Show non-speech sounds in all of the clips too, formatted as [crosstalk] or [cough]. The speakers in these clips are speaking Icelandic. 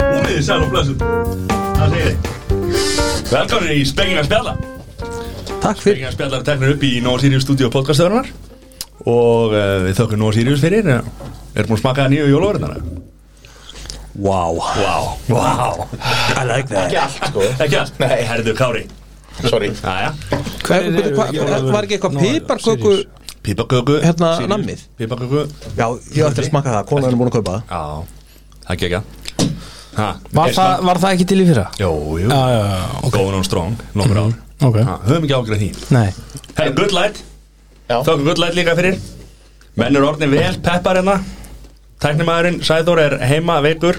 komið í sæl og blessum Það segir Velkomin í Spekingar spjalla Takk fyrir Spekingar spjalla er teknir upp í Nóa Sirius stúdíu podcastöðunar Og uh, við þökkum Nóa Sirius fyrir eh, Erum búin að smaka það nýju jólaverðinara Wow Vá Vá I like that Ekki allt sko Ekki allt Nei. Herðu Kári Sorry Jæja Hver, byrju, hva, Var ekki eitthvað piparköku Pípaköku Hérna, Sirius. nammið. Pípaköku Já, ég ætti að smaka það, konan er búin að kaupa það Já Það gekk að Ha Var, þa var það ekki til í fyrra? Jó, jú Já, já, já, ok, Mhm, Góðan og strong Nómur ár ok Ha, Höfum ekki ágrað því Nei, Hey, good light Já. Þökkum good light líka fyrir Menn eru orðin vel peppar hérna Tæknimaðurinn Sæður er heima veikur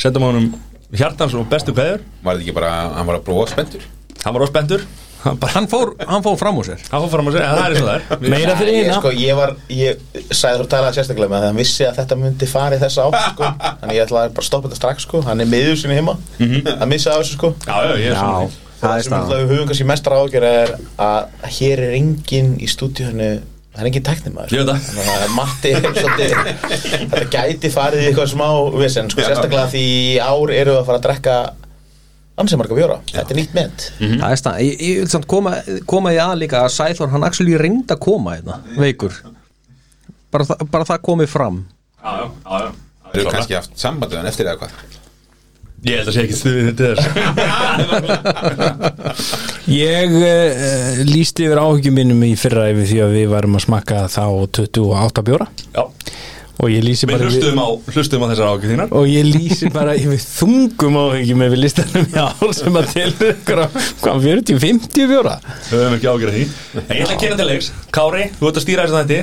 Sendum honum hjartans og bestu kveður Var þetta ekki bara, hann var að bróa spendur Hann var óspendur Hann bara Hann fór, hann fór fram úr sér Hann fór fram að segja, það er eins og [laughs] það er meira fyrir Ég eina sko, ég var, ég sagði þú talaði sérstaklega með það Hann vissi að þetta myndi fara í þessa átt sko Þannig ég ætlaði bara að stoppa þetta strax sko Hann er miður sinni heima Hann missaði af þessu sko Já, já, ég er Já, svona það er sem alltaf staðan við höfum kannski mestra ágjör er að hér er enginn í stúdíunni Það er enginn teknimaður Ég veit það. Þannig að Matti er svolítið Þetta gæti farið í eitthvað smá vesen sko, Já. Sérstaklega því í ár eru að fara að drekka Ansið marga bjóra Þetta er nýtt ment Mhm. Það er staðan, ég, ég vil samt koma, koma því að líka að Sæþór, hann actually reyndi að koma hérna, veikur bara, þa bara það komið fram Já, já, já, já Þau eru kannski haft sambandi hann eftir eða hvað [laughs] Ég held að sé ekki stuðið til þess Ég uh, lísti yfir áhyggjum mínum í fyrra yfir því að við varum að smakka þá 28 bjóra Já, og ég lísi við bara yfir, hlustum á, hlustum á þessar ákveð þínar og ég lísi bara yfir þungum áhyggjum yfir listanum í ár sem að telur ykkur á hvað 40-50 bjóra Höfum ekki ágjörð því En ég ætla að kynna til leiks Kári, þú ert að stýra þess að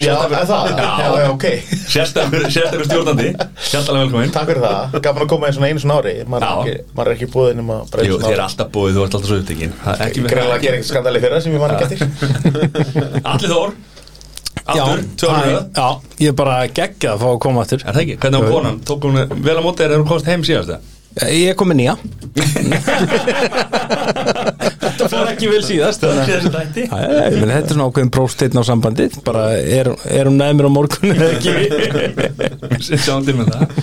Já, er það? Já. já, ok Sérstakur, sérstakur stjórnandi Hjartalega velkominn Takk fyrir það, gaman að koma eins og einu svona ári Maður er Já. ekki, maður er ekki búið nema bara einu Jú, svona þér er ári alltaf búið, þú ert alltaf svo upptekinn Það er ekki Ég greiðlega að gera eitthvað skandali fyrir það sem ég man ekki eftir Allir Þór Aftur, Æ, tjóðum já, ég er bara geggja að fá að koma aftur Er það ekki? Hvernig var konan? Tók hún vel á móti þér þegar hún komst heim síðast það? Eh, Ég er komin nýja Þetta fór ekki vel síðast Það þannig sé að- þessu dætti Já, já, ég meina, þetta er svona ákveðin prófsteinn á sambandið bara er, er hún næmir á morgun [laughs] eða ekki Sjáum til með það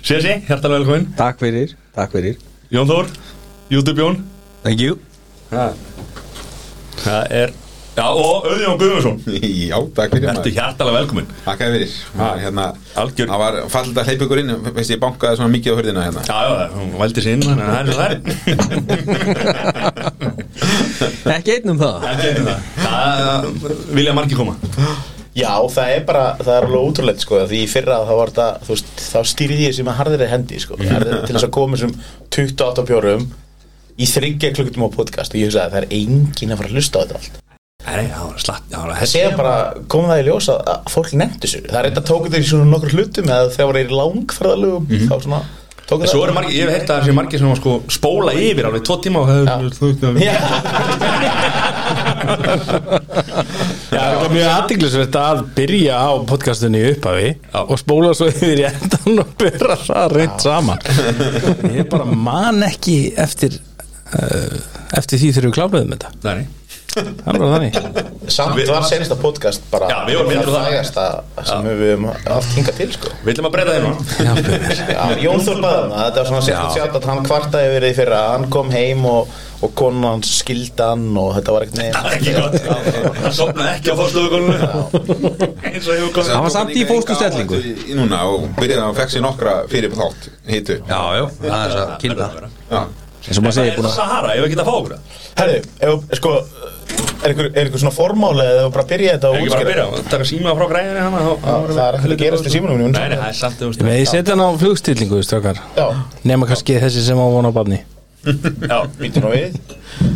Sessi, hjartalega velkominn Takk fyrir, takk fyrir Jón Þór, YouTube Jón Thank you Það er Já, og Öðjón Guðmundsson Já, takk fyrir Ertu hjartalega velkominn Takk að fyrir Maður, hérna, Algjör. Það var fallit að hleypa ykkur inn Veist ég bankaði svona mikið á hurðina hérna Já, já, hún vældi sér inn Þannig að það er svo það er [laughs] Ekki einn um það Það getur það. Það vilja margir koma Já, það er bara, það er alveg útrúlegt sko Því í fyrra þá var þetta, þú veist, þá stýrði ég sem að harðir er hendi sko Harðir Til þess að koma sem 28 bjórum Í þryggja klukkutum á podcast Og ég hugsaði að það er enginn að fara að hlusta á þetta allt Nei, það var slatt Það var Það séð bara, kom það í ljós að, að fólk nefndi sér Það er þetta tókuð þeir í svona nokkur hlutum Eða þegar voru í langferðalögum Þá svona, tókuð Mhm. Svo eru margir, ég hef heilt að það sé margir sem var sko spóla yfir alveg tvo tíma og það er Já, það er mjög aðdeglisvert að byrja á podcastunni í upphafi og spóla svo yfir í endan og byrja það reynd saman Ég bara man ekki eftir uh, eftir því þegar við kláruðum þetta Nei, Það er bara þannig Samt Við- var senasta podcast bara Já, við vorum myndir á það. frægasta sem við höfum haft hingað til [laughs] sko. við ætlum að breyta þeim Já, Bubbi. Já, Jón Þór Baðan, þetta var svona sérst sjátt að hann kvartaði yfir því fyrir að hann kom heim og, og konan hans skildi hann og þetta var ekkert Það er ekki neginn gott Það sopnaði ekki á fórstofukonunum Eins og hefur komið Það var samt í fóskustellingu. Í núna og byrjaði að fekk sér nokkra fyrir þátt Hittu Já, já, það er það, kynna Það er Já. Eins og maður segir, búin það að Sahara, ég hef ekki að fá okkur það. Herri, ef, sko, er einhver, er einhver svona formáli eða ef bara byrja þetta Það er og ekki bara að byrja á að taka síma frá græðinni hana þá- Já, það er ekkert að gerast í símanum mínum. Nei, nei, það er samt þú veist. Ég setja hann á flugstillingu, strákar Já, nema kannski þessi sem á vona á barni Já, býtum nú við,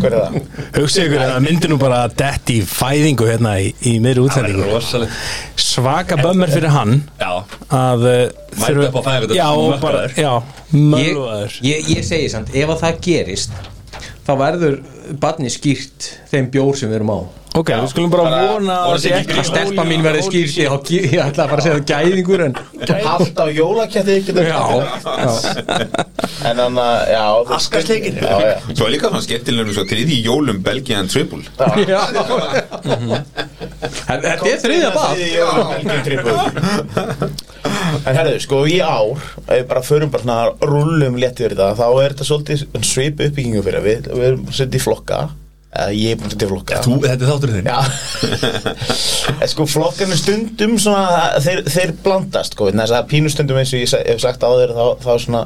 hver er það? Hugsið ykkur að það myndi nú bara að detti í fæðingu hérna í, í það er miðri útsendingu rosalegt Svaka bömmir fyrir hann Já, að uh, Mæta þurfa- upp á fæðingu- Já, og bara, Mökkaður. já, ég, mölvaður ég, ég segi samt, ef að það gerist þá verður badni skýrt þeim bjór sem við erum á Ok, við skulum bara, vona að voru það sé þetta ekki ekki að stelpa mín verði skýrt ég, ég, ég ætla að fara að segja það gæðingur en Allt á jólakjætti getur En hann að, já þú- Askasleikir. Já, já Svo er líka svona skemmtilegum svo þriði jólum Belgian Triple já, já. Þetta er þriðja hérna, bað En herðu, sko í ár ef við bara förum bara svona rullum létt yfir þetta, þá er þetta svolítið svipu uppbyggingu fyrir við, við erum svolítið í flokka eða ég er búin að setja í flokka Þú, þetta er þátturinn þinn Já En sko flokkarnir stundum svona þeir, þeir blandast sko þess að pínu stundum eins og ég sa- hef sagt á þeir þá, þá svona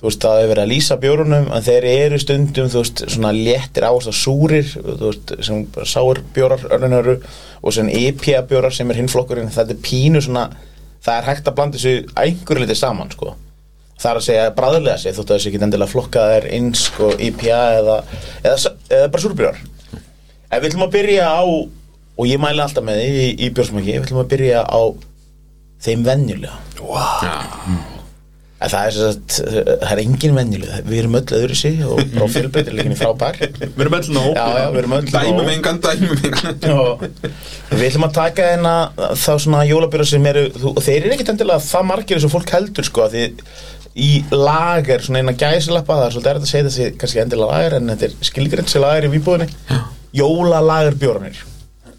þú veist það hefur verið að lýsa bjórunum en þeir eru stundum þú veist svona léttir áherslu á súrir þú veist sem bara sáir bjórar örnunaru og svona IPA bjórar sem er hinn flokkurinn þetta er pínu svona það er hægt að blanda þessu að einhverju liti saman sko það er að segja bræðurlega sig þótt að þessi ekki endilega flokkað er inn sko IPA eða, eða, s- eða bara súrbjórar Ef við ætlum að byrja á og ég mæli alltaf með því í, í björsmaki við ætlum að byrja á þeim venjulega wow. en það er sem sagt eh, það er engin venjulega, við erum öll öðru sig og frá fjölbreytileginni frábær já, Við erum öll nóg já, við erum öll um Dæmum nóg. um engan, dæmum engan og við ætlum að taka hérna þá svona jólabjóra sem eru þú, og þeir eru ekkert endilega það margir eins og fólk heldur sko því í lager svona eina gæsilappa það er svolítið erfitt að segja þessi kannski endilega lager en þetta er skilgrænt sér lager í výbúðinni jólalager bjórnir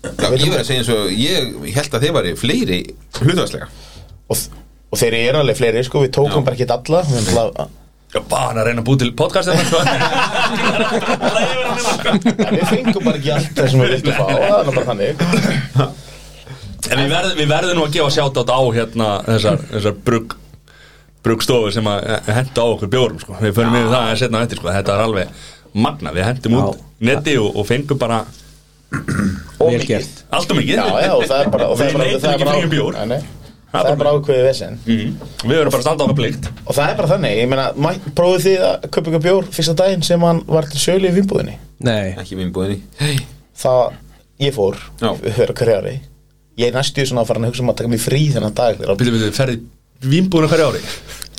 Já, ég verið að segja eins og ég held að þeir væri fleiri hlutvæslega og, og þeir eru alveg fleiri sko, við tókum Já. bara ekki alla við ætla að- Ég er bara að reyna að búi til podcast sko. þetta sko [laughs] en við fengum bara ekki allt það sem við viltum fá það er nú bara þannig En við verðum, við verðum nú að gefa sjátt á hérna þessar, þessar brugg bruggstofu sem að henda á okkur bjórum sko. við förum yfir það að setna á eftir sko. þetta er alveg magna, við hendum út neti og, og fengum bara og Vel mikið. gert allt og mikið já, já, og það er bara og það er bara, Við leitum það ekki er bara, fengið bjór. Nei, nei. það er bara ákveðið vesinn Mhm. við verðum bara að standa á okkur plikt og það er bara þannig, ég meina, mæ- prófið þið að köpa ykkur bjór fyrsta daginn sem hann var til sjölu í vinnbúðinni Nei, Ekki minn búinni það, ég fór Já. fyrir hverju ári ég er næstu svona að fara að hugsa um að taka mig frí þennan dag þegar að- Býtum við, ferði vínbúinu hverju ári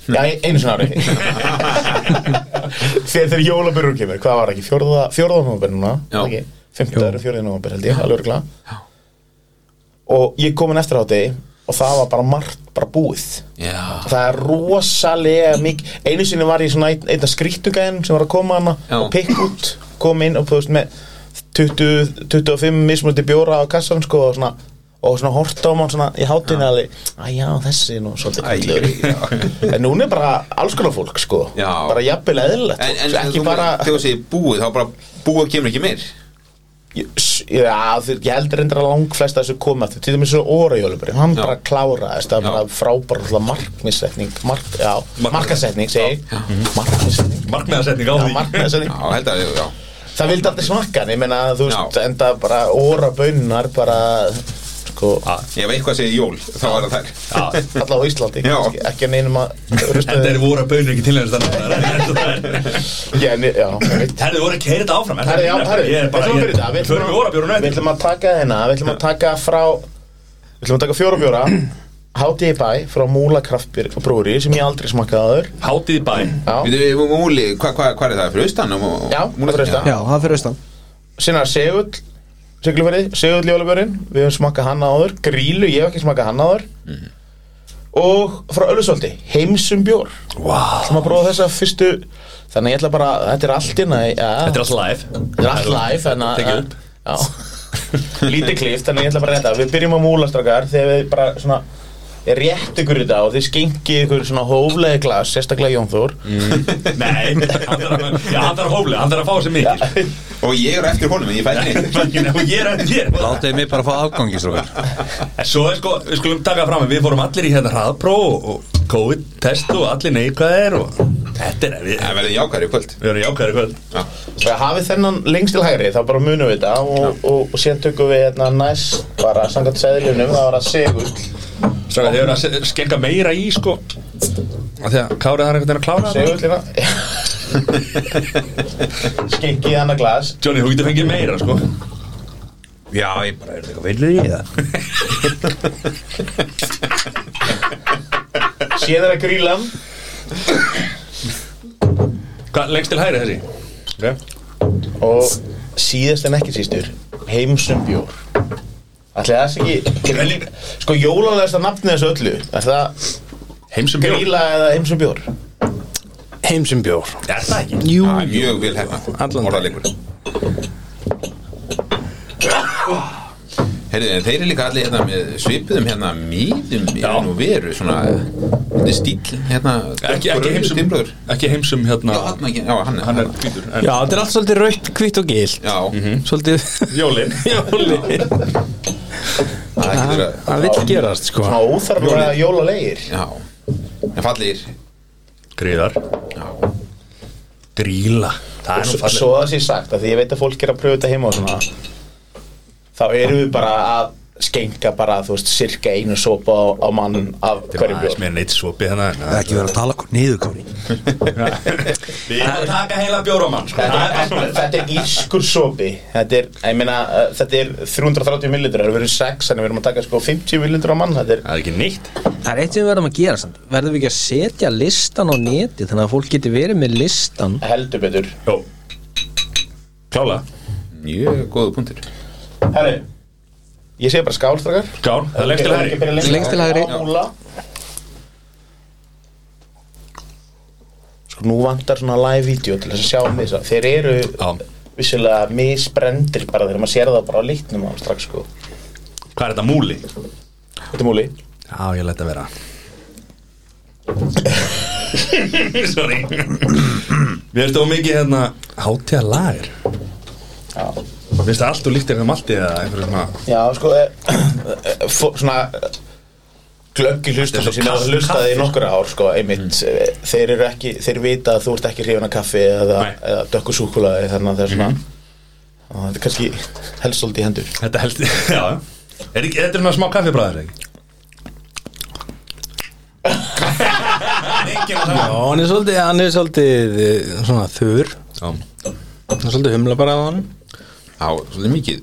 já, einu sinna [laughs] ári þegar þegar jólabjörur kemur hvað var ekki, fjórða, fjórða nómabir núna Já. ekki, fimmtaður og fjórða nómabir held ég, alveg örgulega og ég kom inn eftir hátegi og það var bara margt, bara búið Já, það er rosalega mikið einu sinni var ég svona ein, einna skrýttugæðin sem var að koma hana Já. og pikk út kom inn og púðust með 20, 25 mismunandi bjóra á kassan sko og svona og svona horta á mann svona í hátinu alveg að já þessi nú svolítið kallur en núna er bara alls konar fólk sko Já. bara jafnvel eðlilegt En, fólk, en ekki þú- bara þegar þú segir búið, þá bara búið kemur ekki meir ég, s- já, þeir- ég heldur reyndar að lang flest að þessu koma eftir, til dæmis svo óra jólubri hann Já. bara kláraðist, það Já. er bara frábær alltaf markmissetning, mark, já, Mark- markasetning segi ég, markmissetning markmiðarsetning á Já, því Já, markmiðasetning. held að, já það vildi aldrei smakka hann, ég meina þú veist, Já. enda bara óra bönnar bara, sko Ef eitthvað segir jól, þá er það þær Já. allavega á Íslandi, Já. kannski, ekki að neinum að rusta en þeir voru að bönir ekki tilhengjast þannig já, en- já, ég veit. Herðu, voru að keira þetta áfram er það Herri, já, ekki nefnt? herri, Ég er bara, við ætlum að byrja þetta, ég, ætlum förum að- við óra bjórun Við ætlum að taka hérna, við ætlum að taka frá Við ætlum að taka fjóra [clears throat] bjóra Hátíði bæ frá Múla Kraftbjörg og Brúri sem ég aldrei smakkaði aður Hátíð í bæ Já, Við erum múli, hvað hva, hva er það, fyrir austan? Um, Og, Já, múli fyrir austan. já, það er fyrir austan sinna segull Siglufærið, segull jólabjörinn Við höfum smakkað hann áður, grílu, ég hef ekki smakkað hann áður Mhm. Og frá Ölusvoldi, heimsum bjór wow. Ætlum að prófa þessa fyrstu Þannig að ég ætla bara, þetta er allt hérna inn Þetta er alltaf live Þetta er allt live þannig Tekið að upp. Já Lítið klift, þannig að ég ætla bara að rétta Við byrjum á múlastrakar þegar við bara svona Ég rétt ykkur í dag og þið skengið ykkur svona hóflegi glas, sérstaklega Jón Þór Nei, hann þarf að, já, hann þarf að hóflega, hann þarf að fá sér mikið sko. Og ég er á eftir honum, en ég fætti neitt og ég er að ég Látaði mig bara að fá afgangisrókar En Svo er sko, við skulum taka fram að Við fórum allir í hérna hraðpró og COVID-test og allir neikvæðir og þetta er, við, Það verður jákvæður í kvöld við erum jákvæðir í kvöld Þegar hafið þennan lengst til hægri þá bara munum við þetta og, og, og síðan tökum við hérna næst bara samkvæmt seðlunum, það var að segull Svo að þið eru að se- skegga meira í sko Af Því að Kárið þarf einhvern veginn að klára það segull hérna Skengið hann að glas Johnny, þú getur fengið meira sko Já, ég bara er eitthvað villið í það Síðan er að grílan Hvað, lengst til hægri þessi? Okay. og síðast en ekki sístur heimsum bjór Ætli það sé ekki Sko jólalegasta nafni þessu öllu Er það Heimsum bjór gríla eða heimsum bjór? Heimsum bjór Er það ekki? Jú, Það er mjög vel hérna, Allan dag. orðalegur Heyrðu, en þeir eru líka allir hérna með svipuðum hérna mýðum í Já. raun og veru svona, þetta er stíl hérna, ekki, ekki heimsum dimbröður ekki heimsum hérna Já, hann ekki, já, hann, hann er hvítur Mhm. en- Já, þetta er allt svolítið rautt, hvitt og gil Já, Svolítið [laughs] Jólin Jólin það getur að Það vill gerast, sko Svona óþarflega jólalegir Já, en fallir Gríðar Já, Gríla Það er nú S- fallið Svo það sé sagt, að því ég veit að fólk er að pröfa þetta heima og svona Þá erum við bara að skenka bara, þú veist, cirka einu sopa á, á mann af hverjum Það er bjór mér neitt svopi hérna [laughs] en- ekki verið að tala okkur niður kári Við erum að taka heila bjóramann sko. Þetta er, þetta er írskur sopi Þetta er, ég meina, uh, þetta er 330 millilitrar, við erum 6 Þannig við erum að taka sko 50 millilitrar á mann Þetta er, Það er ekki neitt Það er eitt sem við verðum að gera samt Verðum við ekki að setja listan á neti Þannig að fólk geti verið með listan heldur betur Jó Klála mjög góðu punktur Herri, ég segi bara skálstrakar Skál Það er lengst til hægri Lengst til hægri. Ála Sko nú vantar svona live vídeo til þess að sjá mig þess að þeir eru Já. vissulega misbrendir bara þegar maður sér það bara á litnum á þeim strax sko Hvað er þetta múli? Þetta er múli Já, ég leta vera [laughs] Sorry Mér erstu á mikið hérna Hátíða lager Já, Mér finnst það allt og líkt eitthvað malti eða einhverju svona Já sko e, e, fó, svona glöggi hlustum Þetta er svo sem kalt að hlustaði í nokkur ár sko einmitt mm. þeir eru ekki, þeir vita að þú ert ekki hrifin af kaffi eða, Nei. eða dökkusúkulaði þannig að það er svona og þetta er kannski helst svolítið í hendur Þetta held [laughs] Já Er ekki, þetta er svona smá kaffibræður ekki? Engin að Já, hann er svolítið, hann er svolítið eh, svona þur það Hann er svolítið humla bara á hann Já, svolítið mikið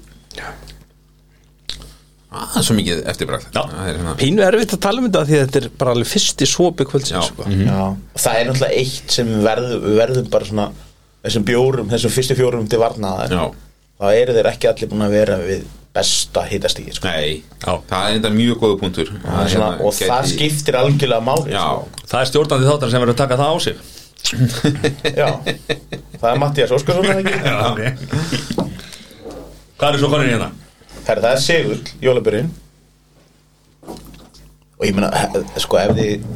Það er svo mikið eftirbræð Já. Það er hérna Pínu erfitt að tala um þetta því að þetta er bara alveg fyrsti svopi Já. kvöldsins, sko Já, og það er náttúrulega eitt sem við verðum, við verðum bara svona þessum bjórum, þessum fyrstu fjórum til varnaðar Já. þá eru þeir ekki allir búin að vera við besta hitastíði sko. Nei, Já. það er þetta mjög góðu punktur hérna Það er svona, og það skiptir algjörlega máli Já, sko. Það er stjórnandi þáttar sem verður að taka það á sig Já. það er Mattias Óskarsson er það ekki? Já, ok Hvað er svo konin hérna? Herra, það er Sigurd, jólabjörinn og ég meina he- sko ef þið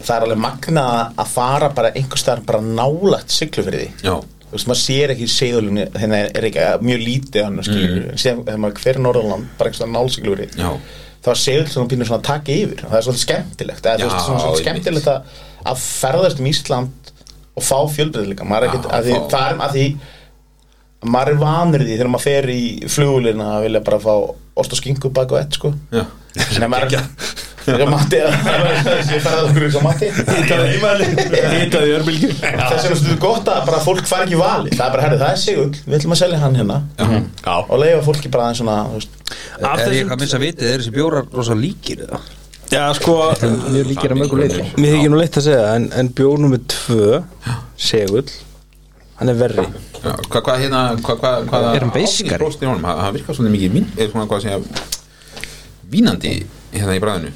það er alveg magna að fara bara einhvers staðar bara nálægt siglu fyrir því já, þú veist, maður sér ekki segðulunni þannig er ekki eh, mjög lítið hann skilur, mm. sem þegar maður hver norðurland bara eitthvað nálsiglur Já. þá er segðul svona pínur svona að taka yfir og það er svolítið skemmtilegt eða, þú veist, Já, svona, svona einmitt. skemmtilegt að, að ferðast um Ísland og fá fjölbreyðleika maður er ekkert Já, að því, fá- það er að því maður er vanur því þegar maður fer í flugulina að vilja bara fá ost og skingu bak og ett sko já Nei, maður er Matti ég ferðast okkur eins og Matti Þetta er örbylgjum þess vegna stuðu gott að bara fólk fari ekki í vali það er bara, herru, það er sigull, við ætlum að selja hann hérna Já og leifa fólki bara aðeins svona þú veist, Er Af ég þessum eitthvað að missa vitið, er þessi bjórar rosa líkir eða? Já, sko Mjög líkir að mörgu leiti Mér þykir nú leitt að segja það, en, en bjór nummer tvö Segull Hann er verri Já, Hvað, hvað hérna, hvað, hvað, hvað Er hann beiskari? Próst í honum, það það virkar svolítið mikið vín, eða svona hvað að segja vínandi hérna í bræðinu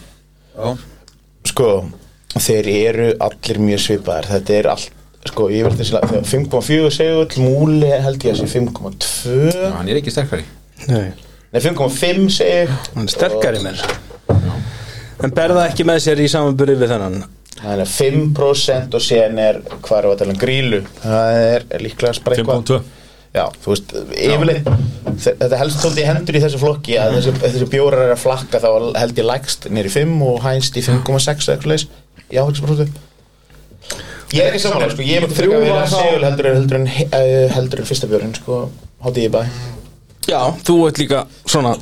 sko, þeir eru allir mjög svipaðir, þetta er allt sko, ég verði þess að 5,4 segull, múli held ég að sé 5,2 Já, hann er ekki sterkari Nei. nei 5,5 seg Hann er sterkari mér En berða ekki með sér í samanburði við þennan Það er 5% og síðan er, hvað er að tala um grílu? Það er líklega bara eitthvað 5.2. Já, þú veist, yfirleitt þe- Þetta helst svolítið í hendur í þessu flokki Mhm. að þessi, þessi bjórar er að flakka þá held ég lægst nýri 5 og hægst í 5,6 eða eitthvað leis í áhengsbrótu Ég er ekki samanlega, sko, ég myndi frekar að vera segul heldur en, heldur en, eh, heldur en fyrsta bjórinn, sko, hátíð í bæ Já, þú ert líka svona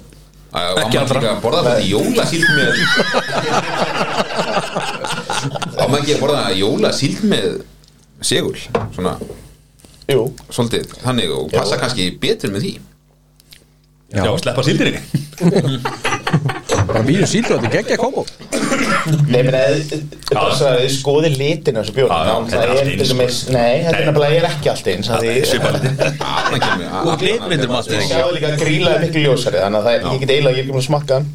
Ekki allra. allra Borða þetta jólasíld með Á maður ekki að borða jólasíld með segul Svona, Jú, svolítið, þannig og passa kannski betur með því Já, sleppa síldinni Bara býður síldur þetta geggja kombo Nei, menn eh, að þið skoði litin þessu bjóra Já, já, þetta er allt eins, sko. Nei, þetta er Nei. nefnilega ég er ekki allt eins af því- Þarna kemur- Og glitmyndir, Matti. Ég sjáðu líka að gríla er miklu ljósari Þannig að það er, ég get eiginlega, ég er ekki búin að smakka hann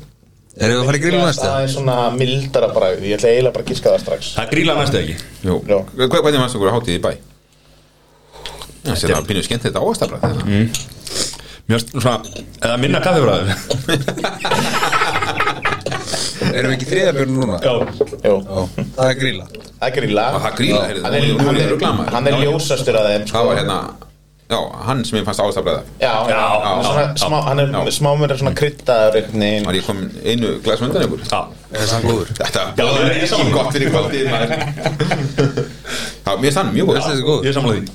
Erum við að fara í grillu næsta? Það er svona mildara bragð Ég ætla eiginlega bara að giska það strax Það gríla næstu ekki Jú. Já. Hva- Hvernig mannst okkur að hátíð í bæ? Það er pínu skemmt þetta áastabra mm. Mér finnst svona, eða minna kaffibræður Erum við ekki þriðabjörn núna? Já, Jó, Það er gríla það er gríla Það er gríla, heyrðu, Hann er, hún- hún hann er er, ruglamaður. hann er ljósastur að þeim sko. Það var hérna Já, hann sem ég fannst ástaflega Já, já, já, svona, smá, hann er já. smá meira svona kryddaður einhvern veginn. Var ég kom einu glas undan ykkur? já Er það góður? Þetta Já, það er er ekki sammála. gott fyrir kvöldið maður. Já, mér finnst hann mjög góð Þetta er Ég er samlega því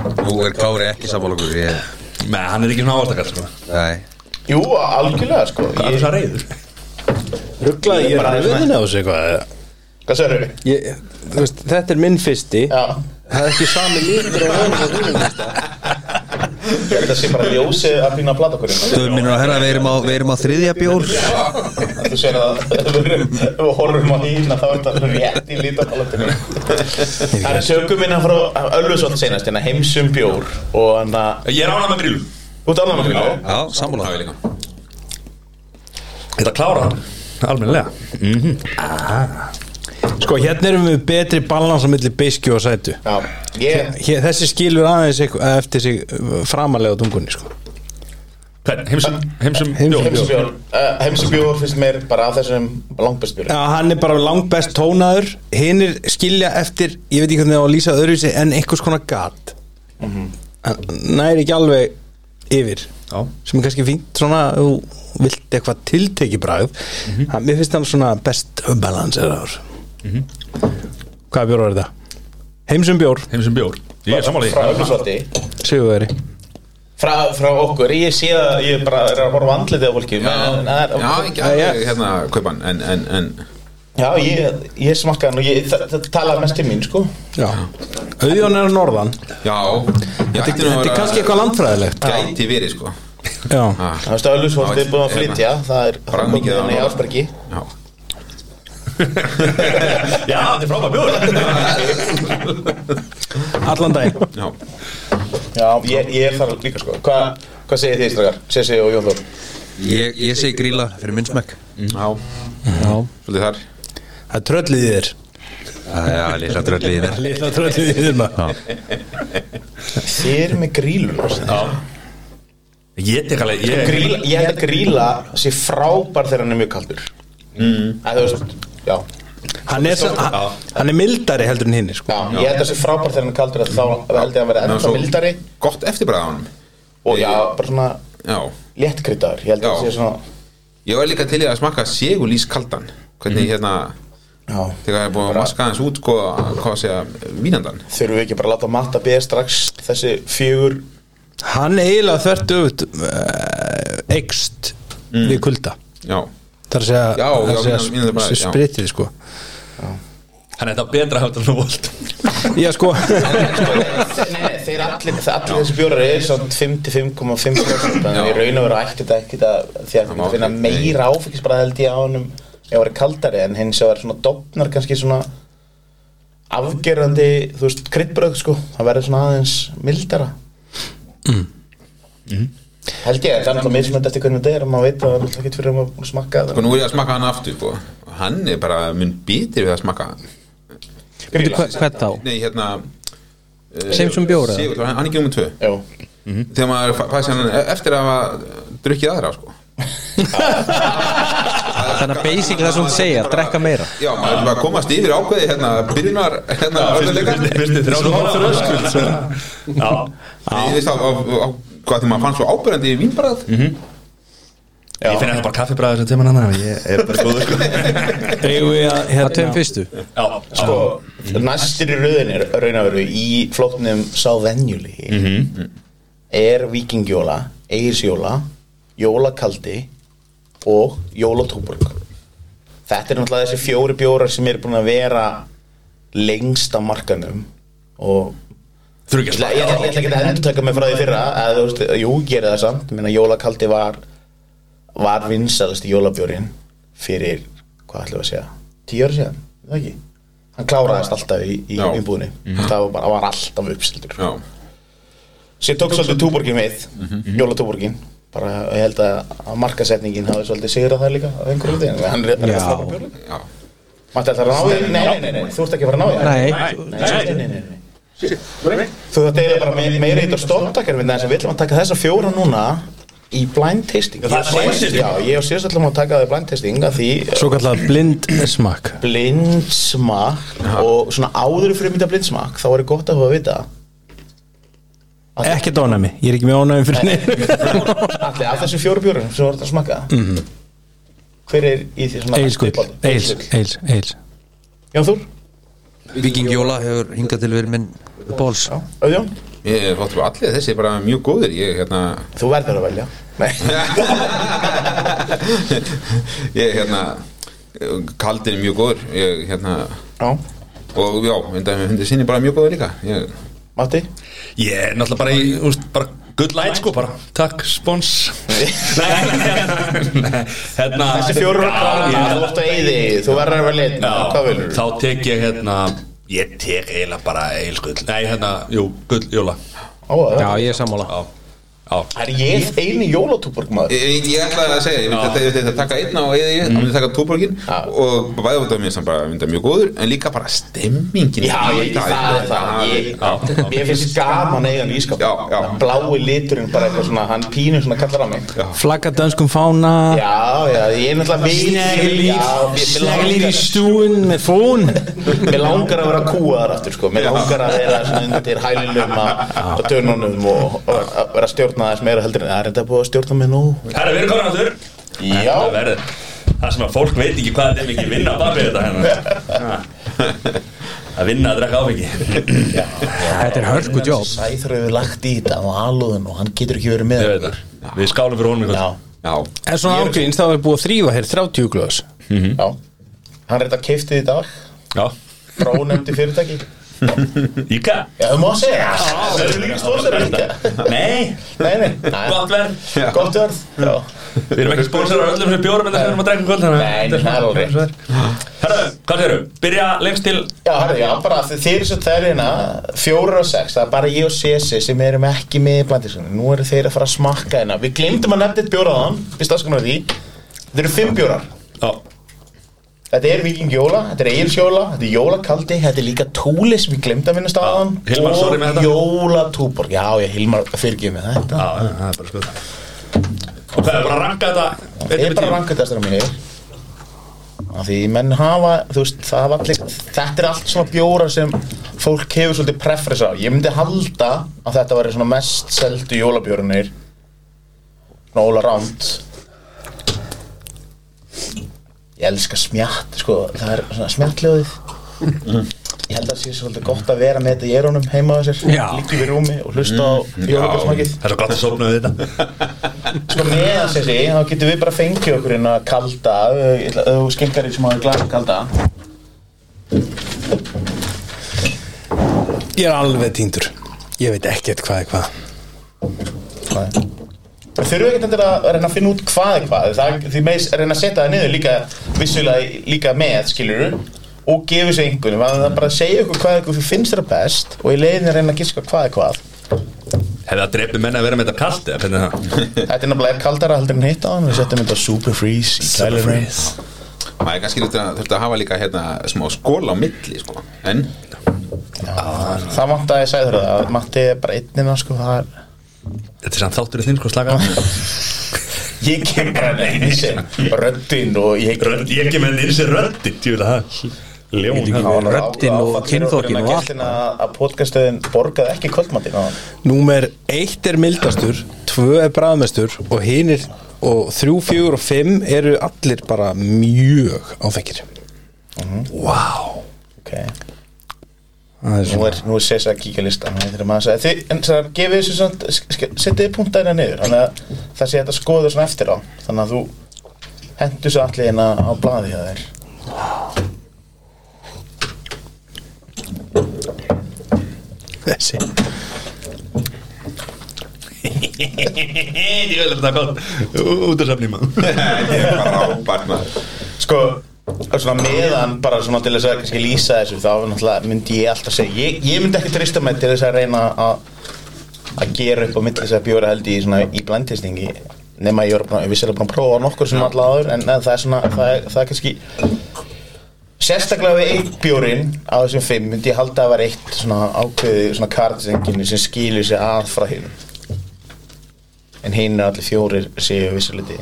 Nú er Kári ekki sammála okkur ég, Nei, hann er ekki svona ávastakall sko. Nei Jú, algjörlega sko Það er Ég- þess að reyður Rugglaði Ég ég bara- rauðin á þessu eitthvað eða? eh, Hvað sérðu? ég, þú veist, Þetta er minn fyrsti Já, Það er ekki sami lítur á rauðin á þínum ég held að sé bara ljósið að pína að plata okkur hérna. Stöðum minnur að herra, við erum á, við erum á þriðja bjór Þú sér að ef við erum- ef við horfum á hýrna þá er þetta rétt í lítakálöfninu Það er sögum minna frá Ölfusvotn seinast, hérna heimsum bjór og hann að, Ég er ánað með grílum þú ert alveg með Já, sammála Það er líka Þetta klára hann, almennilega Sko, hérna erum við betri balans á milli beiskju og sætu Já, ég, Hér, Þessi skilur aðeins eitthvað, eftir sig framalega á tungunni sko. Hvern, heimsum, heimsum, Heimsum bjór. heimsum bjór eh, Heimsum bjór finnst mér bara af þessum langbæst bjór Já, hann er bara langbest tónaður Hinnir skilja eftir, ég veit ekki hvernig það á að lýsa öðruvísi En einhvers konar gat Hann næri ekki alveg yfir Já. Sem er kannski fínt svona, ef þú vilt eitthvað tilteki bræð mm Mér finnst hann svona best balance mm Hvað bjór var þetta? Heimsum bjór, Heimsum bjór Ég er samlega Frá því Ölfusvotni sigurveri Frá, frá okkur, ég sé að ég bara er að horfa á andlitið á fólki en- en það er- Já, ekki alveg hérna kaupan En, en, en Já, ég, ég smakka hann og ég, það, það talaði mest til mín, sko. Já, auðjón er að norðan Já ég ætti nú Þetta að þetta vera- er kannski eitthvað landfræðilegt Gæti verið, sko Já, Ah, Það veist að Ölfusvort er búin að flytja, það er Bara mikið hann í á- Ásbergi. Já Já, þetta er frábæð bjór allan daginn Já Já, ég, ég er þar líka, sko. Hvað hva segir þið, strakar? Sessi og Jón Þór? Ég, ég segi gríla fyrir minn smekk Já Svolítið þar Það er tröllið í þér Já, lilla dröllið [laughs] í mér Lilla tröllið í þér maður Þið eru með gríluna, sko. Ég tek alveg, ég Gríla, ég held að gríla sé frábær þegar hann er mjög kaldur. Mm. Það, þú veist, já. hann er, sem, hann, hann er mildari heldur en hinn sko. Já, ég held að sé frábær þegar hann er kaldur að þá held ég að hann verði Ná, ennþá svo- mildari Gott eftirbræð á hann og já, bara svona Já léttkryddaður. Ég held að Já. það sé svona, Ég var líka til í að smakka segulís kaldan Hvernig hérna já. Þegar ég er búin að maska hans út sko, Hvað að segja, vínandan Þurfum við ekki bara að láta matta beða strax þessi fjögur hann er eiginlega þvert öfut uh, ekst við kulda Já þar að segja, Mm. Já, þar já, að segja mínum- mínum bara, s- já. spritið sko. Þannig að þetta er betra hægt en þú volt já [laughs] sko Nei, nei, þeir allir, þeir allir þessi bjórar er svona 5-5,5% en Já. ég raun og vera ætti þetta ekkit að því að Það má það finna ekki- meira áfengis bara held ég á honum ef það var kaldari en hins að vera svona dopnar kannski svona afgerandi, þú veist, kryddbröð sko það verður svona aðeins mildara Mhm. held ég, það er náttúrulega mismönd eftir hvernig þetta er og maður veit að það er ekkit fyrir að maður er búinn að smakka Sko það nú er ég að smakka hann aftur sko. Hann er bara mun bitir við að smakka Bíddu, hva- Hvern þá? Nei, hérna eh, Simpson bjór, eða? Sigur, hann hann er ekki um tvö Jú, Þegar maður fæ- fæst hann eftir að hafa drukkið aðra sko. Þannig að basic það sem hún segja, drekka meira Já, maður er bara að komast yfir ákveði hérna, byrjunar hérna, örðuleika Fyrstu þrjáðu hálfur öskuld Já, Ég veist á, á, á hvað því maður fann svo ábyrjandi í vínbræð ég finn þetta bara kaffibræður sem tíman annar Ég er bara góður sko eigum við að Það tveim hérna, fyrstu Já, sko sko næstir í rauðin er raun að veru í flóknum sá venjuli er vikingjóla eigisjóla, jólakaldi og jólatúborg þetta er náttúrulega þessi fjóri bjórar sem eru búin að vera lengst á markanum og Þurfi ég ekki að ætla ég ætla- ég ætla ekki að endur taka mig frá því fyrra að þú veist, jú, gera það samt minna jólakaldi var var vinsalast í jólabjórin fyrir, hvað ætlum við að segja tíu ára síðan, er það ekki hann kláraðist alltaf í, í Já. Mhm. umbúðinni það var, bara, var alltaf uppsildur Já, sér tók svolítið túborgin við Mhm. jólatúborgin bara ég held að, að markasetningin hafi svolítið sigrað það líka af einhverjum því hann er hann er að slappa bjórinn já Matti, ætlarðu að ná því? Nei, nei, nei, nei, þú ert ekki að fara að ná því Nei. nei, nei, nei, nei. Þú þetta er bara me- meira í þetta stofntakarfinn þess að við ætlum að taka þessa fjóra núna í blind tasting það er blind tasting? Já, ég og síðast ætlum að taka það í blind tasting að því Svo kallað blind smakk blindsmak og svona áður fyrir mynda blindsmak þá er gott að hafa að vita Ekki dónæmi, ég er ekki með ónæmi fyrir neinu allir af þessum fjóru bjórunum sem voru að smakka Mhm. hver er í því svona Eilskull, eils, eils, eils Jón Þúr, Viking Jóla hefur hingað til verið minn bóls Öðjón, Ég er þáttur allir þessi bara mjög góðir Ég, hérna, þú verður að velja Nei, ég, hérna Kaldin er mjög góður Ég, hérna já, Og já, undan með hundið sinni bara mjög góður líka Ég, Matti Ég er náttúrulega bara í, úst, bara good light sko bara Takk, spons [laughs] Nei, nei, hérna Þessi fjóru Já, þú ég- ert að eyði þú verður að velja einn. hvað Já, velur þá tek ég hérna Ég tek eiginlega bara eilskull Nei, hérna, jú, gull, jóla Já, þú? ég er sammála Já, já Er ég eini jólatúborg maður? Ég, ég- ég ætlaði að segja, ég myndi að, ég myndi að taka einn á eða ég myndi að taka tóborgin Mm. Já. og bæði út af mér sem bara myndi að mjög góður en líka bara stemmingin Já, ég, það, það, það, ég, Já, ég finnst gaman eigan í Já, já. skapin Blái liturinn bara eitthvað svona, hann pínur svona kallar á mig Flagga dönskum fána Já, já, ég er náttúrulega veit- Já, mér- mér Sneglir í langar- stúin með fón Mér langar að vera kúaðar aftur sko Mér langar að vera svona undir hælunum að- að tönunum og og að vera að stjórna þess meira heldur en það er þetta búið að stjórna mig nú Herra, við erum komin aftur Já, Það verður Það sem að fólk veit ekki hvað þetta er mikið vinna að baka þetta hérna [laughs] Ha. Að vinna að drekka áfengi [laughs] Þetta er hörku jobb Sæþur hefur lagt í þetta og alúðun og hann getur ekki verið með Ég veit það. Við skálum fyrir honum í kvöld. Já, Já, En svona ágríns þá er búið að þrýfa hér 30 glöðs já Hann er þetta keiftið í dag Já. Brónefndi fyrirtæki Íka? Já, þú má segja það eru líka sponsor, Nei, Nei, nei, nei gott verð Gott verð Já Við erum ekki sponsor á öllum sem bjórum en það erum að drekka í kvöld þannig að Nei, þetta er það er alveg rétt. Herra, hvað séru? Byrja lengst til Já, herri, já, bara þið þeir sem það er hérna fjórar og sex, það er bara ég og Sesi sem erum ekki með í blandiskunni nú eru þeir að fara að smakka hérna við glemdum að nefna eitt bjóra þann, við stafskunum því þetta eru fimm bjórar Já, þetta er vikingjóla, þetta er eigilsjóla þetta er jólakaldi, þetta er líka túli sem við glemdum að vinna staðan Já, Hilmar, sorry með þetta. og jólatúborg, já, ég Hilmar fyrirgið með þetta já, það er bara skoð Og hvað er bara að ranka þetta? Einn Ég er yfir bara tíu? að ranka þetta mínir af því menn hafa þú veist, það hafa allir þetta er allt svona bjórar sem fólk hefur svolítið preference á ég myndi halda að þetta væri svona mest seldu jólabjörunir svona all around ég elska smjatt sko, það er svona smjattljóðið ég held að það sé svolítið gott að vera með þetta í erónum heima á sér Já. líkið við rúmi og hlusta á jólabjörsmakið Það er svo gott að sopna við þetta Sko meðan þessi, þá getum við bara fengið okkur inn að kalda Ég ætla- Þú skenkar í smá glas kalda Ég er alveg týndur Ég veit ekkert hvað er hvað Þurfum við ekki endur að reyna að finna út hvað er hvað það, Því meðis reyna að setja það niður líka Vissulega líka með, skilur Og gefur sér einhvern Það er bara að segja okkur hvað ykkur finnst þér best Og í leiðinu reyna að giska hvað er hvað Hefði það dreipið menna að vera með þetta kalt eða hvernig er það? Þetta er náttúrulega kaldara heldur en hitt á hann Við setjum þetta super freeze í kælurinn maður er kannski þurfti að, þurfti að hafa líka hérna smá skóla á milli sko en [laughs] Það vant að ég sagði þér það að Matti er bara einnina sko það er Þetta er samt þáttur í þinn sko slaka á. Ég kem bara neini sem röddinn og ég Rödd, ég ekki með þinn sér röddin, tjúla það Ljón [laughs] hérna. Röddin og kynþokkinn og allt. að að podcastöðin borgaði ekki kvöldmattin á hann Númer eitt er mildastur, tvö er bræðmestur og hinir og þrjú, fjögur og fimm eru allir bara mjög áfengir. okay. Það nú er svona. er, nú er Sessa að kíkja listan hann heitir að maður að segja, þið, en það gefið þessu samt- sk- sk- setið punktarina niður þannig að það sé hægt að skoða svona eftir á þannig að þú hendur svo allir hérna á blaði hjá þér Þessi. Ég vil þetta gott Út af safnum ég er bara rábart maður sko, svona meðan bara svona til þess að kannski lýsa þessu þá náttúrulega myndi ég alltaf segja ég, ég myndi ekki trista mig til þess að reyna að að gera upp á milli þess að bjóra held í svona í blendistingi nema ég er búin að- ég vissi að búin að prófa nokkur sem alltaf áður en, en það er svona, það er, það er kannski sérstaklega við eitt bjórin á þessum fimm myndi ég halda að vera eitt svona ákveðið svona kardsenginu sem skilur sig að frá hinn en hinn er allir fjórir séu vissuliti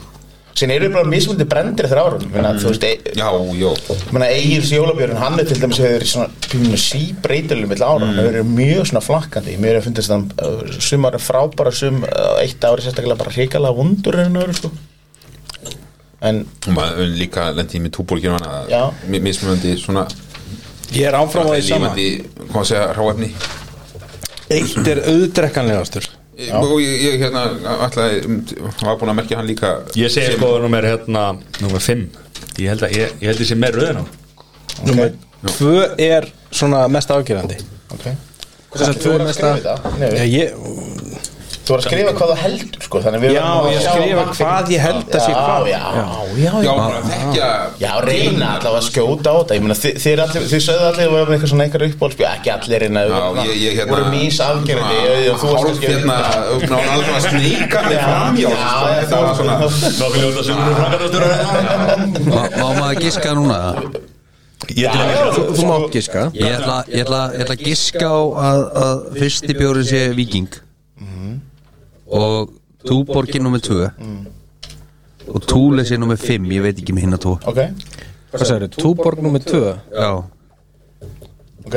Sín eru bara mismundi brendir þrjá árum menna, þú veist, e Já, já menna, Egils jólabjörn, hann er til dæmis hefur verið svona pínu síbreytileg mill Mm. ára, hann hefur verið mjög svona flakkandi mér hefur fundist þann uh, sumar er frábara sum, uh, eitt ári sérstaklega bara hrikalega vondur en öðru sko en Og maður líka lendi með túbólkinu hana Já. mi- Mismunandi svona Ég er áfram á því sama Lífandi, hvað að segja, hráefni Eitt er auðdrekkanlegastur Ég- Og ég, ég hérna ætlaði Var búin að merkja hann líka Ég segi sem- sko nummer hérna Nummer 5 Ég held að ég, ég held að ég sé meir röðin á ok, Tvö er svona mest afgerandi okay. Þess að Þú tvö voru að mesta skrifa þetta? Nei, Já, við- ég, Þú voru að skrifa hvað þú heldur sko, þannig við já verðum að ég sjá skrifa markið. hvað ég held að sé Já, hvað já, já, Já, já bara þekkja Já, reyna allavega að skjóta á þetta Ég meina, þi- þið, allir, þið sögðu allir að við hefum eitthvað svona einhver uppbólspjó Ekki allir reyna Já, ég, ég hérna Voru mís afgerandi Þú varst Hálf kannski- hérna Ná, hann alveg að sneika mig Já, fram Já, já, já, það var svona Nókvæl ljóta sem hún er frangatastjóra Má, má maður giska núna Ég til að Já, Þú, þú mátt giska Ég ætla, ég ætla, ég ætla að giska á að, að fyrsti bjórin sé viking Mhm. og túborgin nummer 2 og túle sé nummer 5 ég veit ekki með hinna tvo Ok, Hvað sagði þau? Túborg nummer 2 Já, ok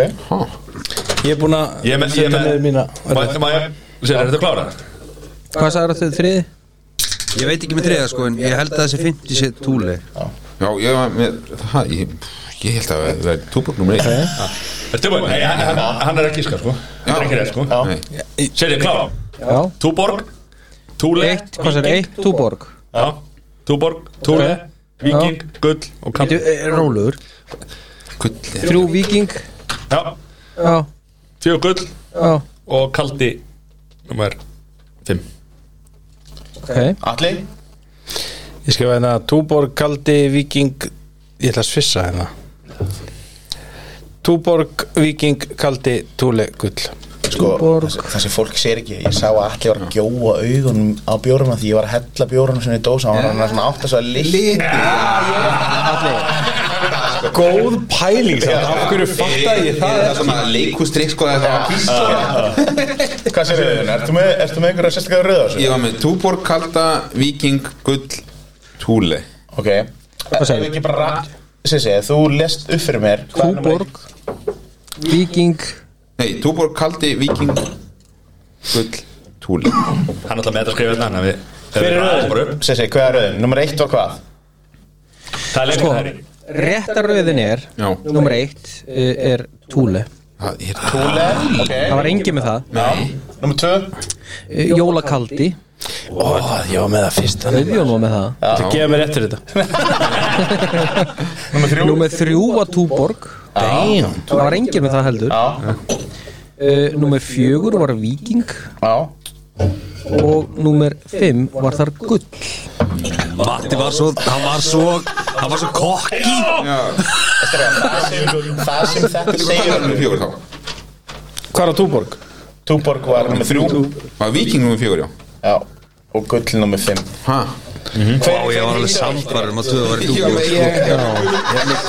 Ég er búin að Ég er með- ég er setja með- niður mína Má- Má ég Sér, er þetta klára? Hvað sagði þau þriði? ég veit ekki með þriða sko en ég held að þessi 50 sé túle Já, ég var með Það, ég, ég held að það er túbólk nummer 1 Ertu búinn? Nei, hann- hann hann er ekki skar sko Hann er ekki rétt sko Já. Nei, Sér, ég klára Já Túborg Túle Eitt, hvað sagði eitt? Túborg Já Túborg Túle Viking Gull Og kamp Bíddu, eh, Rólegur gull Þrjú viking Já Já, Fjögur gull já, Og kaldi Númer 5 ok Alli, Ég skrifa hérna Túborg, Kaldi, Viking Ég ætla að svissa hérna Túborg, Viking, Kaldi, Túle, Gull sko, Túborg. þessi- þessi fólk sér ekki Ég sá að allir var að gjóa augunum á bjóruna Því ég var að hella bjórunum sem ég dósa Hann var hann svona átt að svo að Góð pæling samt. Af hverju fattaði ég það Það er svona leikustrik sko Það var kýst Hvað sér þau? Ertu með, ertu með einhverja sérstaklega röða þessu? Ég var með túborg, kalda, viking, gull, túle Ok Hvað sagði? ekki bara Sissi, þú lest upp fyrir mér Hvað er númer Túborg Viking Nei, túborg, kaldi, viking, gull, túle Hann ætla með þetta að skrifa þetta hann Hver er röðin? eitt? Sissi, hvað er röðin? Númer eitt var hvað? Það er lengur Sko, það er réttaröðin er Já, Númer eitt eh, er Túle það er Túle Það okay. var engi með það Númer tvö Eh, Jólakaldi Ó, ég var með það fyrst Þannig Við var með það að gefa mér eftir þetta Númer þrjú Númer þrjú var Túborg Damn Það var engin með það heldur Já, uh, Númer fjögur var Viking já Og númer fimm var þar gull Matti var svo, hann var svo hann var svo kokki Það sem- Það sem þetta Hvað er segir um nummer okkur. fjögur þá? Hvað er á Túborg? Túborg var nummer þrjú Var viking nummer fjögur, já Já Og gull nummer fimm Ha? Vá, ég var alveg samfærum að tvöða var í Ég var með túborg ég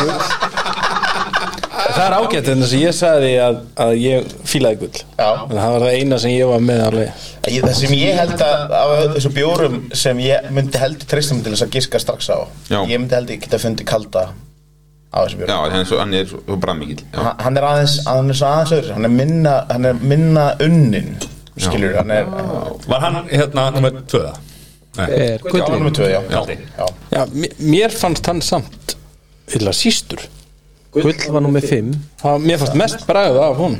Það er ágætt en þess að ég sagði því að, að ég fílaði gull Já. En það var það eina sem ég var með alveg Ég- Það sem ég held að Af þessu bjórum sem ég myndi heldur Tristum til þess að giska strax á Já. Ég myndi heldur geta fundið kalda Á þessu bjórum Já, hann er svo, hann er svo brammikill Já, Ha- hann er aðeins hann er svo aðeins öðru hann er minna, hann er minna unnin skilur, hann er Var hann hérna nummer 2 Eh, Nei Er já, gullin nummer 2, já, Kaldi. já. Já, mér- mér fannst hann samt Illa sístur Gull var númer fimm Það, mér fannst mest bragð af hún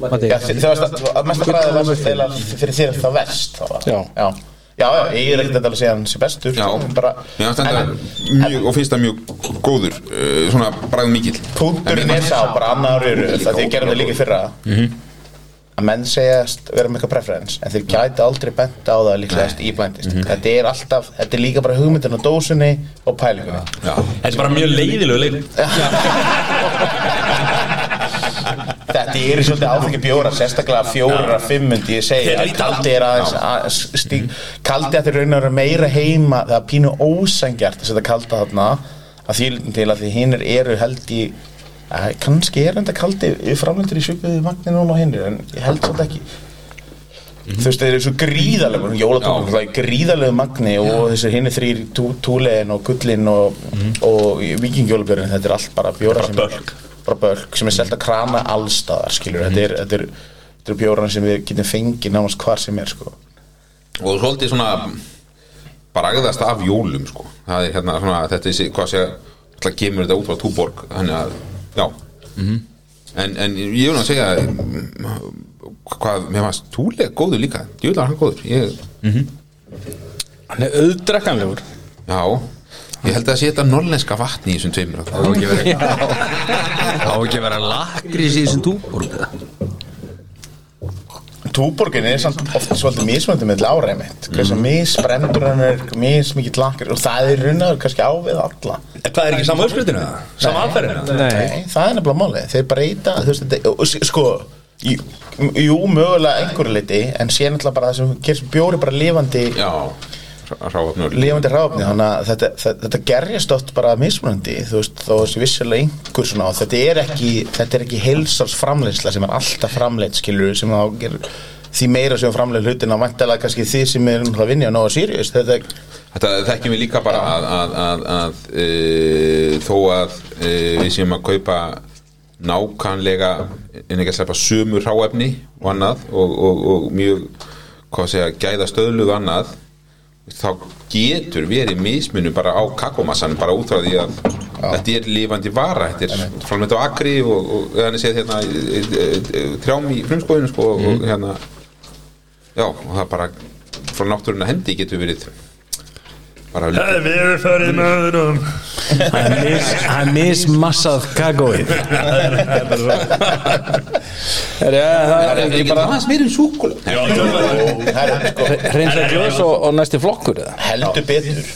Matti, Já, þi- það varst að mest að bræða var eiginlega fyrir þér það verst þá var. Já. já, já, já, ég er ekkert að segja hann sé bestur já. sko, bara, Mér fannst þetta en mjög, og finnst það mjög góður uh, Svona brammikill punkturinn er sá bara annar röru það þið gerum það líka í fyrra að menn segjast vera með eitthvað preference en þeir gæti aldrei bent á það líklegast í blændist þetta er alltaf, þetta er líka bara hugmyndin á dósinni og pælingunni Þetta er bara mjög leiðilegu leikur Þetta eru svolítið áfengi bjóra sérstaklega fjórar að fimm myndi ég segja Þeir líta Kaldi er aðeins að stíg Kaldi að þeir raunar eru meira heima það er pínu ósengjart að setja kalda þarna að því lítum til að því hinnir eru held í að, kannski er enda kaldi framlendur í sjökuðu magni núna á hinnir en ég held svolítið ekki þú veist þeir eru svo gríðalega jólatónum er gríðalega magni og þessir hinni þrýr túlegin og gullin og, mm. og vikingjólabjörn þetta er allt bara bjóra sem er bara bölk sem er selt að krana allstaðar skilur, þetta er, þetta er, þetta er bjóran sem við getum fengið námast hvar sem er sko. og svolítið svona bragðast af jólum sko. það er hérna svona þetta er þessi- hvað sé alltaf kemur þetta út frá túborg þannig að já Mhm. en, en ég vil að segja mm, hvað, mér fannst túlega góður líka djúlega hann góður ég, Hann er auðdrakkanlegur já, ég held að það sé þetta norlenska vatni í þessum tveimur Á ekki að vera Á ekki að vera lakrís í þessum túborg eða? Túborgin er samt ofta svolítið mismöndi með lára einmitt hversu misbrendur hann er, mismikið lakir og það er runnaður kannski á við alla En Hvað er ekki sama uppskriftinu það? Sama aðferðinu? Nei, það er nefnilega málið, þeir breyta þú veist, þetta, og s- sko jú, jú, mögulega einhverju liti en sé náttúrulega bara það sem gerir sem bjóri bara lifandi já, ráfnur lifandi ráfni, þannig að þetta, þetta, þetta gerjast oft bara mismunandi, þú veist, þó þessi vissulega einhver svona, og þetta er ekki þetta er ekki heilsars framleiðsla sem er alltaf framleitt, skilur, sem þá gerir því meira sem framleið hlutin á vantalega kannski þið sem er um að vinja á Nóa Sirius þetta, Þetta þekkjum við líka bara að, að, að, að e, þó að e, við séum að kaupa nákvæmlega en ekki að sleppa sömu ráefni og annað og, og, og mjög hvað segja, gæða stöðluð og annað þá getur verið mismunum bara á kakomassan bara út frá því að þetta er lifandi vara þetta er framleitt á akri og, og þannig séð hérna e, e, e, trjám í frumskóðinu sko og hérna já og það bara frá náttúruna hendi getur verið bara Við erum farið með öðrum Hann mis, hann mismassað kakóið [laughs] Herri, ja, það er ekki bara aðeins meir en súkul og það er sko Hreinsa glöðs og, og næsti flokkur eða heldur betur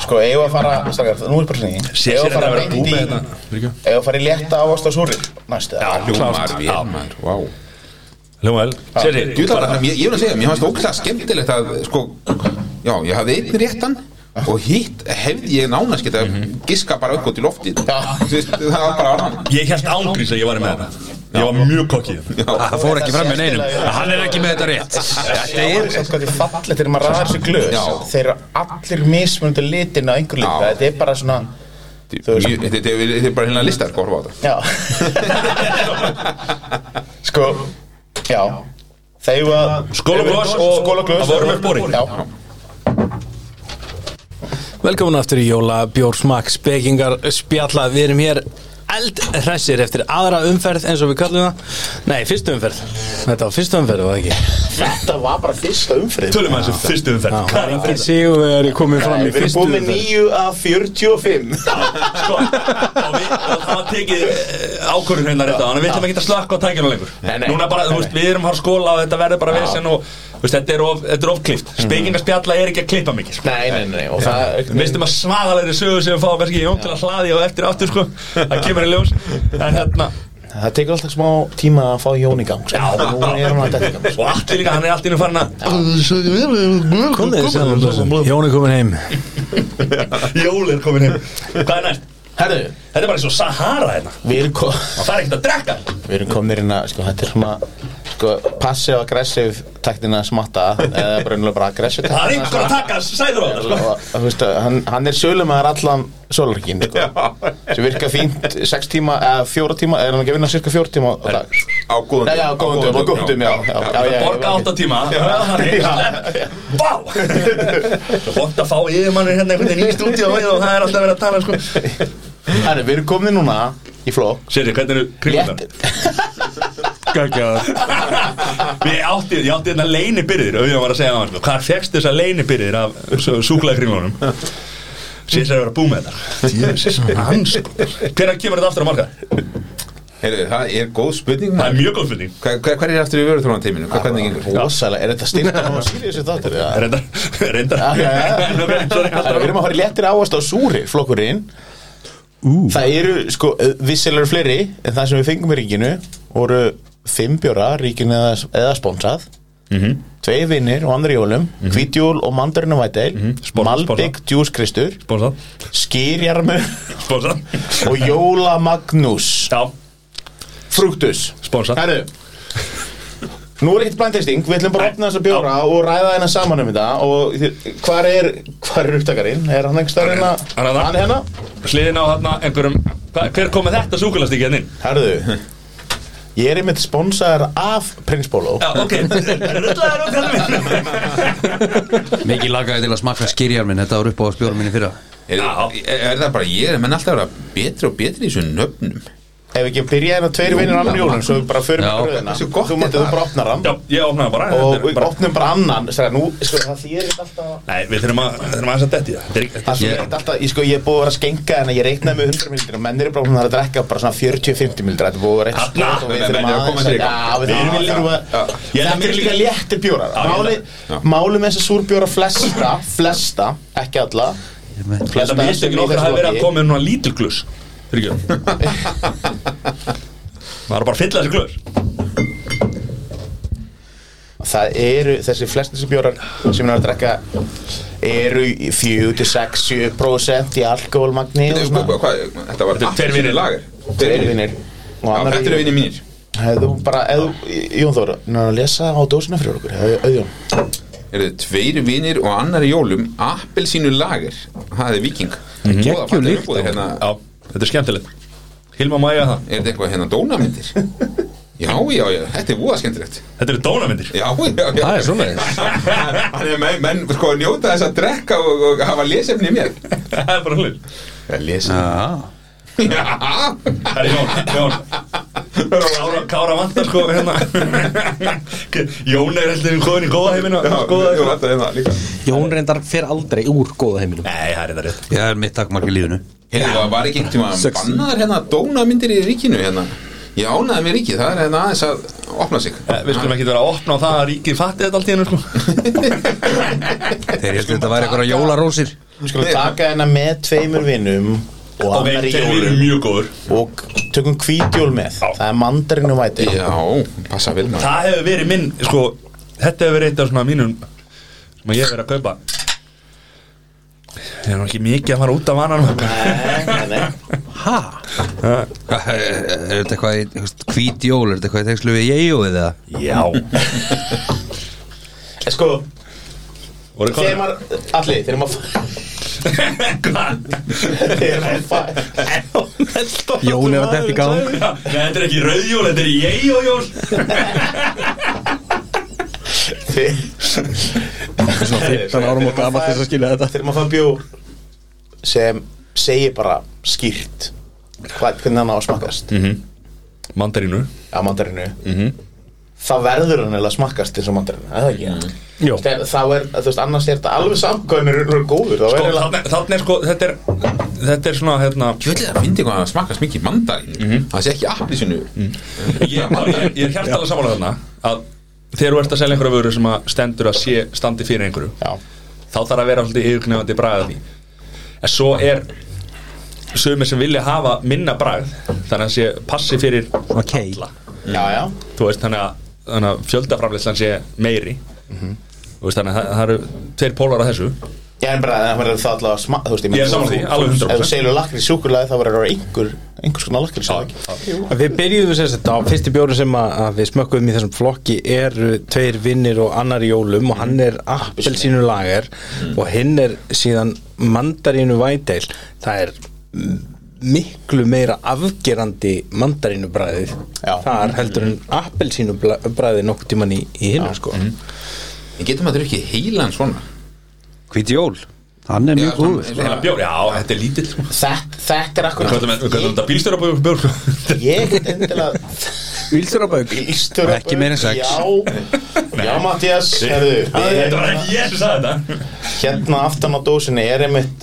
sko, eigum við að fara stakar, nú er bara svona í- Sér sér eigum við að þetta að fara vera hérna. beint bú í með eigum þetta við að fara í létta ávast á súri næstu, já, Hljómar vel, maður, vá Hljómaðil Sér Ég vil bara- ég- ég vil að segja, mér fannst óklæða skemmtilegt að sko, já, ég hafði einn réttan og hitt hefði ég nánast geta giska bara eitthvað til lofti það var bara annan Ég held ángrís að ég var með þetta Ég var mjög kokkið Það fór ekki fram með neinum Hann er ekki með þetta rétt Þetta Það er er samt hvað því fallið þegar maður ræðar þessu glöðs Já. Þeir eru allir mismunandi litin á einhver lit Já. Þetta er bara svona Þú veist- Mjög- þetta er- þetta er bara hérna listar sko, horfa á þetta Já Sko Já Þeir var Skóla glös og Skólaglös Það voru með bóri Já Velkomin aftur í Jóla Bjórsmak Spekingar spjalla Við erum hér eldhressir eftir aðra umferð eins og við kallum það Nei, fyrstu umferð Þetta var fyrstu umferð, var það ekki? Þetta var bara fyrsta umfrið Tölum að þessu fyrstu Já, umferð það er engin sigur við erum komið fram í Við erum fyrstu búin með umferð 9 af 45 Sko Og við og það var tekið ákvörðun hérna rétt á Þannig að við ætlum ekki að slakka á tækjunum lengur Núna bara, þú veist, við erum að skóla og þetta verður bara vesen og þú veist, þetta er of- þetta er ofklift Spekingarspjalla er ekki að klippa mikið sko. Nei, nei, nei Og það Mistum að svagalegri sögu sem við fáum kannski Jón til að hlaði og eftir aftur sko Það kemur í ljós En hérna Það tekur alltaf smá tíma að fá Jón í gang sko. Nú er hann að þetta í gang Og allir líka, hann er allt í innum farin að Komið þið saman blöðsum Jón er komin heim Jól er komin heim Hvað er næst? Herðu Þetta er bara eins og Sahara hérna Við erum kom Og það er ekkert að drekka Við erum komnir inn að, sko, þetta er svona sko, passive aggressive taktina smatta eða brunulega bara aggressive Það er taktina einhver að taka sæður á þetta sko og þú veist að hann, hann er sölumæðar allan sólarkinn sko. sem virka fínt 6 tíma eða 4 tíma eða hann ekki að vinna cirka 4 tíma á dag á góðum Nei, já, góðum dögum, á góðum dögum, já, já, já, já, já, Borga já. átta tíma Það er slepp Vá Svo vond að fá yfirmannir hérna einhvern veginn í stúdíu og það er alltaf verið að tala sko Þannig, við erum komnir núna í flokk Sérri, hvernig eru Létt, kringlunar? [laughs] Við átti, ég átti hérna leinibyrðir auðvitað var að segja á hann, sko, hvar fegst þess að leinibyrðir af súklaði kringlunum Sér sér að vera að bú með þetta Jésus, hann sko Hvernig kemur þetta aftur á marka? Heyrðu, það er góð Það spurning er maður. mjög góð spurning Hva- hva- hver er aftur í vöruþrónan tíminu hvernig gengur rosalega, er þetta styrta og sýrið þessi þáttur? eða? Reyndar, reyndar Já, já, [laughs] já. En ok, sorry, Þannig, alltaf Við erum að fara í léttir ávast á súri flokkurinn Það eru sko vissilegur fleiri en það sem við fengum í ríkinu voru fimm bjóra, ríkinu eða, eða sponsað Tvei vinnir og andri jólum mm -hmm. Hvítjól og mandarinu vætæl mm Spor- Malbygg djúskristur Spónsað Skýrjarmur [laughs] Spónsað og jólamagnús Já, Frúktus spónsað Herru Nú er eitt blindtesting, við ætlum bara að opna þessa bjóra og ræða hennar saman um þetta og þið- hvar er, hvar er upptakarinn? Er hann einhvers staðar hérna? Hann er þarna. Hann er hérna? Hliðin á hérna einhverjum hva, Hver kom með þetta súkulastík hérna inn? Herðu, ég er einmitt sponsaður af Prins Bóló Já, ok Rullaður um hérna minn Mikið lagaði til að smakka skýrjar minn Þetta var upp á spjórum minni fyrra Er, er, er það bara ég, menn alltaf vera betri og betri í þessum nöfnum Ef ekki byrja hérna tveir vinnir annan jólum svo við bara förum Já. að röðina Hversu gott Þú er mátti það? þú bara opnar hann Já, ég opnaði bara og Þetta er við bara opnum bara annan Særa, nú, sko, það þýðir þetta alltaf að- Nei, við þurfum að þurfum aðeins að detti það Þetta er ekki- Það þýðir þetta alltaf, ég sko, ég er búið að vera að skenka en ég reiknaði með 100 mildir og menn eru bara búin að drekka bara svona 40-50 mildir Þetta er búið að vera eitt Þarna, skot og við menn þurfum eru að koma sér í aðeins gang. Já, við Við þurfum viljum- að Ég er Þetta eru líka léttir bjórar ég Máli, Já. máli með þess að súrbjóra flesta, flesta, ekki alla Þetta Flesta misti sem ekki í nokkur þessu hafi verið að flokki. koma með núna lítil glus [laughs] Fyrirgjöf Það er bara að fylla þessi glus Það eru, þessi flestir sem bjórar sem er að drekka eru 4-6-7% í alkoholmagni og Þetta svona þetta var Þetta er tveir vinir. lager Tveir vinir og Já, annar Þetta eru vinir mínir Hefðu bara, hefðu, Jón Þóra, ná að lesa á dósina fyrir okkur, hefðu, auðjón Er þetta tveir vinir og annar í jólum Appelsínu lager, það er viking Mhm. Góða Geggjum fallega lykt umbúðir hérna. Já, þetta er skemmtilegt Hilma Maja það Er þetta eitthvað hérna [laughs] dónamyndir? Já, já, já, þetta er búða skemmtilegt Þetta eru dónamyndir Já, já, já Það er svoleiðis. Þannig að menn, menn sko, njóta þess að drekka og, og hafa lesefni í mér [laughs] Það er bara hlut Lesefni? Já Það er Jón, Jón Kára, Kára vantar sko hérna [laughs] Jón er heldur við komin í góða heiminu Já, Góða já, heiminu þetta er það hérna líka Jón reyndar fer aldrei úr góða heiminum Nei, það er þetta rétt Ég er mitt takkmark í lífinu Hérna, það var ekki einhvern tíma Sex. bannaðar hérna dónamyndir í ríkinu hérna Ég ánaði mér ríkið, það er hérna aðeins að opna sig Eh, Við skulum ekki vera að opna á það að ríkið fatti þetta allt í hennu sko Þeir heldur þetta væri eitthvað jólarósir Við skulum taka hennar með tveimur vinum og Ok, annar í þeir eru jólum mjög góður og tökum hvítjól með, það er mandarinu væti Já, passa vel maður Það hefur verið minn, sko Þetta hefur verið eitt af svona mínum sem ég hef verið að kaupa Ég er nú ekki mikið að fara út af vanan Nei, nei, nei, Ha? Er er þetta eitthvað, í- þú veist, hvít jól Er þetta eitthvað í tengslu við ég og við það? Já [laughs] En sko, Voru þegar komið maður, allir, þegar maður þegar maður fæ- Jón er að detta í gang Nei, þetta er ekki rauðjól, þetta er ég og jól þegar- Svona 15 árum og gamall til þess að skilja þetta þegar maður fær bjór sem segir bara skýrt hvað, hvernig hann á að smakkast Mandarínu á mandarinu Mhm. þá verður hann eða smakkast eins og mandarinu, er það ekki Mm. Jó. Þegar- þá er, þú veist, annars er þetta alveg samt hvað hann er raunverulega góður, þá verður hann Þannig er sko, þetta er Þetta er svona, hérna Ég vil það fyndi hvað það smakkast mikið mandarin Það sé ekki applisinu Ég, ég, ég er hjartalega samanlega þarna Að þegar þú ert að selja einhverja vöru sem að stendur að sé standi fyrir einhverju já, Þá þarf að vera svolítið yfirknefandi bragð að því En svo er Sumir sem vilja hafa minna bragð Þannig að sé passi fyrir Svona kei. alla. já, já Þú veist, þannig að, þannig að fjöldaframlislan sé meiri Þú veist, þannig að það, það eru Tveir pólar að þessu ég er bara, það verður það allavega smakk þú veist, Ég er sammála því, alveg 100%. ef þú segir lakrís súkulega þá verður það einhver einhvers konar lakrís Við byrjuðum sem sagt á fyrsti bjórin sem að, að við smökkuðum í þessum flokki eru tveir vinnir og annar í jólum og hann er appelsínu lager og hinn er síðan mandarínu væteil það er m- miklu meira afgerandi mandarínu bræðið Já. þar heldur en appelsínu bræðið nokkuð tíman í, í hinn sko. En getur maður ekki heilan svona Hvít jól? Hann er Já, mjög svona- góður svona- Heila bjór, já, þetta er lítill sko. þetta, þetta er Við akkur kallum við kallum þetta bílstjóra bjór bjór, sko. ég er ekkert endilega Ílsturabögg Ístur Ekki meira en sex. Já, já Mattias, herðu Þetta var ekki ég sem sagði þetta Hérna aftan á dósinni er einmitt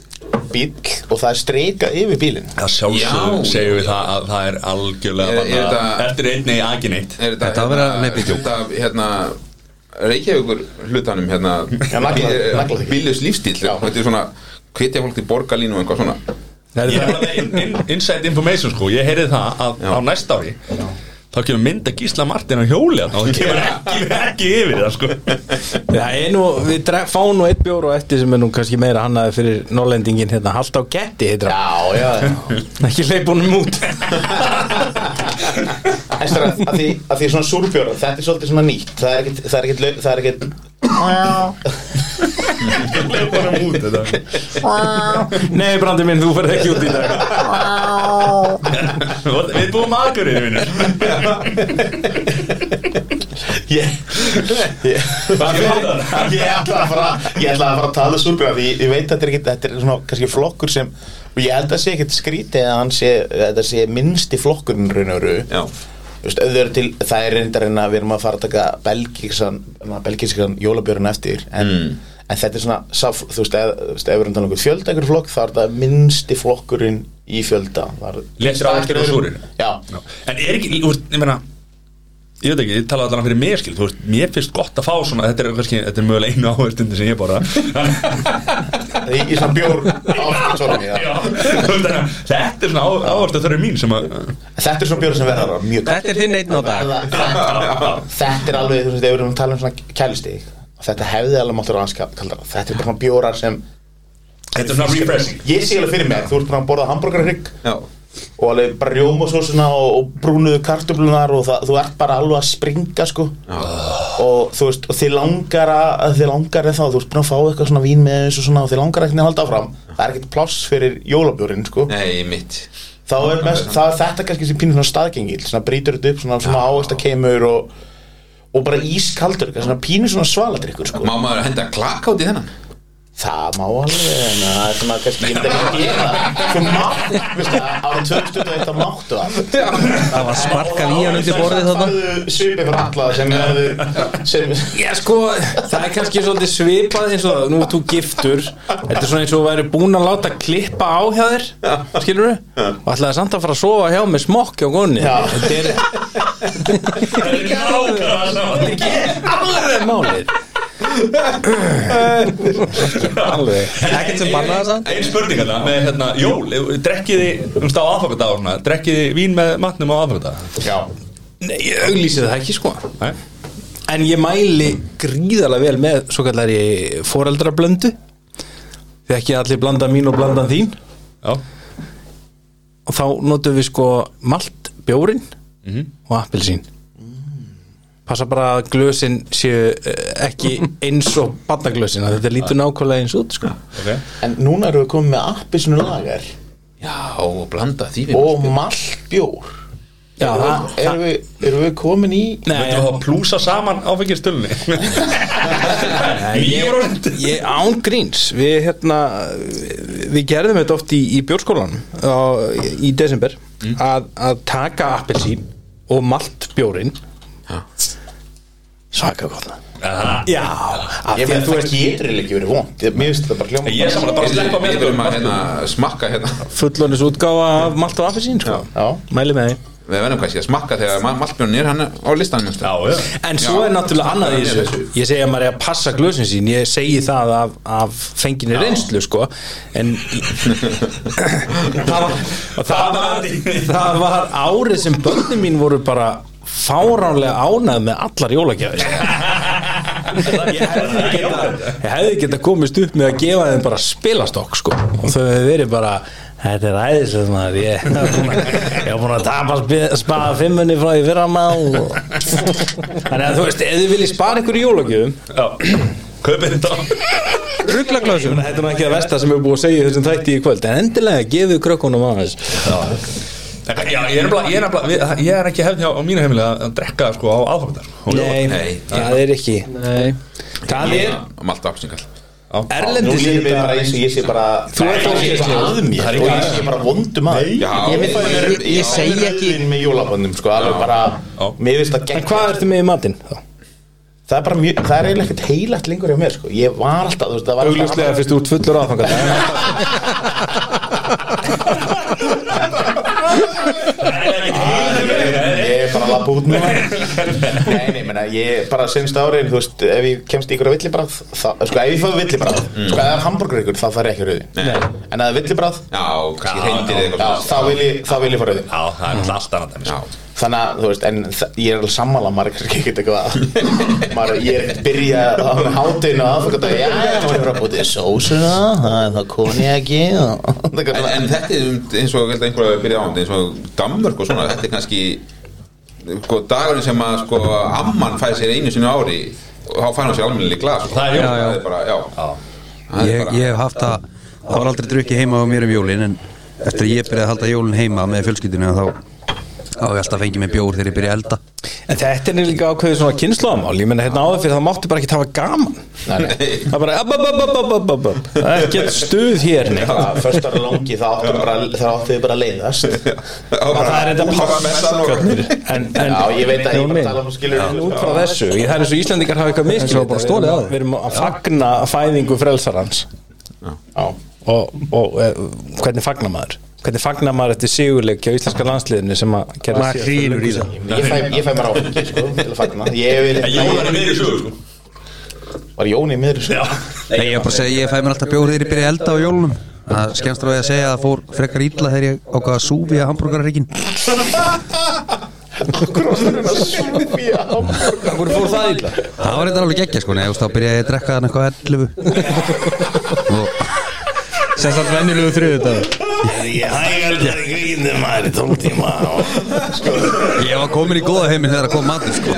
bíl og það er streikað yfir bílinn Já, sjálfsögum Já. segjum við það að það er algjörlega Er- er bara þetta- Eftir einn eða ekki neitt Er Þetta að vera- nei, bíddu. Þetta hérna Reykjavíkur hlutanum hérna nagla- nagla- Bíljus lífstíl Þetta er svona hvetja fólk til borgarlínu og eitthvað svona Ég er alveg in, in, inside information sko Ég heyrði það að Já. á næsta ári Þá þá kemur mynda Gísla Martin á hjóli þarna og það kemur ekki, ekki yfir það sko Það er nú, við dreg, fáum nú eitt bjóru og eftir sem er nú kannski meira hannaði fyrir norlendingin hérna, halda á getti heitir Já, hann. já, já ekki leip honum út En strákar, að því, að því svona súrbjóra, þetta er svolítið svona nýtt Það er ekkert, það er ekkert, lau- það er ekkert [laughs] Nei, brandi minn, þú verð ekki út í dag Við búum aðgörðinu mínir Ég, ég, ég ætla að fara Ég ætla að fara að tala súrbjóra Því ég veit að þetta er ekkert, þetta er svona kannski flokkur sem Og ég held að sé ekkert skrítið að hann sé Þetta sé minnsti flokkurinn raun og raun Já, Vist, öðru til, það er reyndar en að við erum að fara að taka belgískan, belgískan jólabjörn eftir en, en þetta er svona sá, þú veist, ef, þú veist, ef við erum talað um fjölda ykkur flokk þá er þetta minnsti flokkurinn í fjölda Það er- Léttir ávextir og súrir. Já, En er ekki, þú veist, ég meina Ég veit ekki, ég tala allan fyrir mér skil Þú veist, mér finnst gott að fá svona Þetta er, kannski, þetta er mögulega einu áherstundir sem ég borða í, í svona bjór áfram, já. [laughs] Já, þú veist, þannig að Þetta er svona áherslu þörfum mín sem að Þetta er svona bjór sem verður mjög gott. Þetta er þinn einn á dag Það- það- Þetta er alveg, þú veist, ef við erum að tala um svona kælistig Þetta hefði alveg máttur aðeins kaldara Þetta er bara svona bjórar sem Þetta er svona refreshing Ég sé alveg fyrir mér, þú ert búin að borða hambúrgarhrygg já og alveg bara rjómasósuna og, og brúnuðu kartöflunar og það, þú ert bara alveg að springa sko og þú veist, og þið langar að þið langar eða þá, þú ert búin að fá eitthvað svona vín með þessu svona og þið langar ekkert að halda áfram það er ekkert pláss fyrir jólabjórin sko Nei, mitt þá er, mest, þá er þetta kannski sem pínir svona staðgengil svona brýtur þetta upp, svona, svona áhersla kemur og, og bara ískaldur eitthvað, svona pínir svona svaladrykkur sko Má maður henda klakk át í þennan Það má alveg, en það er svona kannski ég myndi ekki að gera það. Þú mátt, veist það, ára 2001 þá máttu það Það var sparkað í hann undir borðið þarna þarna Svipið fyrir alla sem hefðu- sem Já, sko, það er kannski svolítið svipað eins og nú ert þú giftur Þetta er svona eins og þú væri búin að láta klippa á hjá þér skilur við og ætlaði samt að fara að sofa hjá með smokk hjá gonni Já. Þetta er Það er ekki ákvæða saman alveg málið Alveg Ekkert sem bannaði það Einn spurning hérna með hérna, jól, ef- drekkið þið, þú veist á aðfangadag og svona, drekkið þið vín með matnum á aðfangadag? Já Nei, ég auglýsi það ekki sko Nei? En ég mæli gríðarlega vel með svo kallari foreldrablöndu Þegar ekki allir blanda mín og blandan þín Já, og þá notum við sko malt bjórin og appelsín passa bara að glösin séu eh, ekki eins og barnaglösin að þetta lítur nákvæmlega eins út sko. ok En núna erum við komið með appisinu lagar Já, og blanda því við og maltbjór já, það, Erum við, erum við komin í nei, Þú þá plúsa saman áfengjastölunni Mjög rönd ég án gríns við hérna við, við gerðum þetta oft í, í bjórskólanum á, í desember að, að taka appelsín og malt bjórin svaka gott já, af Ég því meina að þú það veist getur eiginlega ekki verið vond Ég- Mér finnst þetta bara hljóma Ég er saman að bara sleppa Við með erum að hérna, smakka hérna fullonis útgáfa af malt og appelsín sko. Já mæli með því Við verðum kannski að smakka þegar ma- maltbjörn er hann á listanum hérna. Já, Já, já En svo Já. er náttúrulega annað í Þannig er þessu Ég segi að maður er að passa glösin sín Ég segi það af, af fenginni reynslu sko. En það, var, það, var, það var árið sem börnin mín voru bara fáránlega ánað með allar jólagjafir ég hefði geta ég hefði geta komist upp með að gefa þeim bara spilastokk sko og þau hefði verið bara þetta er æðislega maður ég ég var búin að- ég var búin að tapa spi- spara fimmunni frá í fyrra maður og... þannig að þú veist, ef þið viljið spara ykkur í jólagjöfum Já, kaupið þetta ruglaglösum, þetta er nú ekki að versta sem er búið að segja í þessum þætti í kvöld, en endilega gefið krökkunum aðeins Já, ég er nefnilega, ég er nefnilega við- Ég er ekki hefði á, á mínu heimili að að drekka sko á aðfangadag sko. nei, Nei. það er ekki Nei það er Malta apsinkall Nú erlendis líður mér bara eins og ég sé bara Þú ert ógeðslegur að mér og ég sé bara vondum að Já, Ég veit- ég- ég segi ekki- með jólaböndum sko, alveg bara Mér finnst það en gegn hvað ertu með í matinn þá? Það er bara mjög, það er eiginlega ekkert heilagt lengur hjá mér sko Ég var alltaf, þú veist, það var alltaf- augljóslega fyrst út fullur aðfangat Ég er bara að lappa út núna Nei, nei, menna, ég bara senst árin Þú veist, ef ég kemst í ykkur að villibráð Sko, ef ég fáið villibráð Sko, ef hambúrgur ykkur, þá þarf ég ekki rauði En ef villibráð, Já, kannski reyndir eða já, eitthvað þá vil ég, þá vil ég fá rauði Já, það er náttúrulega allt annað dæmi, sko. Já, þannig að þú veist, en þa- ég er alveg sammála maður er kannski ekkert eitthvað maður, ég er ekkert byrja á hátinu og aðfokata, já, já, maður er að búið sósuna, það er það konjaki og það er en, eitthvað en þetta er um- eins og ég held að einhverja hafi byrjað á þetta eins og Danmörk og svona þetta er kannski sko, dagurinn sem að sko, amman fæði sér einu sinni á ári og þá fær hún sér almennileg glas sko. Það er jól. það er bara, já, Það er ég, bara- ég hef haft að það var aldrei drukkið heima á mér um jólin en eftir að ég byrjaði að halda jólin heima með fjölskyldinu þá þá hef ég alltaf fengið mér bjór þegar ég byrja að elda En þetta er líka ákveðið svona kynnslóðamál Ég menna hérna áður fyrir það mátti bara ekki hafa gaman Það er bara upp, upp, upp, upp, upp, upp, upp Það er ekkert stuð hér neitt. bara fyrst ára langi þá áttu bara þá áttu þið bara að leiðast Það er þetta pláskarnir En, en, já, ég veit að ég Jón bara minn, tala um skilur en út frá þessu ég- Það er eins og Íslandingar hafa Eins eitthvað og miskilið bara stolið á því. Við erum að fagna fæðingu frelsarans já, og, og eh, hvernig fagnar maður? Hvernig fagnar maður eftir sigurleik á íslenska landsliðinu sem að gera maður hrýnur í það ég fæ, ég fæ mér áfengi, sko, til að fagna ég vil, En Jón var í meiri sögu sko var Jóni miður þessu [laughs] Nei, ég var bara að segja, ég fæ mér alltaf bjór þegar ég byrja að elda á jólunum Það skemmst ráði að segja að það fór frekar illa þegar ég ákvað að súfi að hambúrgarreikin Hvernig fór það illa? Það var eitthvað alveg geggja sko, neðust þá byrjaði ég að drekka þannig eitthvað 11 og sem sagt venjulegu þriðu ég var komin í góða heiminn þegar að kom matur sko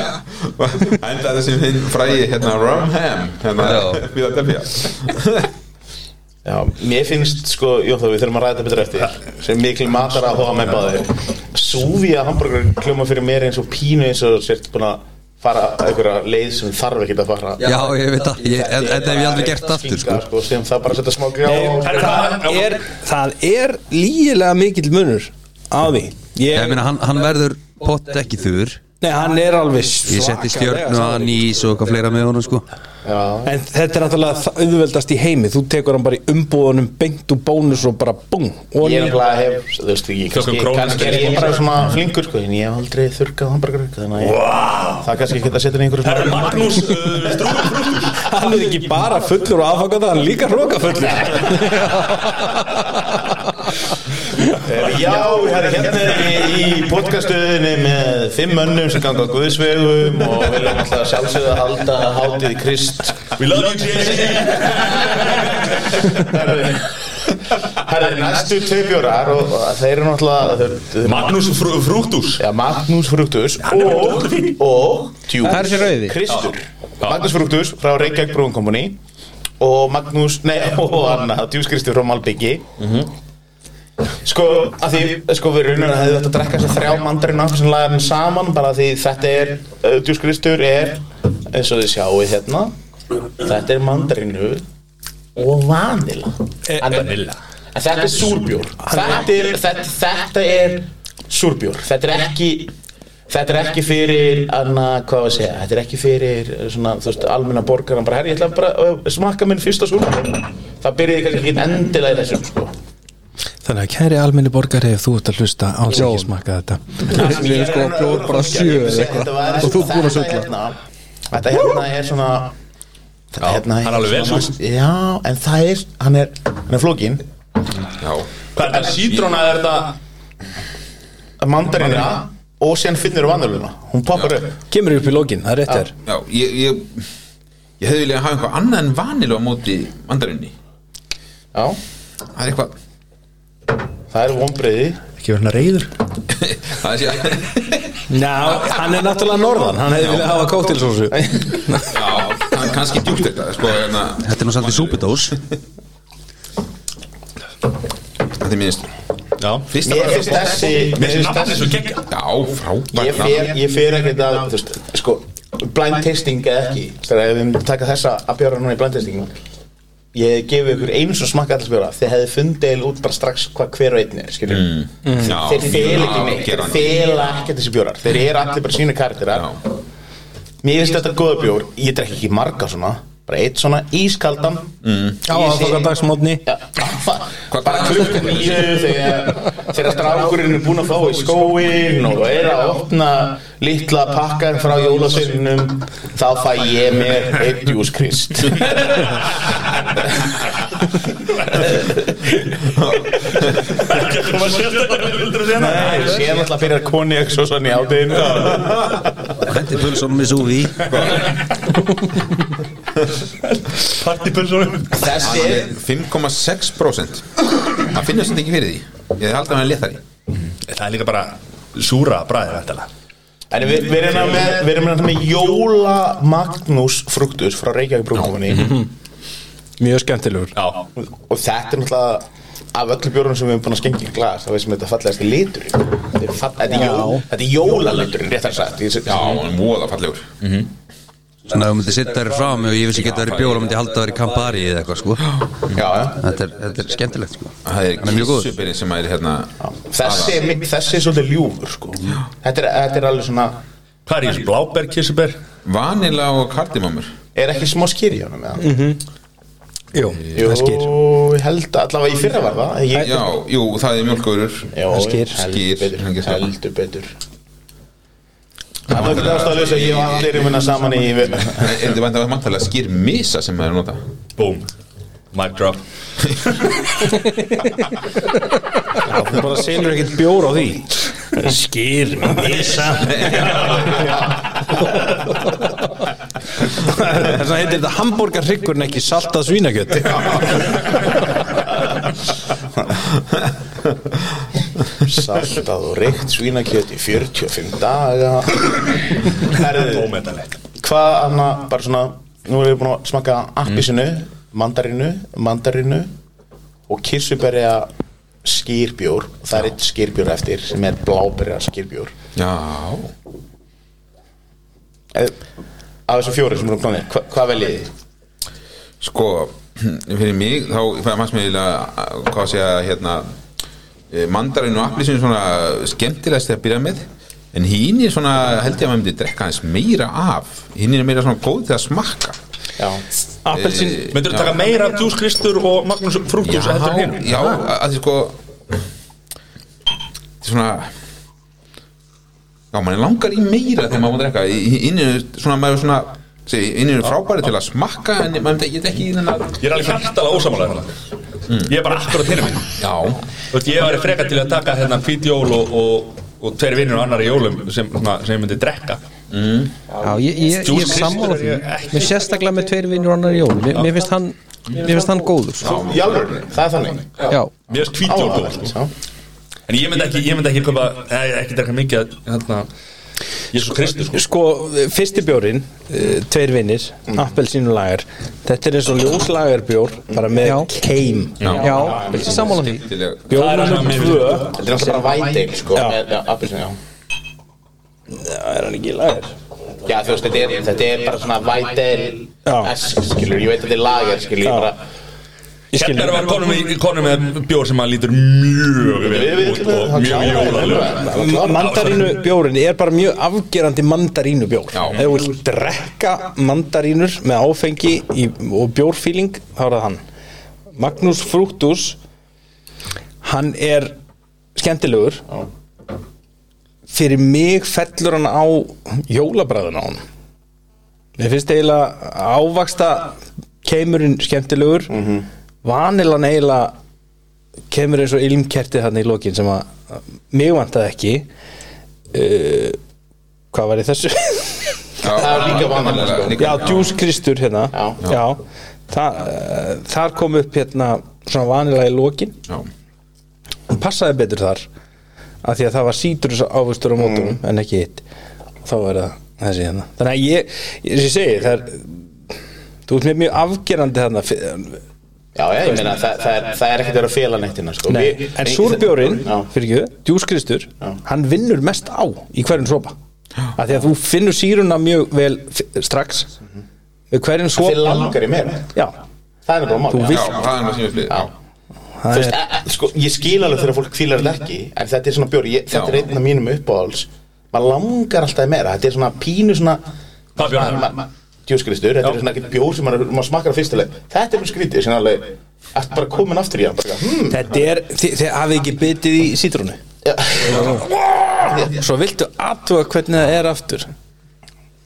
enda þessi hinn fræði hérna Rumham hérna Já. við að delja Já, mér finnst sko, jú þá við þurfum að ræða þetta betur eftir sem mikil matar að hóa með báði Súvíja hambúrgar kljóma fyrir mér eins og pínu eins og sért búin að fara einhverja leið sem þarf ekki að fara Já, ég veit það, ég- en- þetta hef ég aldrei gert aftur sko Skinka, sko, sem það bara að setja smá grjá og- Það er, það er lígilega mikill munur á því Ég ég, meina, hann, hann verður pott ekki þurr Nei, hann er alveg Ég setti svakalega stjörnu hann í svo eitthvað fleira með honum sko Já, En þetta er náttúrulega það auðveldast í heimi Þú tekur hann bara í umbúðunum, beint úr bónus og bara búm og ég er alveg að hef, þú veist ekki kannski, krónu kannski er ég bara svona flinkur sko, en ég hef aldrei þurrkað hambúrgar þannig að ég, wow. það er kannski ekki að setja einhverju Það er svona- Magnús uh, Strúður Hann er ekki bara fullur og aðfangað Hann er líka hróka fullur Eh, Já, herri, hérna er ég í podcastuðinni með fimm mönnum sem ganga á Guðsvegum og viljum alltaf sjálfsögða halda hátíð Krist We love you JC Herri, herri, næstu tvei bjórar og og þeir eru náttúrulega þeir, þeir, Magnús frú, Frúktus ja, Magnús Fruktus og, og tjú, Það er þessi rauði. Kristur Magnús Fruktus frá Reykjavík Brúin Company og Magnús, nei, [laughs] og annað Djús Kristur frá Malbyggi Mhm. Sko, að því, sko, við raunin að hefði þetta að drekka þessi þrjá mandarinn af sem lagar hann saman, bara að því þetta er, uh, Djús Kristur er, eins og þið sjáuð hérna, þetta er mandarinu og vanila. Vanila. En þetta er súrbjór. Þetta er, þetta, þetta er súrbjór. Þetta er ekki, þetta er ekki fyrir, anna, hvað var að segja, þetta er ekki fyrir, uh, svona, þú veist, almenna borgaran, bara, herri, ég ætla bara að uh, smakka minn fyrsta súrbjór. Það byrjaði kannski ekki endilega í þessum, sko. Þannig að kæri almenni borgari ef þú ert að hlusta alls ekki smakka þetta Við erum sko að bjór bara sjö eða eitthvað. Og þú ert búin að sulla. Þetta hérna er svona Þetta hérna hann er alveg vel svona- Já, en það er, hann er, hann er flókin Hvað er þetta? Sítróna er þetta Mandarina og síðan finnur vandaluna Hún poppar upp Kemur upp í lókin, það er rétt þér já, ég ég, ég hefði viljað hafa eitthvað annað en vanilu á móti mandarinni Já, það er eitthvað það er vonbreiði Ekki verður hann reyður það er [laughs] sér Ná, hann er náttúrulega norðan Hann hefði viljað hafa kóttilsósu Já, kann- kannski djúpt þetta sko, hérna, Þetta er nú samt í súpudós Þetta er minnist Já Fyrsta Mér bara finnst þessi Mér finnst Nafnið þessi svo geggja Já, frábært Ég fer, ég fer ekkert að, þú veist, sko, blind testing eða ekki Þegar ef við myndum taka þessa að bjóra núna í blind testing Ég gefi ykkur eins og smakka alls bjóra Þið hefði fundið eiginlega út bara strax hvað hver og einn er, skiljum Mm. Já, þeir fela ekki já, neitt, þeir gera hann. fela ekkert þessi bjórar þeir eru allir bara sínu karakterar Já. mér finnst þetta góða bjór, ég drekki ekki marga svona bara eitt svona ískaldan mm. Á aðfangadagsmótni Já, fa- bara klukkan nýju þegar þegar strákurinn er búin að fá í skóin og er að opna litla pakkan frá jólasvinnum þá fæ ég mér einn jús krist Nei, séðan alltaf fyrir konjak svo sann í ádeginu Þetta er pulsum með súfi Þessi Hann er er 5,6% Það finnast þetta ekki fyrir því Ég held að hann er léttari Það er líka bara súra bræðir eftirlega En við, við erum hérna með, við erum hérna með Jóla Magnús fruktus frá Reykjavík brúkumanni Mjög skemmtilegur Já, og þetta er náttúrulega af öllu björnum sem við erum búin að skengja í glas þá veistum við þetta fallegasti litur þetta er, fall, þetta er, jól, þetta er jólaliturinn rétt að sagt Ég- Já, hann er voða fallegur Svona að þú myndir sitta þær fram og ég vissi ekki að það er í bjóla myndi halda þær í kampari eða eitthvað sko já, já. Þetta er, þetta er skemmtilegt sko Það er Hann er mjög góður. kísubyrinn sem er hérna þessi, er mitt- þessi er svolítið ljúfur sko. þetta, er, þetta er alveg svona hvað er í þessu? Bláber, kissuber? Vanilla og kardimamur er ekki smá skýr í honum eða? Jú, Jú, Mhm. það skýr ég held að allavega í fyrra var það ég, Já, jú, það er mjölkvörur Jó, það skýr. Skýr, heldur betur, hann getur það. heldur betur. Það var ekki ástæðalösa, ég var allir um hennar saman í Er þetta vantar að manntalega skýr misa sem maður er að nota Boom Mic drop Þú bara selur ekkert bjór á því [laughs] Skýr með misa Þess að heitir þetta hambúrgarhryggur en ekki saltað svínakjöt [laughs] Saltað og reykt svínakjöt í 45 daga Herðu, Ómetalegt Hvað annað, bara svona Nú erum við búin að smaka appisinu Mandarinu, mandarinu Og kirsuberja skýrbjór Það er eitt skýrbjór eftir sem er bláberja skýrbjór Já, Eh, Af þessu fjóri sem erum klánir, hva, hvað veljið þið? sko [clears throat] Fyrir mig, þá fannst mér eiginlega, hvað að segja, hérna eh, Mandarin og appli er svona skemmtilegst að byrja með En hín er svona, held ég að maður myndi drekka aðeins meira af Hín er meira svona góð til að smakka Já, Appelsin Myndur þú taka meira af Jús Kristur og Magnús Frúktus já, heldur en hinn? já, að því sko þetta er svona já, mann langar í meira þegar maður má drekka inninu, svona, maður er svona inninu frábæri til að smakka en maður get ekki í þennan Ég er alveg hjartalega ósamalega Ég er bara akkurat hinn minn já, Þú veist, ég væri freka til að taka hérna hvít jól og, og, og tveir vinnir og annar í jólum sem, svona, sem ég myndi drekka Já, ég, ég, ég Juice Kristur er sammála er því ég ekki. Mér sérstaklega með tveir vinnur annar í jól Mér, mér finnst hann, mér finnst hann góður sko. í alvörunni, það er þannig Já, Mér erst hvít jól góð sko. Já. En ég myndi ekki, ég myndi ekki köpa Nei, ekki drekka mikið af, hérna Jésu Kristur sko Sko, fyrsti bjórin eh, Tveir vinnir, Mm. appelsínulager Þetta er eins og ljóslagerbjór Bara með Já. keim já, ég er sammála því Það skemmtileg er Bjór annað nummer mér tvö Þetta er alltaf bara væteil, sko Já. með- Já, appelsinu, já Það er hann ekki lager Já, þú veist, þetta er, þetta er bara svona Já. vætel esk, skilur, ég veit að þetta er lager, skilur, Já. ég bara Ég skil Hérna erum við konum, í- konum með bjór sem að lítur mjög vel Við út og mjög jólalög Mandarínu bjórin er bara mjög afgerandi mandarínu bjór Já. Ef þú vilt drekka mandarínur með áfengi í, og bjórfíling þá er það hann Magnús Frúktus hann er skemmtilegur fyrir mig fellur hann á jólabræðun á hann Mér finnst eiginlega ávaksta keimurinn skemmtilegur vanilan eiginlega kemur eins og ilmkertið hann í lokin sem að mig vantaði ekki uh, hvað var í þessu? Það er líka vandalega, sko. líka já, Djús Kristur hérna Já. Þa, uh, þar kom upp hérna svona vanilega í lokin já, hún passaði betur þar af því að það var sítrus ávöxtur á mótunum en ekki hitt þá er það þessi hérna þannig að ég, ég, ég segi það er þú ert með mjög afgerandi þarna fyr- Já, já, ég meina, það, það, er, það er ekkert að vera að fela neittina, sko Nei, Við- en súrbjórin, Já. fyrir ekki, djúskristur hann vinnur mest á í hverjum sopa af því að þú finnur síruna mjög vel f- strax með hverjum Þið sopa langar í mér já, Það er bara mál Sko- Þú já. já, vilt- það er náttúrulega flið já, Þú það veist, er e- e- sko, ég skil alveg þegar fólk fílar þetta ekki En þetta er svona bjóri, ég, þetta Já. er einn af mínum uppáhalds Maður langar alltaf í meira, þetta er svona pínu svona Hvað bjór er það? djúskristur, þetta er svona ekkert bjór sem maður, maður smakkar á fyrstuleg þetta er mjög skrítið, sem alveg Ertu bara komin aftur í hann bara, hmm. Þetta er, þið, þið hafið ekki bitið í sítrúnu Svo viltu aðtuga hvernig það er aftur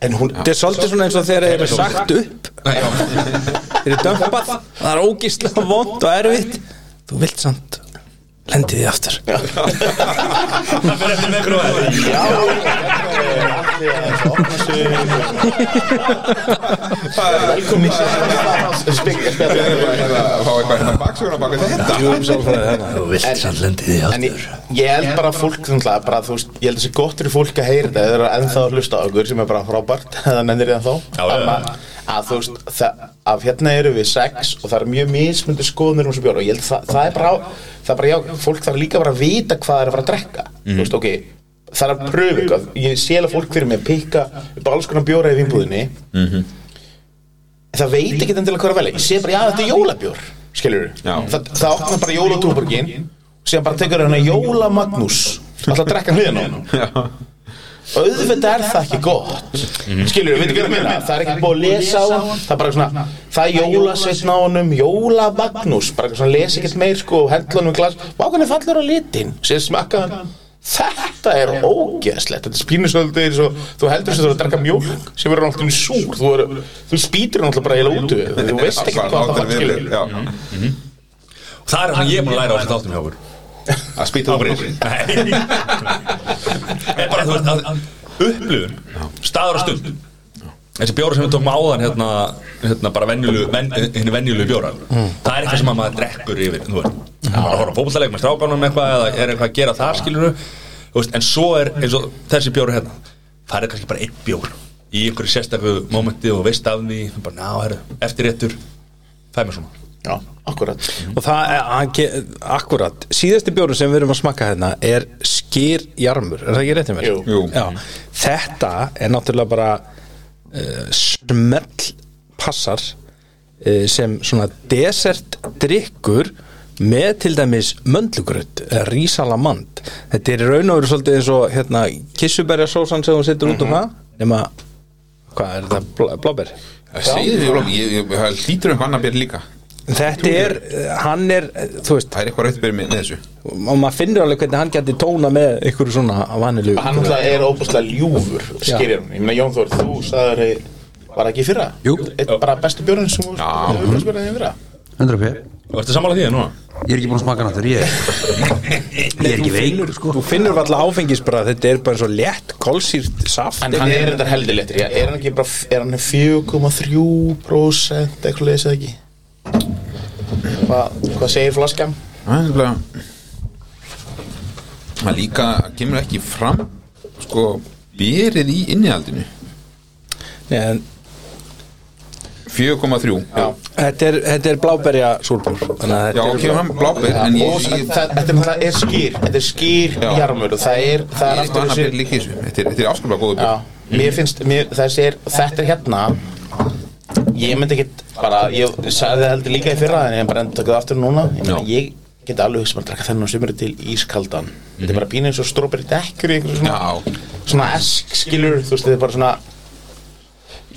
En hún, þetta er svolítið svona eins og þegar þeir eru sagt upp Þeir eru dömpað Það er ógíslega vond og erfitt Þú vilt samt Lendið því aftur Það fyrir eftir með gróðið Velkomin í sér Spikka spjalla Fá eitthvað hérna baksuguna baka þetta Þú vilt En- samt lendið því En ég, ég held bara að fólk sem það, bara, þú veist, ég held að þessi gott fyrir fólk að heyra þetta, þau eru ennþá að hlusta á okkur sem er bara frábært, [laughs] það nennir ég ennþá já, já. að, að þú veist, það, að hérna eru við sex og það er mjög mismundi skoðunir um þessu bjór og ég held að það, það er bara, á- það er bara, já, fólk þarf líka bara að vita hvað það er að fara að drekka, þú Mhm. veist, ok, það er að pröfu eitthvað, ég sé alveg fólk fyrir mig að pikka upp alls konar bjóra í vinnbúðinni, En það veit ekki endilega hvað er að velja ég sé bara, já þetta er jólabjór skilur Já. það, það opnar bara jólatúborgin sem bara tekur hérna jólamagnús alltaf að drekka hliðin á hann auðvitað er það ekki gott skilur, við veitum hvað ég meina það er ekki búið að lesa á hann það er bara svona, það er jólasveitn á honum jólamagnús, bara eitthvað svona lesa ekkert meir sko, hendla honum í glas vákvæmni fallur á litin, sér smakka hann Þetta er ógeðslegt Þetta spínur svolítið eins og þú heldur sem þú er að drekka mjólk sem verður náttúrulega súr þú, er, þú spýtur náttúrulega bara heila út við þú veist ekki hvað það var skilur Já, Það er hann ég er búin að læra á þessu þáttum hjá okkur að spýta það brýr Nei En bara þú veist að- að upplifun staður og stund þessi bjóra sem við tókum áðan hérna, hérna bara venjulu, ven, henni venjulu bjóra Mm. það er eitthvað sem að maður drekkur yfir þú veist, það er bara að horfa fótballtaleg með strákanum eitthvað eða er eitthvað að gera það skilur veist, en svo er eins og þessi bjóra hérna það er kannski bara einn bjór í einhverju sérstakku mómenti og veist af því bara, ná, herru, eftir réttur fæ mér svona Já, akkurat Og það er, hann ke- akkurat, síðasti bjórn sem við erum að smakka hérna er skýrjarmur, er það ekki réttið mér? Jú. Jú. Já, þetta er náttúrulega bara uh, smell passar uh, sem svona desertdrykkur með til dæmis möndlugröð, rísalamand. Þetta er í raun og veru svolítið eins og hérna kissuberjasósan sem hún setur út Mhm. um það, nema, hvað er þetta, blá, bláber? Segðu því, Ólaf, ég ég- það hlýtur um hann að byrja líka Þetta er, eh, hann er, eh, þú veist, Það er eitthvað rauðbyrja með þessu og maður finnur alveg hvernig hann geti tóna með ykkur svona vanilu Hann alltaf er óbúslega ljúfur skilur hann, ég meina Jón Þór, þú sagður var það ekki í fyrra? Jú. Eitt bara bestu björn sem þú hefur spyrðið í fyrra 100 p Varstu sammála því eða núna? Ég er ekki búin að smaka hann aftur, ég Ég er ekki veikur, sko þú finnur alltaf áfengisbrað þetta er bara eins og létt kolsýrt saft En hann er þetta heldilegtur, er hann ekki bara er hann 4,3% eitthvað leysið ekki? Hvað, hvað segir flaskan? Það er nefnilega Það líka kemur ekki fram sko byrið í innihaldinu en, 4,3 Já, þetta er, þetta er bláberja súrbúr þannig að Já þetta kemur hann blábir en og ég, það, ég, það, þetta er náttúrulega er skýr þetta er skýr Já. jarmur og það er það ég er er aftur eitthvað hann að byrja þessi líka í þessu Þetta er, þetta er afskaplega góðu já, byrja mér finnst mér, þessi er, þetta er hérna ég myndi ekki bara ég sagði það heldur líka í fyrra en ég bara endur takað aftur núna ég, meina, Já. ég geti alveg sem að drakka þennan sumri til ískaldan þetta er bara pínu eins og stróberi dekkur í einhverju svona Já, svona esk skilur þú veist þetta er bara svona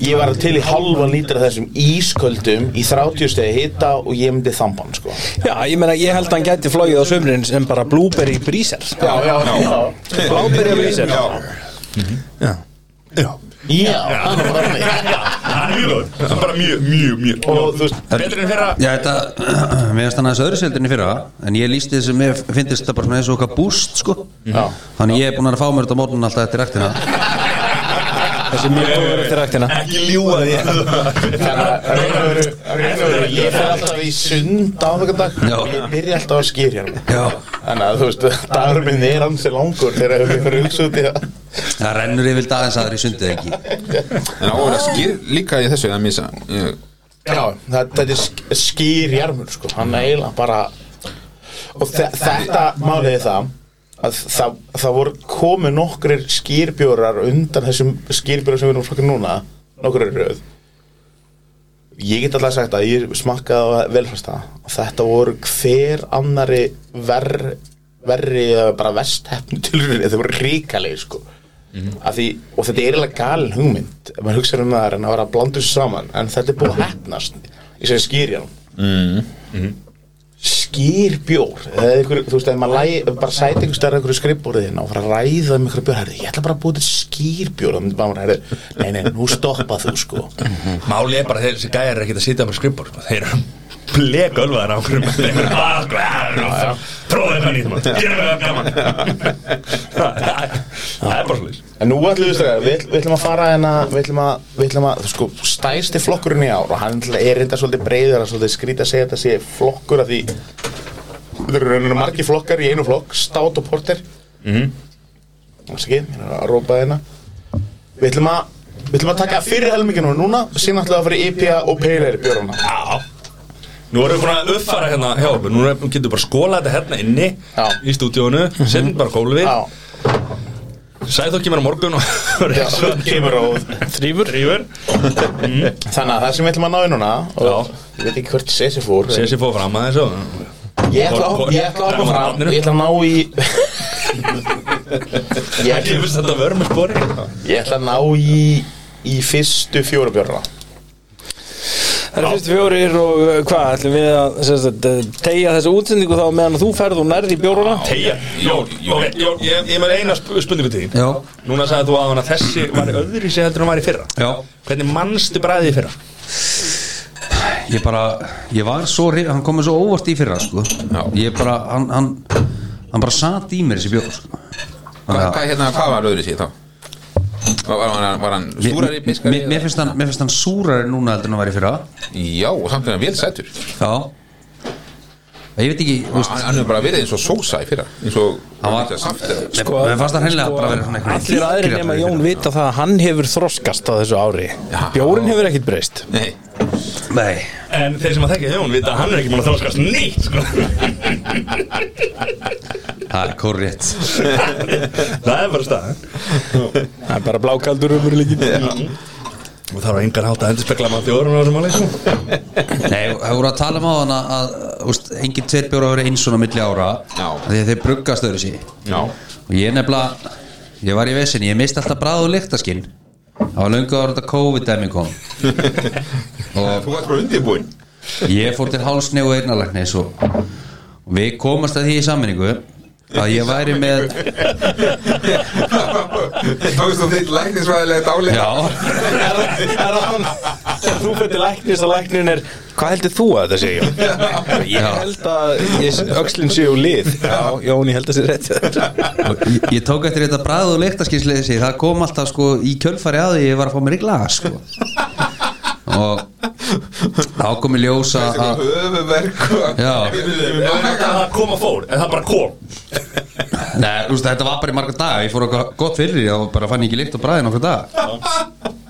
ég var til í halvan lítra af þessum ísköldum í 30 stegi hita og ég myndi þamban sko Já, ég meina, ég held að hann gæti flogið á sömurinn sem bara blúberi brísar já, já, já. Bláberja brísar Já, það er bara þannig. Það er mjög góð Það er bara mjög, mjög, mjög Og þú veist, Betri en fyrra Já, þetta, [clears throat] mér finnst hann aðeins öðru seldinni fyrra En ég lísti þessu, mér finnst þetta bara svona eins og okkar búst, sko Já. Þannig ég er búin að fá mér þetta mótun alltaf eftir rektina þessi mjög góður eftir ræktina Ekki ljúa því [laughs] þannig að raun og veru- raun og veru, ég fer alltaf í sund á þokkar dag Já. ég byrja alltaf að skýr hérna Já, þannig að þú veist, dagur minn er ansi langur þegar við fyrir hugsa út í það það rennur yfir aðeins aðri sundið ekki en á að vera skýr líka í þessu eh, Það misa ég, já, það- þetta er sk- skýr jarmur sko, hann er eiginlega bara og þe þetta málið er það að það, það voru komið nokkrir skýrbjórar undan þessum skýrbjórar sem við erum frakka núna nokkrir röð ég get alltaf sagt að ég smakkaði á velfæsta og þetta voru hver annari verri verri eða bara vesthefnu tilröðinni þau voru ríkalegi sko Af því, og þetta er eiginlega galin hugmynd ef maður hugsa um það en að vera að blanda þessu saman en þetta er búið að hefnast í sem skýrjan skýr bjór eða ykkur, þú veist, ef maður lægi, ef bara sæti einhver stærra ykkur skrifborðin hérna og fara að ræða um ykkur bjór, herri, ég ætla bara að búið til skýr bjór og maður, herri, nei, nei, nú stoppa þú sko Máli er bara þeir sem gæjar er ekkert að sitja með skrippur sko. Þeir eru blekölvaðar á [laughs] hverjum Þeir eru bara sko Prófaði það nýtt maður Gerum við það [laughs] gaman Það er- það er bara slúðis en nú ætlum við stræða, við, við ætlum að fara hérna, við ætlum að, við ætlum að, þú sko stæsti flokkurinn í ár og hann náttúrulega er reynda svolítið breiður að svolítið skrýta að segja þetta sé flokkur að því það eru raunar margi flokkar í einu flokk, stát og porter Mhm. mm -hmm. ég er að rópa hérna við ætlum að Við ætlum að taka fyrir helminginu núna, síðan ætlum við að fara í IPA og peilir björuna. Já Nú erum við búin að uppfara hérna hjá okkur Nú erum- getum við bara skóla þetta hérna inni Já. Mhm. Í stúdíónu, setjum bara gólfið Já. Sæð þó kemur á morgun og Já, svo kemur á [laughs] Þrýfur Þrýfur Þannig að það sem við ætlum að ná í núna og Já. Ég veit ekki hvert Sessi fór Sér sér fóð fram að þessu Ég ætla að ég ætla að hoppa fram Ég ætla að ná í Ekki ég, ætla, fyrst þetta vörm að spori ég ætla að ná í Í fyrstu fjóra björna Það er fyrst fjórir og uh, hvað, ætlum við að sem sagt, uh, tegja þessa útsendingu þá meðan þú ferð og nærði í bjóruna Tegja Jón, Jón, Jón, ég, ég með eina sp- spurningu til því Já. Núna sagði þú að hana þessi var öðri sér heldur en hún var í fyrra Já. Hvernig mannstu bræðið í fyrra? Ég bara, ég var svo hrif- Hann komið svo óvart í fyrra sko. Ég bara, hann, hann Hann bara sat í mér þessi bjór sko. Hvað hva, hérna, hvað var öðru sér þá? Var, var, var, var hann Mér- stúrari, piskari? mér, mér, finnst hann, mér finnst hann súrari núna heldur en að vera í fyrra Já, og samt er hann vel sætur Já Ég veit ekki, þú veist Hann hann hefur bara verið eins og sósa í fyrra Eins og Hann var, saft eða- sko, mér fannst það hreinlega bara verið svona einhvern Allir aðrir nema Jón vita það að hann hefur þroskast á þessu ári Já. Bjórin hefur ekkit breyst Nei, Nei, En þeir sem að þekki Jón vita að hann er ekki mann að þróskast nýtt sko. það er korrétt [laughs] Það er bara staðan Það er bara blákaldur umur líki Og það var engan hátt að endurspegla maður þjórum á þessum máli sko. Nei, það voru að tala um á hann að, að úst, engin tveir bjóra verið eins svona milli ára Já. af því að þeir bruggast öðru sí já og ég nefnilega, ég var í vesinni ég misti alltaf bræð og lyktaskinn það var löngu ára þetta COVID-dæmi [laughs] kom og Þú varst bara undirbúinn ég fór til hálsni og eirnalæknis og, og við komast að því í sammenningu að ég væri með [laughs] Tókst þú þitt læknisvæðilegt álega já, Þú fyrir til læknis að læknin er Hvað heldur þú að þetta segja? Jón? Ég Já. held að ég, öxlin séu lið Já, Jón, ég held að sé rétt hjá þér. Og ég, ég tók eftir þetta bræð og leiktaskynsleysi það kom alltaf sko í kjölfari að því ég var að fá mér í glas sko. og þá kom ég ljósa að Höfuverk Já. Það kom að fór, en það bara kom Nei, úst, þetta var bara í marga daga Ég fór okkar gott fyrir því og bara fann ég ekki lykt á bræðin okkur dag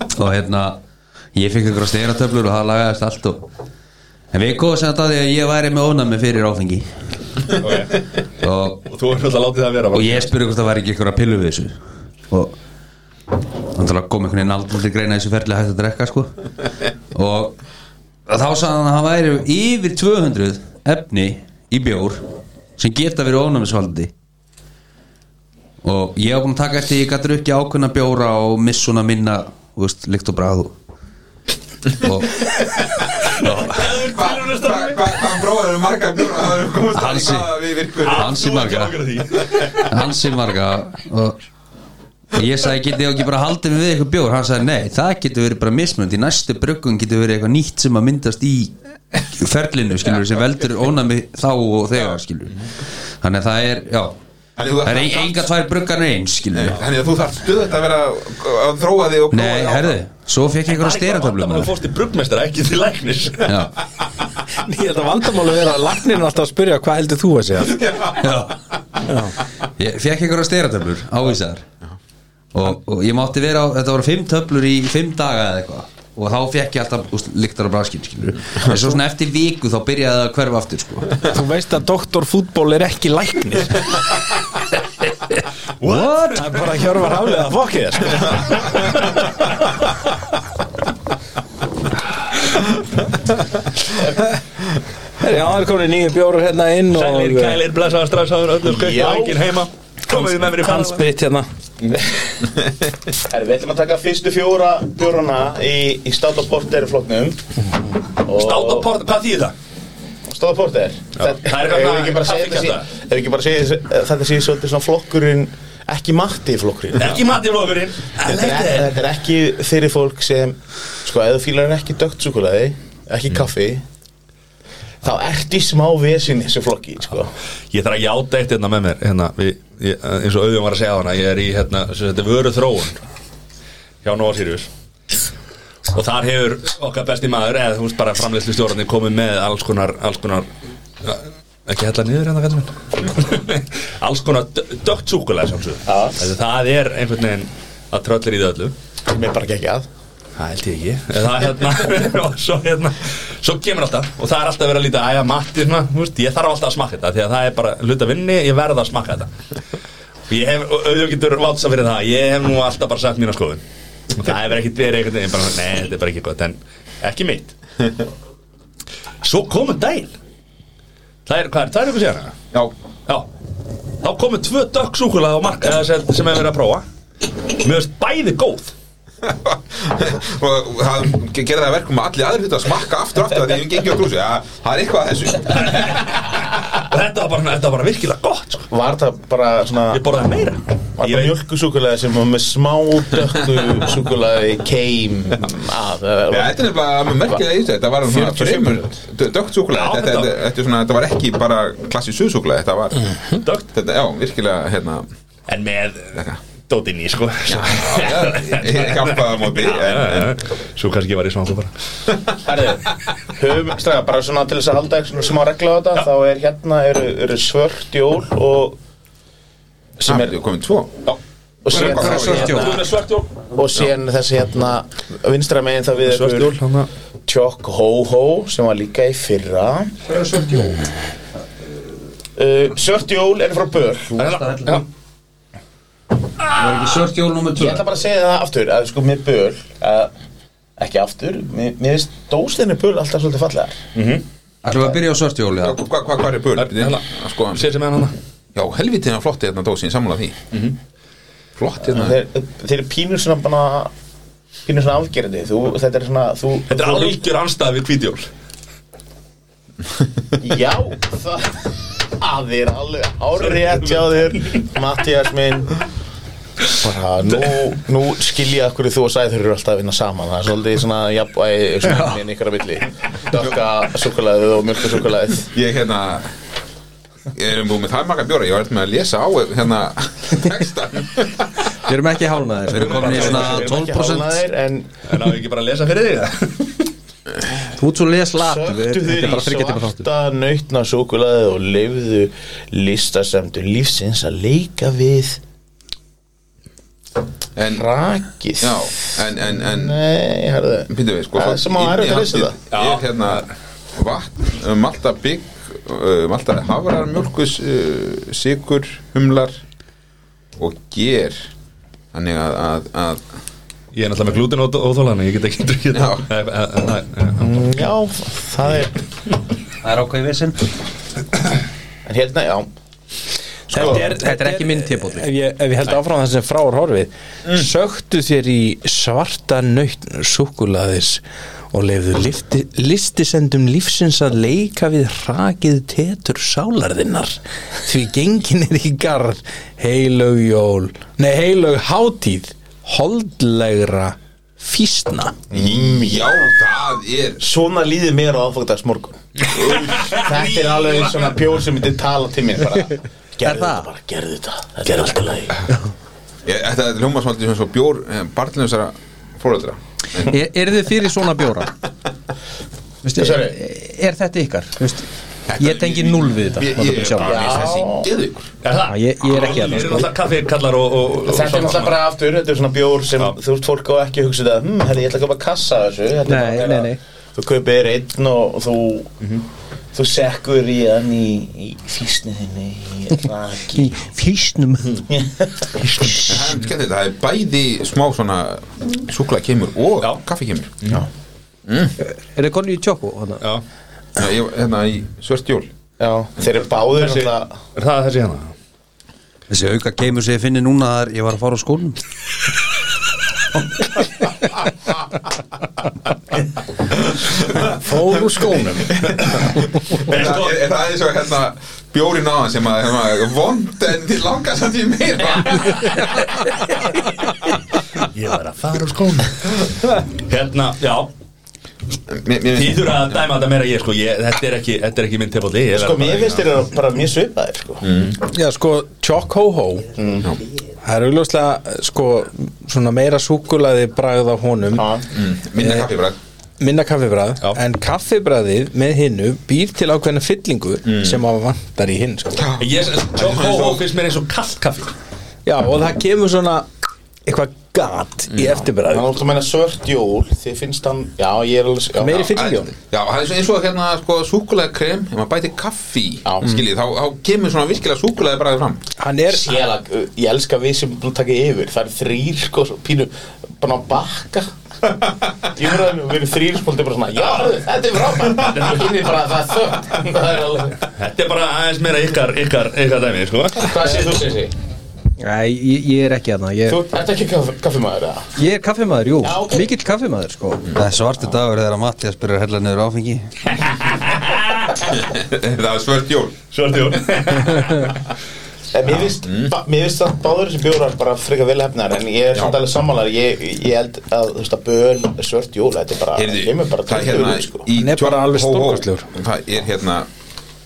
Og hérna Ég fikk ykkur að steyra töflur og það lagaðist allt og En við komum sem þetta að því að ég væri með ónæmi fyrir áfengi og, Og þú er alltaf látið það að vera og bara. ég spurði hvort það væri ekki ykkur að pillu við þessu Og Þannig að kom einhvern veginn aldrei til greina í þessu ferli að hægt að drekka sko Og þá sagði hann að það væri yfir 200 efni í bjór sem geta verið ónæmisvaldi og ég var búinn að taka eftir ég gæti ekki ákveðna bjóra og missuna minna þú veist, líkt og bræðu og Hvað um bróðar eru margar bjóra Það eru komast að Hansi. því hvað við virkur hansi marga hansi marga og, og ég sagði getið þið ekki bara haldið mig við eitthvað bjór hann sagði nei, það getur verið bara mismönd í næstu bruggun getur verið eitthvað nýtt sem að myndast í ferlinu skilur sem veldur ónami þá og þegar skilur þannig að það er, já það er ein- enga tvær bruggan eins skilur Þannig að þú þarf stöðut að vera að þróa þig og prófa nei, þig áfram. herðu, svo fekk ég einhverja steratöflum Þú fórst í brugmestara, ekki til læknis já Ég held að vandamálu vera að læknin er alltaf að spyrja Hvað heldur þú að segja? Já. Ég fekk einhverja steratöflur ávísaðar og, og ég mátti vera á, þetta voru fimm töflur í fimm daga eða eitthvað og þá fekk ég alltaf úst, lyktar og braskinn skilur en svo svona eftir viku þá byrjaði það að hverfa aftur sko. Þú veist að doktorfútból er ekki læknir What? Það er bara hjörvar haflega að fokkið þér sko. Herri, Já, það er komin nýju bjórar hérna inn og Sælir, kælir, blessaðar, strafsáður, öllu skauð Já. og enginn heima Komið með mér í pann Hansbytt hérna Herri, við ætlum að taka fyrstu fjóra björna Í, í státaporter flokknum Státa port, hvað þýðir það? Stóða porter Það er Ef bara við ekki bara segja kaffi þetta sé- kjafta. ef við ekki bara segja þessi- að þetta sé svolítið svona flokkurinn ekki matti flokkurinn Ekki mati flokkurinn I Þetta like er, that. þetta er ekki fyrir fólk sem sko, eða fílar ekki dögt súkulaði ekki kaffi þá ertu í smá vesin þessu flokki sko. Ég þarf að játa eitt hérna með mér hérna, við, ég, eins og auðvitað var að segja á hana ég er í hérna, sem þetta vöru þróun hjá Nova Sirius og þar hefur okkar besti maður eða þú veist bara framleyslu stjórnarnir komið með alls konar, alls konar ekki hella niður hérna kallum minn [laughs] alls konar dö- dökkt súkulega Já. sjálfsög það er einhvern veginn að tröllir í það öllu sem er bara ekki að Það held ég ekki það, hérna, [laughs] og svo, hérna, svo kemur alltaf Og það er alltaf verið að líta Æja, Matti, svona, þú veist, ég þarf alltaf að smakka þetta Því að það er bara hluta vinni, ég verð að smakka þetta Og ég hef, og auðvitað getur vátsa fyrir það Ég hef nú alltaf bara sagt mína skoðun Og það hefur ekkert verið einhvern veginn bara, Nei, þetta er bara ekki gott, en ekki mitt Svo komur dæl Það er, hvað er, það er ykkur síðan Já, Já, þá komur tvö dökk súkulega á marka sem, sem hefur verið að prófa Mér veist bæði góð og það gerði það að verkum að allir aðrir hlutu að smakka aftur og aftur að því ég gengi á grúsi, já, það er eitthvað að þessu og þetta var bara, þetta var bara virkilega gott sko. var það bara svona ég borðaði meira var ég það veit, mjölku súkulaði sem var með smá dökku súkulaði keim að það Já, var- þetta er nefnilega merkilega í þessu, þetta var svona 47 fremur dögt súkulega, Já, þetta, þetta, þetta- þetta, er svona, þetta var ekki bara klassið suðsúkulega, þetta var Dökkt. þetta, já, virkilega, hérna en með Þetta. dótinn í sko [laughs] já, ég hjálpaði á móti, en, en svo kannski var ég svangur bara höfum, straga, bara svona til þess að halda eitthvað smá regla á þetta, þá er hérna eru, eru svört jól og sem er það komin tvo og Hvað er- síðan, hvað er svört jól? þú með svart jól og síðan þessi hérna vinstra megin það við svart jól hann að Tjokk Hó Hó sem var líka í fyrra Uh, Svört jól er frá bör Var ekki sört jól nummer Ég 2 ætla bara að segja það aftur að sko með böl að, ekki aftur, mér, mér finnst dóstinni böl alltaf svolítið fallegar Ætlum við að byrja á sört jól, já Hvað hva, hva, hva er böl? hérna. Sko, sér sem hann hann já, helviti hann flotti hérna dósin, sammála því Flott hérna þeir, þeir eru pínur svona bara pínur svona afgerandi þú, þetta er svona þú, þetta er algjör anstæð við hvítjól Já, það að þið er alveg árétt hjá þér Mattias minn bara nú, nú skilja hverju þú og Sæður eru alltaf að vinna saman það er svolítið svona jafnvægi svona minn ykkur að milli dökka súkulæðið og mjölka súkulæðið Ég hérna Ég erum búið með það marga bjóra, ég var eitthvað með að lesa á hérna textan Við erum ekki hálnaðir, við erum komin í svona 12% en en á ekki bara að lesa fyrir þig Þú ert svo Ah, leslat söktu þið í svarta nautna súkulæðið og leifðu listasemdu lífsins að leika við En, rakið já, en, en, en Nei, herðu Býtum við, sko Það er svo- smá erfitt að lesa innihaldið það. Er hérna vatn, uh, malta bygg uh, Malta hafrar, mjölkus uh, Sigur, humlar Og ger Þannig að, að, að ég er náttúrulega með glútin og þólan ég get ekki drukkið Já. það. Eh, eh, eh, eh, eh, Já, það er Það er ákveðið vissinn En hérna, já Sko, Þetta er, Þetta er ekki minn tilbúti ef ég, ef ég held áfram það sem frá er horfið mm. sögtu þér í svarta nautn súkulaðis og lefðu lifti, listisendum lífsins að leika við rakið tetur sálarðinnar því gengin er í garð heilög jól nei heilög hátíð holdlegra físna mm. Já, það er svona líður mér á aðfókdagsmorgun Þetta er alveg svona pjór sem myndi tala til mér bara Gerðu þetta það? bara, gerðu þetta Þetta er alltaf lagi ég, Þetta er hljóma smaltið sem svo bjór eh, Barnlöfsara fóröldra E, Er, er þið fyrir svona bjóra? Vistu, er, Sorry. e, er þetta ykkar? Vistu, ég tengi null við þetta Ég, nota mig ég, ég, sjálfan. bara finnst þessi geðugur er það? Já, ég- ég er ekki að- Þeir eru náttúrulega kaffikallar og, og, og Þetta er náttúrulega bara aftur, þetta er svona bjór sem þú veist fólk á ekki að hugsa þetta hm, herri, ég ætla að kaupa kassa af þessu Þetta er Nei, bara- nei, nei. Þú kaupir þér einn og þú þú sekkur í hann í, í físni þinni í raki Í físnum Það er skemmt þetta, það er bæði smá svona Súkla kemur og kaffi kemur Er þið konni í tjóku? hana? Já. Já, ég, hérna í svört jól Já, þeir eru báðir náttúrulega- er það þessi hérna? Þessi auka keimur sem ég finni núna þar ég var að fara á skólum Fór úr skónum En það er það eins og hérna bjórin á hann sem að hérna, vond en þið langar samt í meira Ég var að fara úr skónu [laughs] Hérna, já Mér- mér Þið finnst- þurfa að dæma þetta meira en ég sko ég, þetta, er ekki, þetta er ekki minn tefalli Sko, mér finnst þér eru bara mjög svipaðir, sko Já, sko, Chok Ho Ho Það er augljóslega, sko, svona meira súkulaði bragð á honum Já, Minna Mm, kaffi bara minna kaffibræð, Já. en kaffibræðið með hinnu býr til ákveðna fyllingu sem að vantar í hinn, sko Ég, Choco Ho finnst mér eins og kallt kaffi Já, og það kemur svona eitthvað gat í Þannig eftirbræð að þú meina svört jól, þið finnst hann Já, ég er alveg já, Meiri já. fyllt í honum Já, það er svo- eins og hérna sko súkulega krem ef maður bæti kaffi í, Já. skiljið, þá, þá kemur svona virkilega súkulega bara fram Hann er, Sjæla, uh, ég elska við sem búin að taka yfir Það er þrýr, sko, svo pínu Bara að bakka Ég verður að við erum þrýr, sko, þetta er bara svona Já, þetta er frábært Það er bara það er þögt Það er alveg Þetta er bara aðeins meira ykkar, ykkar, ykkar dæmi sko. Hvað séð þú, Sissi? Nei, ég, ég er ekki aðna Þú ég, ert ekki kaff, kaffimæður, eða? ég er kaffimaður, jú, Já, ok. mikill kaffimaður sko. Það er svartu dagur þegar að Mattias byrjar að hella niður áfengi [laughs] Það er svört jól Svart jól En mér finnst, Mm. ba- mér finnst að báður þessi bjórar bara frekar vel hefnar en ég er samt alveg sammálar ég, ég held að þú veist að böl svört jól þetta er bara, Heyrðu, kemur bara það er tveimur hérna út, sko. í Hann er bara Tjörn- alveg Hó, hó. stórkostlegur. Það er hérna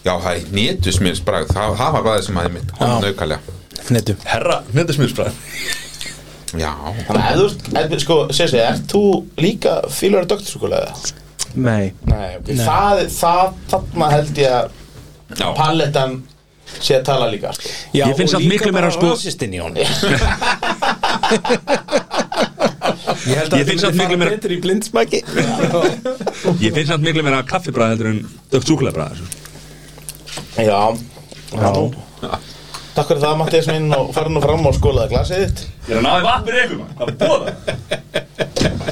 Já, það er nétusmjörsbragð Það það var bara það sem aðeins mitt Hann aukalega netu, Herra, mynda smiðsbræð Já Þannig að ef þú, ert- ef, sko, Sessi, ert þú líka fílur að dögtsúkulega? Nei, Nei, ok. Það, það, þarna held ég að Já. palettan sé að tala líka, sko. já, Ég finnst og samt líka miklu bara meira, sko- rasistinn í honum Ég, Ég finnst samt miklu meira betur í blindsmæki [laughs] Ég finnst samt miklu meira kaffibræð heldur en sko. dögt súkulegabræð Já, já. Takk fyrir það, Mattias minn, og fara nú fram og skólaða glasið þitt. Ég er að náði vappir ykkur maður, það er búið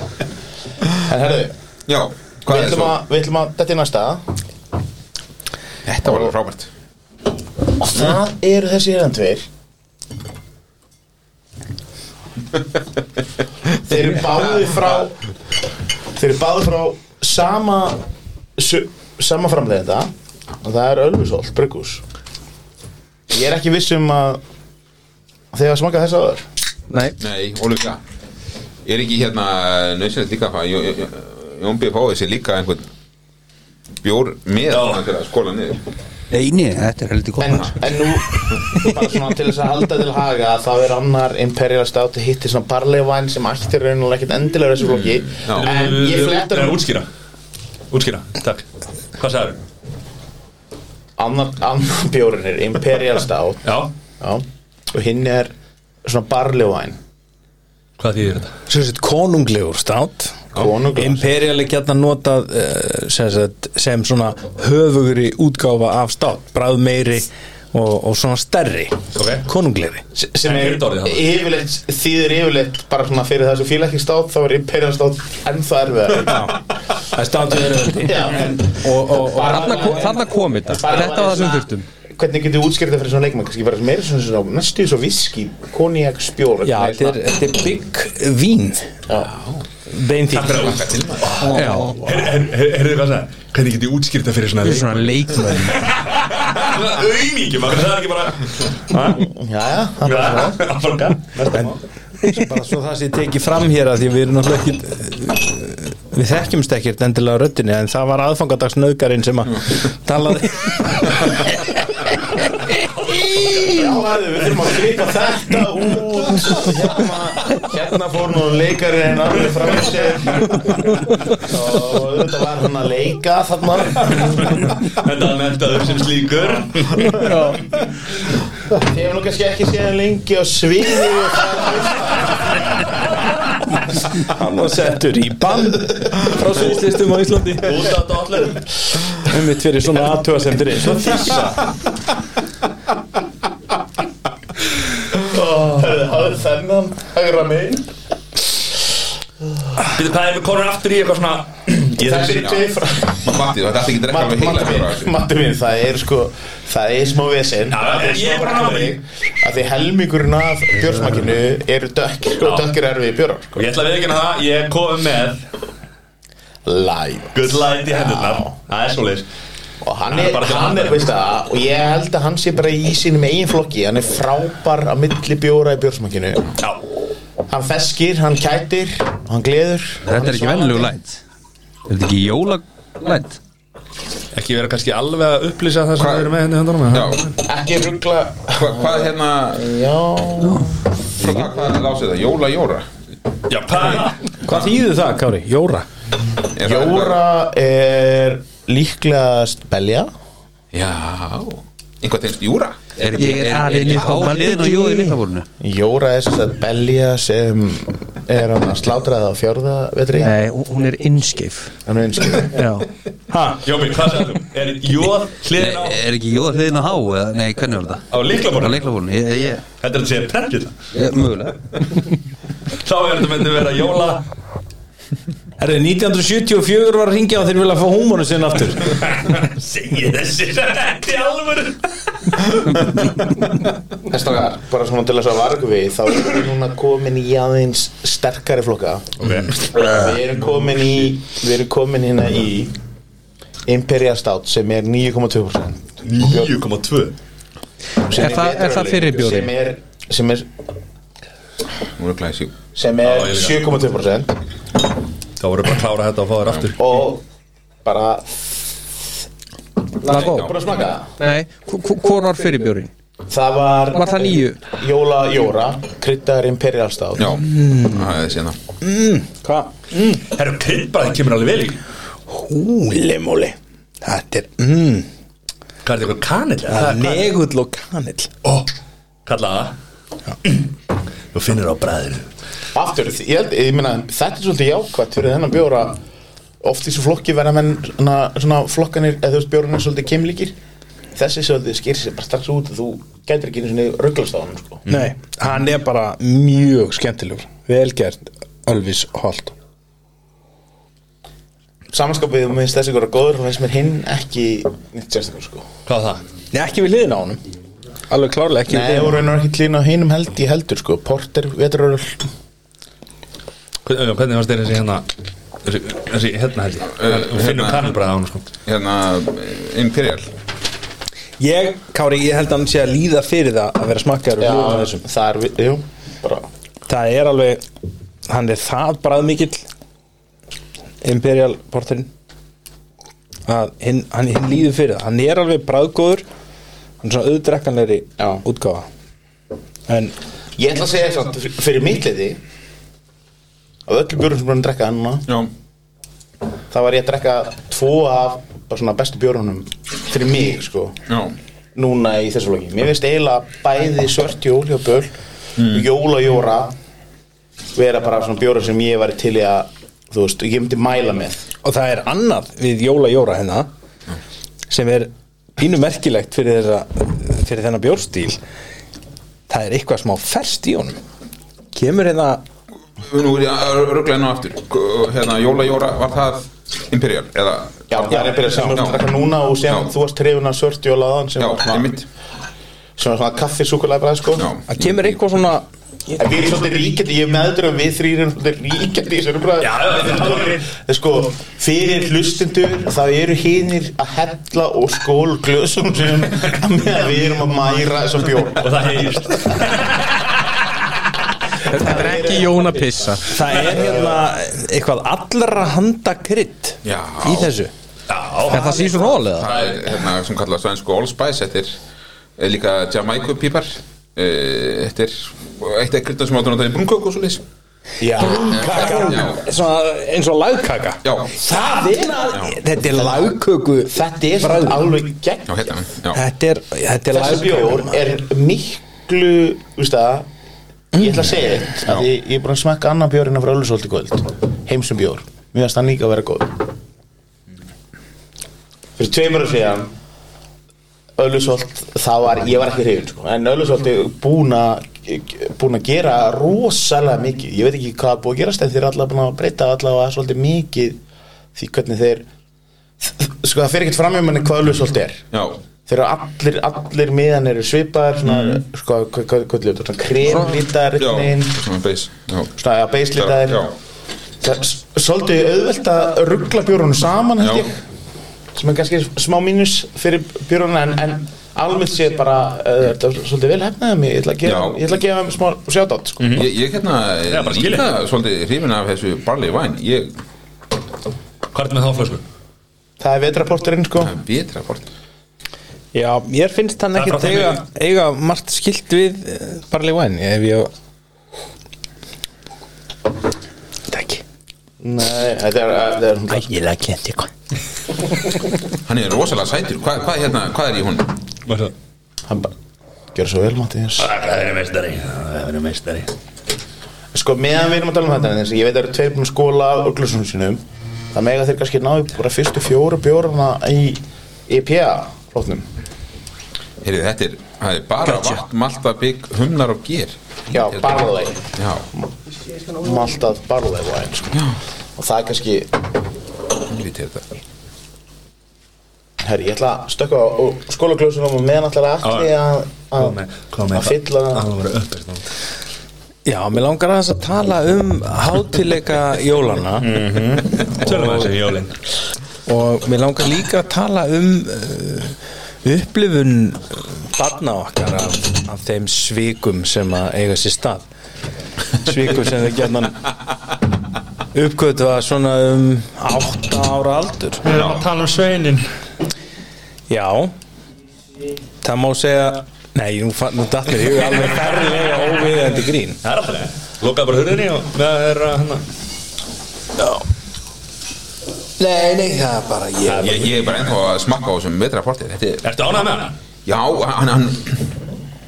En herðu, Já, hvað við er ætlum svo? að, við ætlum að, þetta er næsta. Þetta var alveg frábært Og það eru þessi hérna tveir Þeir eru báði frá Þeir eru báði frá sama su, sama framleiðenda og það er Ölfusól, Brugghús Ég er ekki viss um að þegar smaka þess aður nei, Nei, ólíka Er ekki hérna nöðsynlegt líka að fá Jón- Jón- Jón B. fáið sér líka einhvern bjór með svona til að skóla niður Nei, nei, þetta er heldur gott en, maður. en nú bara svona til þess að halda til haga þá er annar Imperial Stout hittir svona barleifvæn sem ættir raunulega ekkert endilega í þessu flokki Já. en ég flettur Nei, útskýra Útskýra, takk Hvað sagður? annar, annar bjórin er Imperial Stout Já, Já. og hinn er svona barleyvæn hvað þýðir þetta? Svo sett konunglegur stát konunglas Imperial er gætna notað uh, sem, sagt, sem svona höfugri útgáfa af stát Bræð meiri og, og svona stærri Ok. Konunglegri sem En er hitt orðið þarna? yfirleitt þýðir yfirleitt bara svona fyrir það sem fíla ekki stát þá er Imperial Stout ennþá erfiðar Það er stát við erum Já, en og, og, og þarna, ko- þarna kom þetta Þetta var það sem þurftum Hvernig getur útskýrt það fyrir svona leikmann? Kannski bara meira svona, svona næstu svo viski, koniak, spjór Já, Nei, þetta er, þetta er big vín Beinþýtt Já, Herðu hvað sagður? Hvernig getið útskýrta fyrir svona þetta er svona leikmenn [laughs] Auðningi, maður það er ekki bara Já, já, það er bara [laughs] svona Afraka bara svo það sem ég teki fram hér að því að við erum náttúrulega ekki eh, við þekkjumst ekkert endilega á röddinni en það var aðfangadags nöðgarinn sem að talaði [laughs] Já, herðu, við þurfum að klippa þetta út hérna, hérna fór nú leikari en alveg fram í sér og auðvitað var hann að leika þarna Þetta mentaður sem slíkur Þið hefum nú kannski ekki séð hann lengi á sviði og það hann var settur í bann frá sviðslistum á Íslandi Út af dollum einmitt fyrir svona aðtöðasendur eins og þessa Herðu, hafðu þennan hægra megin Býttu, hvað er við konur aftur í eitthvað svona Ég Þessi þessi er tveir frá Matti, þetta er ekki drekka Matti alveg heila bjóra minn, Matti minn, það er sko það er smá vesinn Já, Það er ég er smá bara að ná því. brandari, að því helmingurinn af björsmakinu eru dökkir sko, dökkir erfið bjórar sko. Ég ætla að viðkynna það, ég kom með light Good light í hendurnar Það er svoleiðis og hann Hann er er, bara til hann er vandræða. veist það, og ég held að hann sé bara í sínum eigin flokki, hann er frábær að milli bjóra í bjórsmakkinu Já hann feskir, hann kætir og hann gleður Þetta er ekki venlug lænt Er þetta ekki jóla lænt? Ekki vera kannski alveg að upplýsa það sem Hvað- við erum með henni í hérna hendunum Já, ekki ruggla hva, hvað hérna já, frá hvað, hvað lásið það? Jóla Jóra Já, pæla Hvað þýðir það, Kári? Jóra Er það jóra er líklegast belja eitthvað- Já, einhvað tengst Júra Er ekki, Ég er, er er, alinn er í ekki á hálfleik. liðin og jóði litabórnu? jóra er sérst að belja sem er hann að slátraða á fjörða vetri, Nei, hún- hún er innskeif hann er einskjöld Já, Jómi, hvað sagðum? Er jóð hliðin á, Er ekki jóða liðin á há? eða- Nei, hvernig var á þetta? Á líklamorinu? leiklafórnu, ég, ég, Þetta er að segja prentið ég, mögulega Þá er þetta myndi vera [laughs] jóla Er 1974 var að ringja og þeir vilja að fá húmónu sinna aftur Segji þessi Þetta er alveg Strákar, bara svona til þess að vargu við þá erum við núna komin í aðeins sterkari flokka við erum komin í við erum komin hérna í Imperial Stout sem er 9,2% 9,2 sem Er það- er það vetrarlegur, fyrri bjóri? sem er, sem er, Nú er glæsi sem Já, er ég 7,2% Þá voru bara að klára þetta og fá þér aftur og bara það er góð bara smaka það. Nei, hvort var fyrirbjórin? það var, Var það nýju? Jóla Jóra kryddaður Imperial Stout Já, Hmm. það er síðan Hvað? Herru, kryddbræði kemur alveg vel í Húli múli Þetta er mm, Hvað er þetta eitthvað kanill? eða? Legull og kanill Ó, kallaða Þú finnir á bræðinu aftur, ég, held, ég meina, þetta er svolítið jákvæmt fyrir þennan bjóra oft í svo flokki verða menn svona, svona flokkanir, eða þú veist bjórunir svolítið kemlíkir þessi svolítið skýr sér bara strax út þú gætir ekki einu svona rugglast á hann sko. Mm. Nei, hann er bara mjög skemmtilegur Velgert, Ölvis Holt samanskapið þú minnst þessi góra góður og finnst mér hinn ekki neitt sérstakur sko Hvað var það? Nei, ekki við liðin á honum Alveg klárlega ekki Nei, við það liðin voru raunar ekki klín á hinum held í heldur sko Porter, vetraröl Hvernig hvernig fannst þér þessi hérna Þessi, þessi hérna held ég Þú finnur hérna. kanilbræði á hann sko Hérna, Imperial Ég, Kári, ég held að hann sé að líða fyrir það að vera smakkaður og hljóðan þessum það er, við- jú, bara Það er alveg, hann er það bræðmikill Imperial porterinn að hinn, hann, hinn líður fyrir það hann er alveg bræðgóður hann er svona auðdrekkanleiri Já. útgáfa en ég ætla að segja þess að fyrir mitt liði af öllu bjórum sem búin að drekka hann núna Já, Það var ég að drekka tvo af bara svona bestu bjórunum fyrir mig sko já núna í þessu loki mér finnst eiginlega bæði svört jól hjá Böl og jóla jóra vera bara svona bjóra sem ég var til í að þú veist, ég myndi mæla með og það er annað við Jóla Jóra hérna sem er pínu merkilegt fyrir, þeirra, fyrir þennan bjórstíl það er eitthvað smá ferst í honum kemur hérna Nú er ég að ruggla enn og aftur K- Hérna, Jóla Jóra, var það Imperial? Eða, já, það er einhverja sem við já, að drekka núna og sem Já. þú varst trefuna svört jóla aðan sem, Já, var svona- einmitt sem var svona kaffi súkulega bræð sko Já, að kemur eitthvað svona En við erum svolítið ríkjandi, ég meður að við þrýr erum svolítið ríkjandi í þessari bræði. Já, já, já. En sko, fyrir hlustundur þá eru hinnir að hella og skól glösum sem að meðan við erum að mæra þessum bjór. Og það heyrist Þetta er ekki Jóna Pissa það er hérna eitthvað allra handa krydd Já. í þessu Er það síðan rólega? það er hérna sem kallast svensku All Spice Þetta er eh, líka Jamaica pípar Eh, Þetta er eitt af kryddum sem áttur að það er brúnkök og svo leys Já, Já, svona, eins og lagkaka já, það er að, Já. þetta er lagköku þetta er bragð. samt alveg gegn. já, hérna Já, þetta er, þetta er Þessi bjór lagköku er miklu, veist það, ég ætla að segja eitt, að ég, ég er búin að smakka annan hérna bjórinn af Rölusóldi kvöld, heimsum bjór. Mér finnst það líka að vera góð. Fyrir tveimur og síðan Öllusolt, það var, ég var ekki hrifin sko. en Öllusolt er búin að búin að gera rosalega mikið ég veit ekki hvað er búin að gerast en þeir eru allavega búin að breyta allavega svolítið mikið því hvernig þeir sko það fer ekkert fram í manni hvað Öllusolt er já, þeir eru allir, allir miðan eru svipaðar svona, sko, hvað, hvað, hvað ljóta, svona Mm. já, kremlítar einhvern veginn, svona beis Já, svona, ja, já, beislítar já Það er s- Svolítið auðvelt að ruggla bjórunum saman held ég sem er kannski smá mínus fyrir bjórunum en, en almennt séð bara uh, þetta er svolítið vel hefnaðið mig ég ætla að gefa, Já. ég ætla að gefa þeim smá sjátátt sko. Ég, ég hérna Já, bara skilið. líka svolítið hrifin af þessu barley væn Ég Hvað er þetta með þá flösku? það er vetraporturinn sko vitra bort Já, mér finnst Það hann er ekki frá eiga, þeim eiga margt skilt við eh, Barley Wine ef ég Takk Nei, þetta er, þetta er Ég laki þetta eitthvað Hann er rosalega sætur, hvað, hvað, hérna, hvað er í hún? Hvað er það? hann bara gjör svo vel Mattias Það er meistari Það er meistari sko meðan við erum að tala um þetta þess, ég veit að það eru tveir búin að skóla á glössunum sínum það mega þeir kannski náðu bara fyrstu fjóra bjóruna í E IPA flótnum Heyrðu, þetta er, það er bara vatn, malta, bygg, humnar og ger já, Er- barley Já, maltað barley wine sko. og það er kannski lítið er þetta herri, ég ætla að stökka á skólaglössunum og meðan ætla að allir að að- að fylla Það var uppist Já, mér langar aðeins að tala um hátileika jólana Tölum að þessi jólin og mér langar líka að tala um uh, upplifun eh, barna okkar af, af þeim svikum sem að eiga sér stað svikum sem þau gerðan uppgötu að svona um 8 ára aldur Við erum að tala um sveinin Já það má segja Nei, nú, fa- nú datt mér, ég er alveg ferlega óviðandi grín Það er alltaf leið. Lokaðu bara hurðinni og það er uh, hérna. að hana Nei, nei, það er bara ég Ég, ég er bara ennþá að smakka á þessum vitra bortið Þetta er, Ertu ánægð með hana? já, hann, hann,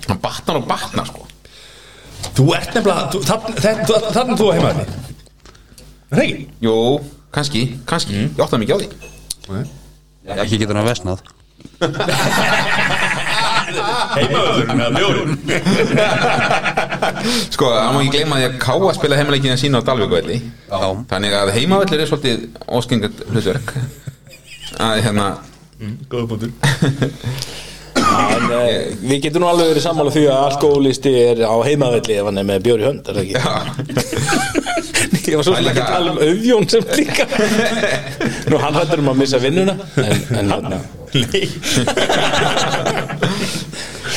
hann batnar og batnar sko Þú ert nefnilega þú- þarna- þetta- þarna- Þannig þú heima hérna. þetta Regi Jú, kannski, kannski, ég áttaði mikið á því Ekki getur hann að vesnað Heimavöður með bjórin Sko, það má ekki gleyma því að Káa spila heimaleikina sína á Dalvíkvelli Þannig að heimavellur er svolítið óskengat hlutverk að hérna Góða bútur En, eh, Við getum nú alveg verið sammála því að alkohólisti er á heimavelli ef hann er með bjóri hönd, er það ekki? Ég var svo sem ekki að tala um auðjón sem líka Nú hann hættur um að missa vinnuna En, en hérna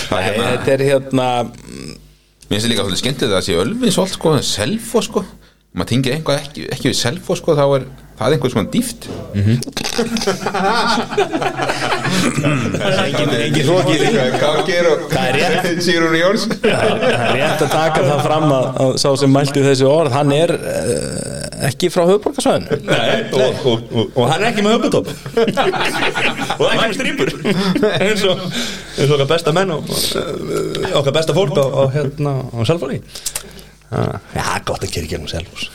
Það Nei, hérna þetta er hérna Mér finnst líka svolítið skemmtið að það sé Ölvis allt sko, selfo sko maður tingir eitthvað ekki, ekki við selfo sko þá er það er einhver svona dýft Engin rokið Kákir og [laughs] Sýrún Jóns Það er rétt að taka það fram að, að sá sem mælti þessu orð Hann er eh, ekki frá höfborgarsvæðinu Nei, og, og, og, og hann er ekki með [laughs] höfbutop og ekki með strýpur eins og eins og okkar besta menn og eh, okkar besta fólk á, á hérna á Selfóni Já, gott að kýra gegnum Selfós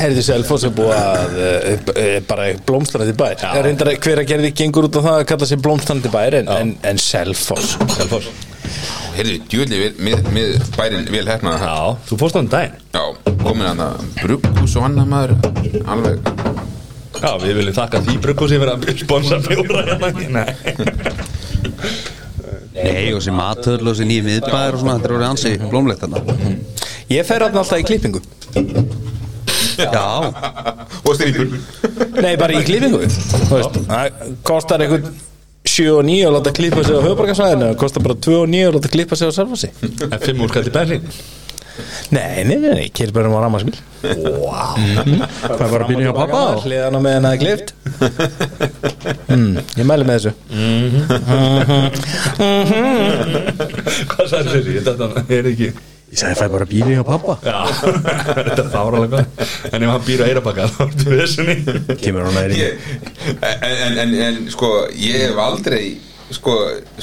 Er þið selfos er búið að eh, upp- eh, bara blómstrandi bær Er reyndar að hver að gerði gengur út á það að kalla sig blómstrandi bær en, en, en selfos Selfós Heyrðu, djúli, mið, mið bærin vel hérna það Já, þú fórst á þann daginn Já, komin hann að brugghús og annað maður alveg Já, við viljum þakka því brugghúsi fyrir að sponsa fjóra hérna Nei, Nei og sem matöðl og sem nýjum miðbæður og svona Þetta er orðið ansi blómlegt þarna Ég fer hann alltaf í klippingu Já, og strýpur [laughs] Nei, bara í klippingu Þú veist, Það kostar einhvern 7 og 9 að láta klippa sig á höfbarkasvæðinu það kostar bara 2 og 9 að láta klippa sig á selfasi en fimm úr skall í Berlín Nei, nei, nei, nei, kýr bara um á rammarsmíl Það var að byrja hjá pappa og- Hliðana með henni að klift [laughs] mm, Ég mæli með þessu Mhm. Mhm. Hvað sagði þessi? Þetta er ekki Ég sagði fæ bara bíli hjá pappa Já, [laughs] þetta er fáralega En ef hann býr á Eirabakka, þá ertu við þessunni Kemur hún að Ég- erinn en, en, en, en sko ég hef aldrei sko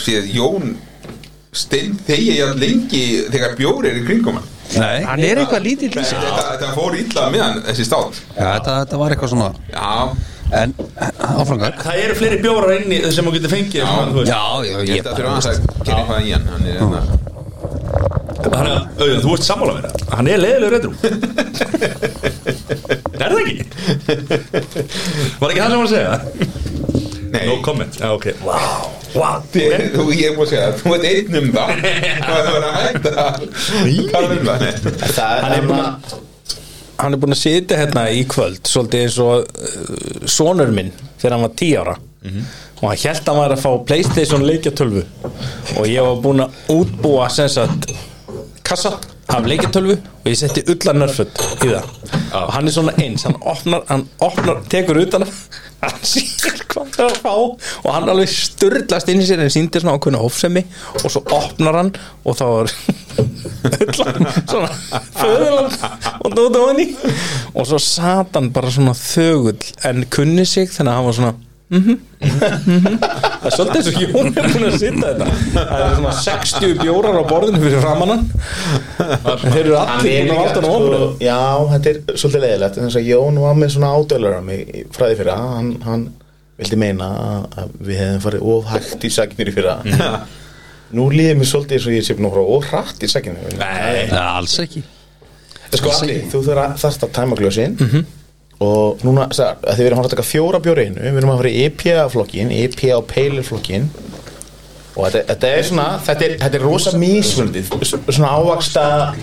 séð Jón stein þegi ég lengi þegar bjóri er í kringum hann nei Hann er eitthvað lítill í sig þetta, þetta fór illa með hann þessi stáð Já, þetta, þetta var eitthvað svona já, En áfrangar Það eru fleiri bjórar inni sem þú getur fengið svona, þú veist. Já, já, ég ég þetta þurfa aðeins að gera eitthvað í hann hann er hérna Þannig að auðvitað, þú ert sammála með það Hann er leiðilegur reyndrú Er það ekki? Var ekki það sem hann að segja? nei, No comment, já ok Wow, wow þið- [laughs] þú, ég múið segja, þú ert einn um það þú ert að vera hægt að tala um það það Hann er er hérna- búinn bara að- hann er búin að sitja hérna í kvöld svolítið eins og uh, sonur minn þegar hann var 10 ára og hann held að hann var að fá Playstation leikjatölvu og ég var búin að útbúa sem sagt kassa af leikjatölvu og ég setti ullar nörfut í það og hann er svona eins, hann opnar, hann opnar tekur utan af- hann sér hvað það er að fá og hann alveg sturlast inn í sér en sýndir svona ákveðna hófsemi og svo opnar hann og þá er [laughs] Ullan, svona föðurland og dóta honni og svo sat hann bara svona þögull en kunni sig þannig að hann var svona "Mhm, það er svolítið eins og Jón er búin að sitja þetta það eru svona 60 bjórar á borðinu fyrir framannan en þeir eru allir búin að valda hann sko- ofnum Já, þetta er svolítið leiðilegt en þess að Jón var með svona ádölur á mig í- frá því fyrir að hann, hann vildi meina að- að við hefðum farið of hægt í sagnir í fyrra Nú líður mér svolítið eins og ég sé búin að fara of hratt í sagnir Nei Alls ekki Sko, Alli, þú þurfa þarft að tæma glösin Mhm. og núna, sagðar, að þið verðum að fara að taka fjóra bjóri innu, við erum að fara í E IPA-flokkin IPA og Pale-flokkin og þetta, þetta er svona þetta er, þetta er rosa mísvöldið svona ávaksta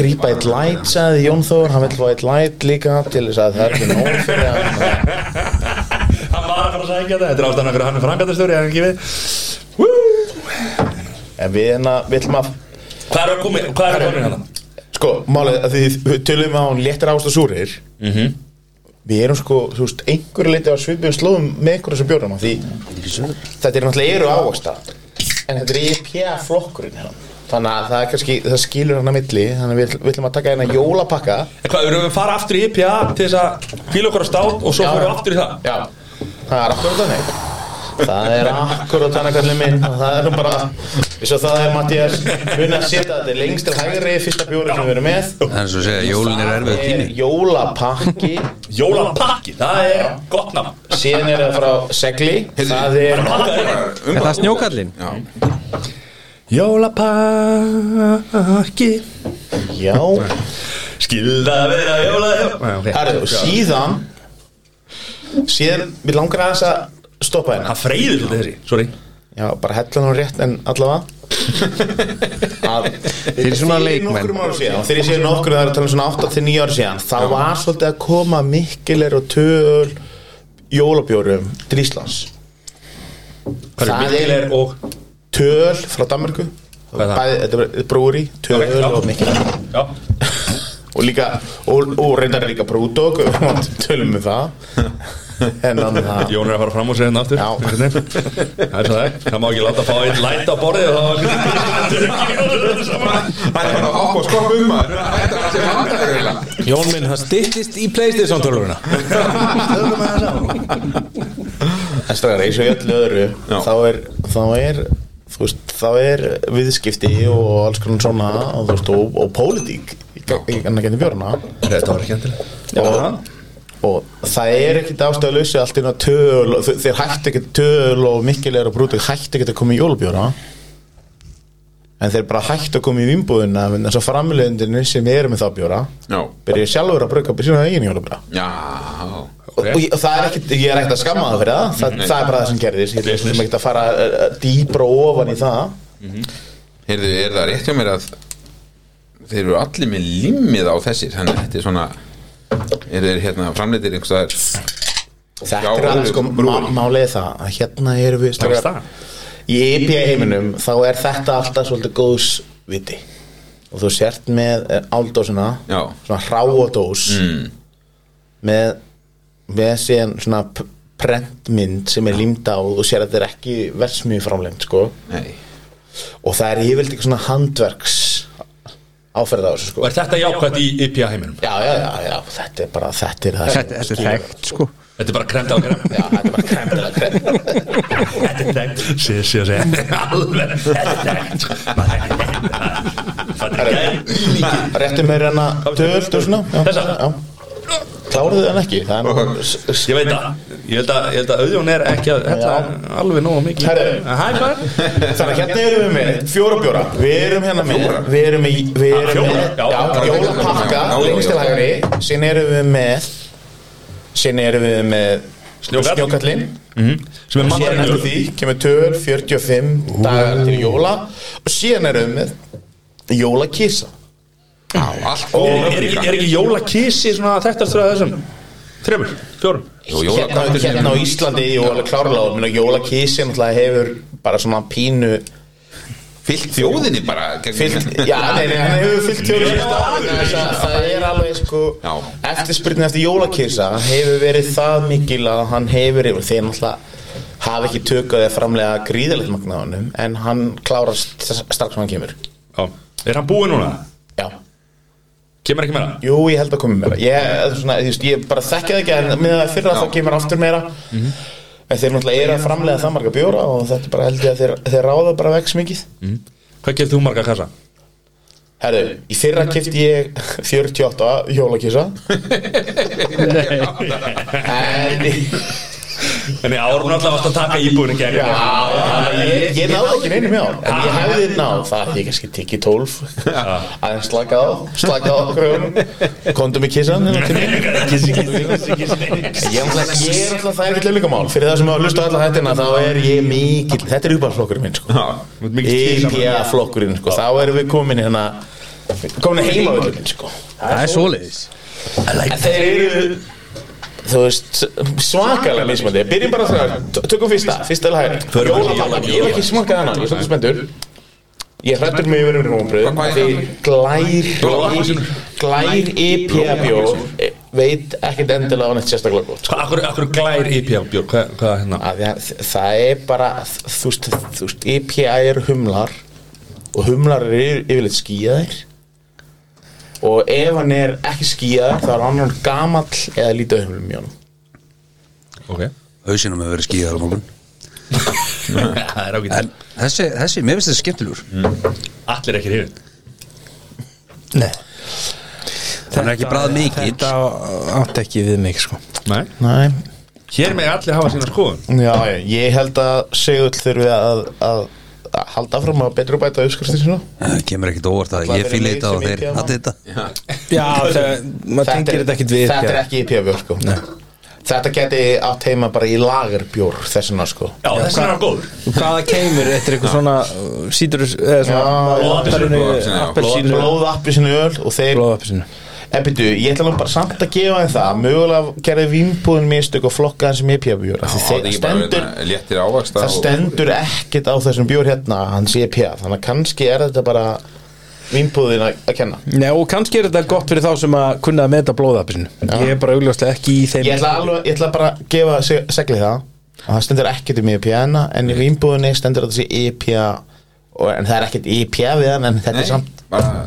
grípa eitt light, sagði Jón Þór hann vill fá eitt light líka til þess að það er ekki nóg fyrir að Hann var að fara að segja þetta Þetta er ástæðan okkur hann er frangatastjóri Það er ekki við en við hérna, við ætlum að Hvað er að komi, hvað er að komi hann? sko, málið að því við tölum á hún léttir ást og súrir við erum sko, þú veist, einhverju leiti á svipum slóðum með einhverju sem bjórum af því þetta er náttúrulega eru ávasta en þetta er IPA flokkurinn hérna þannig að það, er kannski, það skilur hann að milli þannig að við, við ætlum að taka hérna jólapakka En Hvað, við erum við að fara aftur í IPA til þess að fíla okkur á stát og svo fyrir við aftur í það já, það er akkurat þannig það er akkurat þannig kallið minn og það er bara, eins og það er Mattias mun að setja þetta lengst til hægri fyrsta bjóri sem við erum með Það er svo að segja, jólin er erfið er tími jólapakki Jólapakki, það er gott nafn síðan er það frá segli það er Er um það snjókallinn? Jólapakki já, Skilda að vera jóla Herru, og síðan síðan, við langar aðeins að stoppa hérna Það freyðir svolítið þessi, sorry já, bara hella nú rétt en allavega að Fyrir svona fyrir leikmenn. nokkrum árum síðan, og þegar ég segi nokkur það er að tala um svona 8 til 9 ára síðan þá var svolítið að koma mikilir og töl jólabjórum til Íslands Hvað Það er er- byggilegur og töl frá Danmarku Hvað er það? Bæði, þetta er brúri, töl Ok, já. og mikilir Já, og líka, og, og reyndar líka [laughs] brúdók tölum við [laughs] það en annað það Jón er að fara fram og segja hérna aftur Já. Einhvern [laughs] veginn. Það er svo það er. Það má ekki láta að fá einn læt á borðið og þá Það er bara að hoppa og skoppa um maður Þetta er það sem hann er eiginlega Jón minn, það styttist í Playstation tölvuna En strafgar, eins og í öllu öðru Já. þá er, þá er þú veist, þá er viðskipti og alls konar svona og, þú veist, og, og pólitík í ga- í annar gæti björna Þetta var ekki endilega og, og það er ekkit ástæðuleysi allt inn á töl og þe- þeir hættu ekkit töl og mikilegur og brútið hættu ekkit að koma í jólubjóra en þeir bara hættu að koma í vimbúðuna en þess að framlegundinu sem eru með þá bjóra Já, byrja sjálfur að brauka byrja sína eigin jólubjóra já og, og, ég- og það er ekkit, ég er ekkit að skamma það fyrir það það, Nei. það er bara það sem gerðist ég er ekkit að fara uh, dýbra ofan í það Heyrðu, er það rétt hjá mér að þeir eru allir með limmið á þessir þannig að þetta er svona er þeir hérna framleitir einhvers staðar þetta Já, er alveg alveg, sko brúin. má- málið er það að hérna erum við strákar. í IPA heiminum þá er þetta alltaf svolítið góðs viti og þú sért með eh, áldósina Já. svona hráadós mm. með með síðan svona p- prentmynd sem er límd á og sér að þetta er ekki versmið framlegnd sko Nei, og það er yfirleitt eitthvað svona handverks áferð á þessu sko Og er þetta jákvæmt í IPA heiminum? já, já, já, já, þetta er bara þetta er það Þetta þetta er þekkt, sko Þetta er bara kremta á krem Já, þetta er bara kremdilega krem Þetta er þekkt Sér, sér, sér Alveg Þetta er þekkt Þetta er gæð Réttu meir en að töld og svona já, Þessa? já. Kláruðu hann ekki Það er nú s- s- Ég veit það Ég held að, ég held að auðjón er ekki að hella alveg nógu mikið Herðu. Hæ, hvað? Þannig að hérna erum við með fjóra bjóra Við erum hérna með Við erum í Við erum Ah, fjóra, með já. já, Jólapakka Já, já, já. Lengst til hægri Sinn erum við með Sinn erum við með Snjókall. Snjókallinn Sem er Síðan eftir mandarinu því Kemur töl 45 dagar til jóla Og síðan erum við með Jólakísa Á, allt er, er, ekki- er ekki jólakísi svona þekktastur af þessum þremur, fjórum Jú, hérna, jólakvættur sem- hérna á Íslandi jú, alveg klárlega, menn að jólakísi náttúrulega hefur bara svona pínu Fyllt þjóðinni bara gegnum- hérna. fyllt, já, nei, nei, hann hefur fyllt þjóðinni þess að það er alveg sko Já. eftirspyrnið eftir jólakísa hefur verið það mikil að hann hefur yfir þeir náttúrulega hafa ekki tökað eða framlega gríðalegt magna á honum en hann klárast strax sem hann kemur Já. er hann búinn núna? já kemur ekki meira? Jú, ég held að komi meira Ég, eða svona, þú veist, ég bara þekki það ekki En með það fyrra þá kemur aftur meira En þeir náttúrulega eru að framlega það marga bjóra Og þetta er bara held ég að þeir, þeir ráða bara vex mikið hvað kefti þú marga kassa? Herðu, í fyrra kefti ég [laughs] 48 jólakísa En en í árun alltaf varst að taka íbúinu gegn Já, ég, ég náði ekki neinu mjá En ég hefði náð það hefði Ég kannski tekið 12 Aðeins slaka á, slaka á kröfum Kondum í kissan [laughs] Kissi, kissi, kissi Ég er alltaf, ég er alltaf það er eitthvað líka mál Fyrir það sem að hlusta á alla hættina þá er ég mikill Þetta er uppáhaldsflokkurinn minn sko IPA flokkurinn sko Þá erum við komin hérna Komin heima við minn sko Það er svoleiðis En Þeir eru Þú veist, svakalega mismandi Byrjum bara þar, tökum fyrsta, fyrsta alveg hægri Jólapallan, ég hef ekki smakað hann Ég er svolítið spendur Ég hrættur mig yfir um Hvað- hvað rómbröð er Því glær Jólapallan. Glær E IPA bjór eh, Veit ekkert endilega á neitt sérstaklega gott sko. akkur, akkur glær E IPA bjór hvað, hvað hérna? Af því að þ- Það er bara Þú veist, þú veist, E IPA er humlar Og humlar eru yfir- yfirleitt skýjaðir Og ef hann er ekki skýjaðar Þá er hann hann gamall Eða lítið humlum í honum Okay. hausinum hefur verið skíðar á morgun [laughs] það er ágætt en þessi, þessi, mér finnst þetta skemmtilegur allir ekki hrifin Nei, það er ekki bræð mikill þetta átti ekki við mig sko Nei. Nei, hér með allir hafa sína skoðun já, já, ég held að Segull þurfi að, að, að halda fram að betra bæta uppskriftin sína það Eh, kemur ekkit óvart að Það ég er fíla mig þetta og sem þeir IPA mann. hattu þetta Já, það, [laughs] maður tengir þetta ekkit við E Þetta er já. ekki IPA bjór sko Þetta geti átt heima bara í lagerbjór þessuna sko já, þessi er hann góður Hvaða keimur eftir eitthvað svona uh, sítrus, eða Já, já. svona appelsínu, Blóðappelsínu, já. appelsínu Blóð appi sinni öl og þeir Blóðappelsínu En byrju, ég ætla nú bara samt að gefa þeim það Mögulega gerði vínbúðin mistök og flokka hans sem IPA bjór af því Það er þeir- ekki bara stendur, hérna, léttir ávaksta Það stendur ekkit á þessum bjór hérna að hans IPA Þannig að kannski er þetta bara vínbúðin að að kenna Nei, og kannski er þetta gott fyrir þá sem að kunna að meta blóðappelsínu Ég er bara augljóslega ekki í þeim Ég ætla, alveg, ég ætla bara að gefa seg- segli það að það stendur ekkert um IPA hana en í vínbúðinni stendur að það sé IPA og, en það er ekkert IPA við hann en þetta Nei, er samt bara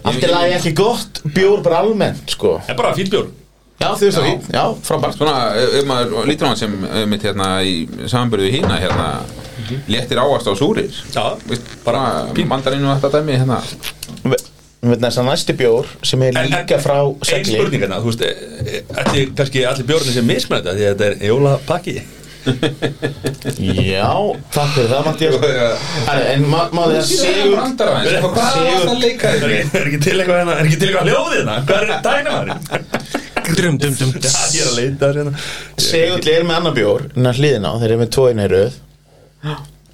allt er lagi ekki gott bjór bara almennt sko en bara fýtt bjór Já þú veist það, já, frábært Svona, eh, ef maður lítur á hann sem eh, mitt hérna í samanbyrðu hína hérna, Mhm. léttir ávast á súrir Já, Veist, bara mandarinu og þetta dæmi hérna Við veitum þess að næsti bjór sem er En- en- líka frá ein segli spurning hérna, þú veist allir, kannski allir bjórnir sem mismunna þetta því að þetta er jólapakki Já, takk fyrir það Matti Þú En ma- maður er séu sigur brandara hans, Sigur- hvað er alltaf að leika er, þér? ekki- er ekki til eitthvað hérna, er ekki til eitthvað hljóðið hérna hvað er dænamarinn? Drum, dum, [laughs] dum ég er að leita þess hérna Segull er með annar bjór en að hliðina á þeir eru með tóinu í röð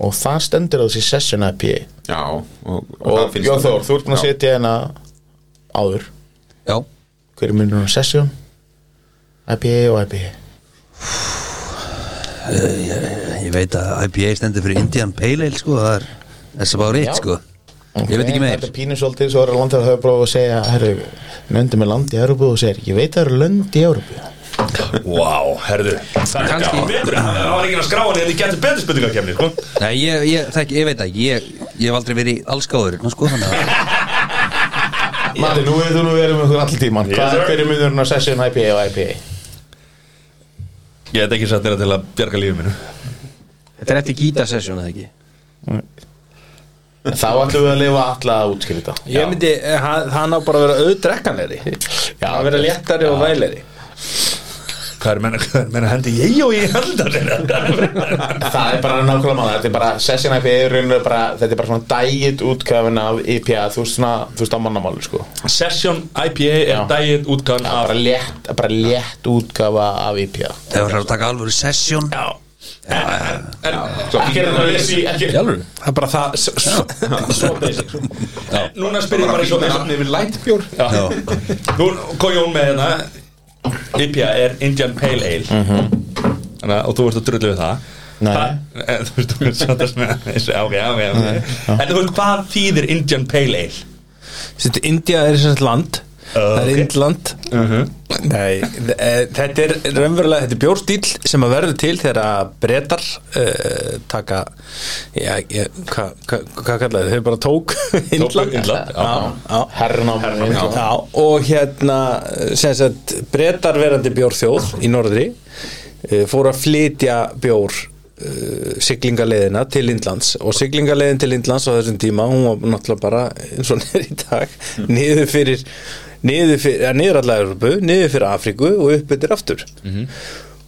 og það stendur á þessi session IPA Já, og, það Og finnst Jón það. Þór, þú ert búin að Já. setja hérna áður já, Hver er munurinn á session? IPA og IPA ég veit að IPA stendur fyrir Indian Pale Ale sko, það er þess að bá rétt Já. sko ég veit ekki meir Þetta er pínu svolítið svo er að landa að höfðu prófa að segja Herru, nöndu með land í Európu og segir Ég veit að það eru lönd í Európu Vá, herðu Það er Kannski. gaman betur, það var ekki að skrá hann en þið getur betur spurningakefni, sko Nei, ég, ég, þekki, ég veit ekki, ég, ég hef aldrei verið í allskáður sko, þannig að Mati, nú hefur þú nú verið með okkur allir tíman Yes, Hvað sir. er hver er munurinn á session IPA og IPA? Ég hef ekki satt þeirra til að bjarga lífið mínu Þetta er eftir gítasessjón eða ekki Þá ætlum við að lifa alla að útskýra þetta Ég myndi, eh, hann hann á bara að vera auðdrekkanleiri Já, að vera léttari og væleri Hvað er menna, hvað er menna hendi ég og ég handar þeirra? [laughs] Það er bara nákvæmlega maður, þetta er bara session IPA er rauninu bara, þetta er bara svona dægit útgafin af IPA, þú veist svona, þú veist á mannamáli sko Session IPA er Já. daginn útgáðan bara létt, bara létt útgafa af IPA ef það er að taka alvöru sesjón Já, Svo Ekki er það vissi, ekki Jálfur Það er bara það s- s- Núna spyr ég bara í Það svona er nafni við lightbjór Já. Nú kom Jón með hérna IPA er Indian Pale Ale Þannig, að- og þú ert að drullu við það Nei. Það- eh, Þú veist, þú ert sattast [laughs] með þessu ákveð, ákveð, ákveð En þú veist, hvað þýðir Indian Pale Ale? Þetta India er sem sagt land Það er Indland Nei, þ- eh, þetta er raunverulega þetta er bjórstíl sem að verður til þegar að breytar uh, taka já, ég, hvað hva, hva kallaði þau bara tók Indland Indland, já. já, já. Herrnám Já, og hérna sem sagt, breytar verandi bjórþjóð í norðri eh, fóru að flytja bjór uh, siglingaleiðina til Indlands og siglingaleiðin til Indlands á þessum tíma hún var náttúrulega bara eins og niður í dag niður fyrir niður, fyrir, ja, niður allar Európu, niður fyrir Afríku og upp yfir aftur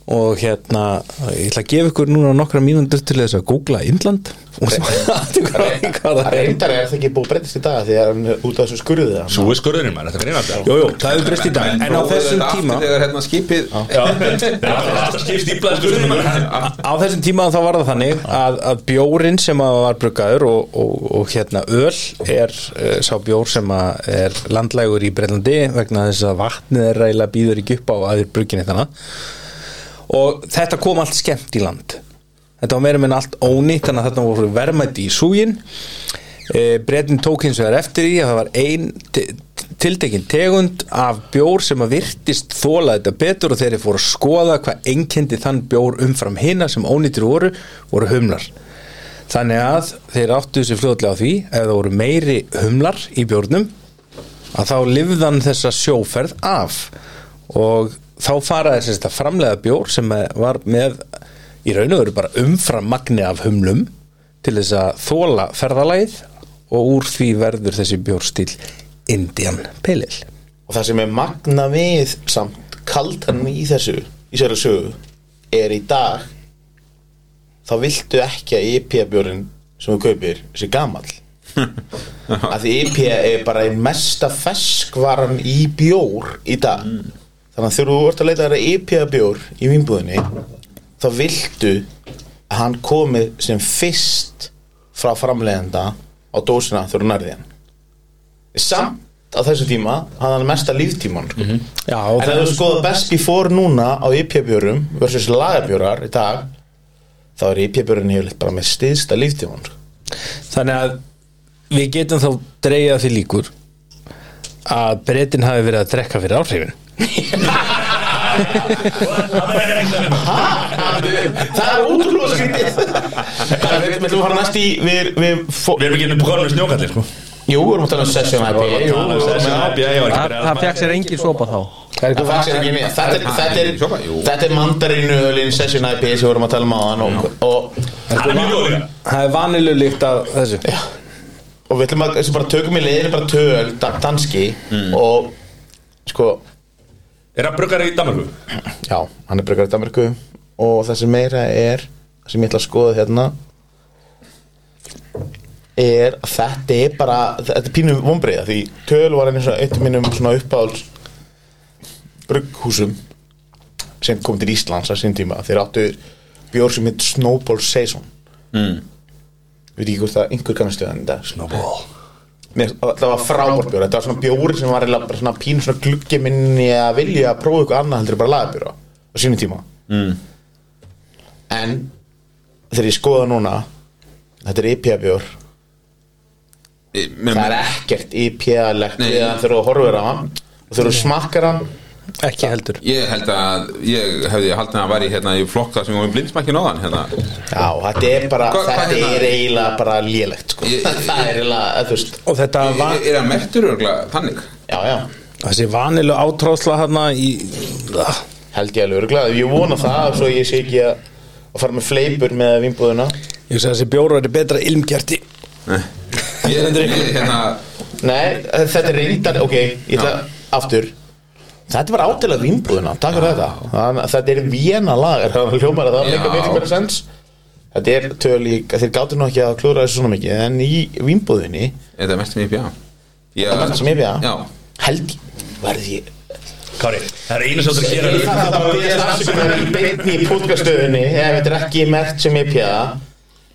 og hérna, ég ætla að gefa ykkur núna nokkra mínúndur til þess að googla Indland [laughs] og sem hvað, hvað það er Reyndar er það ekki búið að breytast í dag því að hann er út af þessu skurðið hann. Sú er skurðurinn maður, þetta verður einhvern Jú, jú, það hefur breyst í dag en á Prófaðu þessum þetta aftur tíma Þegar hérna skipið veginn Þetta skipst íblaði skurðurinn maður á þessum tíma þá var það þannig að, að bjórin sem að var bruggaður og, og, og hérna öl er uh, sá bjór sem að er landlægur í Breitlandi vegna þess að vatnið er reyla býður ekki upp á aður brugginni þannig og þetta kom allt skemmt í land þetta var meira meina allt ónýtt þannig að þarna voru verðmæti í súgin e, breytin tók hins vegar eftir í að það var ein te- tiltekin tegund af bjór sem að virtist þóla þetta betur og þegar ég fór að skoða hvað einkendi þann bjór umfram hina sem ónýttir voru, voru humlar þannig að þeir áttu þessi fljóðlega á því ef það voru meiri humlar í bjórnum að þá lifðan þessa sjóferð af og þá fara þess að framlega bjór sem var með í raun og veru bara umfram magni af humlum til þess að þóla ferðalæð og úr því verður þessi bjórstíl Indian Pelil Og það sem er magna við samt kaldan í þessu, í sér að sögu, er í dag þá viltu ekki að IPA-björn sem þú kaupir sé gamall. Af því IPA er bara ein mesta feskvaran í bjór í dag. Þannig að þegar þú ert að leita þér að IPA-bjór í vínbúðinni, þá viltu að hann komi sem fyrst frá framleiðenda á dósina þegar þú nærði hann. Samt á þessum tíma hafði hann mesta líftíman, sko. Já, En ef þú skoða best before núna á IPA-björum versus lagabjörar í dag þá er IPA-björun hefilegt bara með stiðsta líftíman þannig að við getum þá dreigja því líkur að breytin hafi verið að drekka fyrir áhrifin Það er útrúlega skrítið Hvað er þetta? Þú fara næst í við, við fó... Við erum ekki hérna henni bróðum snjókallir sko Jú, við erum að tala um Session IPA jú, við erum að tala um Já, já, ég var ekki Það það fekk sér engin sopa þá Það fannst þér ekki nýja. Þetta er- þetta er- Sjópa, jú. Þetta er mandarinu ölin Session IPA sem við vorum að tala um á hann og, og, Það er mjög góðlega það er vanilu líkt að þessu og við ætlum að sem bara tökum í leiðinu bara töl da- danski og sko Er það bruggar í Danmarku? Já, hann er breggar í Danmarku og það sem meira er sem ég ætla að skoða hérna er að þetta er bara, þetta er pínum vonbreiða því töl var einu svona eitt af mínum svona uppáhalds brugghúsum sem kom til Íslands að sín tíma þeir áttu bjór sem heit Snowball Saison mm. veit ekki hvort það einhver kannast við hann í dag Snowball Mér, það var frábór bjór, þetta var svona bjóri sem var eiginlega bara svona pín svona gluggi minni að vilja að prófa eitthvað annað heldur en bara lagabjóra á sínum tíma mm. en þegar ég skoða núna þetta er IPA bjór það er ekkert IPA-legt Nei. við hann þegar þú horfir á hann og þegar þú smakkar hann ekki heldur Ég held að ég hefði haldin að væri hérna í flokka sem við blindsmækkin á þann hérna. já, þetta er bara, Hvað- hvað þetta hérna? er eiginlega bara lélegt sko. Ég- ég- [laughs] það er eiginlega, þú veist og þetta Er, er það mertur örgla þannig? já, já, þessi vanilu átráðsla hérna í Ah, held ég alveg örgulega ég vona það, svo ég sé ekki að að fara með fleipur með vinnbúðuna ég segi að þessi bjóru er betra [laughs] ilmgjarti Ég, ég, hérna, nei, þetta er reyndar, ok, ég ætla aftur Þetta var átilega vinnbúðuna, takk fyrir þetta Þann, Þetta er Vienna lagar, það var hljómar að það Já. meika miklu meira sens Þetta er töl í, þeir gátu nú ekki að klúra þessu svona mikið En í vinnbúðinni, er það mertur sem ég bjá? það mest sem ég bjá Já, Held, verði ég Kári, það er einu sem þú ert að gera Það bara byrjast afsökunar í beinni í podcaststöðunni ef þetta er ekki mert sem ég pjaða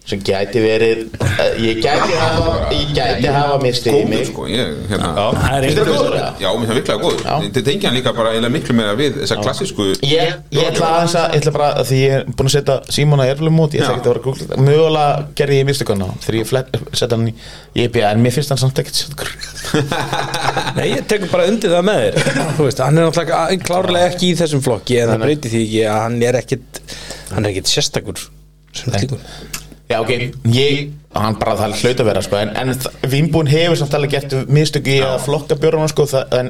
sem gæti verið eh, ég gæti hafa ég gæti hafa mistið í góður mig sko ég, hérna, Það er Finnst einhver þér góður eða? já, mér finnst það virkilega góður Já. þetta tengi hann líka bara eiginlega miklu meira við þessa klassísku Ég, ég ætla aðeins að, ég ætla bara að því ég er búin að setja Simona Erflum út, ég ætla Já. ekki að vera að googla þetta Mögulega gerði ég mistökunna þegar ég flett, setja hann í IPA en mér finnst hann samt ekkert svo Nei, ég tekur bara undir það með þér Þú veist, hann er náttúrulega klárlega ekki í þessum flokki en það breyti því ekki að hann er ekkit hann er ekkit sérstakur sem slíkur Já ok, ég, hann bara það hlaut að vera sko, en, en Vimbún hefur samt alveg gert mistök í að flokka björnum sko, það, en,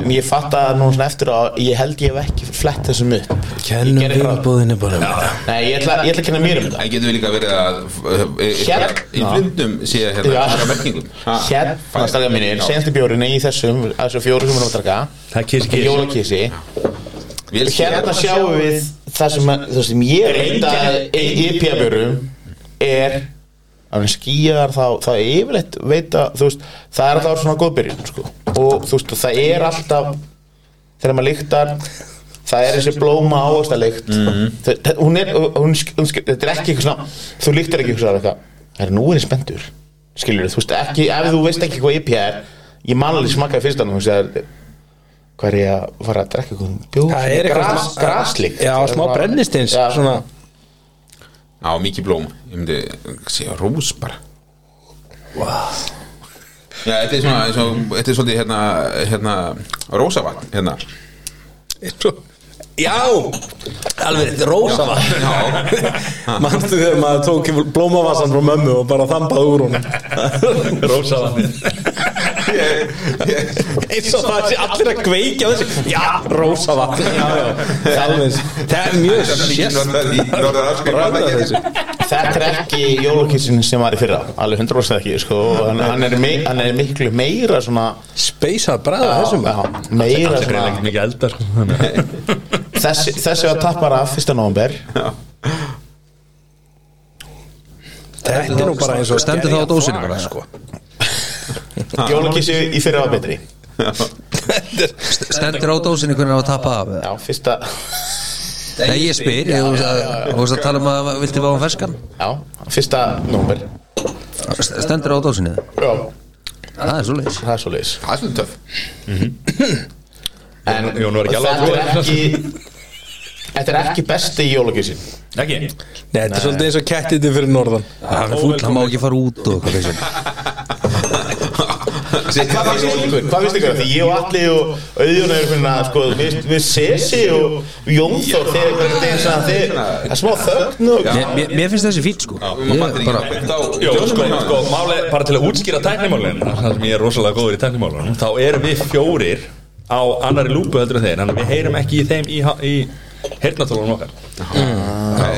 en ég fatta núna svona eftir að ég held ég hef ekki flett þessum upp Ég Kennum gerði við bara- búðinu bara um þetta Nei, ég ætla, ég ætla að kenna mér um það en getur við líka verið að e- e- Hérna. í blindum sé hérna Já. aðra merkingum Ha, Hérna fæ- stakar mínir, Já. senstu björnum í þessum þessu fjóru sem við erum að draka Það er kiss kiss Jólakísi Vél sé- Hérna sjáum við það sem, að- það sem ég reynd að IPA björnum er að hann skýjar þá, það er yfirleitt veit að, þú veist, það er alltaf svona góð byrjun, sko, og þú veist, og það er alltaf, þegar maður lyktar það er þessi blóma áasta lykt Mhm. mm. hún er, hún, hún, sk- hún, sk- þetta er ekki eitthvað svona, þú lyktar ekki eitthvað svona, það er nú er ég spenntur skilur þú veist, ekki, ef þú veist ekki hvað IPA er ég man alveg smakkaði fyrst annað, þú veist, það er hvað er ég að fara að drekka eitthvað bjóð, Það er eitthvað gras, smá- graslykt Já, smá brennistins Já. svona, já, mikið blóm ég myndi segja rós bara wow já, þetta er svona eins og- þetta er svolítið hérna hérna rósavatn hérna Já, alveg, þetta er rosa [laughs] Já. [laughs] Manstu þegar maður tók blómavassan frá mömmu og bara þambaði úr hún Rósa vatnið [laughs] eins og það sé allir að kveikja á þessu Já, rosa vatn Já, já, það er alveg eins. Það er mjög sérst sérst þetta er ekki jólokissin sem var í fyrra alveg 100% ekki, sko hann, hann, er, mei, hann er miklu meira svona Speysað bræða þessum já, meira Það er svona ekki mikið eldar sko, þannig að- þessi, þessi var tappar af 1. november Þetta er nú bara eins og sko. Stendur það á dósinni bara? Ah. Jólakissi í fyrra var betri Stendur á dósinni hvernig á að tappa af Já, fyrsta Nei, ég spyr, ég veist að, þú veist að tala um að vilti fá um ferskan Já, fyrsta nómber Stendur á dósinni Já, Það er svo leys það er svo leis það er svona töff En Jón var ekki alveg að þetta trúa er ekki Þetta er ekki besti jólakissin Ekki Nei, þetta er svolítið eins og kettiti fyrir norðan Hann er fúll, hann má ekki fara út og eitthvað leysum Hvað finnst um ykkur? Hvað finnst ykkur? Því ég og Alli og Auðjón er finna sko, við, við Sesi og Jónþór þeir eru einhvern veginn svona þeir það er smá þögn og Mér, mér- mér finnst þessi fínt sko við Ég mættum bara, ekki beint á Jó, sko, hérna. djónum. sko, máli, bara til að útskýra tæknimálin þar sem ég er rosalega góður í tæknimálunum þá erum við fjórir á annari lúpu heldur en þeir, þannig að við heyrum ekki í þeim í, í heyrnatólunum okkar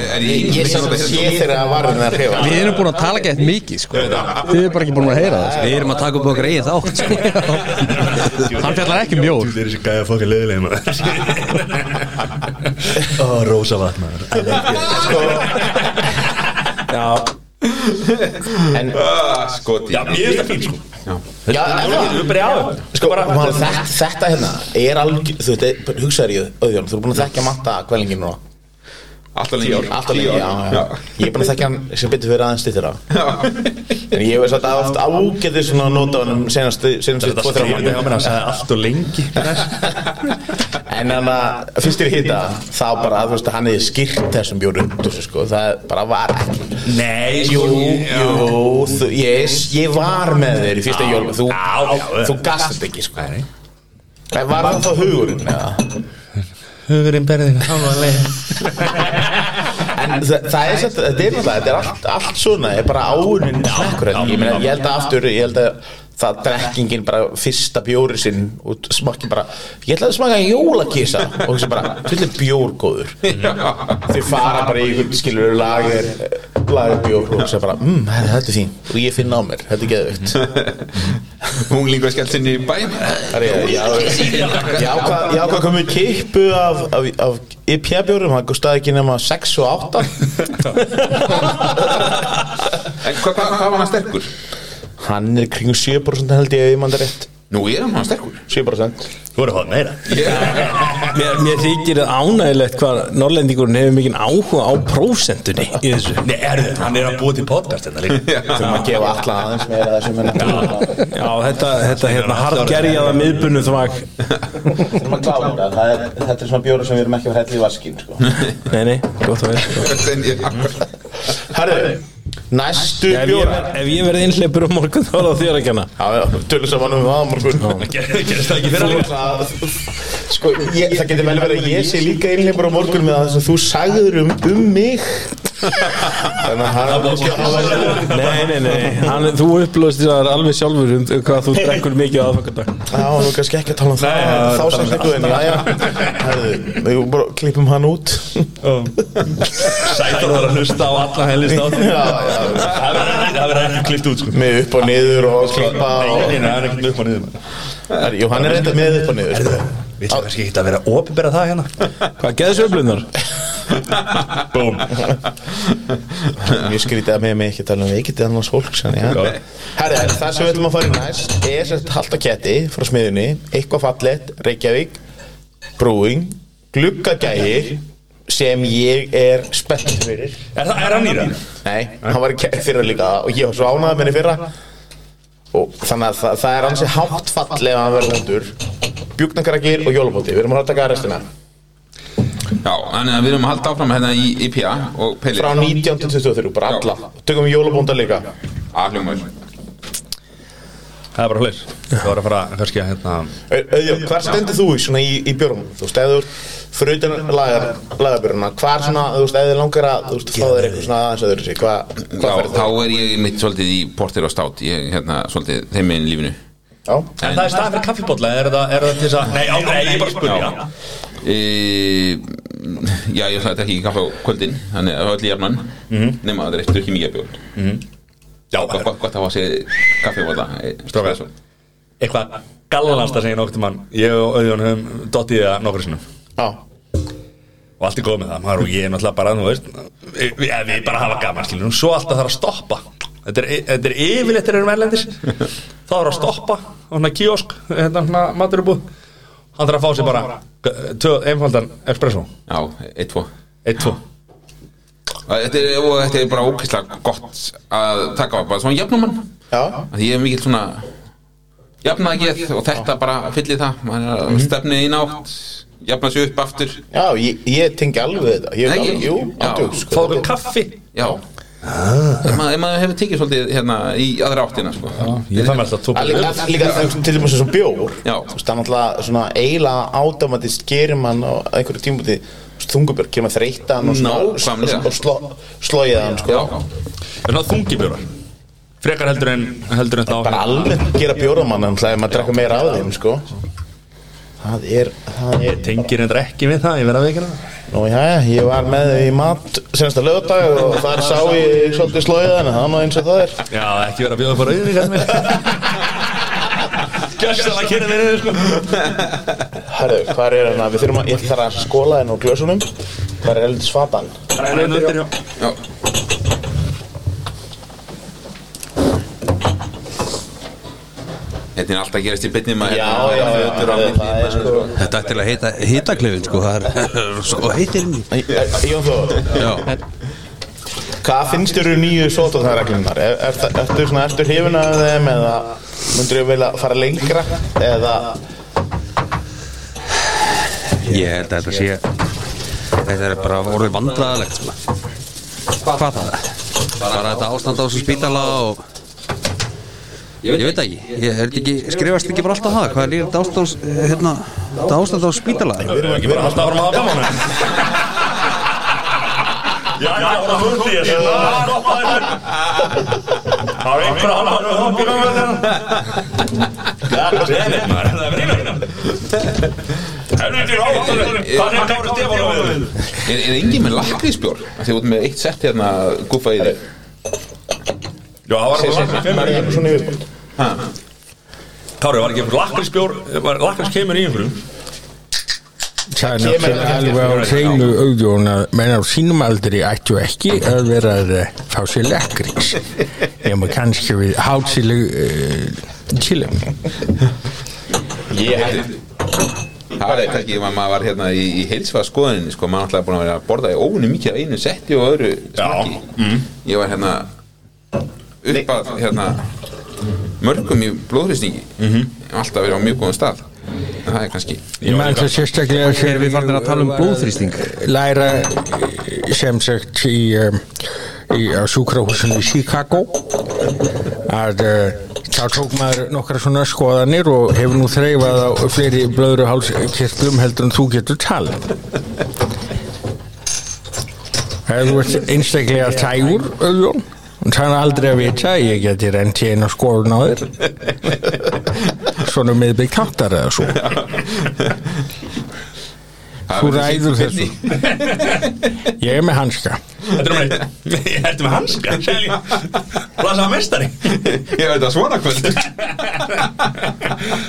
er ég ég sem þetta sé þeirra að varðin að hrefa Við erum búin að tala gett mikið sko Við erum bara ekki búin að heyra það Við erum að taka upp okkar eigin þátt sko. Hann fjallar ekki um mjór Þetta er þessi gæða fokkið leðilegum Ó, rosa vatnar Sko. en skoti Já, ég er þetta fín, sko Já, en það Við byrja á þetta Sko, maður, þetta, þetta hérna er alveg, þú veit, hugsaður ég, Öðjón, þú er búin að þekkja matta kvælingin núna alltaf lengi ár Alltaf lengi, já, já. Ég er búin að þekkja hann sem betur fyrir aðeins stýttir á já En ég hef satt að oft ágæði svona nóta á hann senast, senast Þetta tvo, þrjá skrifaði á mér mánuði. að segja allt og lengi En hann að, fyrst þér hitta, þá bara, þú veist, hann hefði skýrt þessum bjóru út úr þessu, sko, það bara var ekki Nei, sko, Jú, jú, þú, ég, ég var með þér í fyrsta jólum, þú, Já, já, þú gast þetta ekki, sko En var það þá hugurinn, eða? Hugurinn berðið [laughs] En þa það er þetta, þetta er náttúrulega, þetta er allt, allt svona, er bara áunin smekkur hérna. Ég, meina, ég held að aftur, ég held að það drekkingin bara fyrsta bjóri sinn og smakki bara, ég held að smaka jólakísa og þessi bara, þetta er bjórgóður. Þau fara bara í einhvern skilur lager, lager bjór og þessi bara, mmm, þetta er fín og ég finn á mér, þetta er geðvögt. hún líka skellt sinni í bæ Ég ákvað ég ákvað að koma í kippu af, af, af IPA bjórum, það gustaði ekki nema 6 og 8. en hvað hva, hva var hann sterkur? Hann er kring 7% held ég ef ég mann það rétt Nú er hann hann sterkur 7% Þú voru að fá meira Mér, mér þykir að ánægilegt hvað Norrlendingurinn hefur mikinn áhuga á prósentunni í þessu Nei, erðu, hann er að búa til podcast hérna líka Þurfum að gefa allan aðeins meira af þessum en Þurfum Já, þetta, þetta hérna harðgerjaða miðbunnu þvag að klára þetta Það er- Þetta er svona bjóru sem við erum ekki að hella í vaskin sko. Nei, nei, gott að vera Herðu, næstu Ef ég, bjóra ver- ef ég verði innleipur á morgun þá er það þér að kenna Já, já, tölum saman um það á morgun [laughs] Gerist það ekki fyrir alveg Það- Sko, ég, það getur vel verið að ég sé líka einhleipur á morgun með það sem þú sagður um, um mig Þannig að hann Nei, nei, nei, hann, þú upplöðst þér alveg sjálfur um hvað þú drekkur mikið á aðfangardag Það var nú kannski ekki að tala um það það Þá sem þetta guðin, já, já Herðu, við bara klippum hann út Sætur þar að hlusta á alla helist átti Já, já, Það verður ekki- það verður ekki klift út sko með upp og niður og klippa Nei, og nei, nei, það er ekkert upp og niður Herru, Jú, hann er reynda með upp og niður sko. Við ætlum kannski ekki að vera opibera það hérna Hvað, geðu sveiflunar? Búm Mjög skrítið að með mig ekki tala um veikiti annars fólks hann, já Herri, en það sem við ætlum að fara í næst er sérst haldaketti frá smiðunni eitthvað fallett, Reykjavík Brewing, gluggagægir sem ég er spennt fyrir Er það- er hann í það? Nei, hann var í kæri fyrra líka og ég var svo ánæði minni fyrra og þannig að það, það er hansi hátt fall ef hann verður hundur bjúknakarakir og jólabóti, við erum að taka restina Já, þannig að við erum að halda áfram hérna í IPA og Peli frá 19 til 23, bara alla tökum við jólabónda líka Afljómar Það er bara hlust Það var að fara kannski að hérna Auðjón, hvar stendur þú í, svona, í, í björnum? Þú veist, eða þú ert fyrir utan lagar, lagarbjörnuna, hvar svona, þú veist, eða þið langar að, þú veist, fá þér eitthvað svona aðeins öðru sig, hvað hva Já, ferð þá þú? er ég mitt svolítið í portir og stát Ég, hérna, svolítið þeim meginn í lífinu Já, En það er stað fyrir kaffibólla, er það, er það til þess að Nei, á, nei, ég bara spurja e, Já, ég ætlaði að drekka ekki kaffa á kvöldin Þannig að það var öll í jafnan Nefna að það er eftir ekki mikið af bjór Já, Gott- Gott gott að hafa sér kaffi og það Strákar. eitthvað gallanasta sem ég nokkuð mann Ég og auðvun höfum dottið í það nokkur sinnum já, Og allt er góð með það, maður og ég er náttúrulega bara, þú veist Við, við- ja, við bara hafa gaman, skiljum Svo alltaf þarf að stoppa Þetta er, þetta er yfirleitt þegar við erum erlendis Þá þarf að stoppa á svona kiosk Hérna svona maturubúð Hann þarf að fá sér bara tvö, einfaldan espresso Já, eitt, tvo Eitt, tvo þetta er, og þetta er bara ókvæslega gott að taka bara svona jafnumann já, að ég er mikill svona jafnaðgeð og þetta bara fyllir það maður er Mhm. að stefnið í nátt jafna sig upp aftur já, ég, ég tengi alveg við þetta, ég Nei, veit alveg, jú, já. andjóks, Fá sko, okkur kaffi já Ah. ef maður, ef maður hefur tekið svolítið hérna í aðra áttina sko. Ég þarf með alltaf tvo Að líka, að líka þú veist, til dæmis eins og bjór, Já. þú veist, það er náttúrulega svona eiginlega ádamatist gerir mann á einhverju tímabúti, þungubjörg, kemur þreytan og svona, Nákvæmlega. og sló, slóið hann, sko, já, Er það þungibjórar? Frekar heldur en heldur en þá bara alveg gera bjóramann en það er maður að drekka meira af þeim sko það er, það er Tengir hendur ekki við það, ég verða að veikina það nú já, ég var með þau í mat senast að lögadag og þar sá ég svolítið slóið þannig að það er nú eins og það er Já, ekki verða að bjóða upp á hérna. rauðinni, kallið mér Gjössalega kynni mér yfir, sko herru, hvað er hann að við þurfum að ég þarf að skóla henn úr glösunum hvað er heldur svatan Það er einu undir, já já. Þetta Hérna er alltaf að gerast í byrni maður Hérna, já, já, já, það er sko Þetta ætti til að heita hitaklefin sko Það er sko heitir inn í. Jón Þó, Já, hvað finnst þér um nýju sótarnarreglunar? Er, er, er, ertu svona eftir hrifin af þeim eða myndur ég vilja fara lengra eða ég held að þetta sé Þetta er bara orðið vandræðalegt sko. Hvað það er? Bara þetta ástand á þessu spítala og Ég veit það ekki, ég er ekki, skrifast ekki bara alltaf það, hvað er líka þetta ástand á- hérna, þetta ástand á spítala? við erum ekki Bara alltaf að fara maður að gaman Já, já, það hundi ég sem Það er gott að þessu. Það er einhver að hafa að bjóða með þetta God damn it, maður Það er einhver Helviti, já, það er- hvað er Kári Stefán á við? Er, er engin með lakrísbjór? Þegar þú ert með eitt sett hérna guffa í þig Já, það var bara lakkrís Það er eitthvað svona yfirbútt Kári, var ekki einhver lakrísbjór Lakrís kemur í einhverjum Það er náttúrulega alveg á hreinu auðjón að menn á sínum aldri ættu ekki að vera að eh, fá sér lekkrís nema kannski við hátsileg uh, Chillum Ég held Það er kannski ef að maður var hérna í, í heilsvað skoðuninni sko, maður alltaf búin að vera að borða í óunum mikið af einu setti og öðru smakki Ég var hérna upp að hérna mörgum í blóðrýstingi alltaf verið á mjög góðum stað en það er kannski Ég menn það sérstaklega Þegar við farnir að tala um blóðþrýsting læra sem sagt í, um, í á sjúkrahúsinu í Chicago að uh, þá tók maður nokkra svona skoðanir og hefur nú þreifað á fleiri blöðru hálskirtlum heldur en þú getur talað Ef þú ert einstaklega tægur, Öðjón, þannig aldrei að vita, ég geti reynt í einu skoðun á þér. Svona miðbygg kantar eða svo. Þú ræður þessu. Ég er með hanska. Þetta er mér, ég [laughs] ertu með hanska Sæli, blasaða mestari [laughs] Ég veit að svona kvöld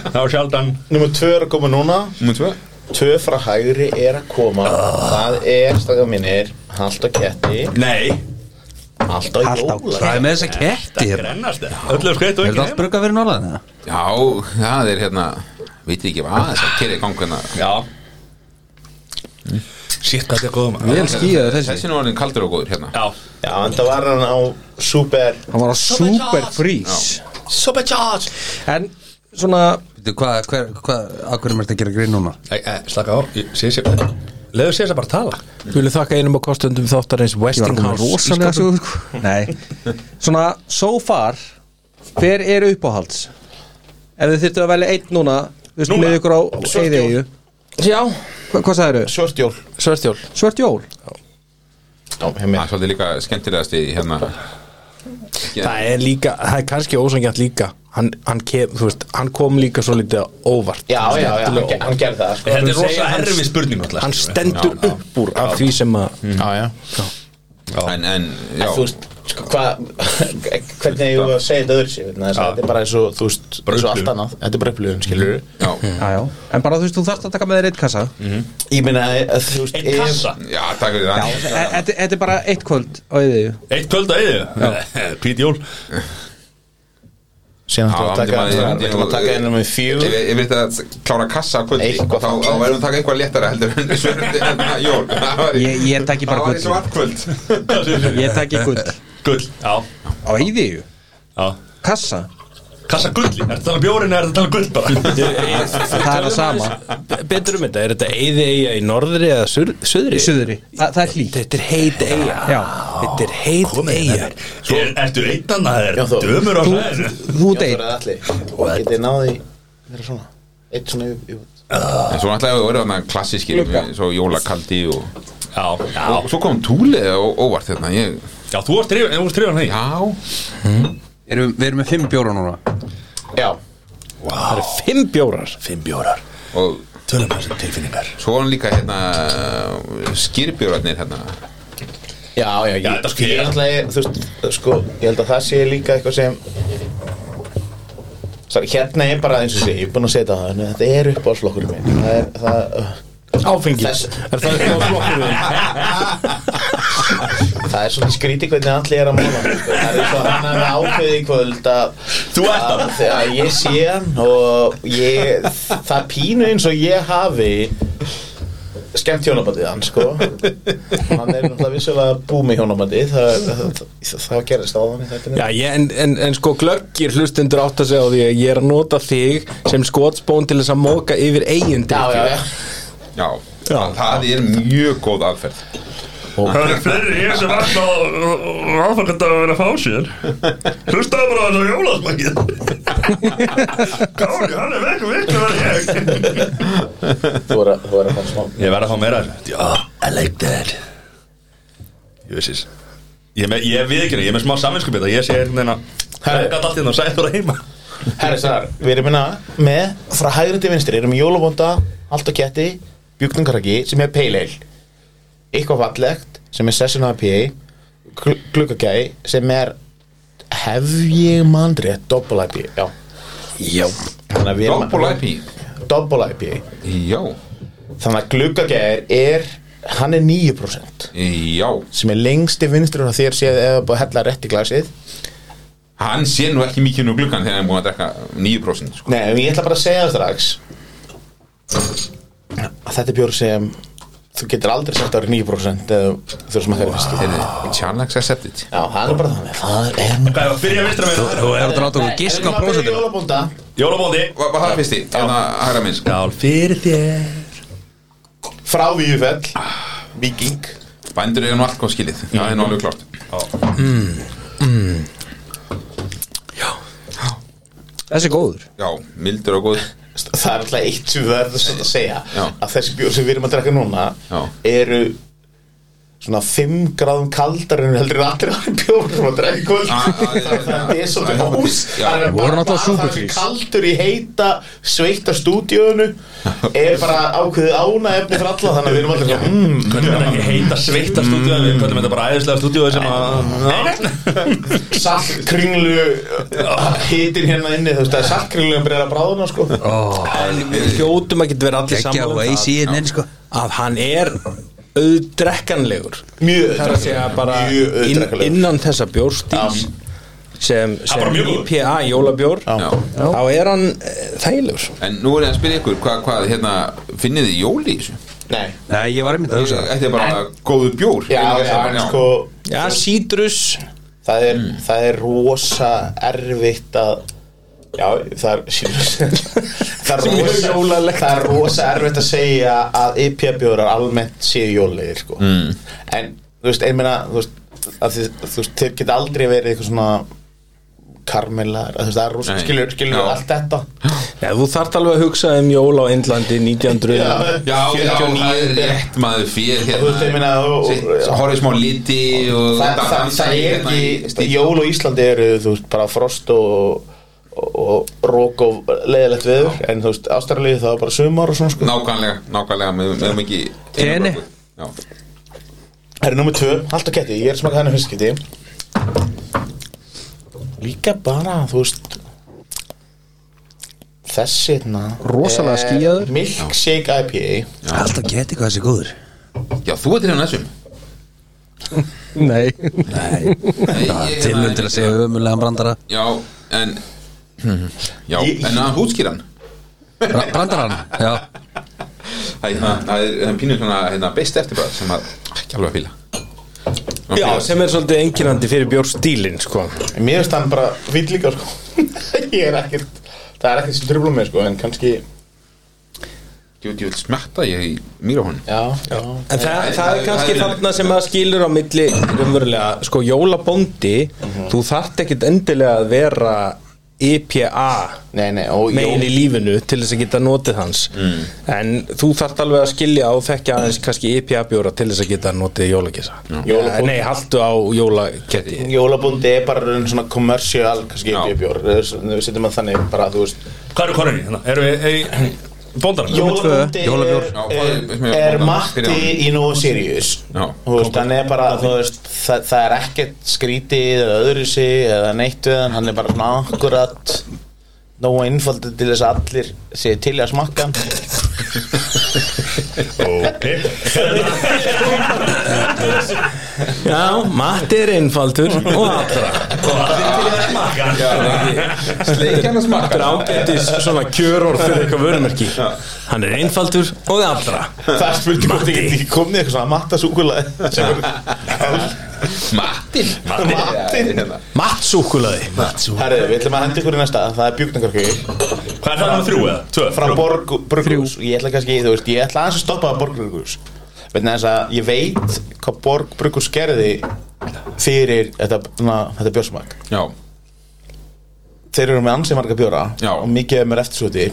Það var sjaldan Númer 2 er að koma núna Númer tvö. 2 frá hægri er að koma Það er, stakka mínir Hald á ketti Nei, Hald á jóla Það er með þessa ketti þetta er hérna ennast Öllu skreitt og Er það ekki allt brugga fyrir norðan eða? Já, það er hérna veit ekki hvað þess að kerið gangu hérna Já Sitt, hvað þetta er góðum Vel skýjaði þessi Þessi nú orðin kaldur og góður hérna Já, hérna. Já, en það var hann á super Hann var á super freeze Supercharge En svona Veitu, Hvað, hver, hvað, að hverjum ertu að gera grín núna? Nei, eh, slaka á ég- sé- sé- Leðu sér þess að bara tala Við viljum þakka einum á kostundum þáttarins Ég var komið Westinghouse. rosalega svo sko. Nei Svona, so far Hver er uppáhalds? Ef þið þyrftu að velja einn núna Við skulum Núna? með ykkur á Eyðeyju Já, Hva, Hvað sagðið eru? Svört jól svörstjól. Svört jól? Já, hef Það er mér svolítið líka skemmtilegast í hérna Það er líka, það er kannski ósangjant líka. Hann, hann, kem, þú veist, hann kom líka svo litið á óvart. Já, já, já, hann, Skemmtilega ge- hann gerði það sko. Þetta er segja rosa hans- erfi spurning sko. náttúrulega, hann skilur við. stendur upp úr af því sem að Hmm. Já, já en, en, já, En þú veist, sko, hvað [laughs] Hvernig hefur að segja þetta öðru sér Þetta er bara eins og, þú veist, eins og allt annað Þetta er bara upplifun, skilur já, Já, já En bara þú veist, þú þarft að taka með þér eitt kassa Ég meina, að þú veist Eitt ef- kassa já, takk fyrir það E- Þetta þetta er bara eitt kvöld á Eyðeyju Eitt kvöld að eðu Pít Jól Síðan Já, ætlum við að taka- myndi maður- við ætlum að taka einu með fjögur Ef ef við þetta að klára kassa á kvöldi Eitthvað þá, þá verðum við að taka eitthvað léttara heldur en svörði hérna jól Það var [laughs] í- Ég- ég taki bara Það var í gullið. svart kvöld Ég taki gull Á Gull, já, Eyðeyju? já Kassa? Kassa gulli, er það tala um bjórin eða er það tala um gull bara? Það er það sama betur um þetta, er þetta eiði eiga í norðri eða sur, Í suðri? suðri Þa, Það er hlýtt Þetta er heit eiga Já Þetta er heit hérna. eiga Svo, er, ertu eittan að það Já, er þó- dömur á hlæðinu? Þú deyr Getið þið náði vera svona Eitt svona yfir- yfir- En svo náttúrulega voru þarna klassískir Svo jólakaldi og Já, já, Og svo kom túlið og óvart hérna ég, já, þú varst trefan, þú varst trefan hei Já, Erum, við erum með fimm bjóra núna Já Það er fimm bjórar Fimm bjórar, og tölum hans um tilfinningar svo var hann líka hérna Skýrbjórarnir hérna Já, já, ég, Já, þetta skil ég. ég, ætla ég, þú veist, sko, ég held að það sé líka eitthvað sem Sari, hérna er bara eins og sé, ég er búinn að setja það, en þetta er uppáhaldsflokkurinn minn, það er, það, uh, Áfengi Þess- Er það eitthvað flokkur það er svona skrítið hvernig allir er að mála, hann, sko. það er eins og hann hafi ákveðið í kvöld að, Þú ert að, að, að ég sé hann og ég, það pínu eins og ég hafi skemmt hjónabandið hann, sko, hann er náttúrulega vissulega búmi hjónabandið, það, það, það, það gerist á þannig þetta Já, ég, en, en, en sko glöggir hlustendur átt að segja á því að ég er að nota þig sem skotsbón til þess að móka yfir eigin Já, já, já Já, Já. það er mjög góð aðferð Það er fleiri ég sem vakna og ráðfangand að vera að fá sér Hlustaðu bara á þessu jólasmækið Kári, hann er vekk viklu verið ég Þú voru að, þú voru að fara smá Ég verð að fá meira af þessu. Já, I like that Ég veist þess Ég, er með- ég við ekki, ég er með smá samvinskupið Ég sé einhvern veginn að Herri. Hækka allt hérna og sæði þú heima Herri Sar, við erum minna með frá hægri til vinstri, erum með jólabonda allt og ketti, bjúknungaraki sem er pale ale eitthvað fallegt sem er session IPA gl gluggagæi sem er hef ég mandri double IPA, já Já Þannig að við erum- Doppel IP Double IPA Já, Þannig að gluggagæir er hann er 9% já sem er lengst til vinstri og þér séð eða búið að hella rétt í glasið hann sé nú ekki mikið nú gluggan þegar hann er búin að drekka 9% sko. Nei, en ég ætla bara að segja það strax að þetta er bjór sem þú getur aldrei sagt að vera 9% eða þú erum að þeirra fyrstu Heyrðu, challenge accepted Já, það er bara þannig Það er nú Hvað er það fyrir að vinstra með Þú er að láta okkur giska á prósentina Jólabúnda Jólabóndi Var var það fyrst í? Þannig að hæra minn sko. Fyrir þér Frá Vífell Viking Bændur eru nú allt góð skilið Það er nú alveg klart Þessi er góður Já, mildur og góð Það er alltaf eitt sem það er það að segja Já. að þessi bjór sem við erum að drekka núna Já. eru svona 5 gráðum kaldar en heldur en allir aðri bjór sem að drekka í kvöld Ah, ah, já, já. það er svolítið Já. hús Já. það er Við vorum bara náttúrulega bara það superfreaks. sem kaldur í heita sveikta stúdíónu er bara ákveðið ánaefni fyrir alla þannig að við erum allir svona mm, Hvernig er ekki heita sveita stúdíu Hvernig er þetta bara æðislega stúdíu sem að salt kringlu hitin hérna inni þú veist það er salt kringlu að breyra bráðuna sko Við hljótum að geta verið allir Ekki á saman um það AC inn sko að hann er auðdrekkanlegur mjög Það er að segja bara mjög inn, auðdrekkanlegur. innan þessa bjórstíls sem, bara sem mjög góður. IPA jólabjór Já. þá er hann eh, þægilegur En nú er ég að spyrja ykkur Hvað, hvað hérna, finnið þið jól í þessu? nei Nei, ég var einmitt að hugsa Þetta er bara góðu bjór já, Inn á já, en þessa- sko Já, sítrus það er, Mm. það er rosa erfitt að já, það er [laughs] það er rosa, það er rosa erfitt að segja að IPA bjórar almennt séu jólegir sko. mm. en þú veist, einmeina þú veist, að þið, þú veist, þeir geta aldrei verið eitthvað svona karmelar, þú veist, það er rosa Nei. skilur, skilur Já. allt þetta Já, þú þarft alveg að hugsa um jól á Indlandi 1900 Já, já, það er rétt maður fyrir Þú veist, ég meina, og- og- Horfið smá liti og það, það, það, er hérna í ekki stíl. jól á Íslandi eru þú veist bara frost og og, og rók og leiðilegt viður en þú veist ástæralíði það var bara sumar og svona sko Nákvæmlega, nákvæmlega Með, með mikið Teni. Já. Það er nummið tvö, allt á ketti, ég er smakað henni fyrst geti Líka bara, þú veist Þessi hérna Rosalega er skýjaður. Milkshake IPA Alltaf geti hvað þessi er góður já, þú ert [laughs] hérna þessum Nei Nei, ég- Tilnum til að segja ömulegan brandara Já, en Já, en að hútskýran Bra- Brandarann, já Það er- hérna, það er það er pínu svona hérna, beist eftir bara sem að ekki alveg að fíla Já, sem er svolítið enginandi fyrir bjórstílinn sko. En Mér finnst hann bara fýll líka sko [laughs] Ég er ekkert, það er ekkert sem trubla mig sko En kannski, Jú, jú, smetta ég í mýra honum já, já En það, Nei, það það- er kannski það er- þarna sem að skilur á milli raunverulega, sko, jólabóndi Mhm. þú þarft ekkit endilega að vera IPA Nei, nei, og megin í jól Mm. lífinu til þess að geta notið hans en þú þarft alveg að skilja og þekka aðeins kannski IPA bjóra til þess að geta notið jólakissa Jólabóndi. Nei, haltu á jólaketti Jólabúndi er bara raun svona kommersial kannski Já. IPA bjór Við setjum að þannig bara, þú veist Hvað eru konunni? hérna? Erum við ei, Bóndarinn? Jólabúndi Jólabjór. Já, hvað er, er- er, er matti í Nova Sirius Já. Þú veist, hann er bara, þú veist, það, það er ekkert skrítið eða öðru sig eða neitt við hann, hann er bara svona akkurat nógu einfaldið til þess að allir sé til í að smakka hann Já, matti er einfaldur og allra Sleikjan að Þetta er smakka ágættis svona kjörorð fyrir eitthvað vörumerki Hann er einfaldur og allra Það er spurning hvort ég get ekki komið eitthvað svona mattasúkulega sem [laughs] Mattin er mattin hérna. Mattsúkulaði Herðu, við ætlum að henda ykkur í næsta, það er bjúkningarkjöki Hvað er það með þrjú eða? Tvö? frá Borg, Borgrús ég ætla kannski, þú veist, ég ætla aðeins að stoppa að Borgrús vegna þess að ég veit hvað Borg Bruggus gerði fyrir þetta, na, þetta bjórsmak Já, þeir eru með ansið marga bjóra Já. og mikið er með eftirsúti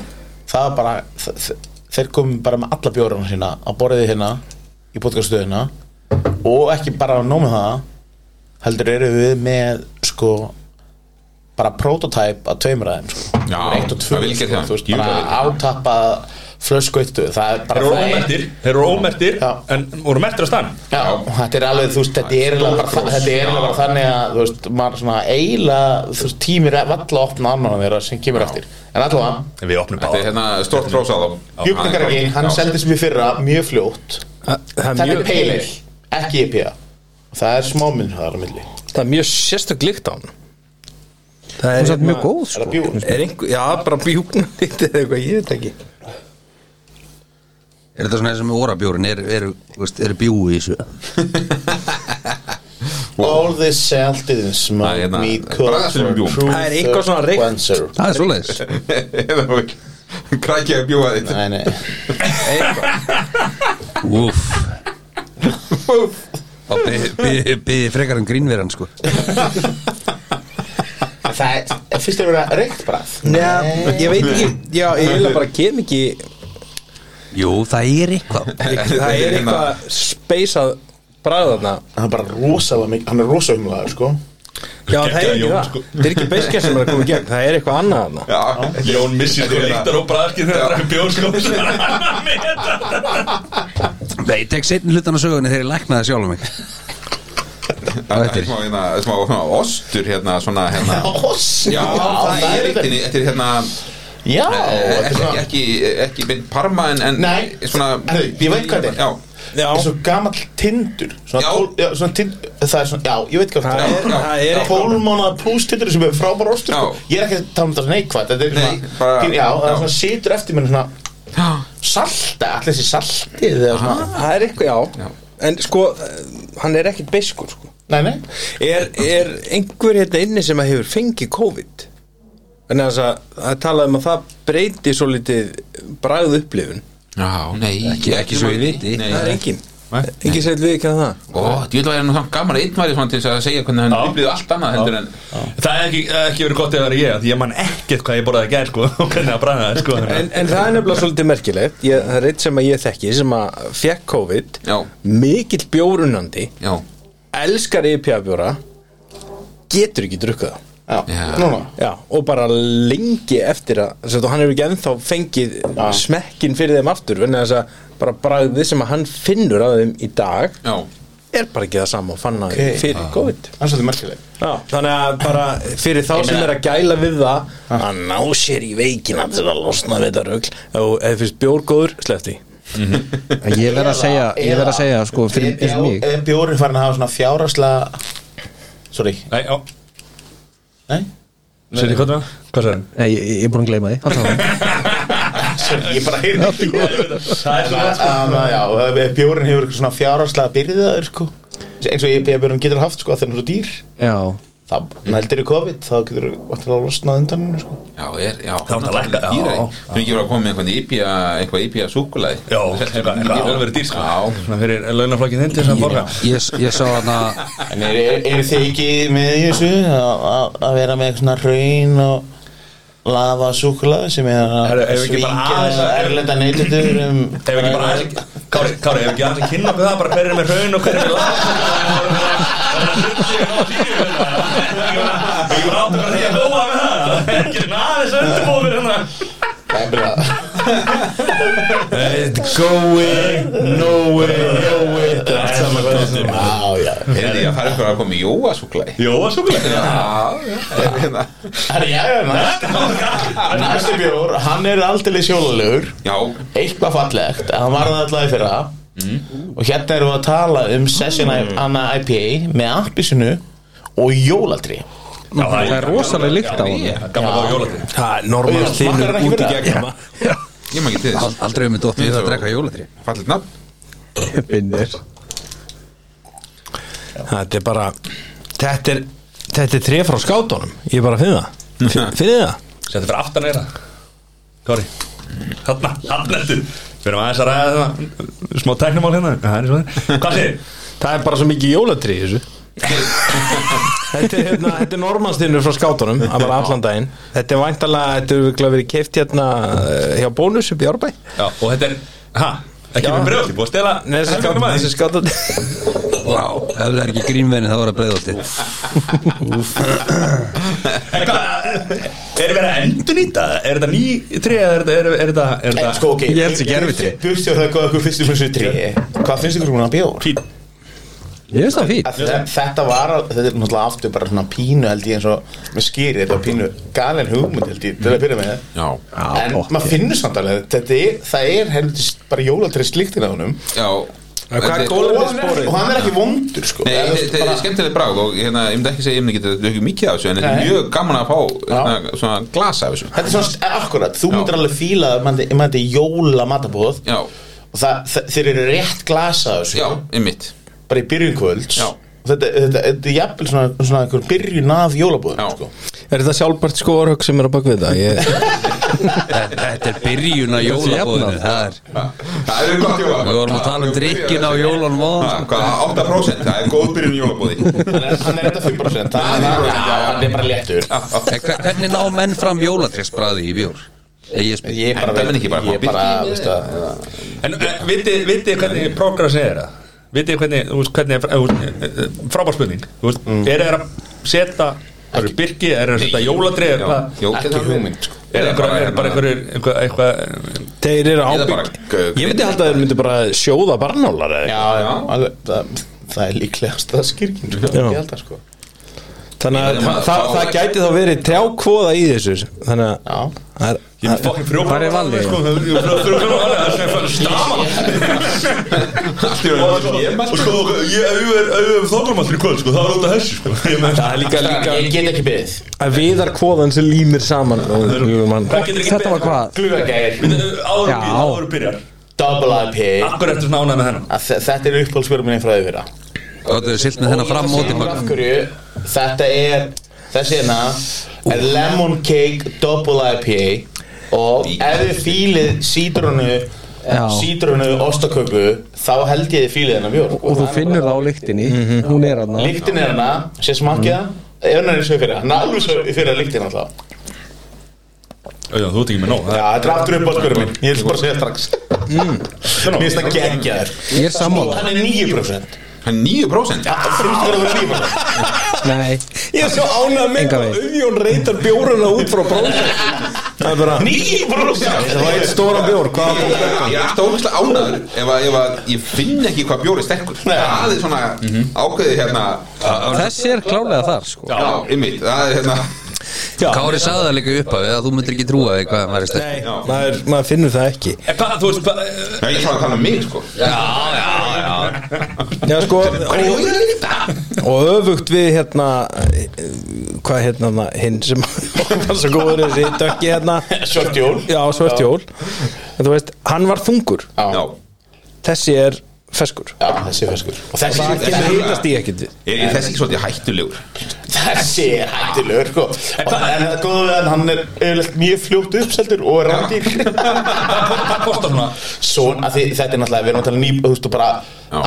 það var bara, þ- þ- þeir komum bara með alla bjórana sína á borðið hérna í podcaststöðina og ekki bara nóg með það heldur eru við með sko bara prototype að tveimur aðeim sko. Já, eitt og tvö það vilkja sko, það. þú veist, Jú, það bara vilkja. átappa flöskuittu það er Þeir bara eru ómertir Þeir eru ómertir Já. En voru mertir á stann Já, þetta er alveg, þú veist, þetta er eiginlega bara, þetta er eiginlega bara þannig að, þú veist, maður svona eiginlega, þú veist, tímir valla að opna annan þeirra sem kemur eftir. En allavega, En við opnum þetta er báða hérna stort frósað Hjúkningaragi, hann [laughs] seldist mér fyrra mjög fljótt Þetta er peilir, E ekki IPA Og Það er smáminn það er á milli Það er mjög sérstök líkt á hann Það Hún er samt hérna- mjög góð sko bjúgur Er einhver, já, bara bjúkna lítið eða eitthvað, ég veit ekki Er þetta svona eins og með orabjórin, er, er, veist, er bjúi í þessu? All this salted and Það er smoked hérna- meat Braga cooked sem bjúgum. truth Það er eitthvað svona reykt. quencher. Það er svoleiðis Eða þú ekki Hérna Krakki að bjúa þitt Nei, nei Úf Og byði frekar um grínveran sko Það er, en fyrst er verið að reykt brað Nei, ég veit ekki, já, ég vil bara kem ekki Jú, það er eitthvað Það er hérna- hérna- eitthvað speysað bræðarna Hann er bara rosalega mikið, hann er rosa umlaður, sko Já, það er ekki það, það er ekki beiskja sem er að koma í gegn, það er eitthvað annað þarna Já, Jón missir sko hérna- leiktar og braskir þegar það er bjór sko [laughs] Nei, ég tek setni hlutan á sögunni þegar ég læknaði sjálf mig það er smá, hérna, smá svona ostur hérna svona hérna Hoss Já, það er þetta. eitthvað Þetta er hérna Já, þetta er ekki, svona- ekki, ekki beint parma en, en Nei. svona Herðu, ég veit hvað þetta er. Já, Já, Svo gamall tindur Svona Já. tól, já, svona tindur Það er svona, já, ég veit hvað það er, það er eitthvað Tólmánaða pluss tindur sem er frábár ostur sko. Já. Ég er ekki að tala um þetta neikvæð Þetta er Nei, svona, bara- pín- já, það já. er svona situr eftir mér svona Salta, allir þessi salti eða svona Það er eitthvað, já En sko, hann er ekkit beiskur, sko Nei, nei er, er einhver hérna inni sem að hefur fengið COVID þannig að það- það talaði um að það breyti svo litið bræðu upplifun Já, nei, ekki, ekki svo ég viti. Nei, það er engin, engin sætt við ekki að það Ó, ég vil væri nú samt gaman að einn væri svona til þess að segja hvernig hann upplýði allt annað heldur en Það er ekki, ekki verið gott ef það er ég Því ég man ekkert hvað ég borðaði gær sko [laughs] Og hvernig að bræða það sko en, en það er nefnilega svolítið merkilegt ég, það er eitt sem að ég þekki sem að fekk COVID Já. mikill bjórunandi Já, elskar IPA bjóra getur ekki drukkað það Já, Já. núna Já, og bara lengi eftir að sem sagt, og hann hefur ekki ennþá fengið smekkin fyrir þeim aftur en þess að bara bragðið sem að hann finnur að þeim í dag já, er bara ekki það sama og fann að Ok. fyrir COVID Það er svolítið merkileg Já, þannig að bara fyrir þá sem er að gæla við það að ná sér í veikina til að losna við þetta rögl og ef finnst bjór góður, slefti En Ég verð að segja, ég verð að segja sko E fyrir eins og mig Er bjórin farin að hafa svona fjáraslega Sorry, Nei, já, nei sér ég hvað það? Hvað sagði hann? Nei, ég, ég er búin að gleyma því Haltu áfram. Sorry, ég bara heyrði ekki Það er svona Já, bjórin hefur eitthvað svona fjáraslega byrðaður sko eins og ég bjórin getur haft sko þegar hann er svo dýr Já, það nældir í COVID þá getur þú vantilega að losna undan henni sko já, er, já Það var að lækka, já, Dýra, já. þú ekki verið að koma með einhvern íbíja eitthvað íbíja súkulaði Já, eitthvað, eitthvað, það verið dýr sko Já, Svona fyrir launaflokkin þinn til þess að borga Ég, ég sá hann En eru er, er þið ekki með í þessu að- að að vera með eitthvað svona raun og lava súkulaði sem er að Herru, ef ekki bara aðeins svíkja að- erlenda neytendur um Ef ekki bara aðeins, Kári, Kári, ef ekki aðeins að kynna okkur það bara hverju með raun og hverju með lag Við erum átt okkur að því að góma með það Ekki aðeins undirbúið hérna Going nowhere Þetta er allt saman hvað sem Já, já heyrði ég að það er eitthvað að koma með jóa súkulaði Jó, að súkulega Já, já, það er hérna Herru, já, já, næst Næsti bjór, hann er aldrei sjólulegur Já, eitthvað fallegt en hann var það alltaf í fyrra Mm. og hérna erum við að tala um Session Anna IPA með appisinu og jólatri það er rosalega lykt á hann ég, Gamla góð jólatri Það er normal Auðvitað, smakkar þinnur hann ekki út í fyrir það? gegn ég maður ekki til að þess aldrei um mig dótt við að drekka jólatri Fallit nafn Finnir Þetta er bara Þetta er, þetta er tref frá skátunum Ég er bara að finna [laughs] það Fin- Finnið það Settu fyrir aftan eira Kári Hanna, hann ertu Við erum aðeins að ræða það Smá tæknumál hérna Það er svo þeir Hvað séð? Það er bara svo mikið jólatri í þessu [laughs] þetta, er, hérna, þetta er normanstinnur frá skátunum að bara allan daginn Þetta er væntalega, þetta er örugglega verið keift hérna eh, hjá bónus upp í árbæ Já, og þetta er Ha? Ekki Já. með brjóti, búið að stela Nei, þessi helmingnum skátunum af Þessi þessu. skátunum Vá, ef það er ekki grínvenni þá er það breiðolti En hvað, Er verið að endurnýta? Er þetta ný tré? eða Er þetta, er, er þetta, er en þetta sko ok, Ég held sér gervitri. Bursti og það hvað okkur finnst ykkur þessu trí hvað finnst ykkur hún að bjór? Fín. Ég veist það fín Að þe- Þetta var, al- þetta er náttúrulega aftur bara svona pínu held ég eins og með skýri, þetta var pínu galin hugmynd held ég, til að byrja með Já, en pottþétt. maður finnur samt alveg, þetta er, það er helvitist bara jólatri slíktin hérna á honum já, Hvað er Þetta- góðlega Og hann er ekki vondur sko Nei, Eða, þú veist, þetta er bara- skemmtileg bráð og hérna, ég myndi ekki segja, ég myndi ekki þetta er ekki mikið af þessu en þetta Nei. er mjög gaman að fá hérna, svona glasa af þessu Þetta er svona, eh, akkurat, þú Já. myndir alveg fíla að mann þetta er jóla matabóð Já, og það, það, þeir eru rétt glasa þessu já, einmitt bara í byrjun kvölds Já. Og þetta, þetta, þetta er jafnvel svona, svona einhver byrjun af jólabóðum Já. sko. Er þetta sjálfbært sko orðhug sem er á bak við það? Ég, Þetta er byrjun á jólabóðinu Það er Það er gott jóla Við vorum að tala um drikkin á jólunum áðan, sko. Hvað, 8% það er góð byrjun í jólabóði hann, er, hann er þetta 5% það, Hann hann, er hann, 5%, já. hann er bara léttur En hver- Hvernig ná menn fram jólatrésbræði í bjór? Eh, Ég spyr ég bara, Enda menn ekki bara ég fá bara birki í veist að, En eh, vitið vitið hvernig progress er það? Vitið þið hvernig, þú veist, hvernig er, uh, frábær spurning Þú veist, er það að setja Það eru birki, er það að setja jólatri Er það Ekki hugmynd, sko. er einhver- er bara einhverjir eitthvað- eitthvað þeir eru Eða ábygg bara g- Ég myndi halda að þeir myndi bara sjóða barnólar eða já, eitthvað. já, alveg, það, það er líklegast að skýrkin sko, Já. ekki alltaf sko Þannig að Ég myndi það, það, fá- það gæti þá verið trjákvoða í þessu Þannig að Já. það er- Ég er fokkin frjóð Hvar er Valli? Sko, þú þú- þú- þú- þú- Það er fann stama Allt í raun Ég Og sko, ég ef ég er- ef ég er þóknumallur í kvöld sko, Það er út af hessu sko Ég meina, það er líka, líka ég get ekki byggð að viðarkvoðan sem límir saman og, mann, það getur ekki [laughs] Þetta var betra. hvað? glugagægir, Við- Áður Já. byrjar, áður byrjar double IP Akkur eftir svona ánæð með hennan Að þe- þetta er uppáhaldsverðminni frá því fyrra Og þau silt með þennan fram móti Af hverju, þetta er þessi hérna er lemon cake double IPA og ef þið fílið sítrunu Já. sítrunu ostaköku þá held ég þið fílið hennar bjór Og þú finnur það á lyktinni Hún er hann líktin er hana, sé Mm. smakkið það ef hann er eins og fyrir hann er alveg svo fyrir líktin alltaf Já, þú ert ekki með nóg já, þetta er aftur upp á spörum minn ég vil bara segja strax mér finnst það geggja þér Ég er sammála hann er 9% Hann 9% það finnst það að vera 9% Nei Ég er svo ánað með Engan hvað veginn. Auðjón reytar bjóruna út frá bróðin Það er bara 9% Það var eitt stóran bjór, hvað Ég ég er alltaf ógæslega ánaður ef, að- ef að ég finn ekki hvað bjóri stekkur Það er svona ákveðið hérna Þessi er klálega þar sko Já, ymmit, það er hérna Kári sagði það líka upp af að þú myndir ekki trúa því hvað hann væri sterkur. Já. maður, maður finnur það ekki En hvað, þú veist, hvað eh, Já, ég er svona að tala um mig sko Já sko og, og öfugt við hérna eh, Hvað hérna hérna, hinn sem [laughs] var svo góður þessi dökki hérna svört jól Já, svört jól En þú veist, hann var þungur Já, Þessi er feskur já, þessi er feskur og þessi Það kemur hýtast í ekkert við er er þessi ekki svolítið hættulegur? [laughs] þessi er hættilegur sko. og það er góð við að hann er yfirleitt mjög fljótt uppseldur og er rándýr [laughs] hvað kostar svona Svon, að því, þetta er náttúrulega, við erum að tala um ný þú veist, og bara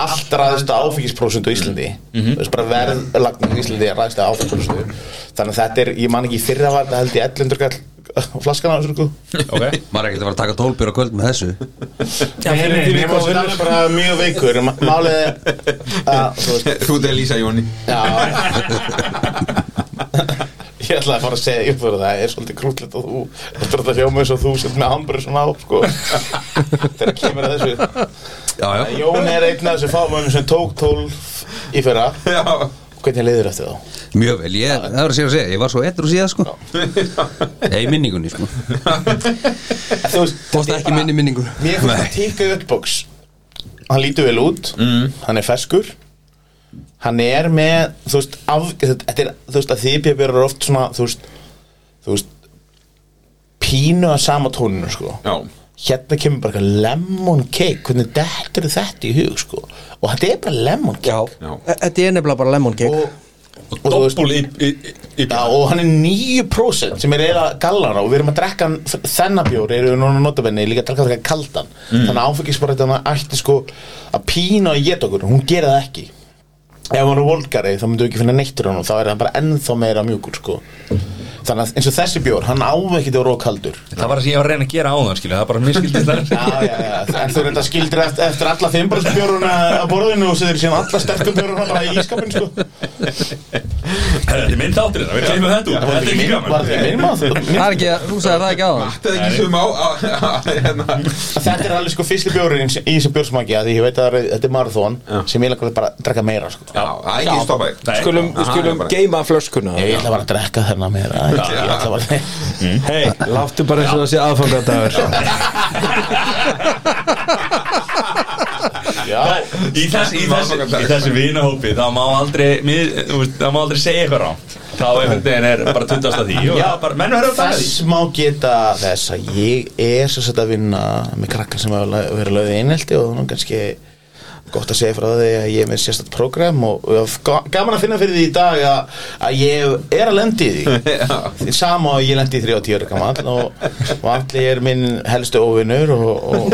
allt ræðist að áfengisprósundu í Íslandi þú veist, bara verðlagning í Íslandi er ræðist að áfengisprósundu þannig að þetta er, ég man ekki í fyrra var þetta held ég 1100 kall á flaskana þessu, sko. Ok Maður er ekkert að fara að taka tólbyr á kvöld með þessu Nei, nei, nei, maður er bara mjög veikur en ma- málið er [laughs] að, þú veist, Þú ert að lýsa Jóni já ég ætlaði að fara að segja upp fyrir það það er svolítið krútlegt og þú þetta er þetta hljóma eins og þú sett með hamburg svona á sko. þegar kemur að þessu Já, já Jón er einn af þessu fámönnum sem tók 12 í fyrra [laughs] Já, hvernig leiður eftir þá? Mjög vel, ég, það er að segja að segja, ég var svo ettur og síðan sko Ég í minningunni sko En þú veist, Bósta ekki minni minningu mér finnst það tíka upp box hann lítur vel út mm. hann er feskur hann er með, þú veist, af, þetta er, þú veist, að því bjöfur eru oft svona, þú veist, þú veist pínu að sama tóninu, sko já hérna kemur bara eitthvað lemon cake hvernig dettur þetta í hug sko og þetta er bara lemon Já cake Þetta er nefnilega bara lemon cake og, og, þú veist, Doppul í, í, í, í já, og hann er 9% sem er eða gallara og við erum að drekka hann þennan bjór erum við núna notabenni líka að drekka þetta kaldan þannig að áfengisbarðan ætti sko að pína og geta okkur hún gera það ekki ef hann er volgari þá myndum við ekki finna neittur hann og þá er hann bara ennþá meira mjúkur sko þannig að eins og þessi bjór hann ávekkið að vera kaldur Það var það sem ég var að reyna að gera áðan, skilja Það er bara miskildið þar Já, já, já, en þú reynda skildir eftir, eftir alla fimmbrúsbjöruna á borðinu og setur síðan alla sterkum björuna bara í ískapin sko. [laughs] Þetta er minn þáttur þetta, við gleymum þetta út Þetta er ekki gaman Var þetta ekki minnmáð? Það er ekki, að- þú sagði það ekki á það Þetta er ekki sum á á- [laughs] á- hérna. Þetta er alveg sko fyrsti björun í þessu björsmaki að því ég veit að það er- þetta er marathon sem ég langar bara að drekka meira sko. Já, það er ekki stoppa þig Nei. Skulum, Aha, skulum bara. geima flöskuna Ég ætla bara að drekka þennan meira Ég ætla bara Hei, láttu bara eins og það sé aðfangadagur Það- Í þessi, í þessi, í þessi vinahópi það má aldrei, mið, þú veist, það má aldrei segja eitthvað rámt þá einhvern veginn er bara tuttast að því og það er bara, menn verður að fara því Þess má geta þess að ég er svo sett að vinna með krakkar sem hafa la- verið löðið einhelti og þannig kannski gott að segja frá því að ég er með sérstætt prógram og, og ga- gaman að finna fyrir því í dag að, að ég er að lendi í [laughs] því Því sama og ég lendi í 30 ára gammal og, og allir er minn helstu óvinnur og, og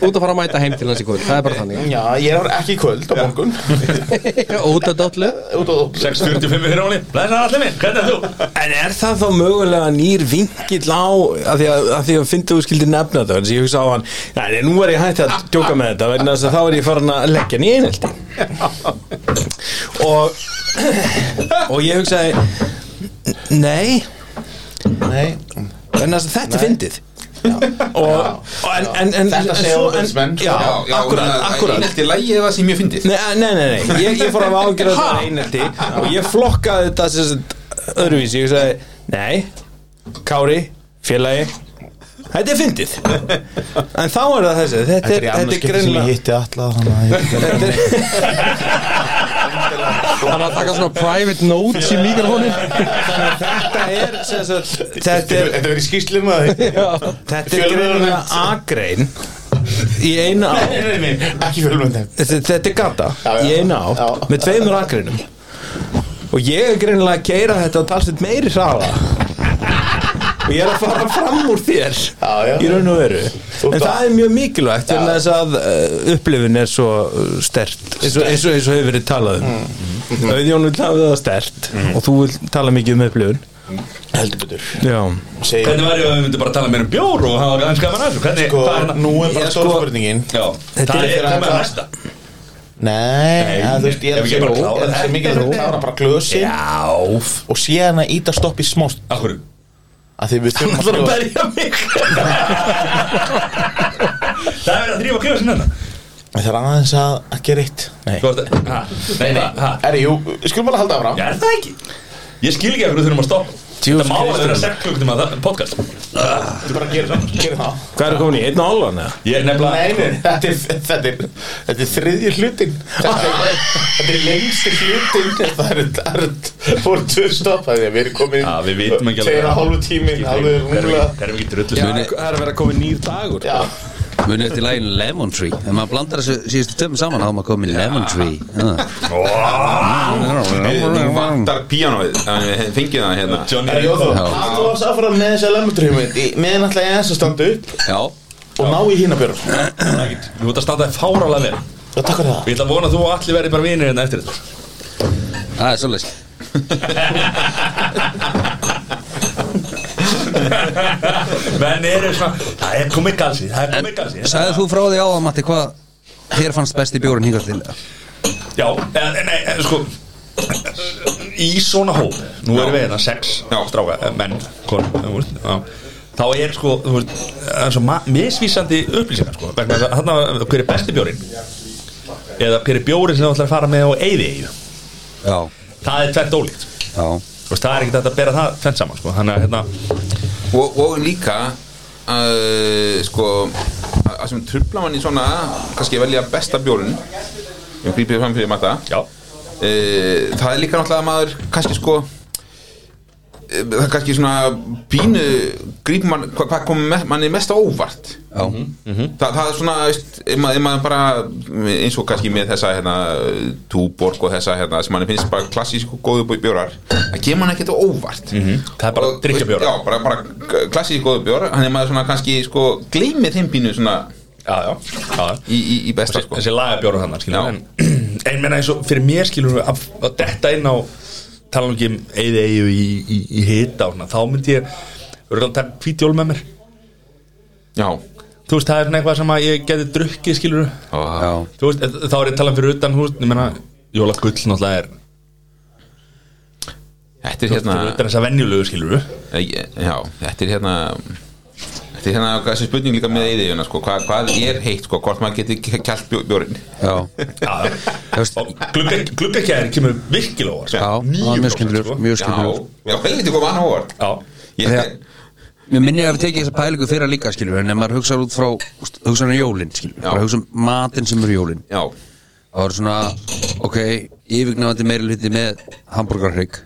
Út að fara að mæta heim til hans í kvöld, það er bara þannig já, ég er ekki í kvöld á morgun Út að dollu út og 6.45 fyrir óli, blæsa allir minn, hvernig er þú? En er það þá mögulega nýr vinkill á að því að, að, því að fyndi þú skildi nefna það þannig að ég hugsa á hann Nei, nei, nú er ég hætti að djóka með þetta vegna þess að þá er ég farin að leggja hann í einhaldi og og ég hugsaði Nei, Nei, vegna þess að þetta er fyndið og, og en, en, en, Þetta en segja svo- ofbeldismenn, sko. Já, Já, já, akkurat, akkurat Einelti lægi eða sem ég fyndið Nei, eh, nei, nei, nei. Ég, ég fór að hafa ágjörða þetta einelti og ég flokkaði þetta sem sagt öðruvísi, ég sagði nei, Kári, félagi þetta er fyndið en þá er það þessi, þetta þetta er, er í annars þetta er skipti sem ég greinlega hitti alla þannig að ég Hann að taka svona private notes í mikrofónin þetta er sem sagt, þetta er, Þetta verið skýrslum að því þetta er greinlega agrein í eina á Ekki fjölmöndin þetta, þetta er gata já. í eina á Já. með tveimur akreinum og ég er greinilega að keira þetta og talsett meiri hraða og ég er að fara fram úr þér Já, já. í raun og veru Þú en ert það að- er mjög mikilvægt vegna þess að uh, upplifun er svo uh, stert eins og, eins og, eins og hefur verið talað um Mm. auðjón vil hafa það stert og þú vil tala mikið um upplifun Heldur betur já Segir Hvernig væri ef við myndum bara að tala meira um bjór og hafa aðeins gaman að þessu, hvernig, sko, hvað er það? nú er bara Ég, stóra sko- spurningin Já, Þetta það er er fyrir komið að- að næsta Nei, ja, þú veist, ég er ef að ekki segja bara ró, klára er þetta. svo mikið að þú klára bara glösi Áf og síðan að íta stopp í smást Akkur, Sko- að því við þurfum að það er að skrifa berja mig [laughs] Það er verið að þrýfa kljóðsinn hérna Það er aðeins að, að gera eitt Nei, Þú varst að, ha, nei, nei, ha Erri, jú, skulum bara halda áfram Já, er það ekki? Ég skil ekki að hverju þurfum að stoppa Þetta má að vera 6 klukkutum að podcast Þú bara gerir það, gerir það. hvað er komin í einn og álvan eða? Ég er Nei, nefnilega nei, þetta er, þetta er, þetta er þriðji hlutin Þetta er, þetta er lengsti hlutin Það er, það er, fór tvö stopp að því að við erum komin Já, við vitum ekki alveg. Tveira hálfu tímin, alveg rúmlega Það er ekki drullu það er að vera komin nýr dagur Já, Muni eftir lægin Lemon Tree Ef maður blandar þessu síðustu tömmu saman þá er maður komið Lemon Tree Ah. Nú Já. vantar píanóið þannig við fengið það hérna Johnny Erri, Jóþór, Já. haldu oss áfram með þessa lemmutrýmið Meðan alltaf ég eins að standa upp Já og ná í hína björn Þú ert að standa fáralega vel Já, takk fyrir það Ég ætla að vona að þú og allir verði bara vinir hérna eftir þetta [laughs] Það er svolítið Menn eru svona Það er komið galsi, það er komið galsi Sæðið þú frá því á það Matti hvað Þér fannst besti bjórin hingað til Já, en, en, en sko Í svona hóp Nú erum við hérna sex Já. stráka eh, Menn, konur þú veist, já. Þá er sko, þú veist Það er svo ma- misvísandi upplýsingar sko Vegna þess að þarna, hver er besti bjórin Eða hver er bjórin sem þú ætlar að fara með á eyði Já Það er tvert ólíkt Já Þú veist, það er ekkert hægt að bera það tvent saman sko Þannig að hérna, og, og líka uh, sko að að sem trubla mann í svona kannski velja besta bjórun ég grýpið fram fyrir matta já Eh, það er líka náttúrulega að maður kannski sko eh, það er kannski svona pínu grýp mann, hva, hvað kom me- manni mest á óvart Já Mhm. Þa, það er svona, veist, ef maður, ef maður bara eins og kannski með þessa hérna, túborg og þessa hérna, sem manni finnst bara klassísku góðu búi bjórar það kemur hann ekkert á óvart Mhm. Það er bara Og, drykkjabjórar. já, bara, bara klassísku góðu bjórar hann er maður svona kannski sko, gleymið þeim pínu svona Já, já, já, já. í, í, í besta þessi, sko. þessi lagabjóra þannig skilur, Já. en, en menna eins og fyrir mér skilur við að, að detta inn á tala nú ekki um eigi eigi í, í, í hita og svona, þá myndi ég örgulega að taka hvítjól með mér já, þú veist, það er svona eitthvað sem að ég geti drukkið skilur við. Já þú veist, eh, þá er ég talað fyrir utan þú veist, ég menna, jólagull náttúrulega er þetta er hérna fyrir utan þessa venjulegu skilur við. Ég- Eh, Já, þetta er hérna Þetta er hérna þessi spurning líka með eyðiðuna sko. Hva, Hvað er heitt, sko, hvort maður getur kjalt bjórin Já Já, og glugga- gluggakjær kemur virkilega óvart sko. sko. Já, það var mjög skemmtilegur, mjög Já, skemmtilegur. já helviti kom hann á óvart já, Ég- Þegar- Mér minni að við tekið þessa pælingu fyrra líka skilur við, en ef maður hugsar út frá hugsanar jólin skilur við, Já. bara hugsa um matinn sem er jólin Já, það var svona, ok, yfirgnafandi meira hluti með hambúrgarhrygg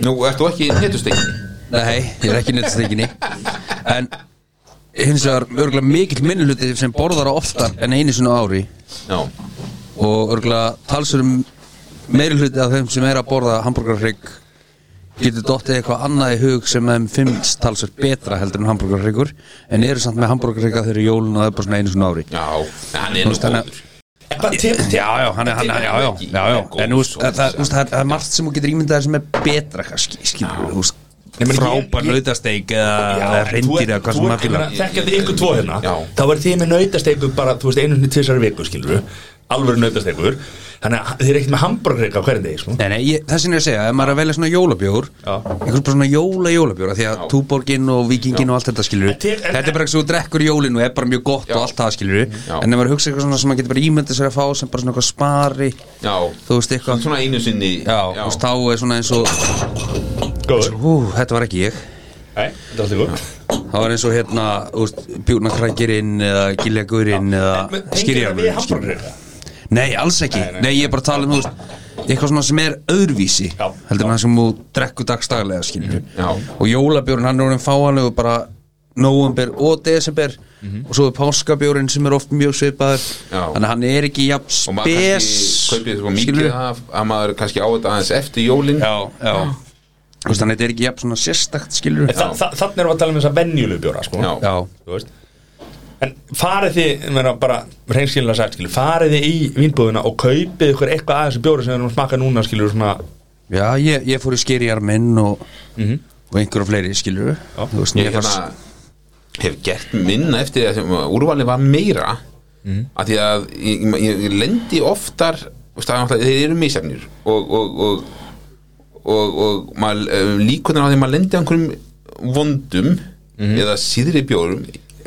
nú ert þú ekki netustekinni Nei, ég er ekki nettstekinni en hins vegar örgulega mikill minni hluti sem borðar á oftar en einu svona ári Já, og örgulega talsurum meiri hluti af þeim sem er að borða hambúrgarhrygg getur dottið eitthvað annað í hug sem þeim finnst talsur betra heldur en hambúrgarhryggur en eru samt með hambúrgarhrygga þegar jólun og það er bara svona einu svona ári já, hann er nú veist, hann er- góður Já, já, hann er, hann er, já, já, já, já En þú veist, það- það þú veist, það er- það er margt sem þú getur ímyndað þér sem er betra kannski, skilur við, þú veist meina, ég- Frábær nautasteik eða reyndir eða hvað sem maður fílar Þekkja þið ykkur tvo hérna Já. Þá er þið með nautasteikur bara, þú veist, einu sinni tvisari viku skilur við Alvöru nautasteikur Þannig að þið er ekkert með hamburgrika á hverjum degi sko. Nei, nei, ég- þess vegna er ég að segja, ef maður er að velja svona jólabjór Já. einhvers bara svona jóla-jólabjór af því að túborginn og vikinginn og allt þetta skilur En til- en- Mm, þetta er bara ekki svo þú drekkur jólinn og er bara mjög gott og allt það skilur Já. en ef maður hugsa eitthvað svona sem maður getur bara ímyndað sér að fá sem bara svona eitthvað spari Já, þú veist eitthvað svona einu sinni Já, þú veist, þá er svona eins og Góður, Ú, þetta var ekki ég Nei, þetta er allt í góð Það var eins og hérna, þú veist, bjúnakrangirinn eða gillegurinn eða við skýrjarinn hamburgrika Nei, alls ekki, nei, ég er bara að tala um, þú veist eitthvað svona sem er öðruvísi Já. Mhm. heldur en það sem þú drekku dagstaglega skilur Já. og jólabjórinn hann er orðin fáanlegu bara november og desember og svo er páskabjórinn sem er oft mjög svipaður Mhm. Já. þannig að hann er ekki jafn Og maður spes kannski kaupið skilurðu. svo mikið af að maður kannski á þetta aðeins eftir jólin Já, já Ah. Þú veist, þannig að þetta er ekki jafn svona sérstakt skilur Þa, þa, Þannig erum við að tala um þessa venjulu bjóra sko. Já. Já, Þú veist. En farið þið, ég meina bara reynskilinlega sagt, skilur, farið þið í vínbúðuna og kaupið ykkur eitthvað að þessu bjóra sem við erum að smaka núna, skilur, svona já ég, ég fór í skýrjar minn og, og einhverjum fleiri skilur Þú veist, Mhm. Ég mér fannst hérna hef gert minna eftir því að sem úrvalið var meira mm. að því að ég, ég, ég lendi oftar þú veist, það er náttúrulega- þeir eru misjafnir og, og, og, og, og maður, eh, líkunar á því að maður lendi á einhverjum vondum eða síðri bjórum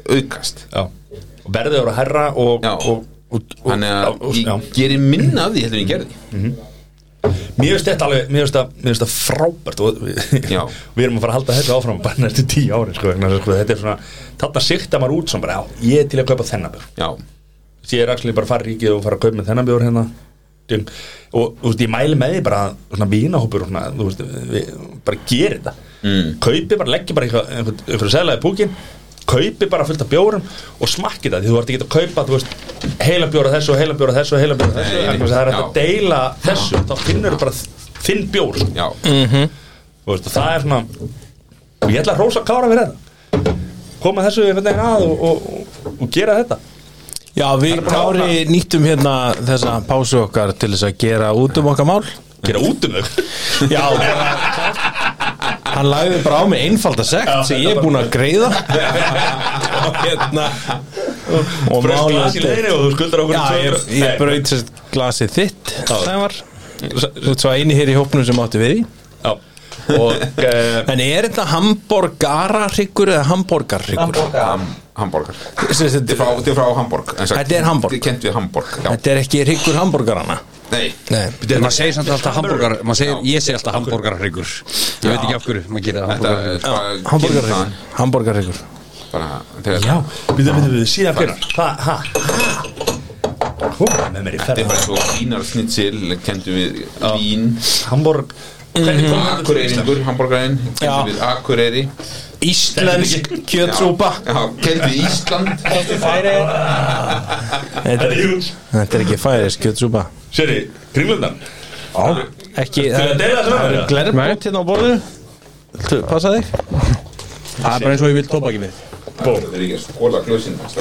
aukast já. og verðið voru að herra og, Já. og, og, og, þannig að og, já. ég geri minna af því heldur en ég gerði Mér finnst þetta alveg, mér finnst það- mér finnst það frábært og við, Já. [laughs] við erum að fara að halda þetta áfram bara næstu tíu ári sko, vegna þess að, sko, þetta er svona, þarna sikta maður út sem bara, já, ég er til að kaupa þennan bjór já, Því ég er actually bara að fara í ríkið og fara að kaupa með þennan bjór hérna Ding. og þú veist, ég mæli með því bara að svona vínahópur og svona, þú veist, við, bara gerir þetta mm. kaupi bara, leggi bara einhver, einhver, einhver seglaði púkin kaupi bara fullt af bjórum og smakki það því þú ert ekki að kaupa, þú veist heila bjóra þessu og heila bjóra þessu og heila bjóra þessu Nei, Nei, það er hægt að já. deila þessu þá finnur þú bara þinn bjór sko. já, Þú veist, og það er svona og ég ætla að rósa kára fyrir þetta koma þessu einhvern veginn að og, og, og, og gera þetta Já, við Kári nýttum hérna þessa pásu okkar til þess að gera út um okkar mál gera út um þau [laughs] Já Hann lagði bara á mig einfalda sekt sem ég er búin að greiða og hérna og Braust glas í málið leiðinni og þú skuldar okkur Já, ég, 200. ég braut sérst glasið þitt Það var Þú ert svo eini hér í hópnum sem átti við í Já. [laughs] og uh, En er þetta hambúrgararyggur eða hambúrgarryggur? ham, hamborgar þetta er frá, Þetta þetta er frá hamborg Þetta er Hamborg. þetta er kent við hamborg já, er ekki ryggur hambúrgarana nei, Nei En maður segir samt alltaf hambúrgar maður segir, ég segi alltaf hambúrgarhryggur ég veit ekki af hverju maður gerir þetta hambúrgarhryggur er bara kemur þaðan, Hambúrgarryggur Hambúrgarryggur bara þegar Já Við þau, við þau, við þau, síðan hvernar Hvað, hæ? Hvað með mér í Þetta er ferða? bara svo vínar snitsil, kendum við vín, Hamborg Mhm. Hvernig kom þetta til Íslands? akureyringur, hamburgerinn, Já. kendum við akureyri, Íslensk kjötsúpa já, kendum við [laughs] Ísland, Þetta Þetta er jú þetta er ekki færisk kjötsúpa Sérri, kringlundan Ekki Til að deila þessu með mér? Glerbót hérna á borðu Viltu passa þig? Það er bara eins og ég vil tópa ekki við það er ekki að skóla glösin, það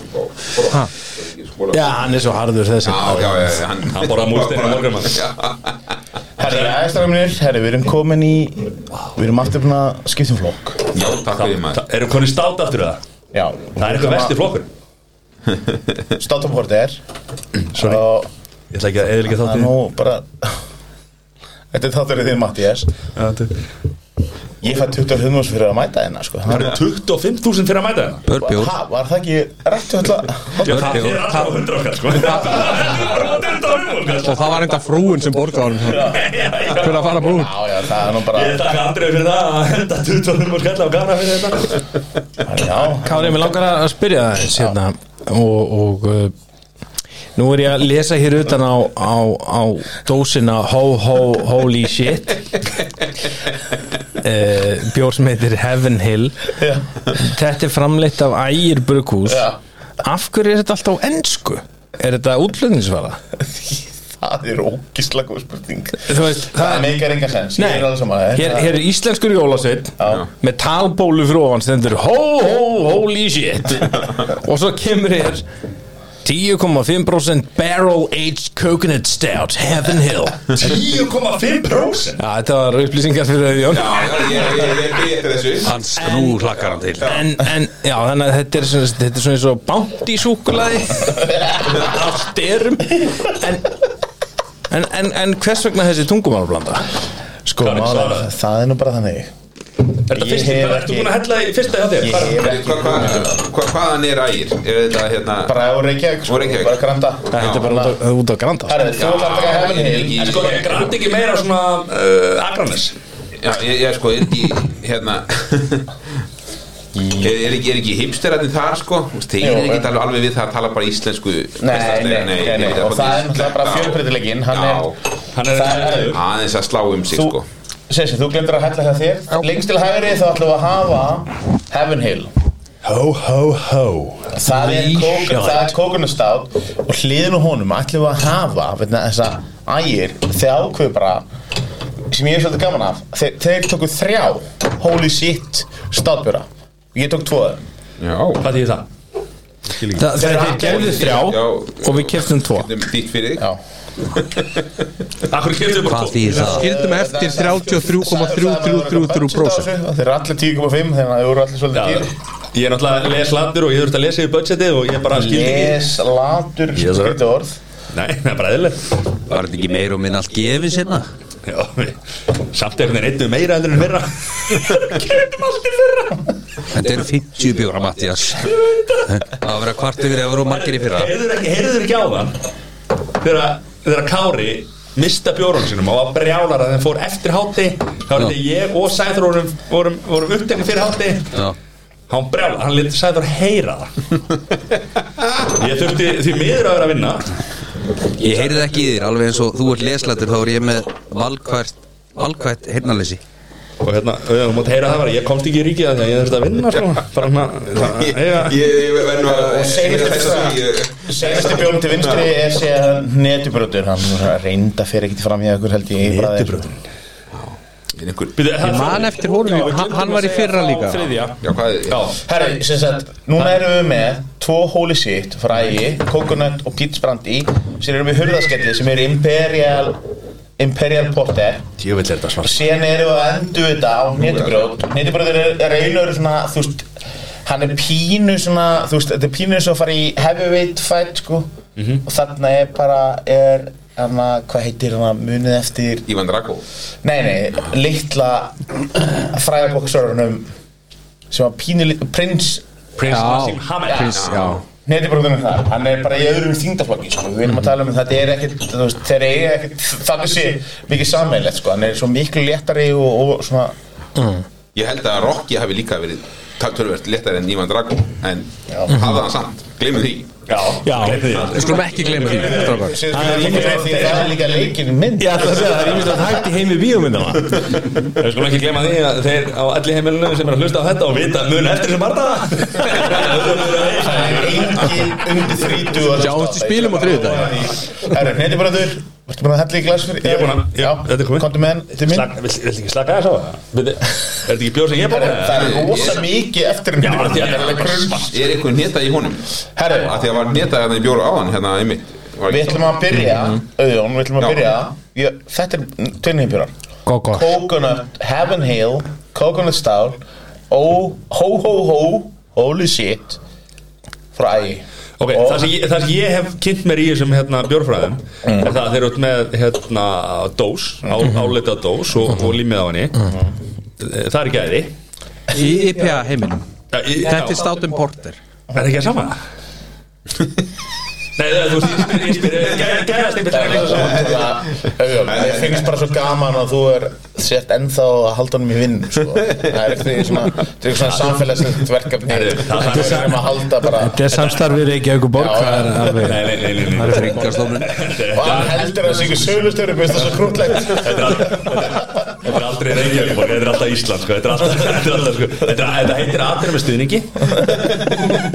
er ekki að skóla Já, hann er svo harður þessi Já, já, já, já, hann Hann borðaði múrstein í morgunmat. Já, Herri, aðeinstakar minnir, herri, við erum komin í Við erum aftur búin að skipta um flokk já, takk fyrir maður Það- Erum konið státt aftur það? Já Það er eitthvað vesti flokkur Státumhort er Sorry. Og Ég ætla ekki að eða líka það er nú bara Þetta er þátturinn þinn, Mattias þáttir Ég fætt 25 mús fyrir að mæta hérna, sko Það eru 25.000 fyrir að mæta það Börbjór Ha, var það ekki rættu alltaf Það er alltaf 100 okkar sko Það er alltaf 100 Og það var enda frúin sem borgaði honum Fyrir að fara brún Já, já, það er nú bara Ég takk Andrið fyrir það að henda 20 múl skella á gana fyrir þetta Já, Kári, mér langar að spyrja það eins hérna og, og uh, nú er ég að lesa hér utan á, á, á dósina Ho Ho Holy Shit uh, bjór sem heitir Heaven Hill Já. þetta er framleitt af Ægir Brukhús Já. af hverju er þetta alltaf á ensku? Er þetta útlöðningsvara? það er ógislega góð spurning Þú veist, Það meikar enga sens, ég Nei, er alveg saman hér, hér er íslenskur jólasveit með talbólu frá hann stendur ho ho holy shit og svo kemur hér 10,5% barrel aged coconut stout heaven hill 10,5% ja, þetta var upplýsingar fyrir þau Jón ég, ég, ég, ég byrja eftir þessu Hans, nú hlakkar hann til en, en já, þannig að þetta er svona, þetta er svona eins og bounty súkulaði á styrum en, en, en, en hvers vegna þessi tungumálblanda? Sko, Karin mál, svaraði. það er nú bara þannig Er þetta Ég fyrsti, hef hvað ertu ekki- búin að hella í fyrsta hjá þér? Ég Hvað- hef Hva, ekki hva, hva, hvaðan er ægir? Er þetta hérna bara á Reykjavík, sko, Úr Reykjavík. bara granda Þetta er bara út á, út á granda Herri, þú ætlar að taka hefðin ég er heil ekki- En sko, er grænt ekki meira svona uh, Akranes? Já, ég, ég sko, er ekki hérna Er, er ekki, er ekki hipsterarnir þar sko Þú veist, þeir Jú, eru ekki en- alveg, alveg við það að tala bara íslensku Nei, hversdagslega, nei, nei, nei, ég veit og að það er fólk- náttúrulega bara Já. fjölbreytilegin Hann Já. er, Hann er það er aðeins að slá um sig Þú, sko Sessi, þú glemdur að hella það þér Lengst til hægri þá ætlum við að hafa Heaven Hill ho ho ho Það er, kók, það er kókunustát og hliðin á honum ætlum við að hafa veitna, þessa ægir þegar ákveðu bara sem ég er svolítið gaman af þeir, þeir tóku þrjá holy shit státbjöra ég tók tvo af þeim. Já, Hvað þýðir það? Þa, þeir gerðu þrjá Já. og við keftum tvo þetta er þitt fyrir þig já Akkur kemur bara Hvað tvo þýðir það? Skildum eftir Það 33,333% er- það er allir 10,5 þannig að það eru allir Já, svolítið dýr Ég er náttúrulega les landur og ég þurfti að lesa yfir budgetið og ég bara skildi ekki Les, latur, Yes, sir. skrítið orð Nei, það er bara eðlilegt Var þetta ekki meir og minn allt gefið sinna? Já, samt einhvern veginn eittu meira heldur en fyrra Kemur allt í fyrra Þetta eru 50 bjóra, Mattias Það var að vera kvart yfir ef voru margir í fyrra Heyrður ekki, heyrður ekki á það Þegar, þegar Kári mista bjórun sinum og var brjálar að þeim fór eftir hátti þá var þetta ég og Sæður vorum, vorum, vorum upptekni fyrir hátti Já. hann brjálar, hann liti Sæður heyra það ég þurfti því miður að vera að vinna Ég heyrði ekki í þér, alveg eins og þú ert leslatur þá er ég með valkvært valkvært heyrnaleysi og hérna, þú mátt heyra það var ég komst ekki í ríkið af því að ég þurfti að vinna sko. bara hann Ég, ég verð nú að seinasta fyrra. Senasti bjórn til vinstri er séðan netibröður Hann reynda fyrir ekkert fram í ykkur held ég Netibröður einhver Ég Man eftir honum, hann- hann var í fyrra líka þriðja Já, hvað er Já, Herri, sem sagt, núna erum við með tvo holy shit frá ægi, coconut og peach brandy sem erum við hurðaskelli sem er imperial Imperial Porter Djöfell er þetta svart og síðan erum við að endu þetta á netibrót netibróður er, er einur svona, þú veist hann er pínu svona, þú veist, þetta er pínu eins og að fara í heavyweight fight, sko Mhm. og þarna er bara, er hana, hvað heitir hana, munið eftir Ívan Drago Nei, nei, litla fræðaboksorunum sem var pínu litla, prins Prince Nassim Hamed Prins, já Netibróðunum þar, hann er bara í öðrum þingdaflokki sko. við erum að tala um að þetta er ekkert þú veist, þeir eru ekkert, þannig sé mikið sammeilegt, sko. hann er svo miklu léttari og, og svona, Ég held að Rocky hafi líka verið tölvöld léttar en Ívan Drago en Já. hafði hann samt, gleymið því Já, Já. gleymdu því. Við skulum ekki gleyma því strákar. Sér, sko, því að það er líka leikin mynd Ég ætla að segja það, það er ímyndilegt hægt í heimi bíómyndana Við skulum ekki glema því að þeir á allir heimilinu sem er að hlusta á þetta og vita mun eftir sem barða það er engin undir þrítu Sjáumst í spilum á þriðjudaginn. það er netibróður, vartu búin að hella í glas fyrir Ég er búinn að- já, þetta er komið. komdu með henn til minn Slag, vill, vill ekki slaka þess á það? Bíddu, Er þetta ekki bjór sem ég Herru, borða? það er rosa mikið eftir Já, netibróður því að það er alveg grunn Er einhver neta í honum? Herru. Að því að var neta hérna í bjóru á hann hérna einmitt Var Við ekki- ætlum að byrja, auðvun, við ætlum að Já. byrja ég, Þetta er tvinnhýpjurar Gógó Coconut, Heaven Hill, Coconut Stout Ó, Ho Ho Ho, Holy Shit Frá ægi Ok, Og- það sem, ég, það sem ég hef kynnt mér í þessum hérna, bjórfræðum er það að þeir eru út með hérna, dós, á, álita dós og, og límið á henni Það er gæði Í IPA heiminum Já, í- Þetta er já. státum porter Er það ekki að sama? Nei, það- þú veist, ég spyr, ég spyr Gæðast einhvern veginn eins og saman Ég finnst bara svo gaman að þú er sett ennþá að halda honum í vinn sko. Það er eitthvað í svona Það er eitthvað svona samfélagsnætt verkefni Það er sem að halda bara Þetta er samstarfið Reykjavík Já, já. og Borgar alveg Nei, nei, nei, nei, nei. Og hann heldur að sigur sölustöru Mér finnst það svo krútlegt Þetta er aldrei Reykjavík Þetta er alltaf Ísland sko. Þetta er alltaf, þetta er alltaf sko. Þetta þetta heitir aðrið með stuðningi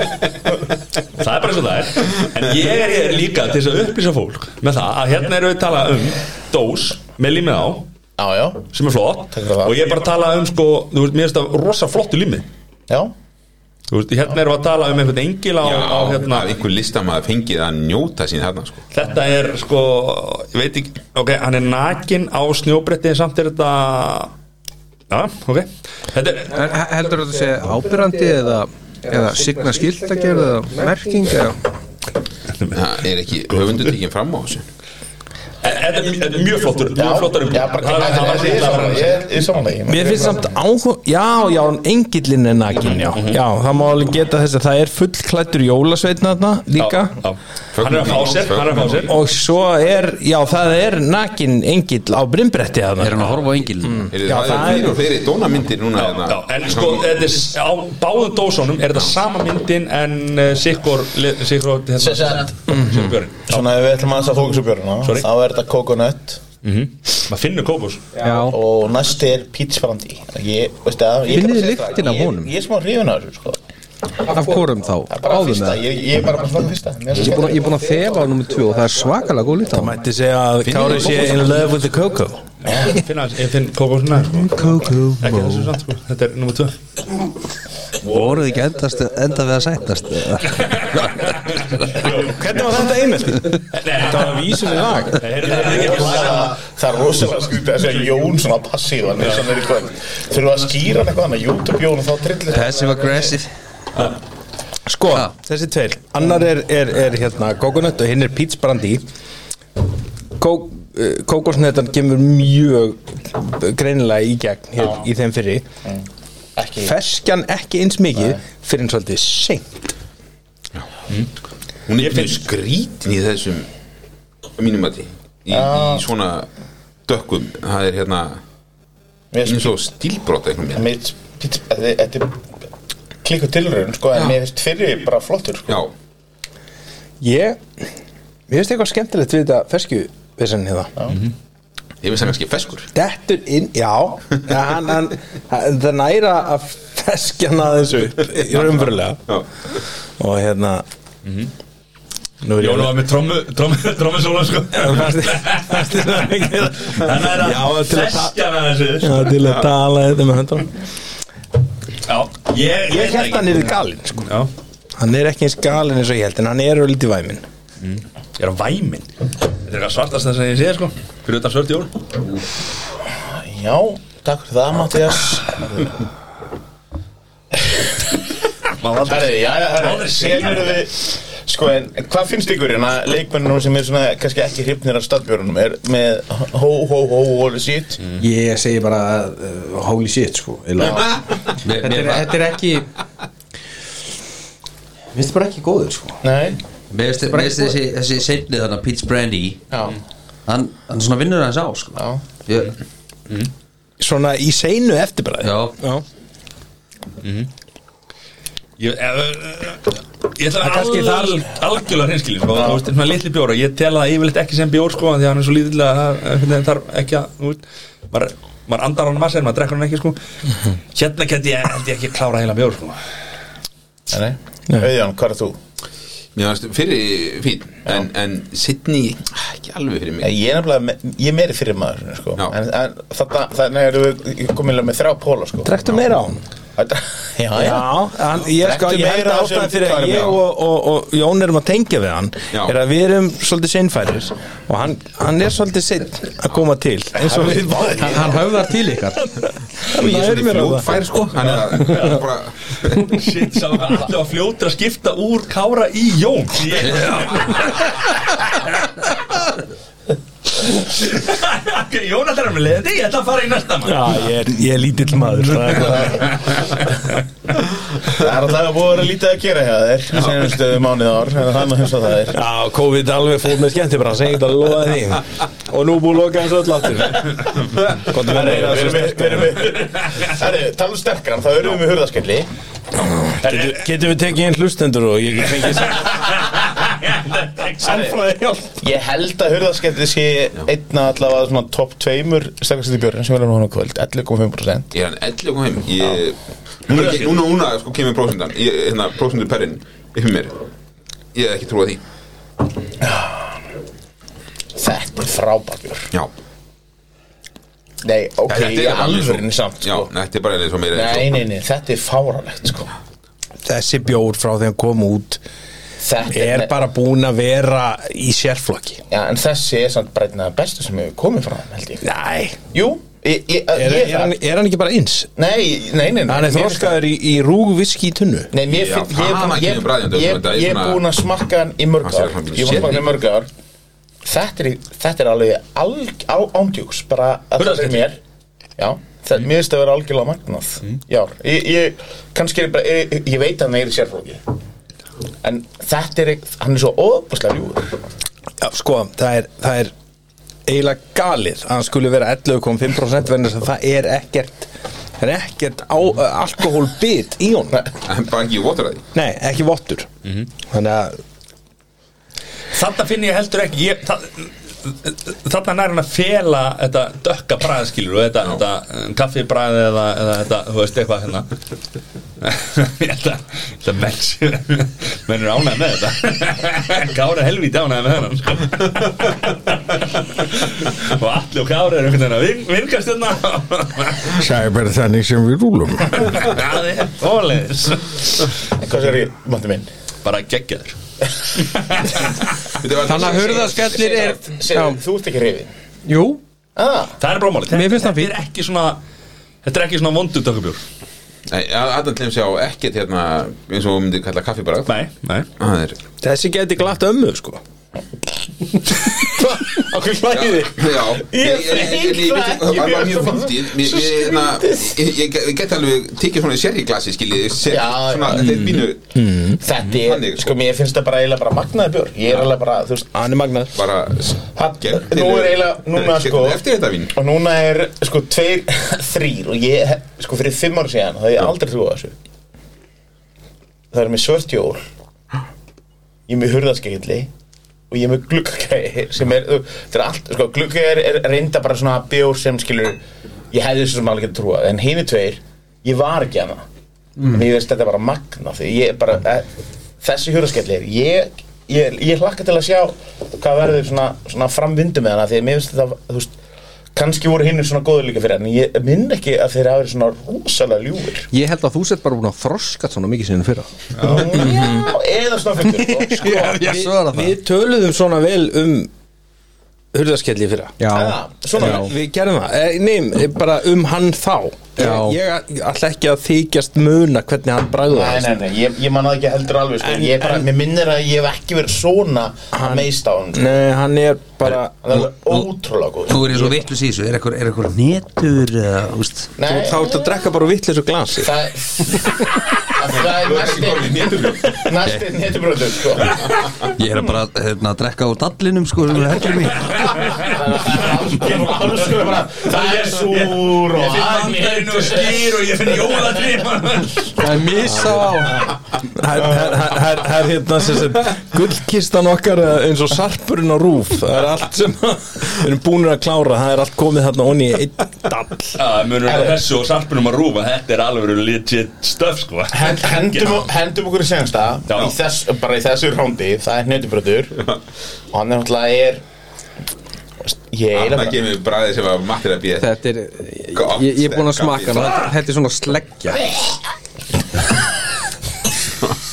Það er bara svo það er En ég er, ég er líka til þess að upplýsa fólk Með það að hérna erum við að tala um Dós með límið á Já, já, sem er flott Takk fyrir það. og ég er bara að tala um sko, þú veist, mér finnst það rosa flott í límið já Þú veist, hérna erum við að tala um einhvern engil á, Já, á hérna, að einhver listamaður fengið að njóta sín þarna sko. þetta er sko, ég veit ekki, ok, hann er nakin á snjóbretti samt er þetta, já, ok, þetta er, En he- heldur þú að segja ábyrrandi eða, eða signa skilt að gera eða merking eða Það er ekki höfundu tekinn fram á þessu e- þetta er mj- þetta er mjög flottur, mjög flottur Já, bara það það var Ég svolítið er að sammála, vera Ég er samanlegin Mér finnst samt áhuga, já, já, engillin er nakin, já, já, það má alveg geta þess að það er fullklættur jólasveitna þarna líka Hann er að fá sér, hann er að fá sér og svo er, já, það er nakin engill á brimbretti þarna er hann að horfa á engil Heyrðu, Það er það er- fyrir og fyrir dónamyndir núna hérna. Já, já, en sko, þetta er, s- á báðum dósunum er þetta sama myndin en uh, Sigur, Sigur, Sem hérna, sagt, Sigur Björn Svona ef við ætlum aðeins að fókusa á björnuna Sorry. Þá er þetta coconut Maður finnur kópus Já, og næst er Peach Brandy Ég, veistu að ég Finnið kann að þið segja lyktina það, af ég- honum? Ég er smá hrifun af þessu sko Það af hvorum þá? er bara Báðum fyrsta, það? ég, ég er bara bara svona fyrsta Mér finnst Ég er búin- ég skemmtilegt. er búin að þefa á nummer 2 og það er svakalega góð lít á hann. Mætti segja að Kári sé in love with the cocoa finna, ég finn kókósuna Kókó Ekki þessu samt sko, þetta er nummer 2 Voruð þið ekki endast, enda við að sættast eða? Hvernig var þetta einmitt? Þetta var vísum í lag Það- Það er rosalega skrítið að segja Jón svona passívan sem er í kvöld Þurfum við að skýra hann eitthvað annað YouTube Jón og þá trillir Passive aggressive Ah, Sko, Ha. þessi tveir, annar er, er, er hérna coconut og hinn er peach brandy Kókosnetan kemur mjög greinilega í gegn hér, í þeim fyrri ekki Ferskjan ekki eins mikið fyrir en svolítið seint Hún er mjög skrítin í þessum að mínum að því í, í svona dökkum það er hérna Mér finnst- eins og stílbrot einhvern veginn mér finnst- Peach- Þetta þetta er klikku tilraun sko en mér finnst fyrir bara flottur sko Já, Ég, ég veist eitthvað skemmtilegt við þetta ferskju vissan hérna ég finnst það kannski feskur Dettur inn, já ja, hann, hann, hann, það næra að feskja hann aðeins upp í raunverulega Já. og hérna Nú er ég Jón var með trommu, trommu, trommu sóla sko [laughs] Þannig er að Já, til að- festja með þessu Já, til að tala þetta með höndunum Já, ég, Ég held hann er galinn sko. Já, Hann er ekki eins galinn eins og ég held en hann er lítið væminn ég er á væmin Þetta er eitthvað svartast þess að ég sé sko Fyrir utan svört Jón Já, takk fyrir það Mattias Maður aldrei- Herri, já, já, Aldrei herri, segja síðan eru við Sko, en en hvað finnst ykkur hérna leikmennum sem er svona, kannski ekki hrifnir af stadbjörnum er með hó, hó, hó, hólu sitt Mm. Ég segi bara uh, holy shit sko eiginlega. Mér- þetta, mér er, var- þetta er ekki Minnst bara ekki góður sko Nei, Mér finnst mér finnst þessi, þessi seinni þarna, Pete's Brandy já, hann, hann svona vinnur hans á sko. já Ég- Svona í seinu eftirbræði Já, Já. Ég, eh, eh, ég ætla að kannski vera al, algjörlega hreinskilin sko, þú veist, svona litli bjóra, ég tel það yfirleitt ekki sem bjór sko, því að hann er svo lítilega það þarf ekki að, þú veist, maður maður andar hann massa en maður drekkur hann ekki [laughs] sko hérna geti ég, held ég ekki klára heila bjór sko Nei, auðján, hvað er þú? Mér varst fyrir fín en, en sitni ekki alveg fyrir mig Ég er nefnilega, me- ég er meiri fyrir maður sko. Já. en, en þetta, þannig erum við kominlega með þrjá póla sko. Drektu meira á hann Þetta- [laughs] Já, já, Já, hann, ég, sko, Drekktu ég held meira að af þessum ástæðan fyrir að klæðum, já. ég og, og, og Jón erum að tengja við hann Já. er að við erum svolítið seinfærir og hann, hann er svolítið seinn að koma til eins og við hann, hann höfðar til ykkar og ég er nær svona mér á það. fljótfær sko hann er að- hann er bara shit, sá hann allir að fljóta að skipta úr [laughs] kára í jón ég, Jónatan er með leiðandi, ég ætla að fara í næsta [laughs] mann Já, ég er, ég er lítill maður [laughs] það er bara- Það er alltaf að búið að vera lítið að gera hjá þér í senustu mánuð ár, en það er nú hins að það er Já, COVID alveg fór með skemmtibrann sem ég get að lofa því og nú búið að loka þessu öll aftur Komdu með Herri, það mér, erum við- erum við- Herri, tala um sterkran, þá erum við með hurðaskelli getum, getum við tekið einn hlustendur og ég get fengið sem sannfræði hjálp Ég held að hurðaskelli sé einna allavega svona top tveimur sterkastu björn sem verður núna á kvöld, 11,5% Ég er hann 11 kom heim ég, núna, ég, núna, núna sko kemur prósendan ég, hérna, prósendur perrin yfir mér Ég hef ekki trúið því Þetta er frábært björn Já, Nei, ok, Þetta er í alveg svo- alvörinni samt já sko. þetta er bara eins og meira Nei, nei, nei, þetta er fáralegt sko. Þessi bjór frá því hann kom út Þetta er bara búin að vera í sérflokki Já, en þessi er samt bara einn af bestu sem hefur komið frá hann, held ég Næ, Jú, ég, ég, ég, er, er, það hann, er hann ekki bara eins? Nei, nei, nei, nei Hann er mér finnst það- þroskaður í, í rúgviski í tunnu Nei, mér Já, finn, ég, er það búinn- ég, kemur bræðandi, ég, þetta er ég er svona- búinn að smakka hann í mörg Hann sér ár hann Ég var sér smakka hann í þig. mörg ár Þetta er, þetta er alveg alg, á, ándjúks bara að það er mér Já, Mm. það, mér finnst það að vera algjörlega magnað Já, ég, ég kannski er bara, ég, ég veit að hann er í sérflóki En þetta er, hann er svo óbúslega ljúður Já, sko, það er, það er eiginlega galið að hann skulle vera 11,5% verðin þess að það er ekkert það er ekkert á, uh, alkoholbit í hún En bara ekki votur að því Nei, ekki vottur Þannig að Þarna finn ég heldur ekki ég, það, Þarna nær hann að fela þetta dökka bræðskilur og þetta, þetta kaffibræði eða, eða þetta, þú veist, eitthvað hérna [laughs] Ég held að- ég held að menn séu- menn eru ánægð [laughs] með þetta Kára helvíti ánægð með hennan sko. [laughs] og allir og Kára eru einhvern veginn að vin- vingast [laughs] hérna Það er bara þannig sem við rúlum [laughs] Það er óleis Hvað sér ég, mátti minn? Bara [laughs] geggjaður Þannig Þannig að hurðaskellir er Sér, þú ert ekki reyfin Jú, ah, Það er brómáli Mér finnst það Þetta er ekki svona Þetta er ekki svona vondur dökkubjór Adam Clemens á ekkert hérna eins og við myndum kalla kaffi bara Nei, nei Það er þessi geti glatt ömmu, [laughs] sko Okkur hlæði þig Já, Ég finn það það ekki, var mér mjög finnst fyndið það Mér- svo ég- hérna, Ég ég- ég get alveg tekið svona sérriklasi skiljið sér- Já, Svona, já. þetta er bínu Mm, Þetta er, Þannig, sko. sko, mér finnst það bara eiginlega bara magnaði björn Ég er alveg bara, þú veist Hann er magnað bara hann- gegn- Nú er eiginlega, núna Hérna, sko Eftir þetta vín Og núna er, sko, tveir, [laughs] þrýr Og ég, sko, fyrir fimm ára síðan Það er aldrei trúið þessu Það er með svört jól Ég er með hurðaskegilli Og ég er með gluggagæði Sem er, þú- þetta er allt, sko, gluggagæði er reynda bara svona bjór sem skilur Ég hefði þessu sem alveg getur trúað En hini tveir, ég var ekki hana En ég veist þetta er bara magna Því ég er bara, e, þessi hurðaskellir Ég, ég, ég hlakka til að sjá Hvað verður svona, svona framvindu með hana Því að mér finnst þetta, þú veist Kannski voru hinnur svona góður líka fyrir hann en Ég minn ekki að þeir hafa verið svona rosalega ljúfur Ég held að þú sett bara búin að þroska svona mikið sinni fyrra Já, eða svona fyrir sko, sko, Ég svara það Við töluðum svona vel um hurðaskelli fyrra Já, Ah, svona Við- Við gerum það, Eh, nei, bara um hann þá Já. Ég, ég ætla ekki að þykjast muna hvernig hann bragði Nei, nei, nei, ég, ég man það ekki heldur alveg sko. En- Ég er bara, en- mér minnir að ég hef ekki verið svona Hann- meist á hann sko. Nei, hann er Það bara er alveg ótrúlega góð Þú er eins og vittlus í þessu, er eitthvað, er eitthvað netur eða, þú veist Þú Nei, þá ertu að drekka bara vittlis og glasi það það- Það er næsti Næsti netubröður sko. Ég er bara hérna, að drekka úr dallinum sko sem er heldur mig Það er súr og Andurinn og skýr og ég finn jólatrým [laughs] það er misa á Það er hérna sem sem gullkistan okkar eh, eins og sarpurinn á rúf Það er allt sem [laughs] við erum búinir að klára Það er allt komið þarna onni í einn dall Munur á þessu og sarpinum að rúfa Þetta er alveg legit stöf sko Hen- Hendum, hendum okkur í senasta Já. í þess, bara í þessu rándi það er netubröður og hann er náttúrulega er ég er Það eiginlega gefur bræðið sem var mattir að býða Þetta er, ég, ég er búin að smaka hann Þetta- Þetta er svona sleggja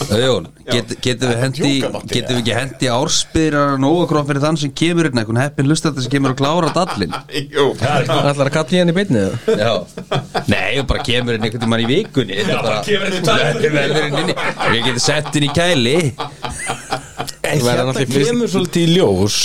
Jón, get, getum við hendi Jóka mátti getum við ekki hendi ársbyrjar nógu gróf fyrir þann sem kemur hérna einhvern heppin lustandi sem kemur að klára dallin Jú, Það er að kalla í henni beinni eða? Já, nei, og bara kemur hérna einhvern tímann í vikunni Þetta er bara, kemur hérna í tvær vikur. Þetta er velverðin inni og ég geti sett henni í kæli En verður hérna náttúrulega fyrst- kemur svolítið í ljós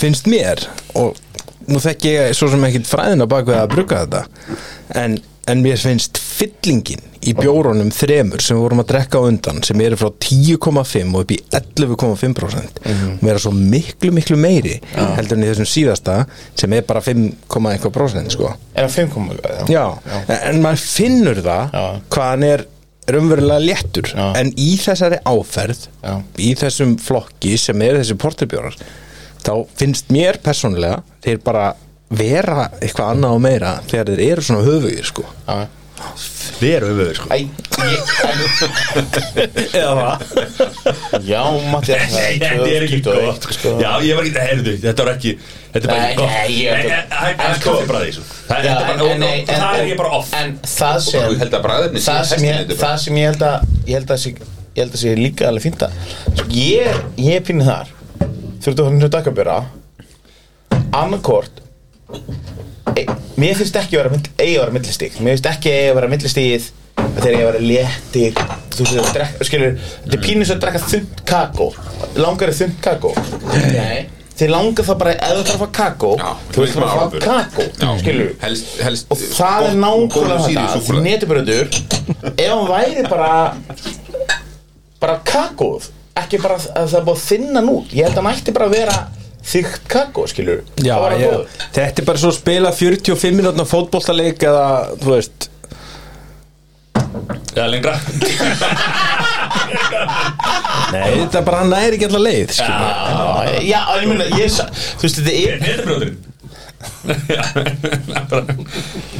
Finnst mér Og nú þekki ég svo sem ekkit fræðin á bakvið að bruka þetta en, en mér finnst fyllingin í bjórunum þremur sem við vorum að drekka á undan sem eru frá 10,5 og upp í 11,5% og mér er svo miklu miklu meiri heldur en í þessum síðasta sem er bara 5,1% sko. Er það 5,5? já, En, en maður finnur það Já. hvað hann er raunverulega léttur Já. en í þessari áferð Já. í þessum flokki sem er þessi porterbjórar þá finnst mér persónulega þeir bara vera eitthvað annað og meira þegar þeir eru svona höfugir sko Já. Veru höfuðu sko Æ, ég, eða það já, [laughs] Matti Nei, [laughs] þetta er ekki gott sko. Já, ég var ekki, heyrðu, þetta var ekki Þetta er bara Nei, ekki gott nei, ég- En- en- en- Það er sko- kofið bara því Það er Já, en, bara- en, og- en, og það er ég bara off En það og sem held að bræðefni það sem ég, það sem ég held að ég held að sé, ég held að sé líka alveg fínt að sko, ég, ég pinni þar þurftu að horfa nýja daggabjöra annarkort e, mér finnst ekki að vera mill- eigi að vera millistík mér finnst ekki eigi að vera millistíð þegar ég að vera léttir þú veist að drekka, skilur, þetta er pínus að drekka þund kakó, langar er þund kakó nei Þið langar það bara, ef þú þarf að fá kakó Já, þú veist bara að fá kakó, skilur helst, helst, og það er nákvæmlega þetta því netibröður ef hann væri bara bara kakóð ekki bara að það er búið að þinna nú ég held að hann ætti bara að vera þygt kakó skilur Já, já, þetta er bara svo að spila 45 minútna fótboltaleik eða, þú veist Já, lengra Nei, þetta bara næri ekki allar leið sko. skilur. já, já, en ég meina ég, sa- þú veist þetta er Netabróðurinn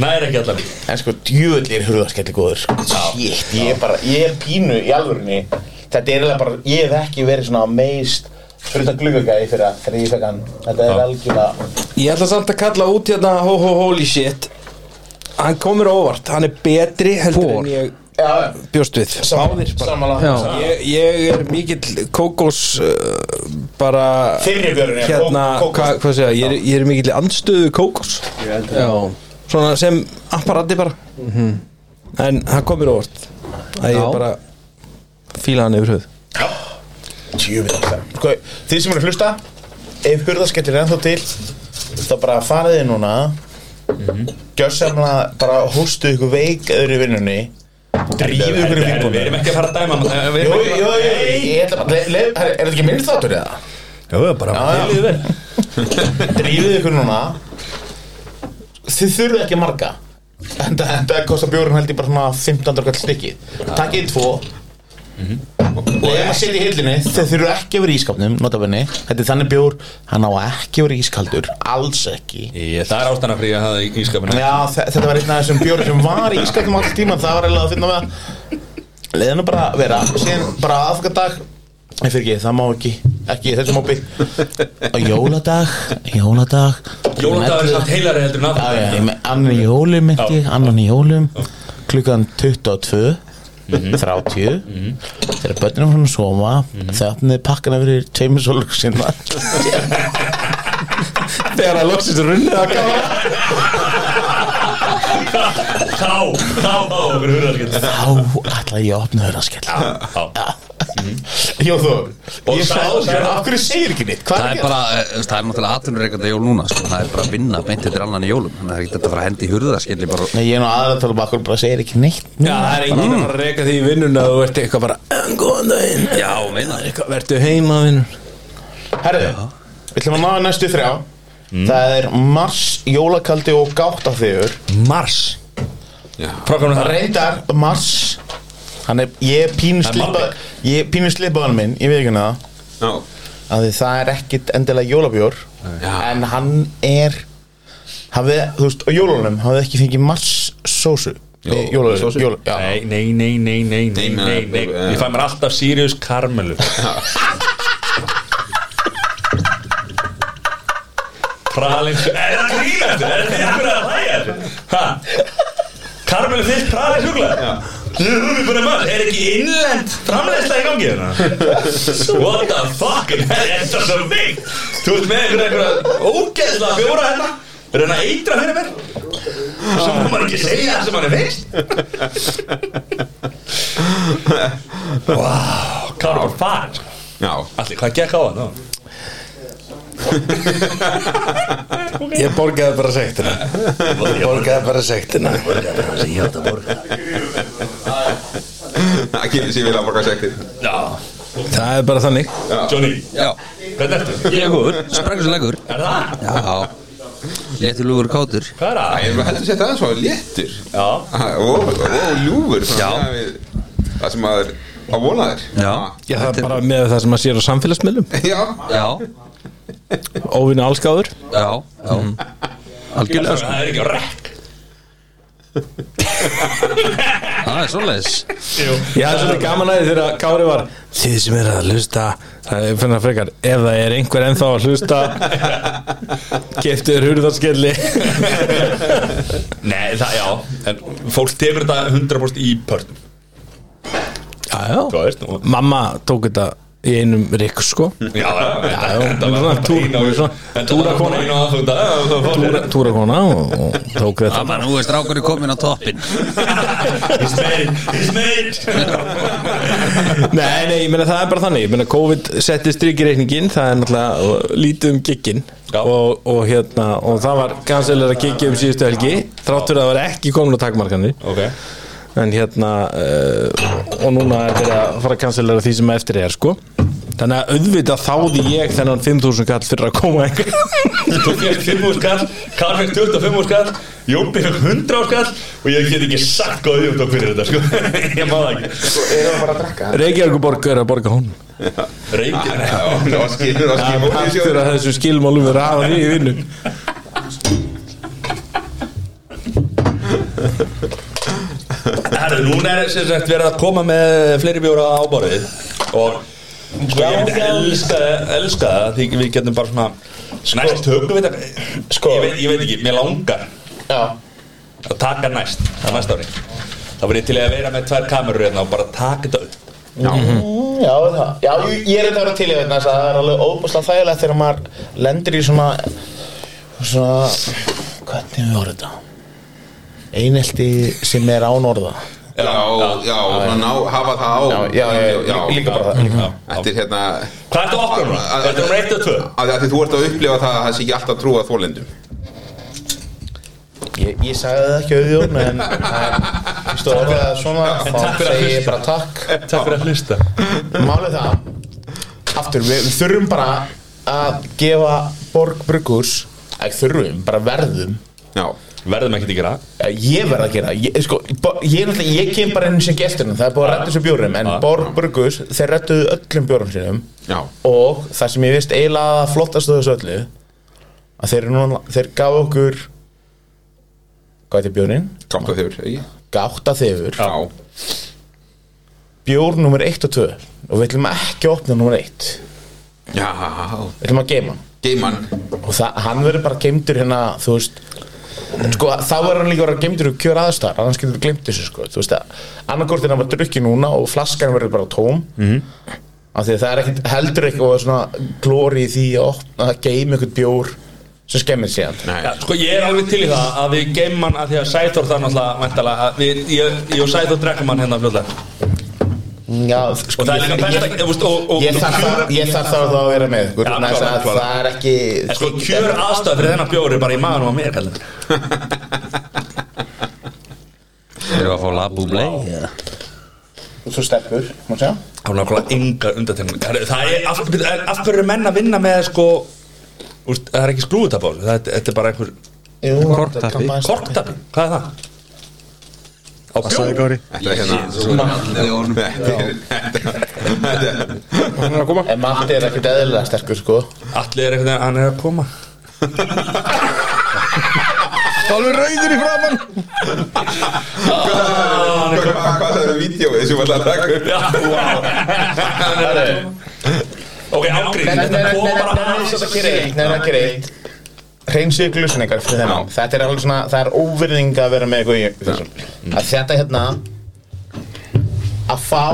Næri ekki allar en sko djöðl er hurðaskelli góður sko. shit, ég er bara, ég er pínu í alvörunni þetta er eiginlega bara, ég hef ekki verið svona meist fyrir þetta glugagæði fyrir að þegar ég fekk hann þetta er algjörlega Ég ætla samt að kalla út hérna ho ho holy shit Hann komur óvart, hann er betri heldur Hvor? en ég já, bjóst við Báðir bara samanlega Já. Ég, ég er mikill kókós uh, bara Fyrri vörun, já, hérna, kók- kókós. hva, hvað segja, ég er, ég er mikill andstöðu kókós já, svona sem apparati bara en hann komir óvart að ég Já. bara fíla hann yfir höfuð Djöfull. sko, þið sem eru að hlusta ef hurðaskellir er ennþá til þá bara farið þið núna Mhm. gjörsamlega bara hóstuð ykkur veik öðru í vinnunni drífið ykkur í Við erum vingunni ekki að fara að dæma hana, eh, við Jú, erum jú, ekki jú, að- ég ætla bara, le- le- herra, er þetta ekki minn þáttur eða? Jú, bara Já, já. [laughs] Drífið ykkur núna Þið þurfið ekki marga En það, en það kostar bjórun held ég bara svona 15 kall stykkið Takkið tvo Mhm. Og ef maður setja í hillinni Þið þurfið ekki að vera í ískapnum, notabenni Þetta er þannig bjór, hann á ekki að vera ískaldur Alls ekki Ég- Það er ástæðan fyrir að hafa í ískapinu Já, þe- þetta var einn af þessum bjóri sem var í ískapnum alls tíma Það var eiginlega að finna með að Leðinu bara að vera Síðan bara aðfangadag Nei fyrir ekki, það má ekki, ekki í þessum hópi Á Jóladag, jóladag Jólundagur er samt heilari heldur en Já, já, aðfangadag. ég með annan í jólum myndi, ég, annan í jólum klukkan 22 Mhm. 30 þegar börnum frá að soma þau opnið pakkana fyrir tveimur sólur sinna þegar að loksist runnið að gáða Þá, þá, þá, okkur hurðarskilt þá ætla ég að opna hörðaskell Jóþór Og Mhm. ég það- sagði það- þér, af hverju segir ekki neitt hvað Það er er að gera? bara, eh, þú veist, það er náttúrulega atvinnureikandi jól núna sko. Það er bara að vinna beint eftir annan í jólum Þannig að það er ekki þetta að fara að hendi í hurða skilji bara Nei, ég er nú aðra að tala um af hverju bara segir ekki neitt Já, það er enginn að fara að reyka því í vinnuna að þú ert eitthvað bara "En, góðan daginn Já, meina Eitthvað, Vertu heima vinnur Herðu, við ætlum að náða næstu þrjá það er mars, jólakaldi og gáttaþegur Mars Prófum við það reyndar Mars hann er, ég er pínu Það er slipa Malbec. ég er pínu slipaðan minn, ég veit ekki um hana Já, að því það er ekkit endilega jólabjór Já. en hann er hafði, þú veist, á jólunum hafði ekki fengið Mars sósu Jó, sósu? jólabjór Nei, nei, nei, nei, nei, nei, Nei, nei, nei, nei. eh. Ég fæ mér alltaf Sirius Karmelu Pralins Er það grínast? Er það grínast að hlæja þessu? Ha? Karmelu fyrst pralins sjúkla? Er ekki innlend framleiðsla í gangi hérna? What the fuck? Er þetta svo veikt? Þú ert með einhverja einhverja ógeðsla fjóra hérna Reyna að eitra fyrir mér Svo má maður ekki segja það sem hann er fyrst Kára var farin sko. já, Allir, hvað gekk á hann? þá? Ég borgaði bara sektina Ég borgaði bara sektina Ég átt að borga Það kynni sér vel að borga sektir Það er bara þannig Johnny, Já, hvernig ertu? ég er góður, sprengur svo leggur Er það? Já, léttilugur og kátur Hvað er það? Ég er heldur sér það aðeins og léttur Já, Ah, og, og ljúfur svona, miðað við Það sem maður á vonaðir Já, Já, það þetta er bara með það sem maður sér á samfélagsmiðlum Já, Já, Óvinni allskáður já, já Algjörlega, sko. það er ekki á rekk það er svoleiðis Já, það er svolítið gaman aðeins þegar Kári var Þið sem er að hlusta Það er fyrir að frekar Ef það er einhver ennþá að hlusta Keftur hurðarskelli Nei, það, já, en fólk tekur þetta 100% í pörnum Já, já Þú veist, og Mamma tók þetta í einum rikk sko Já, já, já, já, þetta svona var bara túr- eina og- svona þetta var bara eina og aðfunda, já, það var Túra, bara- túra kona og, og tók þetta Amma, nú er strákurinn komin á toppin He's made, it, he's made it. Nei, nei, ég meina það er bara þannig Ég meina COVID setti strik í reikningin Það er náttúrulega og lítið um giggin og, og hérna, og það var kansilega að giggi um síðustu helgi Þrátt fyrir að það var ekki komin á takmarkanir Ok, En hérna uh, Og núna er verið að fara að kansilega því sem eftir er sko Þannig að auðvitað þáði ég þennan 5.000 kall fyrir að koma einhver [laughs] þú fyrst 5 úr skall Karl fyrst 25 úr skall Jómpi fyrst 100 úr skall og ég get ekki sagt góð ég út á fyrir þetta sko. [laughs] ég má það ekki Reykjavíkuborg er að borga hún Reykjavík það var skilur og Það er skilur partur af þessu skilmálum við rafa því í vinnu Herru, núna er sem sagt verið að koma með fleiri bjóra á borðið og sko ég myndi elska, elska það því við getum bara svona næst tökum við þetta sko, ég, veit, ég veit ekki, mér langar Já, að taka næst, á næsta ári þá verður ég til í að vera með tvær kamerur hérna og bara taka þetta upp já, það Já, ég- ég er þetta að vera til í þetta Það er alveg óbúslega þægilegt þegar maður lendir í svona Svona Hvernig við voru þetta? Einelti sem er án orða Já, já, og svona ná, hafa það á líka bara það líka. Þetta er hérna Hvað ertu okkur núna? Ertu um reitt og tvö? Af því að þú ert að upplifa það að það sé ekki alltaf trú að þólendum Ég, ég sagði það ekki auðjón En en Þú stóð orðið að svona takk Þá fyrir að segi ég hlusta. bara takk Takk fyrir að hlusta Málið það Aftur, við við þurfum bara að gefa Borg Bruggurs Ekki þurfum, bara verðum Já, Verðum ekkert ekki gera Já, Ég verð að gera það. ég, sko, bo- ég, náttúrulega- ég kem bara inn sem gesturinn Það er búið að rætta þessu bjórum En Borg Bruggurs, þeir rættuðu öllum bjórum sínum já, Og það sem ég veist eiginlega að flottast af þessu öllu Að þeir, eru núna, þeir gaf okkur Hvað heitir bjórinn? gátt að þjóður Já, Gátta þefur já, Bjór nummer 1 og 2 Og við ætlum ekki að opna nummer 1 Við ætlum að geima hann geiman og það, hann verður bara geimdur hérna þú veist sko, þá verður hann líka verður geimdur úr kjör aðstæðar annars getur þú glemt þessu sko þú veist að annarkort er hann bara drukki núna og flaskan verður bara tóm mm -hmm. af því að það er ekkert heldur ekki og svona glóri í því að opna að geima einhvern bjór sem skemmir síðan Nei, Já, sko ég er alveg til í það að við geymum hann að því að Sæþór það náttúrulega væntanlega, að við, ég, ég og Sæþór drekkum hann hérna fljóðlega já, sko, og það er líka best að, þú veist, og, og ég, ég þarf það ég þarf það að vera með ykkur Já, vegna þess að klára, klára. það er ekki En sko kjör aðstæð fyrir þennan bjóri bara í maðunum á mér kallar Erum við að fá labu blei svo sterkur má sjá Það er nákvæmlega enga undartegning Það er, af, en af hverju er menn að vinna með sko úst, Það er ekki skrúðutapál Þetta þetta er bara einhver Korktappi. korktapi Hvað er það? Á bjóri Góri þetta er hérna Þetta er en Matti er ekkert eðlilega sterkur sko Allir er einhvern veginn, hann er að koma Alveg rauður í framann Hvað það er vídjóið sem var það að taka upp? Já, [laughs] wow Hann er að koma Ok, ágrín, Nei, þetta nei, kom nei, nei, bara nei, aðeins þetta að er ekki reitt, nei, þetta er ekki reitt. Hreinsið glusinningar fyrir þennan Þetta er alveg svona, það er óvirðing að vera með eitthvað í þessum Að Þetta hérna Að fá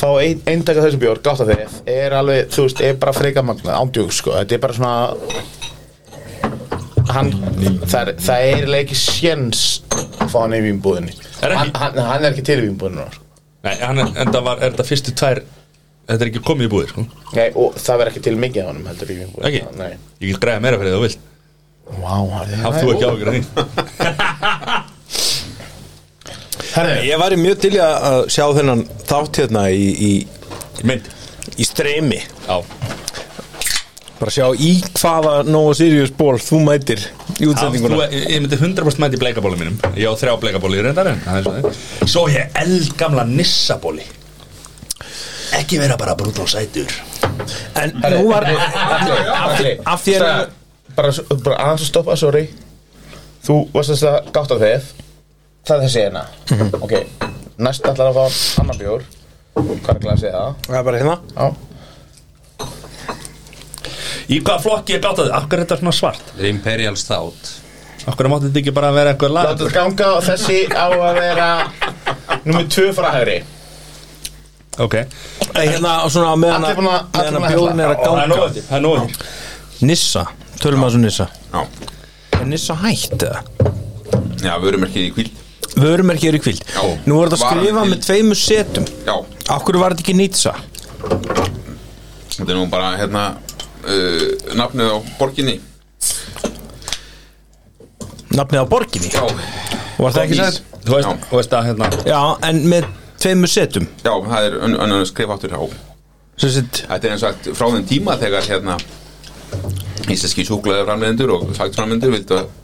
Fá ein, eindaka þessu bjór, gátt að þeir Er alveg, þú veist, er bara freka magnað Ándjúk, sko, þetta er bara svona Hann Það er, það er eiginlega ekki sjens Að fá hann í vínbúðinni Er ekki? hann, hann, hann er ekki til í vínbúðinni núna, sko. Nei, hann er, enda var, er þetta fyrstu tvær Þetta er ekki komið í búið, sko Nei, og það verður ekki til mikið af honum heldur í vínbúðinni Ekki? Nei Ég get græða meira fyrir það þú vilt Vá, herri, Haft þú ekki ágjur því Herri, Ég væri mjög til í að að sjá þennan þátt hérna í, í, Mynd í streymi Já bara sjá í hvaða Nova Sirius ból þú mætir í Þú, útsendinguna ég, ég myndi 100% mæti í bleikabóli mínum Ég á þrjá bleikabóli í reyndar en það er svo- Svo ég eldgamla nissabóli Ekki vera bara brútal sætur en nú var af því að bara, svo- bara aðeins að stoppa, sorry Þú varst þess að gátt af þeir Það er þessi hérna Ok, næst ætlar að fá annan bjór Hvað er glasið það? það er bara hérna Já, Í hvaða flokki ég gátt að þið? Akkur er þetta svona svart? Þetta er Imperial Stout Akkur mátti þetta ekki bara vera eitthvað láta lagur? þetta ganga og þessi á að vera Númer tvö frá hægri Ok Nei, hérna á svona á meðan Allir að búin að- allir meðan að búin að bjóðin er að Það er ganga nóðið Það er nóðið Nissa, tölum að þessu Nissa Já, er Nissa hætt eða? já vörumerkið í kvíld vörumerki eru í kvíld Já. nú voru þetta að Var skrifa til- með tveimur setum Já, af hverju var þetta ekki Nitsa þetta er nú bara hérna uh, nafnið á borginni nafnið á borginni Já, var það ekki sætt Þú veist, Já. þú veist að hérna já, en með tveimur setum já það er önn- önnur skrif áttur á sem sitt Þetta er eins og sagt frá þeim tíma þegar hérna íslenski súklaði framleðendur og sagt framleðendur vildu að-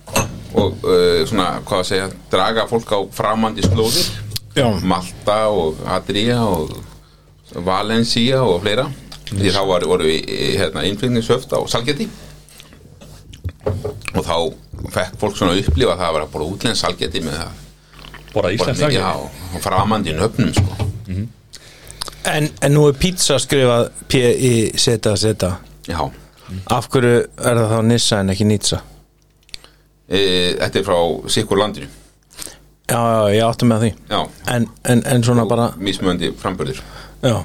og uh, svona, hvað að segja, draga fólk á framandi slóðir Já. Malta og Adria og Valencia og fleira því þá var, voru í, í, hérna, innflýningshöft á salgeti og þá fekk fólk svona að upplifa það að vera bara útlens salgeti með það Bara bara íslensk mikið lagur á á framandi nöfnum sko. en, en nú er pizza skrifað P-I-Z-Z já, af hverju er það þá Nissa en ekki Nitsa e, þetta er frá sikkur landinu já, já, ég átti með því já, en, en, en svona bara mismöndi framburðir já.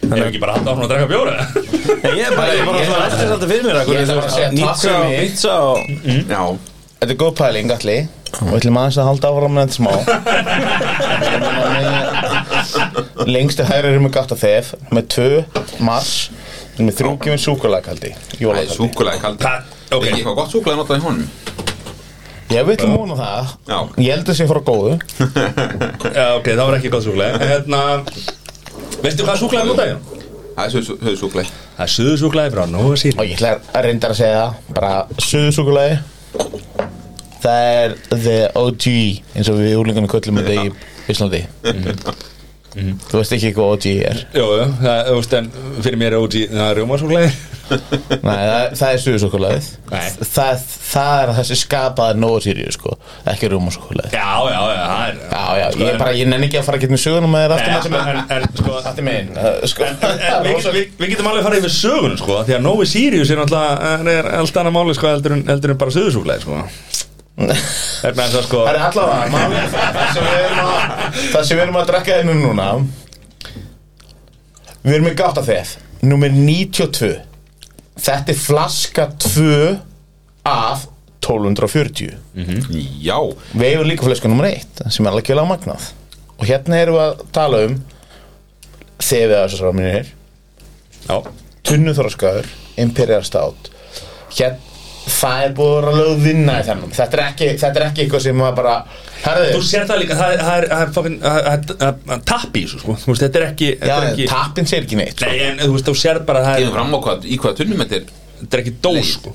Ég hef ekki bara hatt áfram að drekka bjóra [laughs] Nei, ég er bara, ég er bara svona eftir þetta fyrir mér að hverju ætla bara að segja þú- takk Nitsa fyrir og mig. pizza og já, Þetta er góð pæling allir og við ætlum aðeins að halda áfram með þetta smá Lengstu hægri eru með gata þef með tvö, mars með þrjúkjum súkulækaldi það er jólakaldi súkulega kaldi Það- ok. er ekki eitthvað gott súkulega notað í honum Ég vil múna það [laughs] Já. Ég held að sé frá góðu Já, ok, það var ekki gott súklaði Hérna Veistu hvað súklaði nú daginn? það er suð- suð súkulega Það er suðu súklaði frá Nóa og sín ég ætla að reynda að segja það bara söðu súkulæði Það er the OG eins og við úlingunum köllum þetta í Íslandi Mhm. Mhm. Þú veist ekki hvað OG er Jú, jú, það, þú veist, en fyrir mér er óti Það er rjómasúklaði Nei, það, það er stuðsokkulæðið Nei. það, það er þessi skapaða nóg sýrið, sko, ekki rúmasokkulæðið Já, já, já, það er Já, já, ég, bara, ég nenni ekki að fara að geta með söguna með þér aftur með Sko, en, en, sko, Aftur með einn, uh, sko En Við getum, við, við getum alveg farið yfir sögunum sko Því að Nói Sirius er alltaf hann er alltaf annað máli sko heldur en, heldur en bara söðusúklaði sko Þannig að það sko Það er allavega, [laughs] málið er það það sem við erum að Það sem við erum að drekka einu núna Við erum í gátt að þeir Númer 92 Þetta er flaska 2 af 1240 Mhm. já, Við eigum líka flösku nummer eitt sem er algjörlega magnað og hérna erum við að tala um þefið af þessar minni Já, tunnuþorskaður, imperial stát hérna, það er búið að vera lögð vinna í þennum, þetta er ekki þetta er ekki eitthvað sem maður bara Þú herðu, sér það líka, það er, það er, það er, fucking- það er, það er tapp í þessu sko Þú veist, þetta er ekki, já, þetta er ekki tappin segir ekki neitt Nei, en þú veist, þú sér bara að það gefum er, fram á hvað, í hvaða tunnum þetta er þetta er ekki dós sko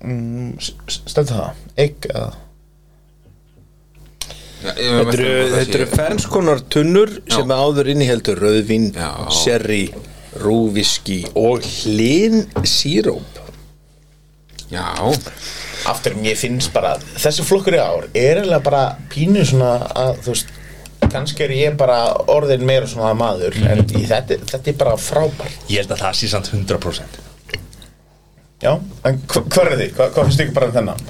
stönda það, ekki að Já, ég veit Þetta ekki eru- hvað það Þetta eru sé. fernskonar tunnur sem áður inniheldur rauðvín, Já. sherry, rúviski og hlinn síróp já, aftur mér finnst bara þessi flokkur í ár er eiginlega bara pínu svona að þú veist kannski er ég bara orðin meira svona maður en í, þetta, þetta er bara frábært Ég held að það sé samt 100% Já, en hva- hvað er því? Hva, hvað finnst ykkur bara um þennan?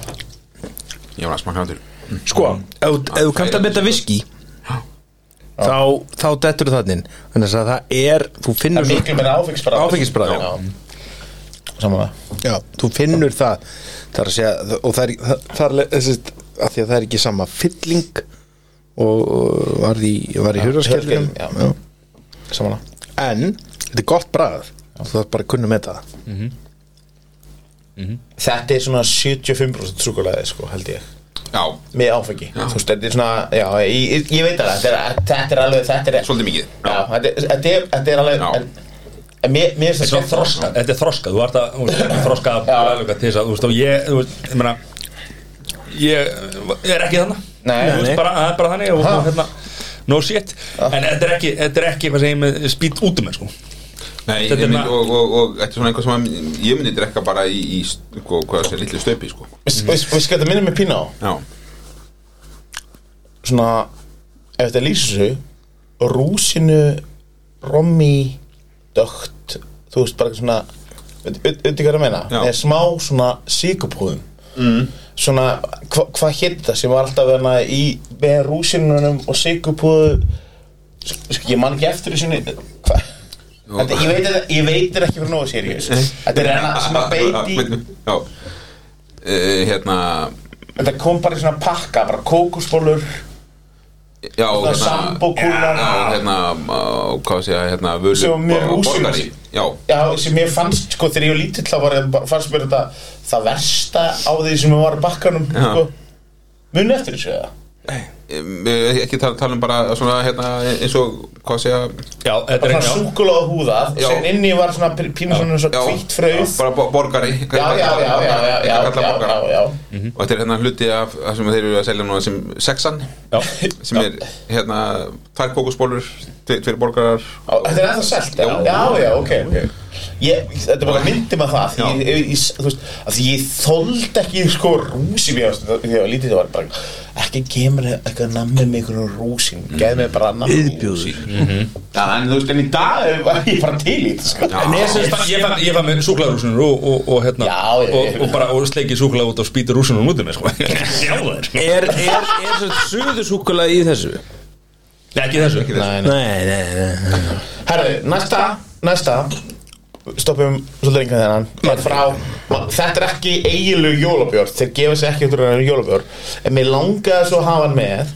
ég var að smaka hann til Sko, ef þú- ef þú kannt að betta viski þá, þá dettur það inn þannig að það er, þú Það er finnur miklu meira áfengisbræð Áfengisbragð, já. Saman það Já, þú finnur það Það er að segja, og það er, það, það er le- þessi, að því að það er ekki sama fylling og og var í, var í hurðarskellinum hurðarskellinum, já. Saman það en þetta er gott bragð þú þarf bara að kunna með það þetta er svona 75% súkulæði sko, held ég Já, með áfengi þú veist, þetta er svona, já, ég, ég- ég veit það þetta er, þetta er alveg, þetta er svolítið mikið já, þetta er, þetta er, þetta er alveg Já. en, en mér, mér er Þetta er þroska, þetta er þroska, þú ert að þú veist, þroska að Já. aðluga til þess að, þú veist, og ég, þú veist, ég meina ég er ekki þannig Nei. þú veist, bara, það er bara þannig og, og hérna, no shit en þetta er ekki, þetta er ekki eitthvað sem ég með spýt út um, sko Nei, Þetta ég er myndi, bara- og, og, og þetta er svona einhver sem að, ég myndi drekka bara í, í sko, hvað sé, litlu stöpi sko. við skal þetta minna mig pína á Já, svona, ef þetta lýsir þessu rúsinu rommi, dögt þú veist, bara svona undir hvað er að meina, Já. er smá svona síkupúðum mm. svona, hva, hvað hétt þetta sem var alltaf verna í með rúsinunum og síkupúðu sko, ég man ekki eftir þessu hvað Þetta, ég veit þetta- ég veit þetta ekki fyrir nógu sérius Þetta er enna sem að beiti Já Eh, Hérna Þetta kom bara í svona pakka, bara kókusbólur Já, Svona sambókúlar. hérna- Já, hérna, á, hvað sé ég, hérna völu, Sem mér bo- rúsínu. borgari. Já, Já, sem mér fannst, sko, þegar ég var lítill þá var ég bara, fannst mér þetta það versta á því sem ég var í bakkanum, Já. sko Muni eftir þessu eða? em, eh, ekki tala, tala um bara svona, hérna, eins og, hvað sé ég Já, þetta Bara er svona ekki, súkulega húðað, Já. sem inni var svona pí- pínu svona svona hvítt fröð bara bo- borgari Já, já, já, já, já, já, já, Mhm. Kalla já, borgara. já, já. Og þetta er hérna hluti af það sem þeir eru að selja núna sem sexan Já. sem er hérna tvær kókusbólur, tve- tveir borgarar Á, Þetta er ennþá selt, já, Já. já, já, ok, ok Ég, þetta bara myndi maður það því ég, ég, ég, þú veist, að því ég þoldi ekki sko rúsi mér þegar ég var lítið það var bara, ekki gemur eitthvað nammi með einhvern rúsin, geð mér bara nammi Viðbjóður. Já, en þú veist, en í dag var ég bara til í þetta, sko Nei, ég, ég, fann- ég, fann, ég fann með súklaðrúsunum og, og, og, hérna, Já, ég- og, og bara og sleikið súklað út og spýtir rúsunum út um mig, sko. [laughs] Já, það er. Er, er, er svo suðusúkulega í þessu? Nei, ekki þessu. Ekki þessu. Nei, nei, nei Herðu, næsta, næsta Stoppum svolítið lengra þennan er frá, Þetta er ekki eiginlegu jólabjór Þeir gefa sér ekki út úr þennan jólabjór En mér langaði svo að hafa hann með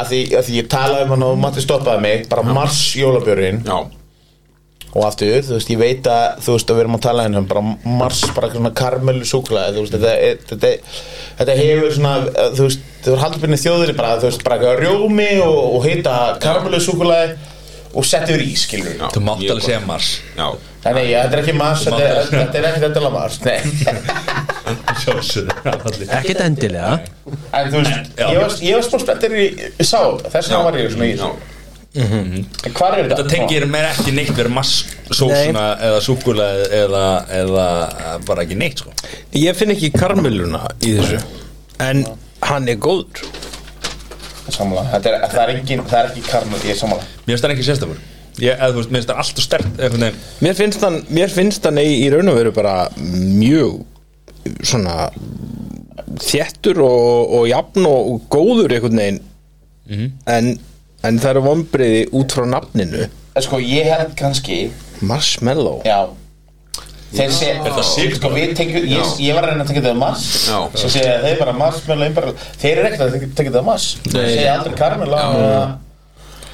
að því, að því ég talaði um hann og Matti stoppaði mig Bara mars jólabjórinn Já, Og aftur, þú veist, ég veit að Þú veist, að við erum að tala hérna um Bara mars, bara eitthvað svona karmelu súklaði Þú veist, þetta, er- þetta, er- þetta hefur svona eh, Þú veist, þú er haldbyrni þjóðinni bara Þú veist, bara eitthvað rjómi og, og heita karmelu súklaði Og setti yfir í, skilur já Þú mátt Ég- alveg segja mars. [laughs] Já, Nei, nei, þetta er ekki mars, þetta er, þetta er ekki þetta mars, nei Sjósuðu. Allir. Ekkert endilega [laughs] En þú veist, Já. ég var, ég var spóð spenntir í, ég sá þetta, þess vegna var ég svona í Já, þessu En Hvar er þetta? Þetta tengir mér ekki neitt verið masssósuna eða súkulega eða, eða bara ekki neitt sko. Ég finn ekki karmeluna í þessu En hann er góður Sammála, þetta er, það er engin, það er ekki karmel, ég er sammála Mér finnst það ekki sérstakur Ég, eða þú veist, mér finnst það alltaf stert einhvern veginn Mér finnst hann, mér finnst hann í, í raun og veru bara mjög svona þéttur og, og jafn og, og góður einhvern veginn Mhm. en, en það eru vonbriði út frá nafninu En Sko, ég held kannski, Marshmallow já Þeir sé, sko, við tengjum, ég, ég var að reyna að tengja þetta mars Já. Svo segja þeir bara mars, meðlega einbara Þeir eru ekkert að tengja- tengja þetta mars Þeir segja aldrei karmel á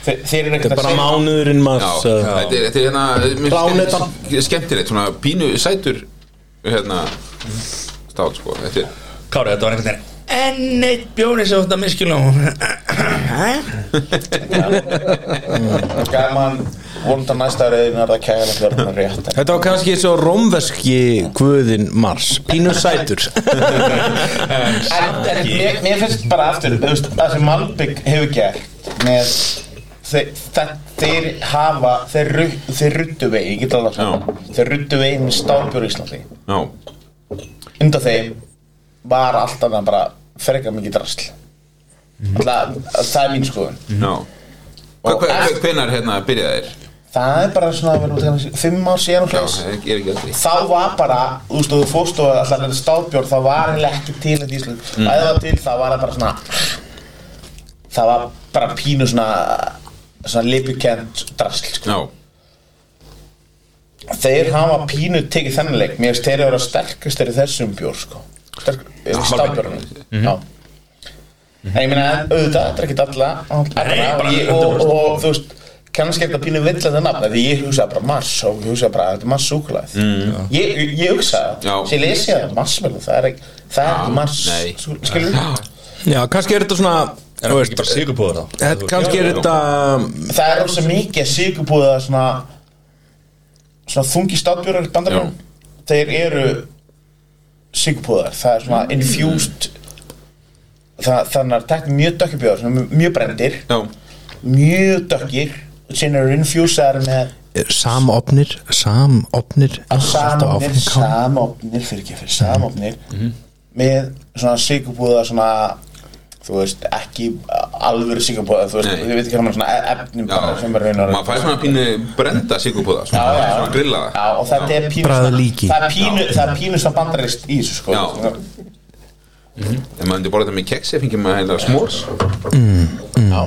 Þeir þeir eru ekkert að segja mánuðurinn já, maður þetta er- þetta er hérna mér finnst Plánetan. þetta Skemmtilegt, svona pínu sætur hérna stál sko, þetta er Kári, þetta var einhvern veginn Enn eitt bjóri sem þetta miskilum Gaman, vondan næsta reyðin er það kæðilegt verður hann rétt Þetta var kannski svo rómverski guðin Mars Pínu sætur En- en mér, mér finnst bara aftur þú veist, það sem Malbygg hefur gert með þe- þe- þeir hafa þeir, ru- þeir ruttu vegi, ég get alveg að þeir ruttu vegi með stálbjörn í Íslandi Já, undan þeim var allt annað bara frekar mikið drasl Alla, það er mín skoðun já Og allt- Hvenar hérna byrjaði þér? það er bara svona við erum að tala um fimm ár síðan og Já, slags það er er ekki aldrei þá var bara, þú veist, og þú fórst og alltaf þetta stáðbjörn, þá var eiginlega ekki til þetta í Ísland, mm. að það var til, þá var það bara svona það var bara pínu svona svona lipukent drasl sko. Já, þeir hafa pínu tekið þennan leik mér finnst þeir eru að vera sterkastir í þessum bjór sko. Sterk- í stáðbjörnum já en ég meina, auðvitað, þetta er ekkert alla, alla Nei, bara- og, og, og þú veist kannski er þetta pínu vill þetta nafn af því ég hugsaði bara mars og ég hugsaði bara þetta er mars súkulæð mm. ég, ég hugsaði Já. það, sem ég lesi það marsmelun, það er ekki það er ekki mars nei. skilur Já, kannski er þetta svona Er þú það veist, ekki bara sigurpúður þá? þetta- Kannski er þetta það er rosa mikið sigurbúða svona svona þungi státbjörður bandarmenn þeir eru sigurbúðar það er svona infused það, þannig að þetta er mjög dökkibjóður svona mjög brendir Já, mjög dökkir og síðan eru infusaðar með samopnir Samopnir samofnir, samofnir fyrir ekki fyrir samofnir með svona sigurbúða svona þú veist, ekki alvöru sigurbúða þú veist, Nei. ég veit ekki hvað maður svona e- efnum já, bara sem er raun og maður fær svona pínu brenda sigurpúða, svona, Já, já, já. svona grillaða Já, og þetta er pínu Bragð svona- líki. það er pínu, það er pínu svona bandarist í þessu sko Já. Ef maður myndi borða þetta með keksi, fengið maður hérna heila smórs [laughs]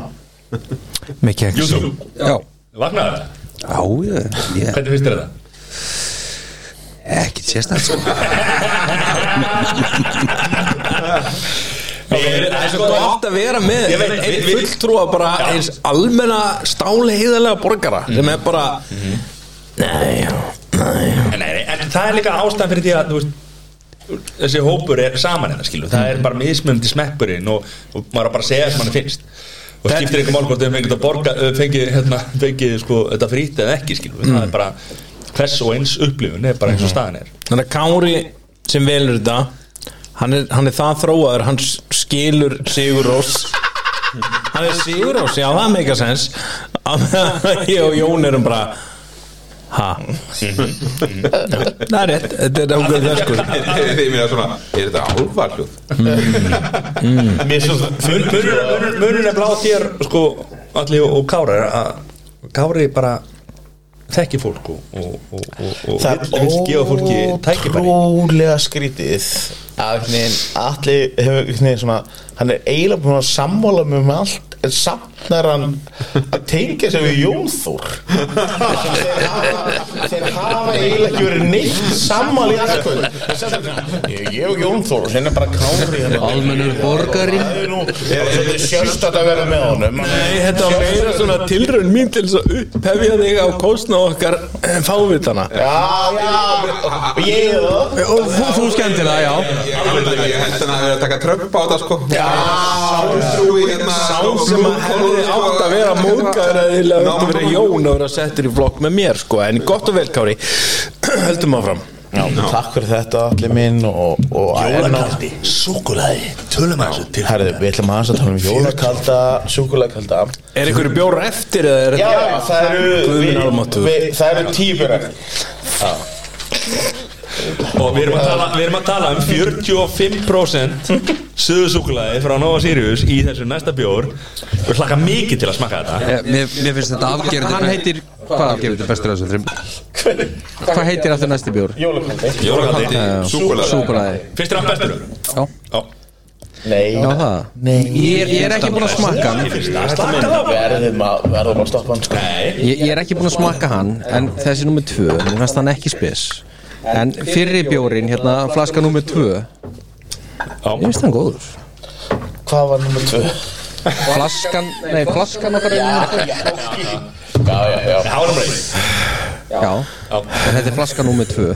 Með keks YouTube, Já, vaknaðu þetta? já, ég, ég Hvernig finnst þér þetta? ekki sérstætt sko Það er svo gott að vera með Ég veit, einn við- fulltrúa bara eins almenna stáli heiðalega borgara Mhm. sem er bara Nei, já, nei já." En, nei, en það er líka ástæðan fyrir því að þú veist, þessi hópur er saman hérna skilu, það er bara mismunandi smekkburinn og, og maður er bara að segja sem mann finnst og skiptir einhver mál hvort þau fengið að borga eh, fengið, hérna, fengið sko, þetta frýtt eða ekki skilu, það er bara hvers og eins upplifun er bara Mhm. eins og staðan er Þannig að Kári sem velur þetta hann er, hann er það þróaður hann skilur Sigur Rós Hann er Sigur Rós, já það meika sens að [laughs] ég og Jón erum bara Ha Það er rétt, þetta er ákveð það sko Þið mér að svona, er þetta álfarljóð? Mér svo Mun- munur- munur- munurinn er blá þér sko, allir og Kára er að Kári bara þekki fólk og, og, og, og, og Það vill- vill er gefa fólki tækifæri ótrúlega skrítið að hvernig allir hefur hvernig svona, hann er eiginlega búin að sammála mig um allt en samt er hann að tengja sig við Jónþór þeir hafa þeir hafa eiginlega ekki verið neitt sammála í allt kvöld. En samt er hann, ég ég og Jónþór og sinna bara hérna. kári Almennur borgari Það er nú- það er svolítið sjöst að vera með honum Nei, þetta var meira svona tilraun mín til þess að upphefja þig á kostna okkar eh, fávitana Já, já, og ég og það Og þú, þú skemmtilega, já Ég held að- ég held að það er að taka trömp á þetta sko Já, sátrúi hérna sko. Sá sem að hefði sko- átt að vera mókaður að þið átt að vera jón og vera settur í flokk með mér sko En gott og vel, Kári [clears throat] Höldum áfram Já, takk fyrir þetta allir minn og, og Jólakaldi, Súkulæði, tölum að þessu til herðu, við ætlum aðeins að tala um jólakalda, súkulakalda Er einhverju bjór eftir eða er Já, já, það eru Guð minn við- almáttugur. við- Það eru tíu björn Og við erum að tala, við erum að tala um 45% söðusúkulaði frá Nova Sirius í þessu næsta bjór Við hlakka mikið til að smakka þetta Eh, Mér, mér finnst þetta afgerðið Hann heitir, hvað afgerðið er bestur af þessu þrim? Hvað heitir aftur næsti bjór? Jólakaldi Jólakaldi Súkulega Súkulaði Fyrst er hann bestur Já, Já, Nei, já það Ég er, ég er ekki búin að smakka hann fyrst að slaka það verðum að, verðum að stoppa hann sko. Nei ég, ég er ekki búin að smakka hann En þessi nummer tvö, mér finnst hann ekki spes En fyrri bjórin, hérna, flaska nummer tvö Mér Já, finnst hann góður Hvað var nummer tvö? Flaskan, nei, flaskan okkar er nummer tvö Já, já, já hálum reið Já, en þetta er flaska nummer tvö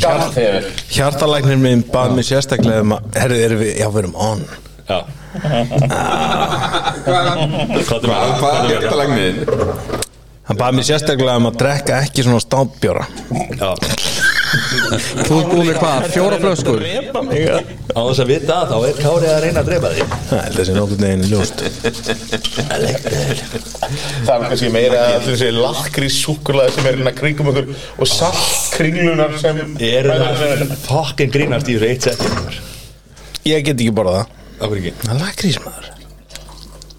Gaman þegar Hjartalæknir minn bað mér sérstaklega um að Herðu, erum við, já, við erum on Já, hvað er Hvað hvað er þetta lagniðin? Hann bað mér sérstaklega um að drekka ekki svona stámbjóra Já, Þú er búin með hvað, fjóra flöskur á þess að vita að þá er Kári að reyna að drepa þig Það held að sé nokkurn veginn ljóst Það er kannski meira að þessi lakri súkulaði sem er hérna kringum okkur og salt kringlunar sem Er það fokkin grínast í þessu eitt setjum Ég get ekki borða það Það er ekki Það er lakrís,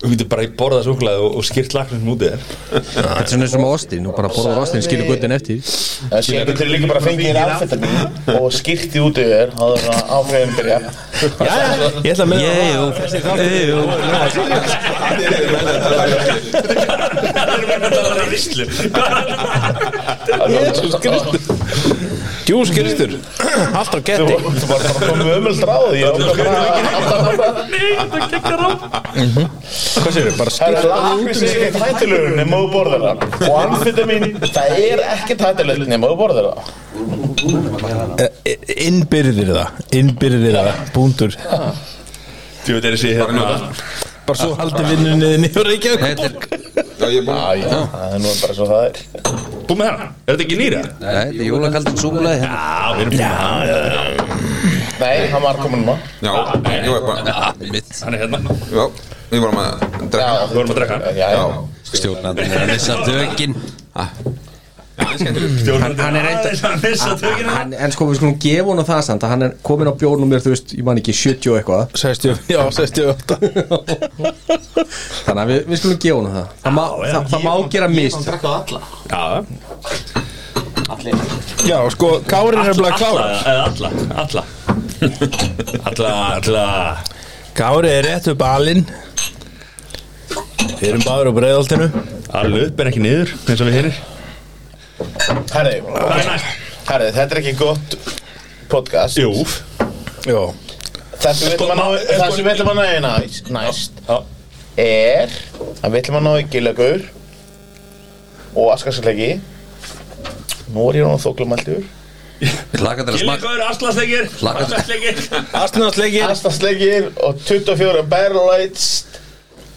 Þú getur bara í borða súkulaði og, og skýrt laknum sem útið er Þetta er svona eins og með ostin, þú bara borðar ostin, skilur guttin eftir Það sé ekki til líka bara að fengi þér amfetamin og skýrti út yfir þá er það áfæðin byrja Jæja, ég ætla að minna Ég, jú. Ég, jú. Það er verið að tala um rislu Jesus Kristus Djús Kristur, allt á Þú getti þú var bara komið ömöld ráð Ég var bara Mhm. Hvað séu, bara Það er lakvís ekkert hættulegur nema þú borðar það Og amfetamin, það er ekkert hættulegur nema þú borðar það Innbyrðir það, innbyrðir það, búndur Þú veit, er þessi hérna Bara svo haldi vinnunni niður ekki Þetta er, Já, ég er búinn Æ, Það er nú bara svo það er Búið með hana, er þetta ekki nýra? nei, þetta er jólakaldin súkulega hérna. Já, við erum búin með hana Nei, hann var komin maður Já, ég var bara Ah, mitt. Hann er hérna, Já, við vorum að drekka við vorum að drekka hann Já, já. Já, Stjórnandinn er að missa tökin Stjórnandi hann er reyndar- aðeins að missa tökina En, en sko við skulum gefa honum það samt að hann er komin á bjórnumir þú veist, ég man ekki 70 og eitthvað 60, já, 68 þannig að við, við skulum gefa honum það það má, það, það má gera mist Já, Já, sko, Kári er nefnilega alla, klárar eða alla, alla Alla, alla Kári er rétt upp alinn Við erum báður á breiðoltinu Alla upp en ekki niður, eins og við hinir Það Herðu, er næst herðu, þetta er ekki gott podcast Jú, Já, Það sem við ætlum að ná- Sko, það sem við ætlum að næja næst, næst já, er að við ætlum að ná í Gilagaur og Askarsleiki Nú er ég nú þóklumæltur Við laka til að smakka Gillingaður, aslarsleikir, Laka- aslarsleikir astnaðsleikir Askarsleikir og 24 Battle Lights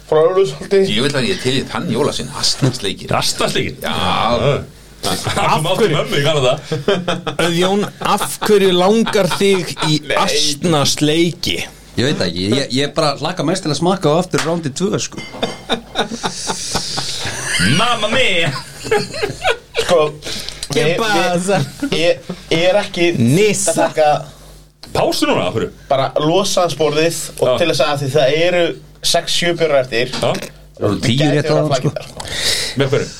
frá Ölusholti ég vil að ég er til í þann jóla sinn Astnarsleikir Aslarsleikir Já, Hann mátti mömmu, ég kannu það Jón, af hverju langar þig í astnaðsleiki? Ég veit það ekki, ég, ég bara laka mest til að smakka á aftur rándi tvö sko Mamma mia Sko, við- við- pasa? ég ég er ekki Nissa. að taka Pásu núna, af hverju? bara losaðsborðið og Já. til að segja því það eru 6-7 björn eftir Já, Það eru tíu Gæti rétt verið að áðan flækja sko þetta, sko. með hverju?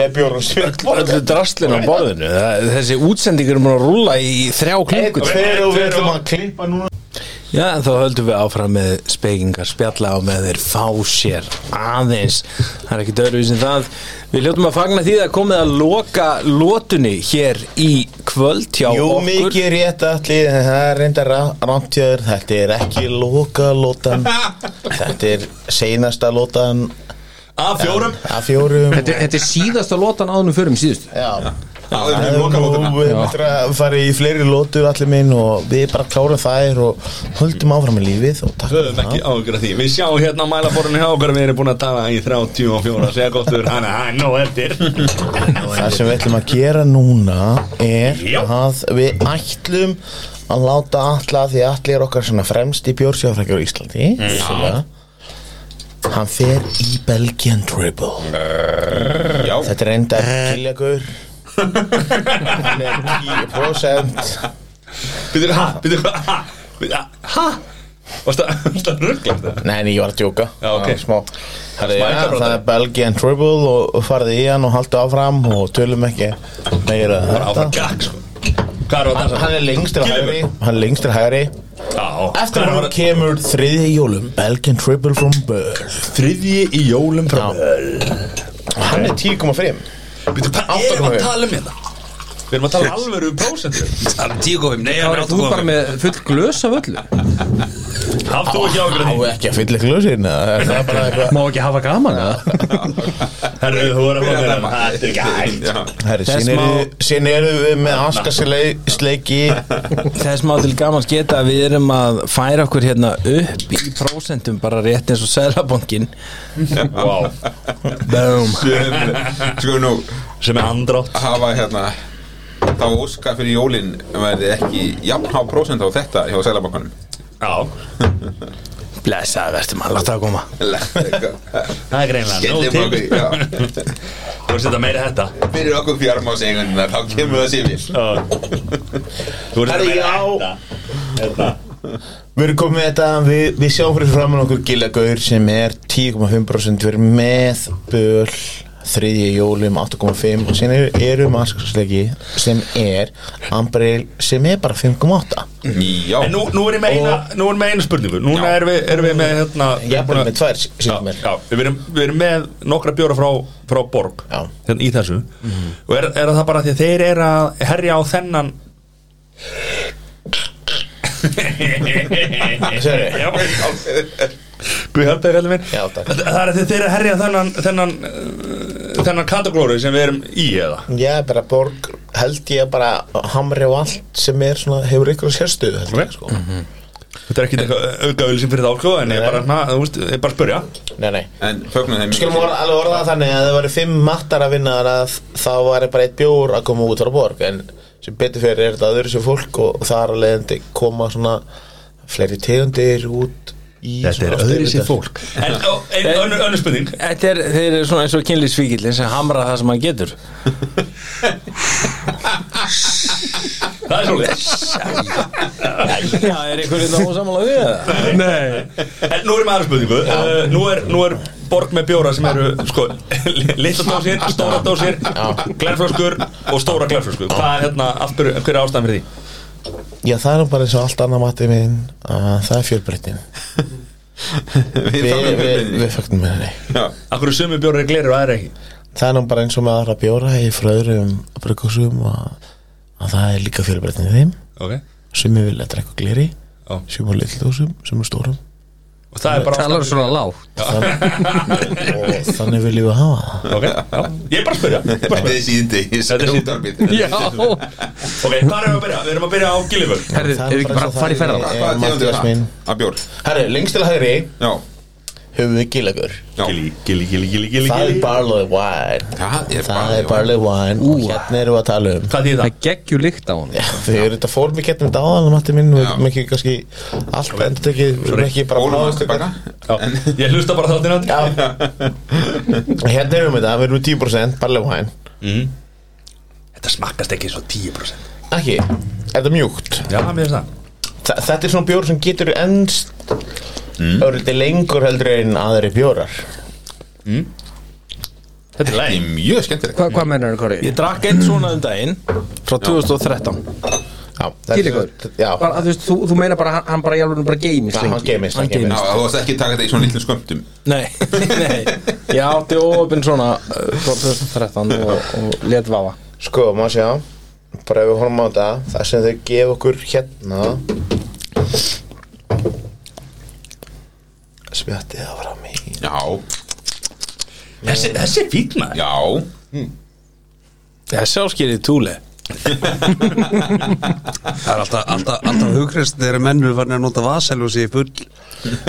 með bjórnum stjórn Öllu drastlinn á borðinu Það- Þessi útsendingur er múin að rúlla í þrjá klukkur Þegar við ætlum að klippa núna Já, en þá höldum við áfram með spekingar spjalla og með þeir fá sér aðeins. Það er ekki dörfið sem það. Við hljóttum að fagna því að komið að loka lótunni hér í kvöld hjá Jú, okkur. mikið rétt allir Það er reyndar rámtjöður Þetta er ekki loka [laughs] lótan Þetta er seinasta lótan Af fjórum Af fjórum þetta, þetta er síðasta lotan áðunum förum síðust Já áður Það en við er loka nú, lótuna Við möttum að fara í fleiri lótur allir minn og við bara klárum þær og höldum áfram í lífið og takk Við höfum ekki áhugur af því Við sjáum hérna á mælaborinu hjá okkur Við erum búin að tala í 34 sekúndur Þannig að hann nú eftir Það sem við ætlum að gera núna er Já. að við ætlum að láta alla því að allir er okkar svona fremst í bjórsjáfrækjur í Íslandi vissulega. Hann fer í Belgian Dribble Já, Þetta er enda kiljagur Hann er 10% Býtur, ha, býtur, ha, býtur, ha, ha Varst það, varst það rugglast það? Nei, nei, ég var að djóka Já, ok. Það er smá. Það er, Smá ja, einkabrota. það er Belgian Dribble og og farið í hann og haldið áfram og tölum ekki meira Það er áfram gag, sko Hvað er það að dansa? Hann er lengst til Gylfi. hægri Hann er lengst til hægri Já Eftir hann kemur þriðji í jólum Belgian Triple from Böll Þriðji í jólum frá Hann er 10,5 Býtur, hvað erum við að tala um hérna? Við erum að tala um alvöru prósentur Það er tíu kofim, nei, það Þú er er áttu bara kofim með full glös af öllu Haft þú ekki áhugur af Á því? ekki að fylla ekki glösin Það er það bara eitthvað Má ekki hafa gaman eða? Herru, þú er að fá mér hérna. Þetta er ekki hægt já Herri, Það er sín eru- Sín eru við með askasleiki Þess má til gamans geta að við erum að færa okkur hérna upp í prósentum bara rétt eins og sæðlabankin. Vá Boom. Sem- Sko nú, Sem er andrátt hafa hérna Þá óska fyrir jólin verði ekki jafn há prósent á þetta hjá Sælabankanum Já Blessað verðum að láta að koma. Það er greinlega Skellum Nó okkur, til já Þú veist þetta meira þetta Fyrir okkur fjármásegunina, þá kemur það sér vil Já. Þú ert að Herri, meina já. þetta Þetta Við erum komið með þetta Við, við sjáum fyrir framann okkur gilagaur sem er 10,5% Við erum með Böll þriðji í jólum 8,5 og síðan eru- eru mannskapsleiki sem er Ambril sem er bara 5,8 Já, En nú, nú er ég með eina, nú er ég með eina spurningu Núna erum við, erum við með hérna við erum Jafnvel búin að- með tvær, sýnum mér. já, já, við, erum, við erum með nokkra bjóra frá, frá Borg Já. hérna, Í þessu Og er, er það bara því að þeir eru að herja á þennan Sérðu? Já, Guð hjálpa þér allir minn Já, takk. Það það er því þeir eru að herja á þennan þennan, uh, þennan kategóri sem við erum í eða Já, bara borg held ég að bara hamri á allt sem er svona, hefur ykkur sérstöðu held ég, sko. Þetta er ekkit eitthvað aukaðvili sem fyrir þá sko, En ég bara, na, þú veist, ég bara spurja Nei, nei en fögnum þeim Skulum orða, alveg orða það þannig að það væri fimm mattar að vinna að þá væri bara eitt bjór að koma út frá borg en sem betur fyrir er þetta öðru sér fólk og það er alveg endi koma svona fleiri tegundir út í svona stegundir. En og ein- önnur önnur spurning Þetta er, þeir eru svona eins og kynlífsvíkillin sem hamra það sem hann getur Það er svolítið Já, er einhverjum þá samanlega við það? Nei En nú er maður spurningu uh, nú, er, nú er borg með bjóra sem eru sko, [laughs] litla dósir, stóra dósir glerflöskur og stóra glerflöskur Hvað er hérna, af hverju hver er ástæðan fyrir því? Já, það er nú bara eins og allt annað matið minn að það er fjölbreytin Við Við, við, fögnum þeim við fögnum með henni Já, Af hverju sömu bjóra er glerir og aðra ekki? Það er nú bara eins og með aðra bjóra í fröðrum brugghúsum að, að það er líka fjölbreytin í þeim Ok sem við vilja drekka gleri Já. sem er lillúsum, sem er stórum Og það er bara Talar ástæðan svona lág og þannig viljum við hafa það [laughs] Ok, já, ég er bara að spyrja ég er bara að þetta er spyrja. síndi Þetta er Já Ok, hvað erum við að byrja? Við erum að byrja á gilifur Herðu, ef Það er við ekki bara bara eins og farið í það ferðalag er- Eh, Hvað tegundir Matthías það? minn. Að bjór Herru, lengst til hægri Já, höfum við gilagur já Gili, gili, gili, gili, gili, Það er gili barley wine Það er Það er bara barley wine og hérna erum við að tala um Hvað þýðir Það það? er geggjú lykt á hann Þau eru þetta fór mikið hérna með dáðan Matti minn, við erum ekki kannski allt endur tekið, við erum ekki bara Bólum aðeins bráðist tilbaka Já, ég hlusta bara þáttina Já Hérna erum við þetta, við erum með 10% barley wine Þetta smakkast ekki svo 10% Ekki, er þetta mjúkt Já, mér finnst það Þa, Þetta er svona bjór sem getur ennst mm. örlítið lengur heldur en aðri bjórar Þetta er Það læg er mjög skemmtilegt Hvað mennur hann, Kori? Ég drakk einn svona um daginn frá 2013 Já, þetta er- Gilligur? Já, Bara, þú, veist, þú, þú meina bara, hann- hann bara jálfurinn bara geimist Já, hann geimist, hann Hann Já, geimist þú varst ekki að taka þetta í svona litlum skömmtum Nei, nei Ég átti óöpinn svona uh, frá 2013 og, og let vafa Sko, maður sjá bara ef við horfum á þetta það sem þau gefa okkur hérna spjöttið það var að mig Já, Þessi, þessi er fín maður já Það er sjálfskýrið túli Það er alltaf, alltaf, alltaf hugrest þegar mennur var að nota vasalúsi í full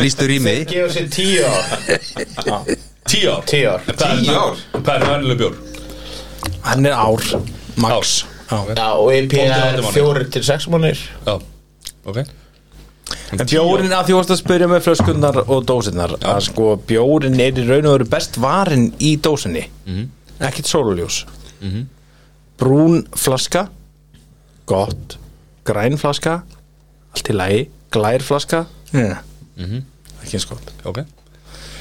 lístur í mig gefa sér tíu ár Tíu ár tíu ár Hvað er- Tíu ár? Hvað er vennileg bjór? Hann er ár, max Já. Já, og IPA er Tólf til átján fjórir til sex mánir Já, ok En bjórin að því vorst að spyrja með flöskunnar og dósinnar að sko bjórin er í raun og veru best varin í dósinni ekkert sóluljós Mhm. brún flaska gott græn flaska allt í lagi, glær flaska mm. ekki eins gott Ok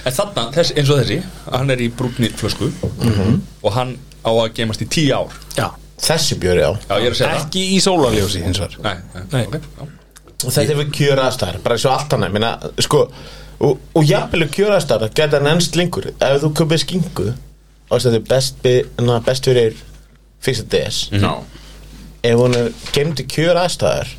En þarna, þess, eins og þessi, hann er í brúnni flösku og hann á að geimast í tíu ár Já. þessi bjóri á Já, ég er að segja ekki í sóluljósi hins vegar það Nei, nei, nei. Mhm. ok já. og þetta er við kjöraðstæðar bara svo allt hann minna, sko, og, og jafnvel kjöraðstæðar geta hann ennst lengur ef þú köpið skingu og þess að þetta er best, bi- na, best fyrir fyrsta DS Já, ef hún er gemd í kjör aðstæðar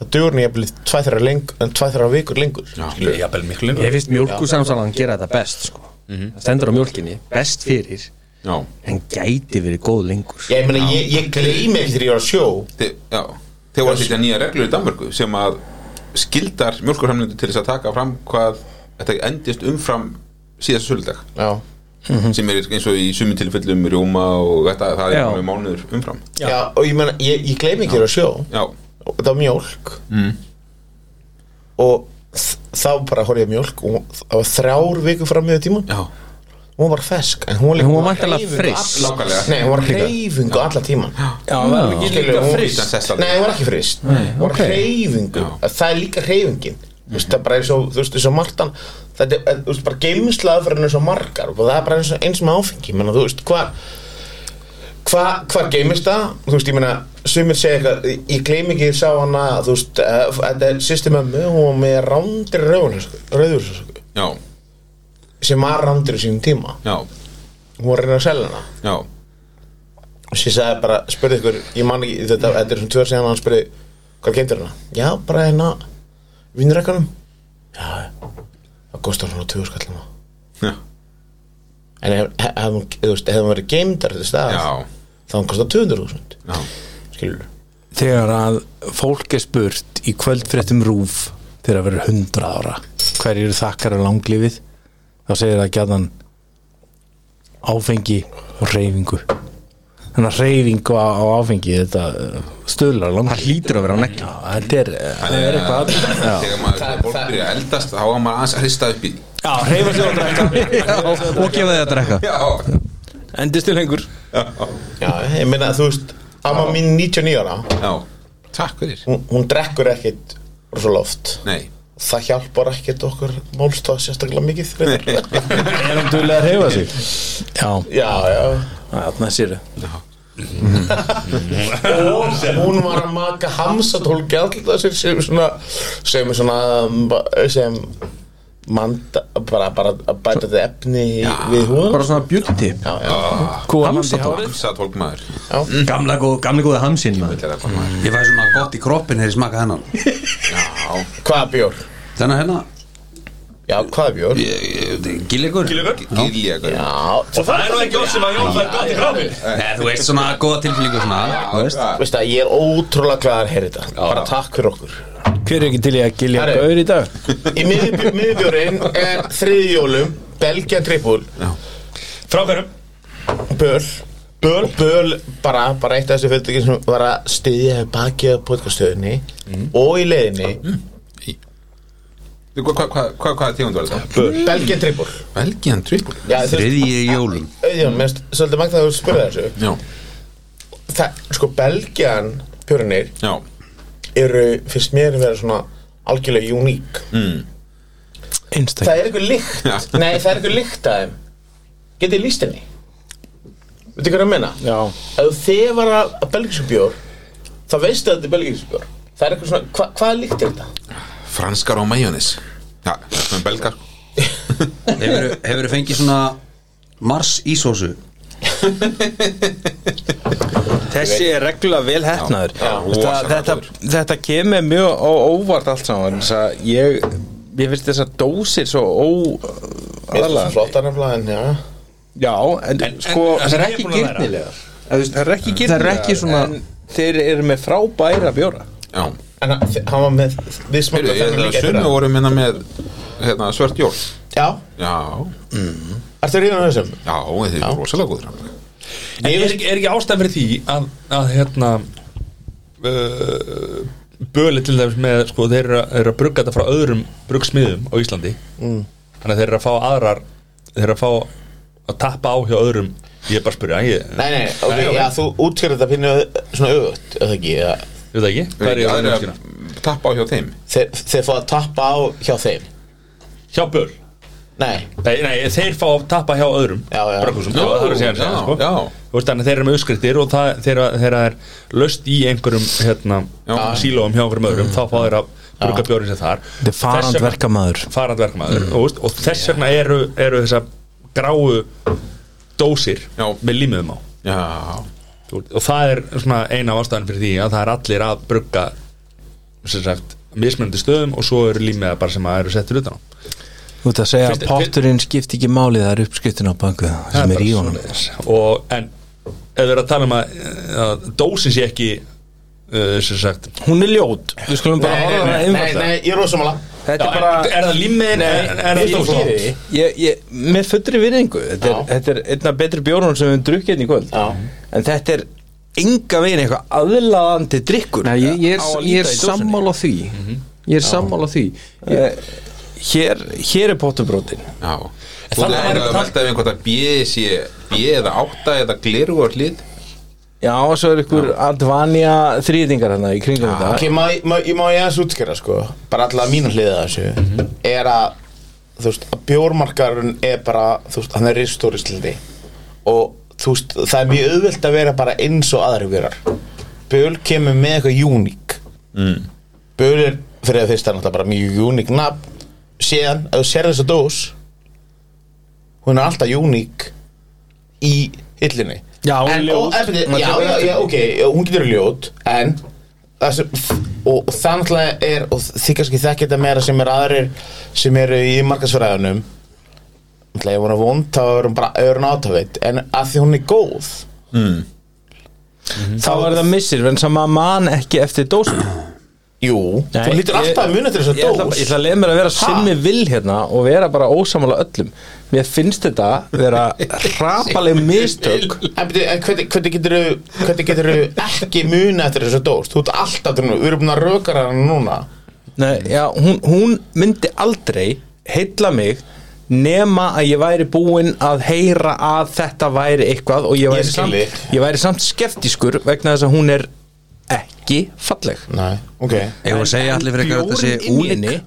það dugur hún jafnvel tvæð þeirra leng, tvæð þeirra vikur lengur Já. Ég er jafnvel miklu lengur Ég finnst mjölkusamsalan gera þetta best sko. Mhm. Það stendur á mjölkinni, best fyrir já En gæti verið góð lengur ég meina ég, ég gleymi ekki þegar ég var að sjó Þi- Já, þeir voru að setja nýja reglur í Danmörku sem að skildar mjölkurhamlundu til þess að taka fram hvað þetta endist umfram síðasta söludag já, sem er eins og í sumin tilfellum rjóma og þetta, það er Já. alveg mánuður umfram já. og ég meina ég, ég gleymi ekki þegar ég var að sjó Já, og það var mjólk mm. og þ- þá bara horfði ég á mjólk og það var þrjár vikur fram með tíma já, hún var bara fesk en hún var, En hún var væntanlega fryst. Nákvæmlega. nei, hún var hreyfingu alla tíma Já, það er ekki Skilur, hún- fryst. nei, hún var ekki frist hún var ok. hreyfingu Já. það er líka hreyfingin Þú veist, það er bara eins og, þú veist, eins og Martan Þetta er, þú veist, bara geimsla aðferðin er svo margar og það er bara eins, og- eins með áfengi menna, þú veist, hvað hva, hvar geymist það? Þú veist, ég meina, sumir segja eitthvað, ég- ég gleym ekki ég sá hana, þú veist, eh, þetta er sýsti mömmu og hún var með rándir rauður, já, sem var rándir í sínum tíma. já, Hún var að reyna að selja hana. já Og sér sagði bara, spurði ykkur, ég man ekki, þetta, þetta er svona tvö ár síðan, hann spurði, hvað geymdir hana? Já, bara hérna, vinnrekkanum. Já, það kostar svona tvö skallum á. Já, En ef, hef, hef, hún- þú veist, hefði hún verið geymdar þetta stað, já, þá hann kostar 200.000, já, skilur. Þegar að fólk er spurt í kvöldfréttum rúf þegar að vera 100 ára hverjir þakkar að langlífið þá segir það gæðan áfengi og reyfingu þannig að reyfingu á, á áfengi þetta uh, stuðlar langlífið Það hlýtur að vera nekki Þetta er, það er eitthvað Já, Þegar maður, þegar fólk byrja að eldast þá var maður aðeins að hrista upp í því. já reyfa sig og drekka og gefa þið að drekka Já, Endist til hengur Já, ég meina, þú veist, amma mín 99 ára, já, takk fyrir hún, hún drekkur ekkit rosalega oft Nei, það hjálpar ekkit okkur málstóð sérstaklega mikið reyndar. Er hann duðlega að reyfa sig? Já, já, já þannig að séru og hún var að maka hamsatól gjaldla sér sem svona sem svona um, ba- sem manda, bara, bara að bæta þetta efni í- við hún bara svona beauty tip já, já, Hamstatól hamsa tólk maður Gamla góð, gamli góða hamsinn maður Þetta er bara maður ég fæ svona gott í kroppin þegar ég smaka hennan hvaða bjór? þannig að hérna já, hvaða bjór? Gillegur Gilja, já, já, Það er nú ekki oss sem að Jón fær gott í kráfin Nei, þú veist svona góða tilfinningu svona þú veist. já, veist það, ég er ótrúlega glæðar að heyra þetta bara takk fyrir okkur Hver er ekki til í að gilja Herri. gaur í dag? í miðbjó- miðbjórinn er þriðjólum Belgia trippul Frá hverjum? Böl Böl, Böl bara, bara eitt af þessu fyrirtæki sem var að styðja baki á podcaststöðinni og í leiðinni Hvað hva, hva, hva, hva tegund var þetta? Böl, Belgia Trippur Belgian triple Já, þú veist, þriðji í jólum auðvitað, mér finnst svolítið magna að þú spurði þessu Já, Það, sko, Belgian pjörunir já, eru, finnst mér að vera svona algjörlega uník Einstak Það er eitthvað lykt, Já. nei, það er eitthvað lykt að þeim Getið líst henni Veitu hvað ég er að menna? Já Ef þið var að belgisubjór þá veistu að þetta er belgisubjór Það er eitthvað svona, hva, hvaða líkt er þetta? franskar og majónis Já, það er belgar hefur þið fengið svona mars ísósu Þessi er reglulega vel hefnaður þetta, rosalega þetta, þetta kemur mjög á óvart allt saman þess að ég, ég finnst þessar dósir svo ó Mér finnst aðalega. það flottar nefnilega, en já Já, en, sko það er ekki búin að læra. girnilegar Eða, þú veist, Það er ekki Það er girnilegar ekki svona- En þeir eru með frábæra bjóra Já, En hann hann var með Við heyrðu, smakka ég þennan það líka sömu voru minna með hérna, svört jól Já, Já, ertu ríðan á þessum? já, þetta er rosalega góð rafn En er ekki, er ekki ástæðan fyrir því að, að hérna uh, Böli til dæmis með sko, þeir eru að, er að brugga þetta frá öðrum brugsmiðum á Íslandi Þannig að þeir eru að fá aðrar þeir eru að fá að tappa á hjá öðrum Ég er bara að spyrja, ég Nei, nei, ok, já, þú útskýrði þetta pínu uh, svona auðvögt, eða ekki ja. ég veit það ekki Hvað er ég að Það er skýra? að tappa á hjá þeim þeir, þeir fá að tappa á hjá þeim Hjá Böl Nei, Nei, nei, þeir fá að tappa hjá öðrum Já, já. brugghúsum, Já, það er að segja hann já, segja, sko. já. Þú veist, þannig að þeir eru með uppskriftir og það, þeirra, þeirra er löst í einhverjum hérna, Já. sílóum hjá einhverjum öðrum þá fá þeir að brugga bjórið sér þar Þetta er Þess vegna- farandverkamaður farandverkmaður mm. og, og þess vegna eru, eru þessa gráu dósir Já. með límiðum á Já, Þú veist, og það er svona eina af ástæðan fyrir því að það er allir að brugga sem sagt mismunandi stöðum og svo eru límiða bara sem að eru settur utan á Þú ert að segja Fyrst- að potturinn skipti ekki máli það er uppskriftin á banku Það sem er bara í honum svoleiðis. og en ef við erum að tala um að, að dósin sé ekki uh, sem sagt Hún er ljót, við skulum bara nei, horfa nei, það nei, einfalda nei, ég er ósamála Já, Þetta er er, bara er það límiðin er, er það Ég dósin skýri því ég, ég, með fullri virðingu þetta er, Já. þetta er einna betri bjórun sem við höfum drukkið hérna í kvöld Já. en þetta er enga veginn eitthvað aðlaðandi drikkur Nei, ég, ég er, Á að ég er líta í dósinni. sammála því Ég er sammála því Eh, hér, hér er pottubrótin já Þú þannig er væri- að velta ef einhvern að bjöði sé bjöði eða átta eða gleru og hlið Já, og svo er ykkur Advania þrýðingar hérna í kringum þetta Ok, má, ég- má, ég- má ég aðeins útskera sko bara allavega mínu hliðið að þessu er að, þú veist, að bjórmarkarun er bara, þú veist, hann er ristórislindi og þú veist það er mjög auðvelt að vera bara eins og aðri verar Böl kemur með eitthvað uník Mm. Böl er fyrir að fyrsta náttúrulega bara mjög uník nafn síðan, ef þú sér þessa dós hún er alltaf uník í hillinni Já, hún er en, ljót. og, en, Hún er já, ljót. já, já, ok, hún getur verið ljót en það sem, og, og það náttúrulega er og þið kannski þekkja þetta meira sem er aðrir sem eru í markasfræðunum náttúrulega ef hún er vond þá er hún bara öðrun átafið en að því hún er góð mm. Þá er það missir, en sem að man ekki eftir dósum jú, þú lítur alltaf að muna til þess Ég ætla, að ég dós ætla að leið mér að vera simmi vill hérna og vera bara ósamála öllum Mér finnst þetta vera hrapaleg mistök En byrju, en hvernig, hvernig geturðu hvernig geturðu ekki muna eftir þessu dós þú ert alltaf, til nú- við erum búin að rökara hana núna Nei, já, hún, hún myndi aldrei heilla mig nema að ég væri búinn að heyra að þetta væri eitthvað og ég væri, Ég skil samt, þig. ég væri samt skeftiskur vegna þess að hún er ekki falleg Nei, ok, Ef að segja allir fyrir eitthvað að þetta sé Bjórinn únik inni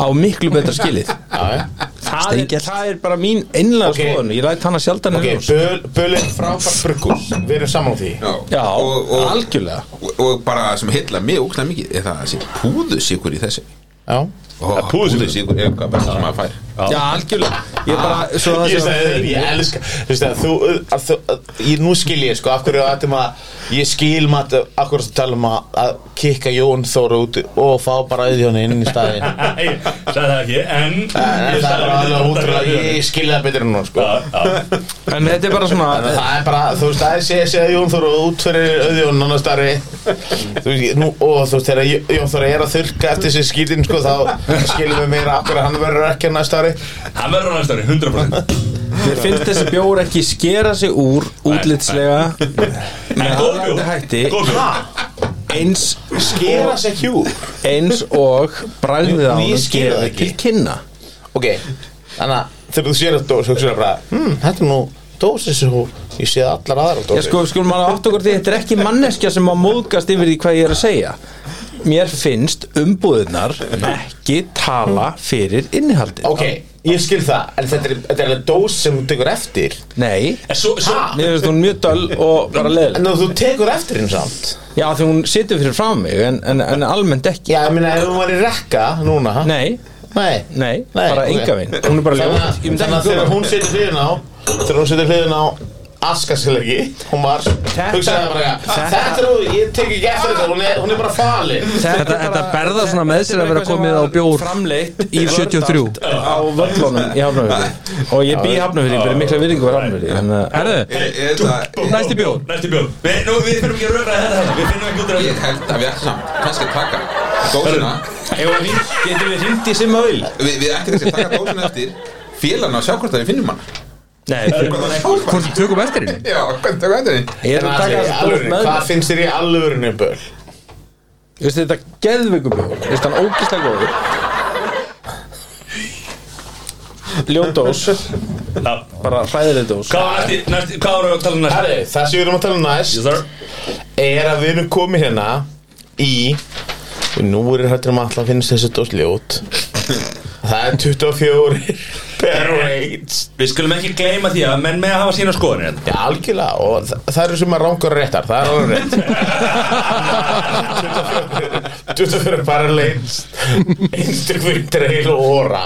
á miklu betra [laughs] skilið já, já það, er, Steingert. það er bara mín innlega Ok. skoðun ég læt hana sjaldan Ok, [laughs] okay. Böl, Böl er frábært brugghús Við erum saman á því Já, Já, og, og, algjörlega og, og bara sem heilla mig ógna mikið er það að sé púðusikur í þessu Já oh, Púðusikur er eitthvað besta sem maður fær Já, algjörlega Ég bara, svo [laughs] það Ég, sé sagði, ég elska Þú veist að þú, að þú að, ég, Nú skil ég sko Af hverju að þetta maður Ég skil maður Af hverju að tala um að, að Kikka Jón Þór út Og fá bara auðjónu inn í [laughs] staðin En Nei, ég sagði það ekki, en en Ég sagði það er það alveg ekki, útrúlega Ég skil það betur en nú sko Já, já. En þetta er bara En svona Það er bara, þú veist, það er sé sé að Jón Þór út fyrir auðjón annars starri Þú veist, nú, og þú veist, þegar Jón- Jón Þór er að þurrka eftir sér skýtin, sko, þá skilum við meira af hverju hann verður ekki annars starri Hann verður á næsta ári, 100% Mér finnst þessi bjór ekki skera sig úr útlitslega með góð bjór. aðlandi hætti Góð bjór. eins, Skera sér hjúr eins og bragðið á Ný- ný honum skera gefur ekki. til kynna Ok, þannig að þegar þú sér að dós hugsaðu bara, hmm, þetta er nú dósið sem hún, ég sé allar aðra Ég dósið sko, skulum alveg átt okkur því þetta er ekki manneskja sem má móðgast yfir því hvað ég er að segja Mér finnst umbúðunar ekki tala fyrir innihaldið Ok, ég skil það, en þetta er, þetta er dós sem þú tekur eftir Nei, En svo, svo mér finnst hún mjög döl og bara leðileg En þú tekur eftir hinn samt Já, því hún situr fyrir fram mig en, en, en almennt ekki Já, ég meina, ef hún var í rekka núna ha? Nei, Nei, nei, bara ok. enga vinn Hún er bara Þannig ljótt að- Ég myndi þannig ekki að þegar kaupa hún setur hliðin á Þegar hún setur hliðin á Askasilegi, hún var Þetta- Hugsaði bara, ja, þetta er hún, ég tek ekki eftir þetta Hún er, hún er bara falin þetta, þetta berða svona með sér að vera komið á bjór framleitt í 73. Vördal, á völlunum í Hafnafjörði og ég bý í Hafnafjörði, ég byrði mikla virðingu fyrir Hafnafjörði þannig að- Herðu, Er- er það- næsti bjór Næsti bjór Við, nú, við finnum ekki að röra þetta hérna Við finnum ekki út af Ég þetta held að við ætlum samt kannski að taka dósina Eigum við hringt- getum við hringt í sem öll Við, við ætlum kannski að taka dósina eftir félana og sjá hvort að við finnum hana nei, ég Hvort Hvort við tökum eftir henni? Já, hvernig það er þetta? er að taka þessi bóð með Hvað mér. finnst þér í alvörinu böl? Ég veist þetta geðvikubjór ég veist hann ógislega góður ljótós Já. bara hræðileg dós Hvað var næsti, næsti, hvað vorum við að tala um næsti? Herri, það sem við erum að tala um Yes, næst sir. er að við erum komið hérna í og nú er hættur um alltaf að finnast þessi dós ljót það er 24 [laughs] per rates Við skulum ekki gleyma því að menn með að hafa sína skoðanir hérna. Já, algjörlega, og þa það eru sem að rángar réttar, það er alveg [laughs] rétt 24 24 bara leinst einstök fyrir dreil og óra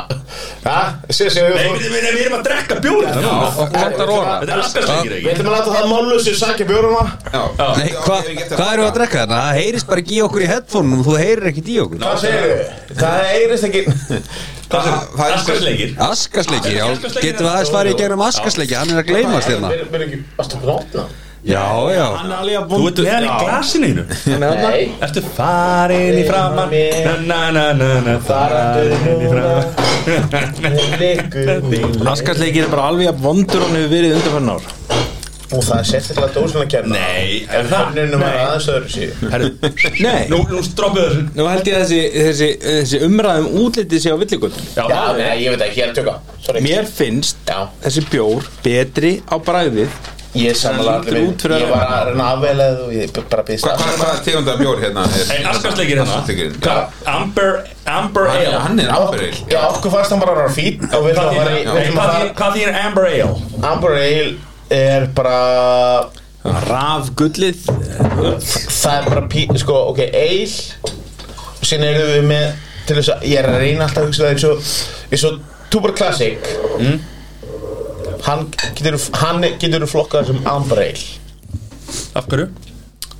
Ha? Sér sér Nei, við, við, við erum að drekka bjór hérna. Vantar óra Þetta er askarsleikir Við ekki ætlum að láta það málusu sækja bjóruna Já, Nei, hvað hva erum við að drekka þarna? Það heyrist bara ekki í okkur í headphone og þú heyrir ekki í okkur Hvað segir Það eirist ekki Það það er Askarsleikir Askasleiki, já, getum við aðeins farið í gegnum Askasleiki, hann er að gleymast hérna Við erum ekki, varstu að opna? Já, já hann er alveg að Þú ert með hann í glasinu þínu. Nei Ertu farin í framann Na na na na na Farin í framann Askarsleikir er bara alveg að vondur hann hefur verið undanfann ár Og það er sérstaklega dósuna að kenna Nei, er það? Nefnum að aðeins öðru síðu Herru, Nei, nú, nú droppið þessu nú held ég að þessi, þessi, þessi umræðum útlitið sé á villigöldum Já, Já, nei, ég veit ekki, ég er að tjóka Sorry Mér finnst Já. þessi bjór betri á bræðið Ég er samanlega allir lítur út við fyrir Ég að- var að reyna afveilað og ég bara býðst Hvað hva, hva tegundar bjór hérna? er? Hey, Asparsleikir hérna Asparsleikirinn, já. Hvað? Amber, Amber Hann er- Ale Hann er ábyrðil Já, okkur fannst hann bara að vera fín og við Hvað það var þýðir- í við nei, ætlum hvað að þýðir- Hvað þýr Amber Ale? fara- Amber Ale er bara Raf gullið það er bara pí, sko, ok, eil og síðan erum við með til þess að, ég er að reyna alltaf að hugsa það eins og, eins og Tuber Classic Mm. hann getur hann getur flokkað sem amber ale Af hverju?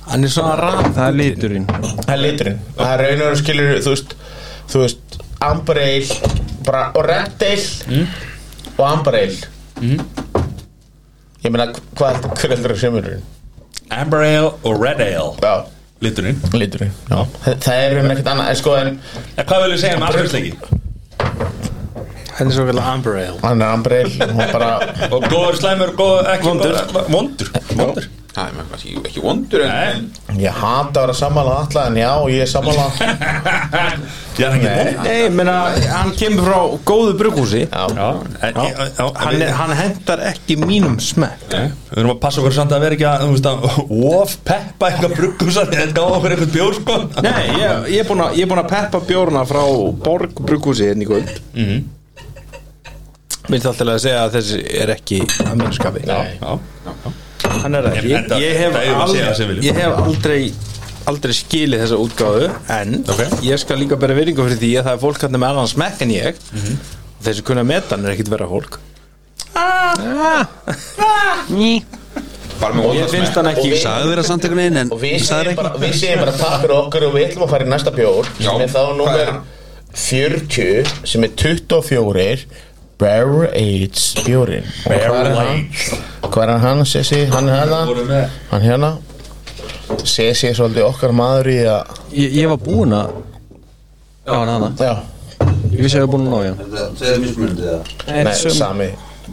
Hann er svona raf Það er liturinn það er liturinn, það er raun og raun skilur þú veist, þú veist, amber ale bara, og red ale og amber ale ég meina, hvað hver heldur sem er Amber Ale og Red Ale já, Liturinn liturinn, já það, það er raun ekkert annað, en sko, en En hvað viljum við segja um Asparsleiki? Hann er svona amber ale hann er amber ale og bara Og góður, slæmur, góður, ekki Vondur Vondur [laughs] Vondur Það er maður ekki, ekki vondur en, Nei. en Ég hata að vera sammála alla en já, ég er sammála Ég er ekki vondur Nei, menna, hann kemur frá góðu brugghúsi Já, en, já. Já, Hann, er, hann hentar ekki mínum smekk Nei, Við erum að passa okkur samt að vera ekki að, þú veist að Of peppa eitthvað brugghúsar Ég gá okkur eitthvað bjór, sko Nei, ég, ég er búinn að- ég er búin að peppa bjórna frá Borg brugghúsi hérna í kvöld mm -hmm. Minnst alltaf að segja að þessi er ekki að minn skapi Nei. Já, Hann er það ekki Þetta- Ég hef, þetta eigum við að segja sem aldrei, viljum. ég hef aldrei aldrei skilið þessa útgáfu en Ok. ég skal líka bera veringu fyrir því að það er fólk hann með annan smekk en ég mm -hmm. þessi kunna metan er ekkit vera fólk bara með Ég vondan finnst smekk hann ekki Og við- Sagði þér að samt einhvern veginn en Og við sagði segjum ekki bara, við segjum bara takk fyrir okkur og við ætlum að fara í næsta bjór Já. sem er þá Hvað er númer hann? 40 sem er 24 Barrel Aids bjórin Og hvað er hann? Hvað er hann hann, Sessi? Hann er vorum hérna með. Hann hérna Sessi er svolítið okkar maður í að Ég, ég var búinn að Já, hann hana Já, Ég vissi að ég var búinn að ná í hann Það er mismunandi það nei, sami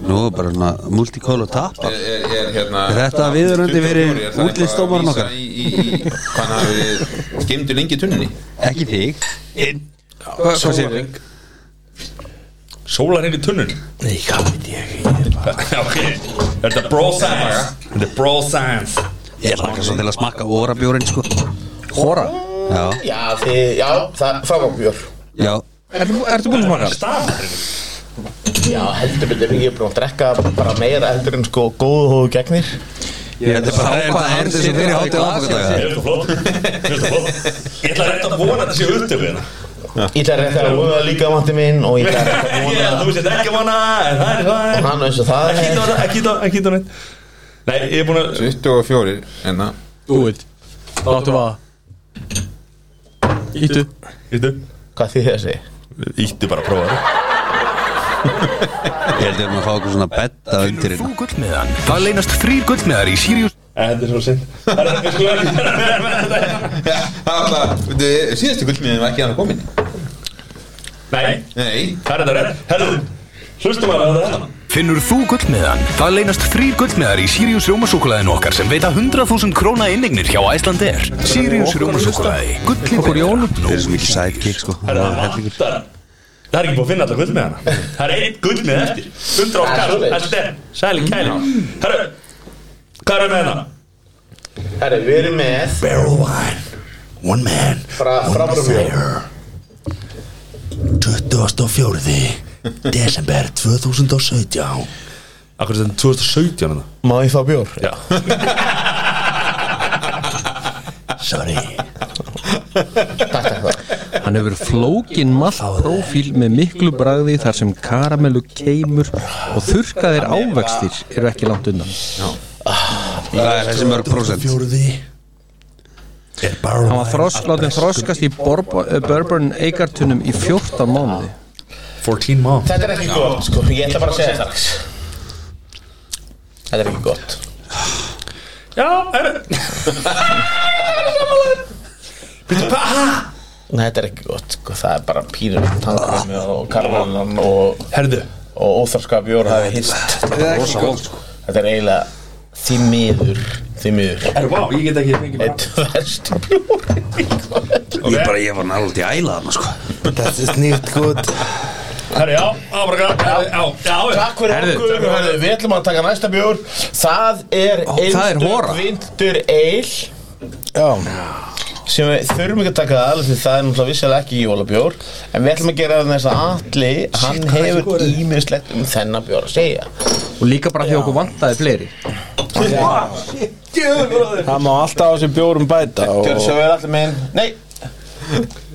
Nú er bara svona multikóla tap Er, er, er, hérna, Er þetta viðurandi fyrir 24, er það eitthvað að útlitsdómarann vísa okkar? í, í, í, Hvað hann hafi gemdu lengi í tunninni Ekki þig Hvað sér þig? Sólar inn í tunnun Nei, hvað veit ég Ok, er þetta bro science? Er þetta bro science? Ég lakka svo til að smakka óra bjórin sko Hóra? Já, Já, þið, já, það er frábæk bjór já Ertu, ertu búinn að smaka? Stafurinn Já, heldur betur, ég er búin að drekka bara meira heldur en sko góðu hóðu gegnir Þetta er bara ákvað hendur sem fyrir hátíð áfangadaga Er þetta flott? Er þetta flott? Ég ætla rétt að vona að þetta séu upptöku hérna Ég ætla rétt að vona líka mati minn og ég ætla rétt að Ég, vona Þú sést ekki vona en Það er það hann eins og það Ekki er það, ekki það, ekki það neitt Nei, ég er búin að 24 en það Búið Láttu maður Íttu Íttu Hvað þýðir þessi? Íttu bara að prófa það Ég held ég um að fá okkur svona betta undir Þú gullmiðan Það leynast þrýr gullmiðar í Sirius En Þetta er svo sinn Það er ekki sko ekki vera með þetta. Já, [laughs] það var alltaf veitu, Síðasti gullmiðin var ekki hann að komin [laughs] Nei, Nei það er þetta rétt Herðu, hlustum að þetta Finnur þú gullmiðan? Það leynast þrýr gullmiðar í Sirius Rjómasúkulaðin okkar sem veita 100.000 króna innignir hjá Æslandir Sirius Rjómasúkulaði Gullmiðar Það er svo mikið sidekick sko Herðu, það vantar Það er ekki búin að finna alla gull með hana Það er einn gull með eftir 100 Það er okkar svoleiðis. Þetta er sæli kæli Mm. Herðu, hvað er með hana? Herri, við erum með Barrel wine One man Fra- frábærum bjór 24. desember 2017 Akkur þetta er 2017 hana Má ég fá bjór? Já Sorry Hann hefur flókin maltprófíl með miklu bragði þar sem karamellu keimur og þurrkaðir ávextir eru ekki langt undan. Það er þessi mörg prósent 24. er barrel Hann var þrosk, látin þroskast í Borb- eh, Bourbon eigartunum í 14 mánuði. 14 mom Þetta er ekki gott, sko, ég ætla bara að segja það Þetta er ekki gott Já, herðu Nei, þetta er ekki gott, sko, það er bara pínur Tankrami og karvanan og, Herðu og óþarska bjór Það er hist Það er ekki góð sko Þetta er eiginlega því miður Því miður Herðu, vá, ég get ekki fengið bara Þetta er verst bjór Ég bara, ég var náttúrulega í ælaðan sko Þetta er snýrt gott Herri, já, á, bara grann Já, já, já Takk fyrir Herðu. okkur, herðu, við ætlum að taka næsta bjór Það er Ó, það er hora. vindur eil Já, sem við þurfum ekki að taka það alveg því það er náttúrulega vissilega ekki jólabjór en við ætlum að gera það þess að Atli hann hefur ímislegt um þennan bjór að segja Og líka bara því okkur vantaði fleiri það má alltaf á þessum bjórum bæta og, Gjörðu svo vel Atli minn Nei,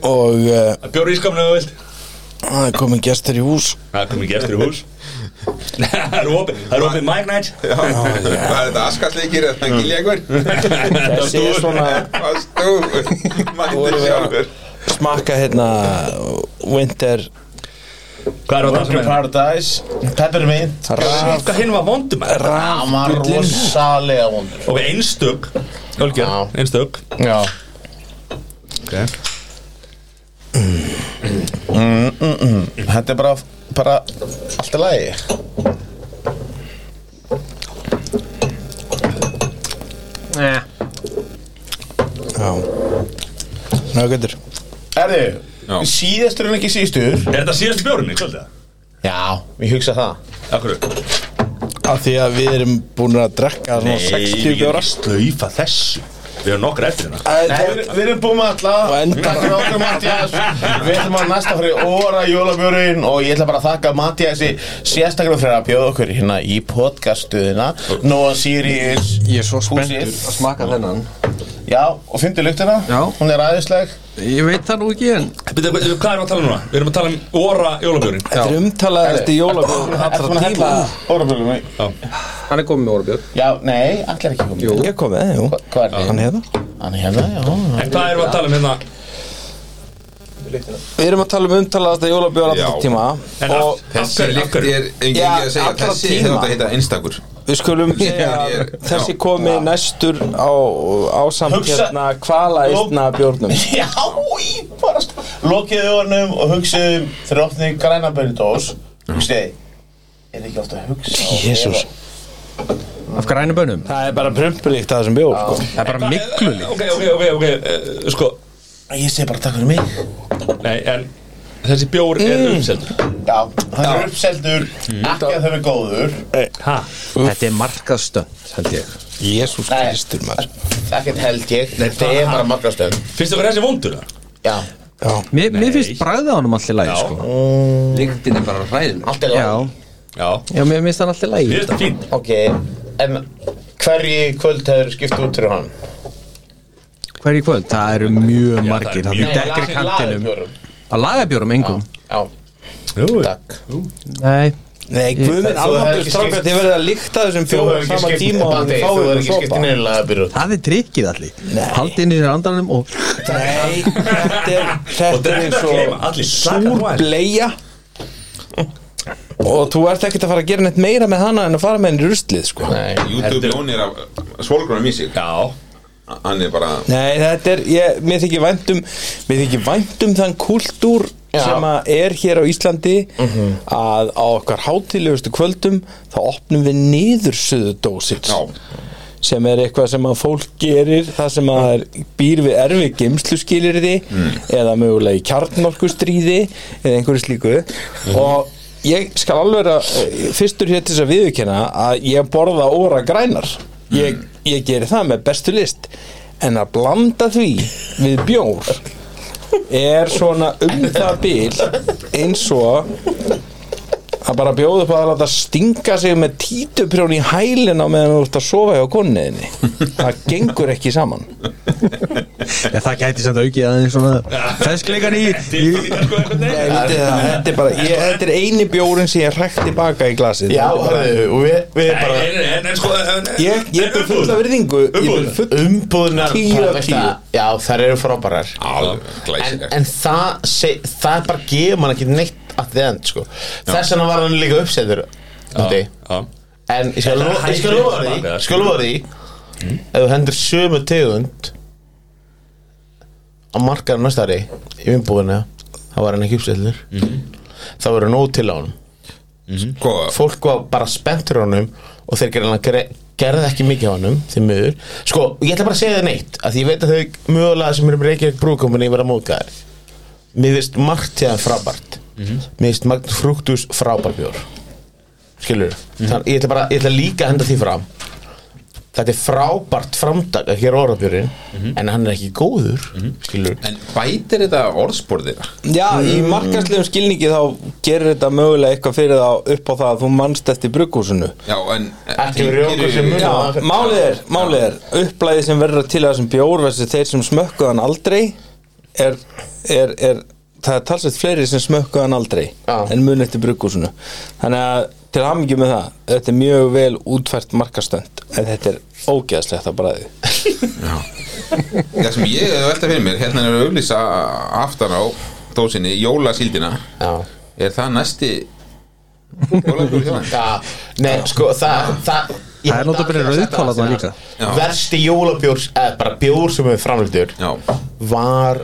og uh, Bjór í skamlega vilt það er komin gestur í hús Það komið gestur í hús Það er opið, það er opið mic night Hvað er þetta askasleikir eða gilja einhver? Það er Þessi er stúr svona Hvað stúr? [laughs] Mættu sjálfur smakka hérna Winter Hvað er á það sem er? Paradise Peppermint Raf Hvað hinn var vondum er? Hann var rosalega vondur Ok, einstök Ölgerð, Já. einstök Já Ok Þetta er bara, bara allt í lagi Já Ná, getur Já. Erðu, síðastur en ekki síðastur Er þetta síðast bjórinn í kvölda? Já, ég hugsa það Akkur Af því að við erum búin að drekka svona 60 bjóra slaufa þessu Við erum nokkra eftir hérna Nei, við, við erum búin með alla Og enda- Takk fyrir okkur Mattias Við ætlum að næsta fyrir óra jólabjörun Og ég ætla bara að þakka Mattiasi Sérstaklega fyrir að bjóða okkur hérna í podcastuðina Nóa Sirius Ég er svo spenntur Húsið. að smaka þennan Já, og fyndi luktina Já. Hún er aðeinsleg Ég veit það nú ekki en Býta, Hvað erum við að tala um núna? Við erum að tala um óra jólabjórinn Þetta er umtalaðist í jólabjórum Ertu búin allra að hella tíma órabjörnum í? [laughs] Hann er komið með orðbjörn Já, nei, allir ekki komið Ég kom með, jú Hva- Hvað er Hann þið? hefða Hann er hérna, já En hvað erum við að tala um hérna? Við erum að tala um umtalaðasta jólabjóra allra Já. tíma En Og af- af Þessi hverju- af líkt hverju? er engin Já, ekki að segja allra Þessi tíma. hefur þetta heita einstakur við skulum segja Já. að Þessi komi næstur á, á samt Hugsa- hérna kvala eistna bjórnum Já, í bara sko. st- Lokiðu ornum og hugsiðu Þegar opnið grænabjörnudós Hugsiðu, er ekki alltaf að hugsa og Jesús. vera- Af grænu bönum Það er bara prumpulíkt að þessum bjór sko. Það er bara miklu líkt Ok, ok, ok, ok eh, Sko, Ég segi bara takk fyrir mig nei, en Þessi bjór er umseldur Já, hann er uppseldur Ekki að þau er góður Þetta er markaðstönd held ég Jésús Nei. Kristur maður Ekkert held ég Þetta er bara magnastöð Finnst þið hvað þessi vondur það? Já, Mér, mér finnst bragðið á honum allir lægi Já. sko. Líktin er bara hræðin allt Já, er lág Já já, mér finnst hann allir Mér lægi finnst það fín Ok, en hverju kvöld hefur skipt út fyrir hann? Hverju kvöld, það eru mjög það margir er Það mjög- er dekkri kantinum Lagarbjórum. Að lagabjórum engum Já, Jú, takk Nei, Nei, Þú guðminn, hefur alveg ekki strákar skipt- Þið verður að líkta þessum Þú fjórum hefur ekki sama skipt tíma og Bandi, þið Þú fáið hefur ykkur ekki skipt sopa. inn í lagabjörun það er trikkið allir Haldið inn í andanum og [laughs] Nei, þetta er Og þetta er drekka eins klima, og allir súrbleia og þú ert ekkert að fara að gera neitt meira með hana en að fara með henni í ruslið sko. Nei. YouTube lónir af svolgrunum í sig Já Hann er bara þetta er, ég, mér þykir væntum mér þykir væntum þann kultúr Já. Mhm. sem að er hér á Íslandi að á okkar hátilegustu kvöldum þá opnum við niður suðudósir Já, sem er eitthvað sem að fólk gerir það sem að það er- býr við erfi geimslu eða mögulega í kjarnorkustríði eða einhverju slíku og ég skal alveg vera eh, fyrstur hér til þess að viðurkenna að ég borða óra grænar ég, ég geri það með bestu list en að blanda því við bjór er svona um það bil eins og að bara bjóða upp að láta stinga sig með títuprjón í hælina meðan þú ert að sofa hjá konniðinni það gengur ekki saman ja, Það gæti sem það aukið aðeins svona Feskleikan í Nei, vitið það, þetta er bara Sko, ég, þetta er eini bjórin sem ég hrækt tilbaka í glasið Já, hörðu, og við, við bara ég, ég ber fulla virðingu ég ber fulla umbúðunar Tíu af tíu. Já, þær eru frábærar alveg en, glæsilegt en það, seg, það bara gefur mann ekki neitt að þið end sko. þess vegna var hann líka uppsettur úti. en ég Þetta skal er lo- ég skal hybrid lofa því smak, eða? ég skal lofa því ef þú hendur sömu tegund á markaðar næstari í umbúðuna þá var hann ekki uppsettur þá var hann til á hann Sko, fólk var bara spenntur á honum og þeir gerði, gerði, gerði ekki mikið á honum þeir miður, sko, og ég ætla bara að segja það neitt að því ég veit að þau mögulega sem erum Reykjavík brúkominni vera móðgæðir mér finnst margt til það frábært Mér finnst Magnus Fruktus frábærbjór Skilur mm. ég, ætla bara, ég ætla líka að henda því fram Þetta er frábært framtak að gera orðabjörinn En hann er ekki góður Skilur En bætir þetta orðsporðir Já, í markaslegum skilningi þá gerir þetta mögulega eitthvað fyrir þá upp á það að þú mannst eftir brugghúsinu Já, en Ekki rjókur sem mun Já, málið er, málið er upplæðið sem verður til að þessum bjór versus þeir sem smökkuðu hann aldrei er, er, er það er talsveit fleiri sem smökkuðu hann aldrei Já. en mun eftir brugghúsinu þannig að til hamingju með það þetta er mjög vel útfært markastönd en þetta er ógeðslegt að bræði Það sem ég hef velta fyrir mér Hérna er að auglýsa aftan á dósinni Jólasíldina Já Er það næsti Jólabjór hjá [laughs] hann? Já, nei, sko, það Það, ég Það er held náttúrulega allir rauðkál að setja það þarna síðast. líka. Já. Versti jólabjór, eða bara bjór sem við framlýttur Já Var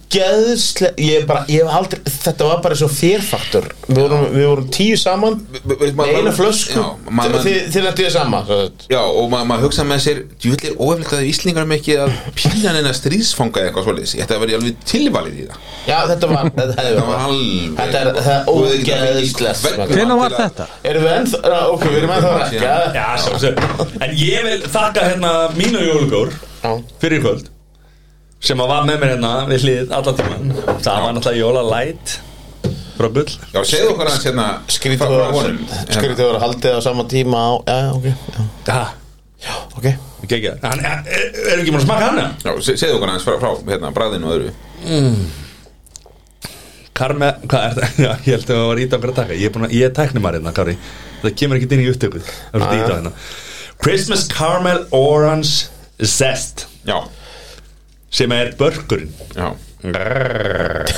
ógeðslega Ég er bara, ég hef aldrei Þetta var bara svo fyrfaktur Við vorum, við vorum tíu saman b- b- Með maður- eina flösku Já, maður- Þið- Þið nættu þið saman svo sagt. já, og ma- maður hugsa með sér Djúvill er óefnilegt að Íslingar með ekki að pílan en að stríðsfanga eitthvað svoleiðis Þetta var ég alveg tilvalið í það Já, þetta var, þetta hefði Það var verið- alveg Þetta er, það er sko. ógeðslega Hvenær var þetta? Erum við ennþá, já, ok, við erum ennþá að rekja Já, sjálfsög En ég vil þakka hérna mínu jólugjór Já. Fyrir í kvöld Sem að var með mér hérna við hlið alla tíman Það var náttúrulega jóla light Frá gull Já, segðu okkur aðeins hérna Skrítið frá- frá var honum. Skrítið var haldið á sama tíma á Já, já, ok Já, Já, ok geggja Hann er, er ekki múin að smaka hana? Já, se- segðu okkur aðeins frá, frá hérna, bræðinu og öðru Karme, hvað er það? [laughs] Já, ég held að það var ít okkur að taka Ég er, búin að, ég er tæknumar hérna, Kari Það kemur ekki inn í upptökuð Það er svolítið ít á hérna Christmas Caramel Orange Zest Já, Sem er börkurinn já, Þetta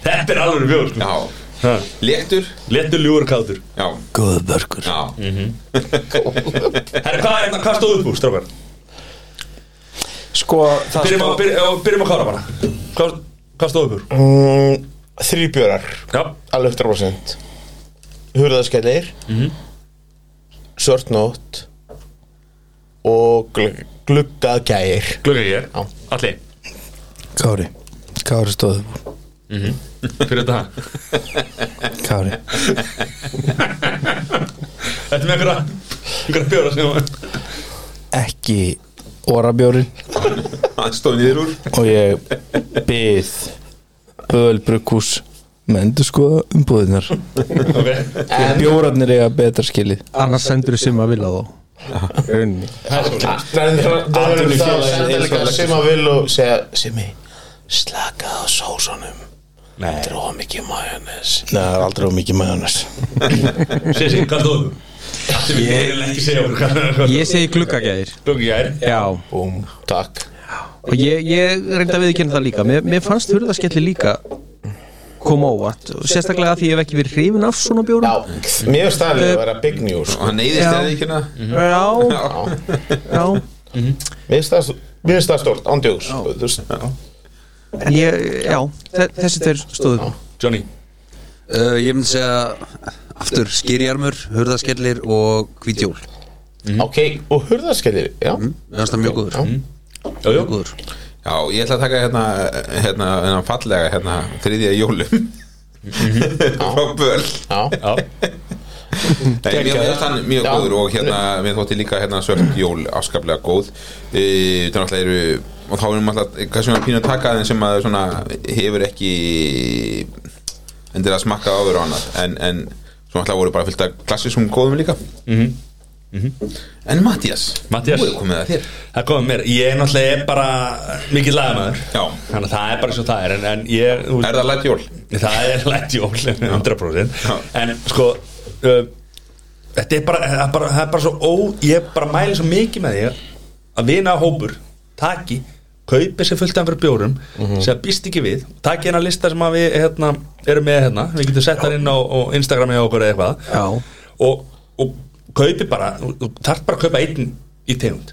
er alveg bjór sko. já Ha, Léttur, Léttur ljúur kátur já Góð börgur Já, Herri, hvað, hérna, hvað stóð upp úr, strákar? Sko, það Byrjum að, stóð- byrjum, já, byrjum að kára bara Hvað, hvað stóð upp úr? mm, Þrýbjörar Já, Alveg 100% Hurðaskellir mm Sörtnótt Og glugg, gluggað gæir glugga ég Já. Alli, Kári, Kári stóðu upp úr. Mhm. fyrir þetta Kári Þetta er með einhverja einhverja bjóra sem ekki orabjórin hann stóð niður úr og ég byð Bölbrukkús með endur skoða umbúðinar Ok, bjórarnir eiga betra skilið Annars sendur þú sem að vilja þá Það er það er það Sendilega sem að vil og segja Simmi, slakað á sósunum Nei Dróða mikið majónes Nei, það er aldrei of mikið majónes Sissi, hvað stóð upp úr? Það sem ég vil ekki segja okkur hvað- hvað- Ég segi gluggagæðir Glugga ég er Já, Búm, takk og ég, ég reynda að viðkynna það líka Mér, mér fannst hurðaskellir líka koma óvart og sérstaklega að því ég hef ekki verið hrifin af svona bjórum Já, mér finnst það að vera big news og hann neyðist Já. eða ekki hérna Já, já Mhm. Mér finnst það- mér finnst það stórt, ándjóks Þú veist, En ég, já, þe- þessi tveir stóðu Johnny Uh, ég myndi segja aftur skýrjarmur, hurðaskellir og hvítjól Hm? ok, og hurðaskellir Já, Mér finnst það mjög góður Jó, jó, Góður Já, ég ætla að taka hérna, hérna, hérna fallega hérna þriðja í jólum Mhm. [laughs] frá böl já, já Nei, mér Gekkjaður. finnst hann mjög Já. góður og hérna, mér þótti líka hérna svört jól afskaplega góð e, þannig alltaf eru og þá erum alltaf, kannski svona pínu að taka þeim sem að svona hefur ekki endur að smakka áður og annað en, en svona alltaf voru bara fyllt af klassiskum góðum líka en Mattias Matthías. nú er komið að þér Það komið mér, ég er náttúrulega er bara mikill lagamæður Já. Þannig að það er bara svo það er En, en ég, þú er það lætt jól? Það er lætt jól [laughs] 100% Já. En sko uh, Þetta er bara, það er bara, það er bara svo ó Ég bara mæli svo mikið með því að- Að vina hópur Taki, kaupi sér fullt af fyrir bjórum mm Sem býst ekki við Taki hérna lista sem að við hérna, erum með hérna Við getum sett þar inn á, á Instagrami á okkur eða eitthvað Já. og, og kaupi bara þú- Þú þarf bara að kaupa einn í tegund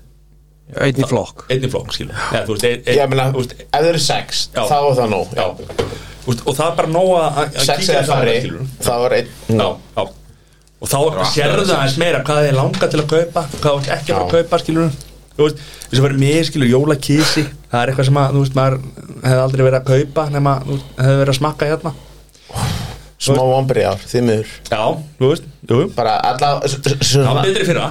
Einn í flokk Einn í flokk, skilur Eða, þú veist, ein, ein, ég meina, þú veist, ef það eru sex Já. þá er það nóg já. þú veist, Og það er bara nóg að- að að Sex kíkja eða á það, færri, skilurðu. þá er einn já, já. og þá sérðu það aðeins meira hvað þið langa til að kaupa hvað þú ert ekki að fara að kaupa skilur þú veist, þess að vera mér skilur jólakísi, það er eitthvað sem að þú veist, maður hefði aldrei verið að kaupa nema þú veist, hefði verið að smakka hérna Smá vombrið ár, þið miður Já, þú veist, jú Bara alla Það Það var betri í fyrra.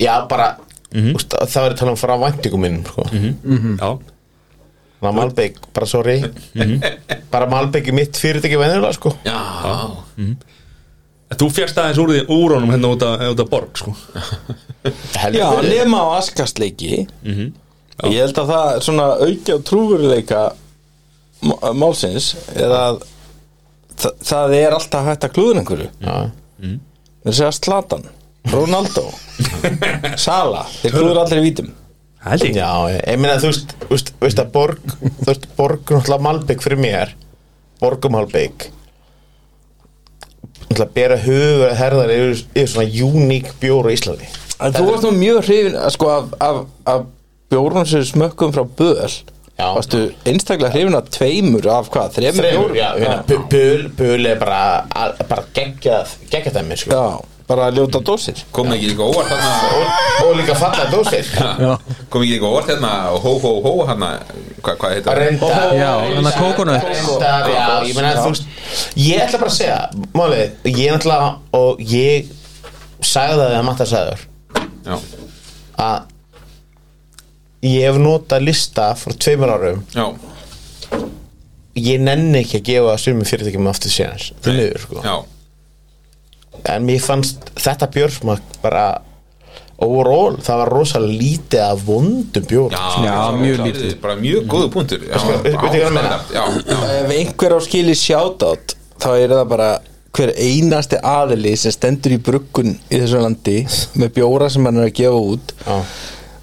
Já, bara Mhm. úst, Það er að tala um frá væntingum minn sko. mm -hmm. Já Ná, Malbygg, bara sorry Bara Malbygg er mitt fyrirtæki venjulega sko. Mhm. Já, já. Þú fjast aðeins úr, því- úr honum hérna út að, út að borg sko. Já, nema á askastleiki Mhm. Ég held að það svona auki á trúveruleika má- málsins er að það, það er alltaf hægt að klúður einhverju Já Þeir segja Slatan, Ronaldo [laughs] Sala, þeir klúður allir í vítum Heldig. Já, ég ég meina þú veist, þú veist, þú veist að borg þú veist, borg er náttúrulega Malbygg fyrir mér borg um Malbygg náttúrulega bera hugur að herðar yfir, yfir svona uník bjór á Íslandi En þú varst nú mjög hrifin að sko af, af, af bjórnum sem smökkum frá böl Já Varstu einstaklega hrifin að tveimur af hvað, Hérna, þreimur Þremur, já, hérna, já. Böl, böl er bara, al- bara geggjað geggjað þeim sko. Já, bara ljóta dósir Kom ekki líka óvart þarna og, og líka falla dósir Kom ekki líka óvart hérna Hó, hó, hó hérna Hvað hva heitir Reyndar Já, hann að kókonut Reyndar, já, ég meina þú veist Ég ætla bara að segja, málið Ég ætla og ég sagði það að matta sagður Já. að ég hef notað lista frá tveimur árum Já, ég nenni ekki að gefa sumum fyrirtækjum aftur séðans til niður sko já, en mér fannst þetta björsmak bara overall, það var rosalega lítið af vondum bjór já mjög klart. Bara mjög góðu punktur Já, Sko, veitu hvað ég meina? ástæðilegt, já, já, Ef einhver á skili sjátátt þá er það bara hver einasti aðili sem stendur í bruggun í þessu landi með bjóra sem hann er að gefa út Já.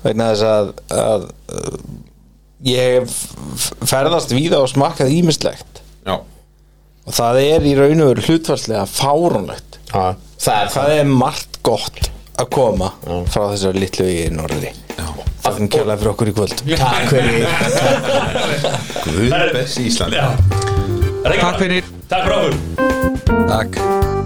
vegna þess að, að uh, ég hef ferðast víða og smakkað ímislegt já og það er í raun og veru hlutfarslega fáránlegt Já, það er það það er margt gott að koma frá þessar litlu í Norri Þakkum kjærlega fyrir okkur í kvöld Takk fyrir Guð best í Íslandi Takk Takk fyrir Takk fyrir okkur Takk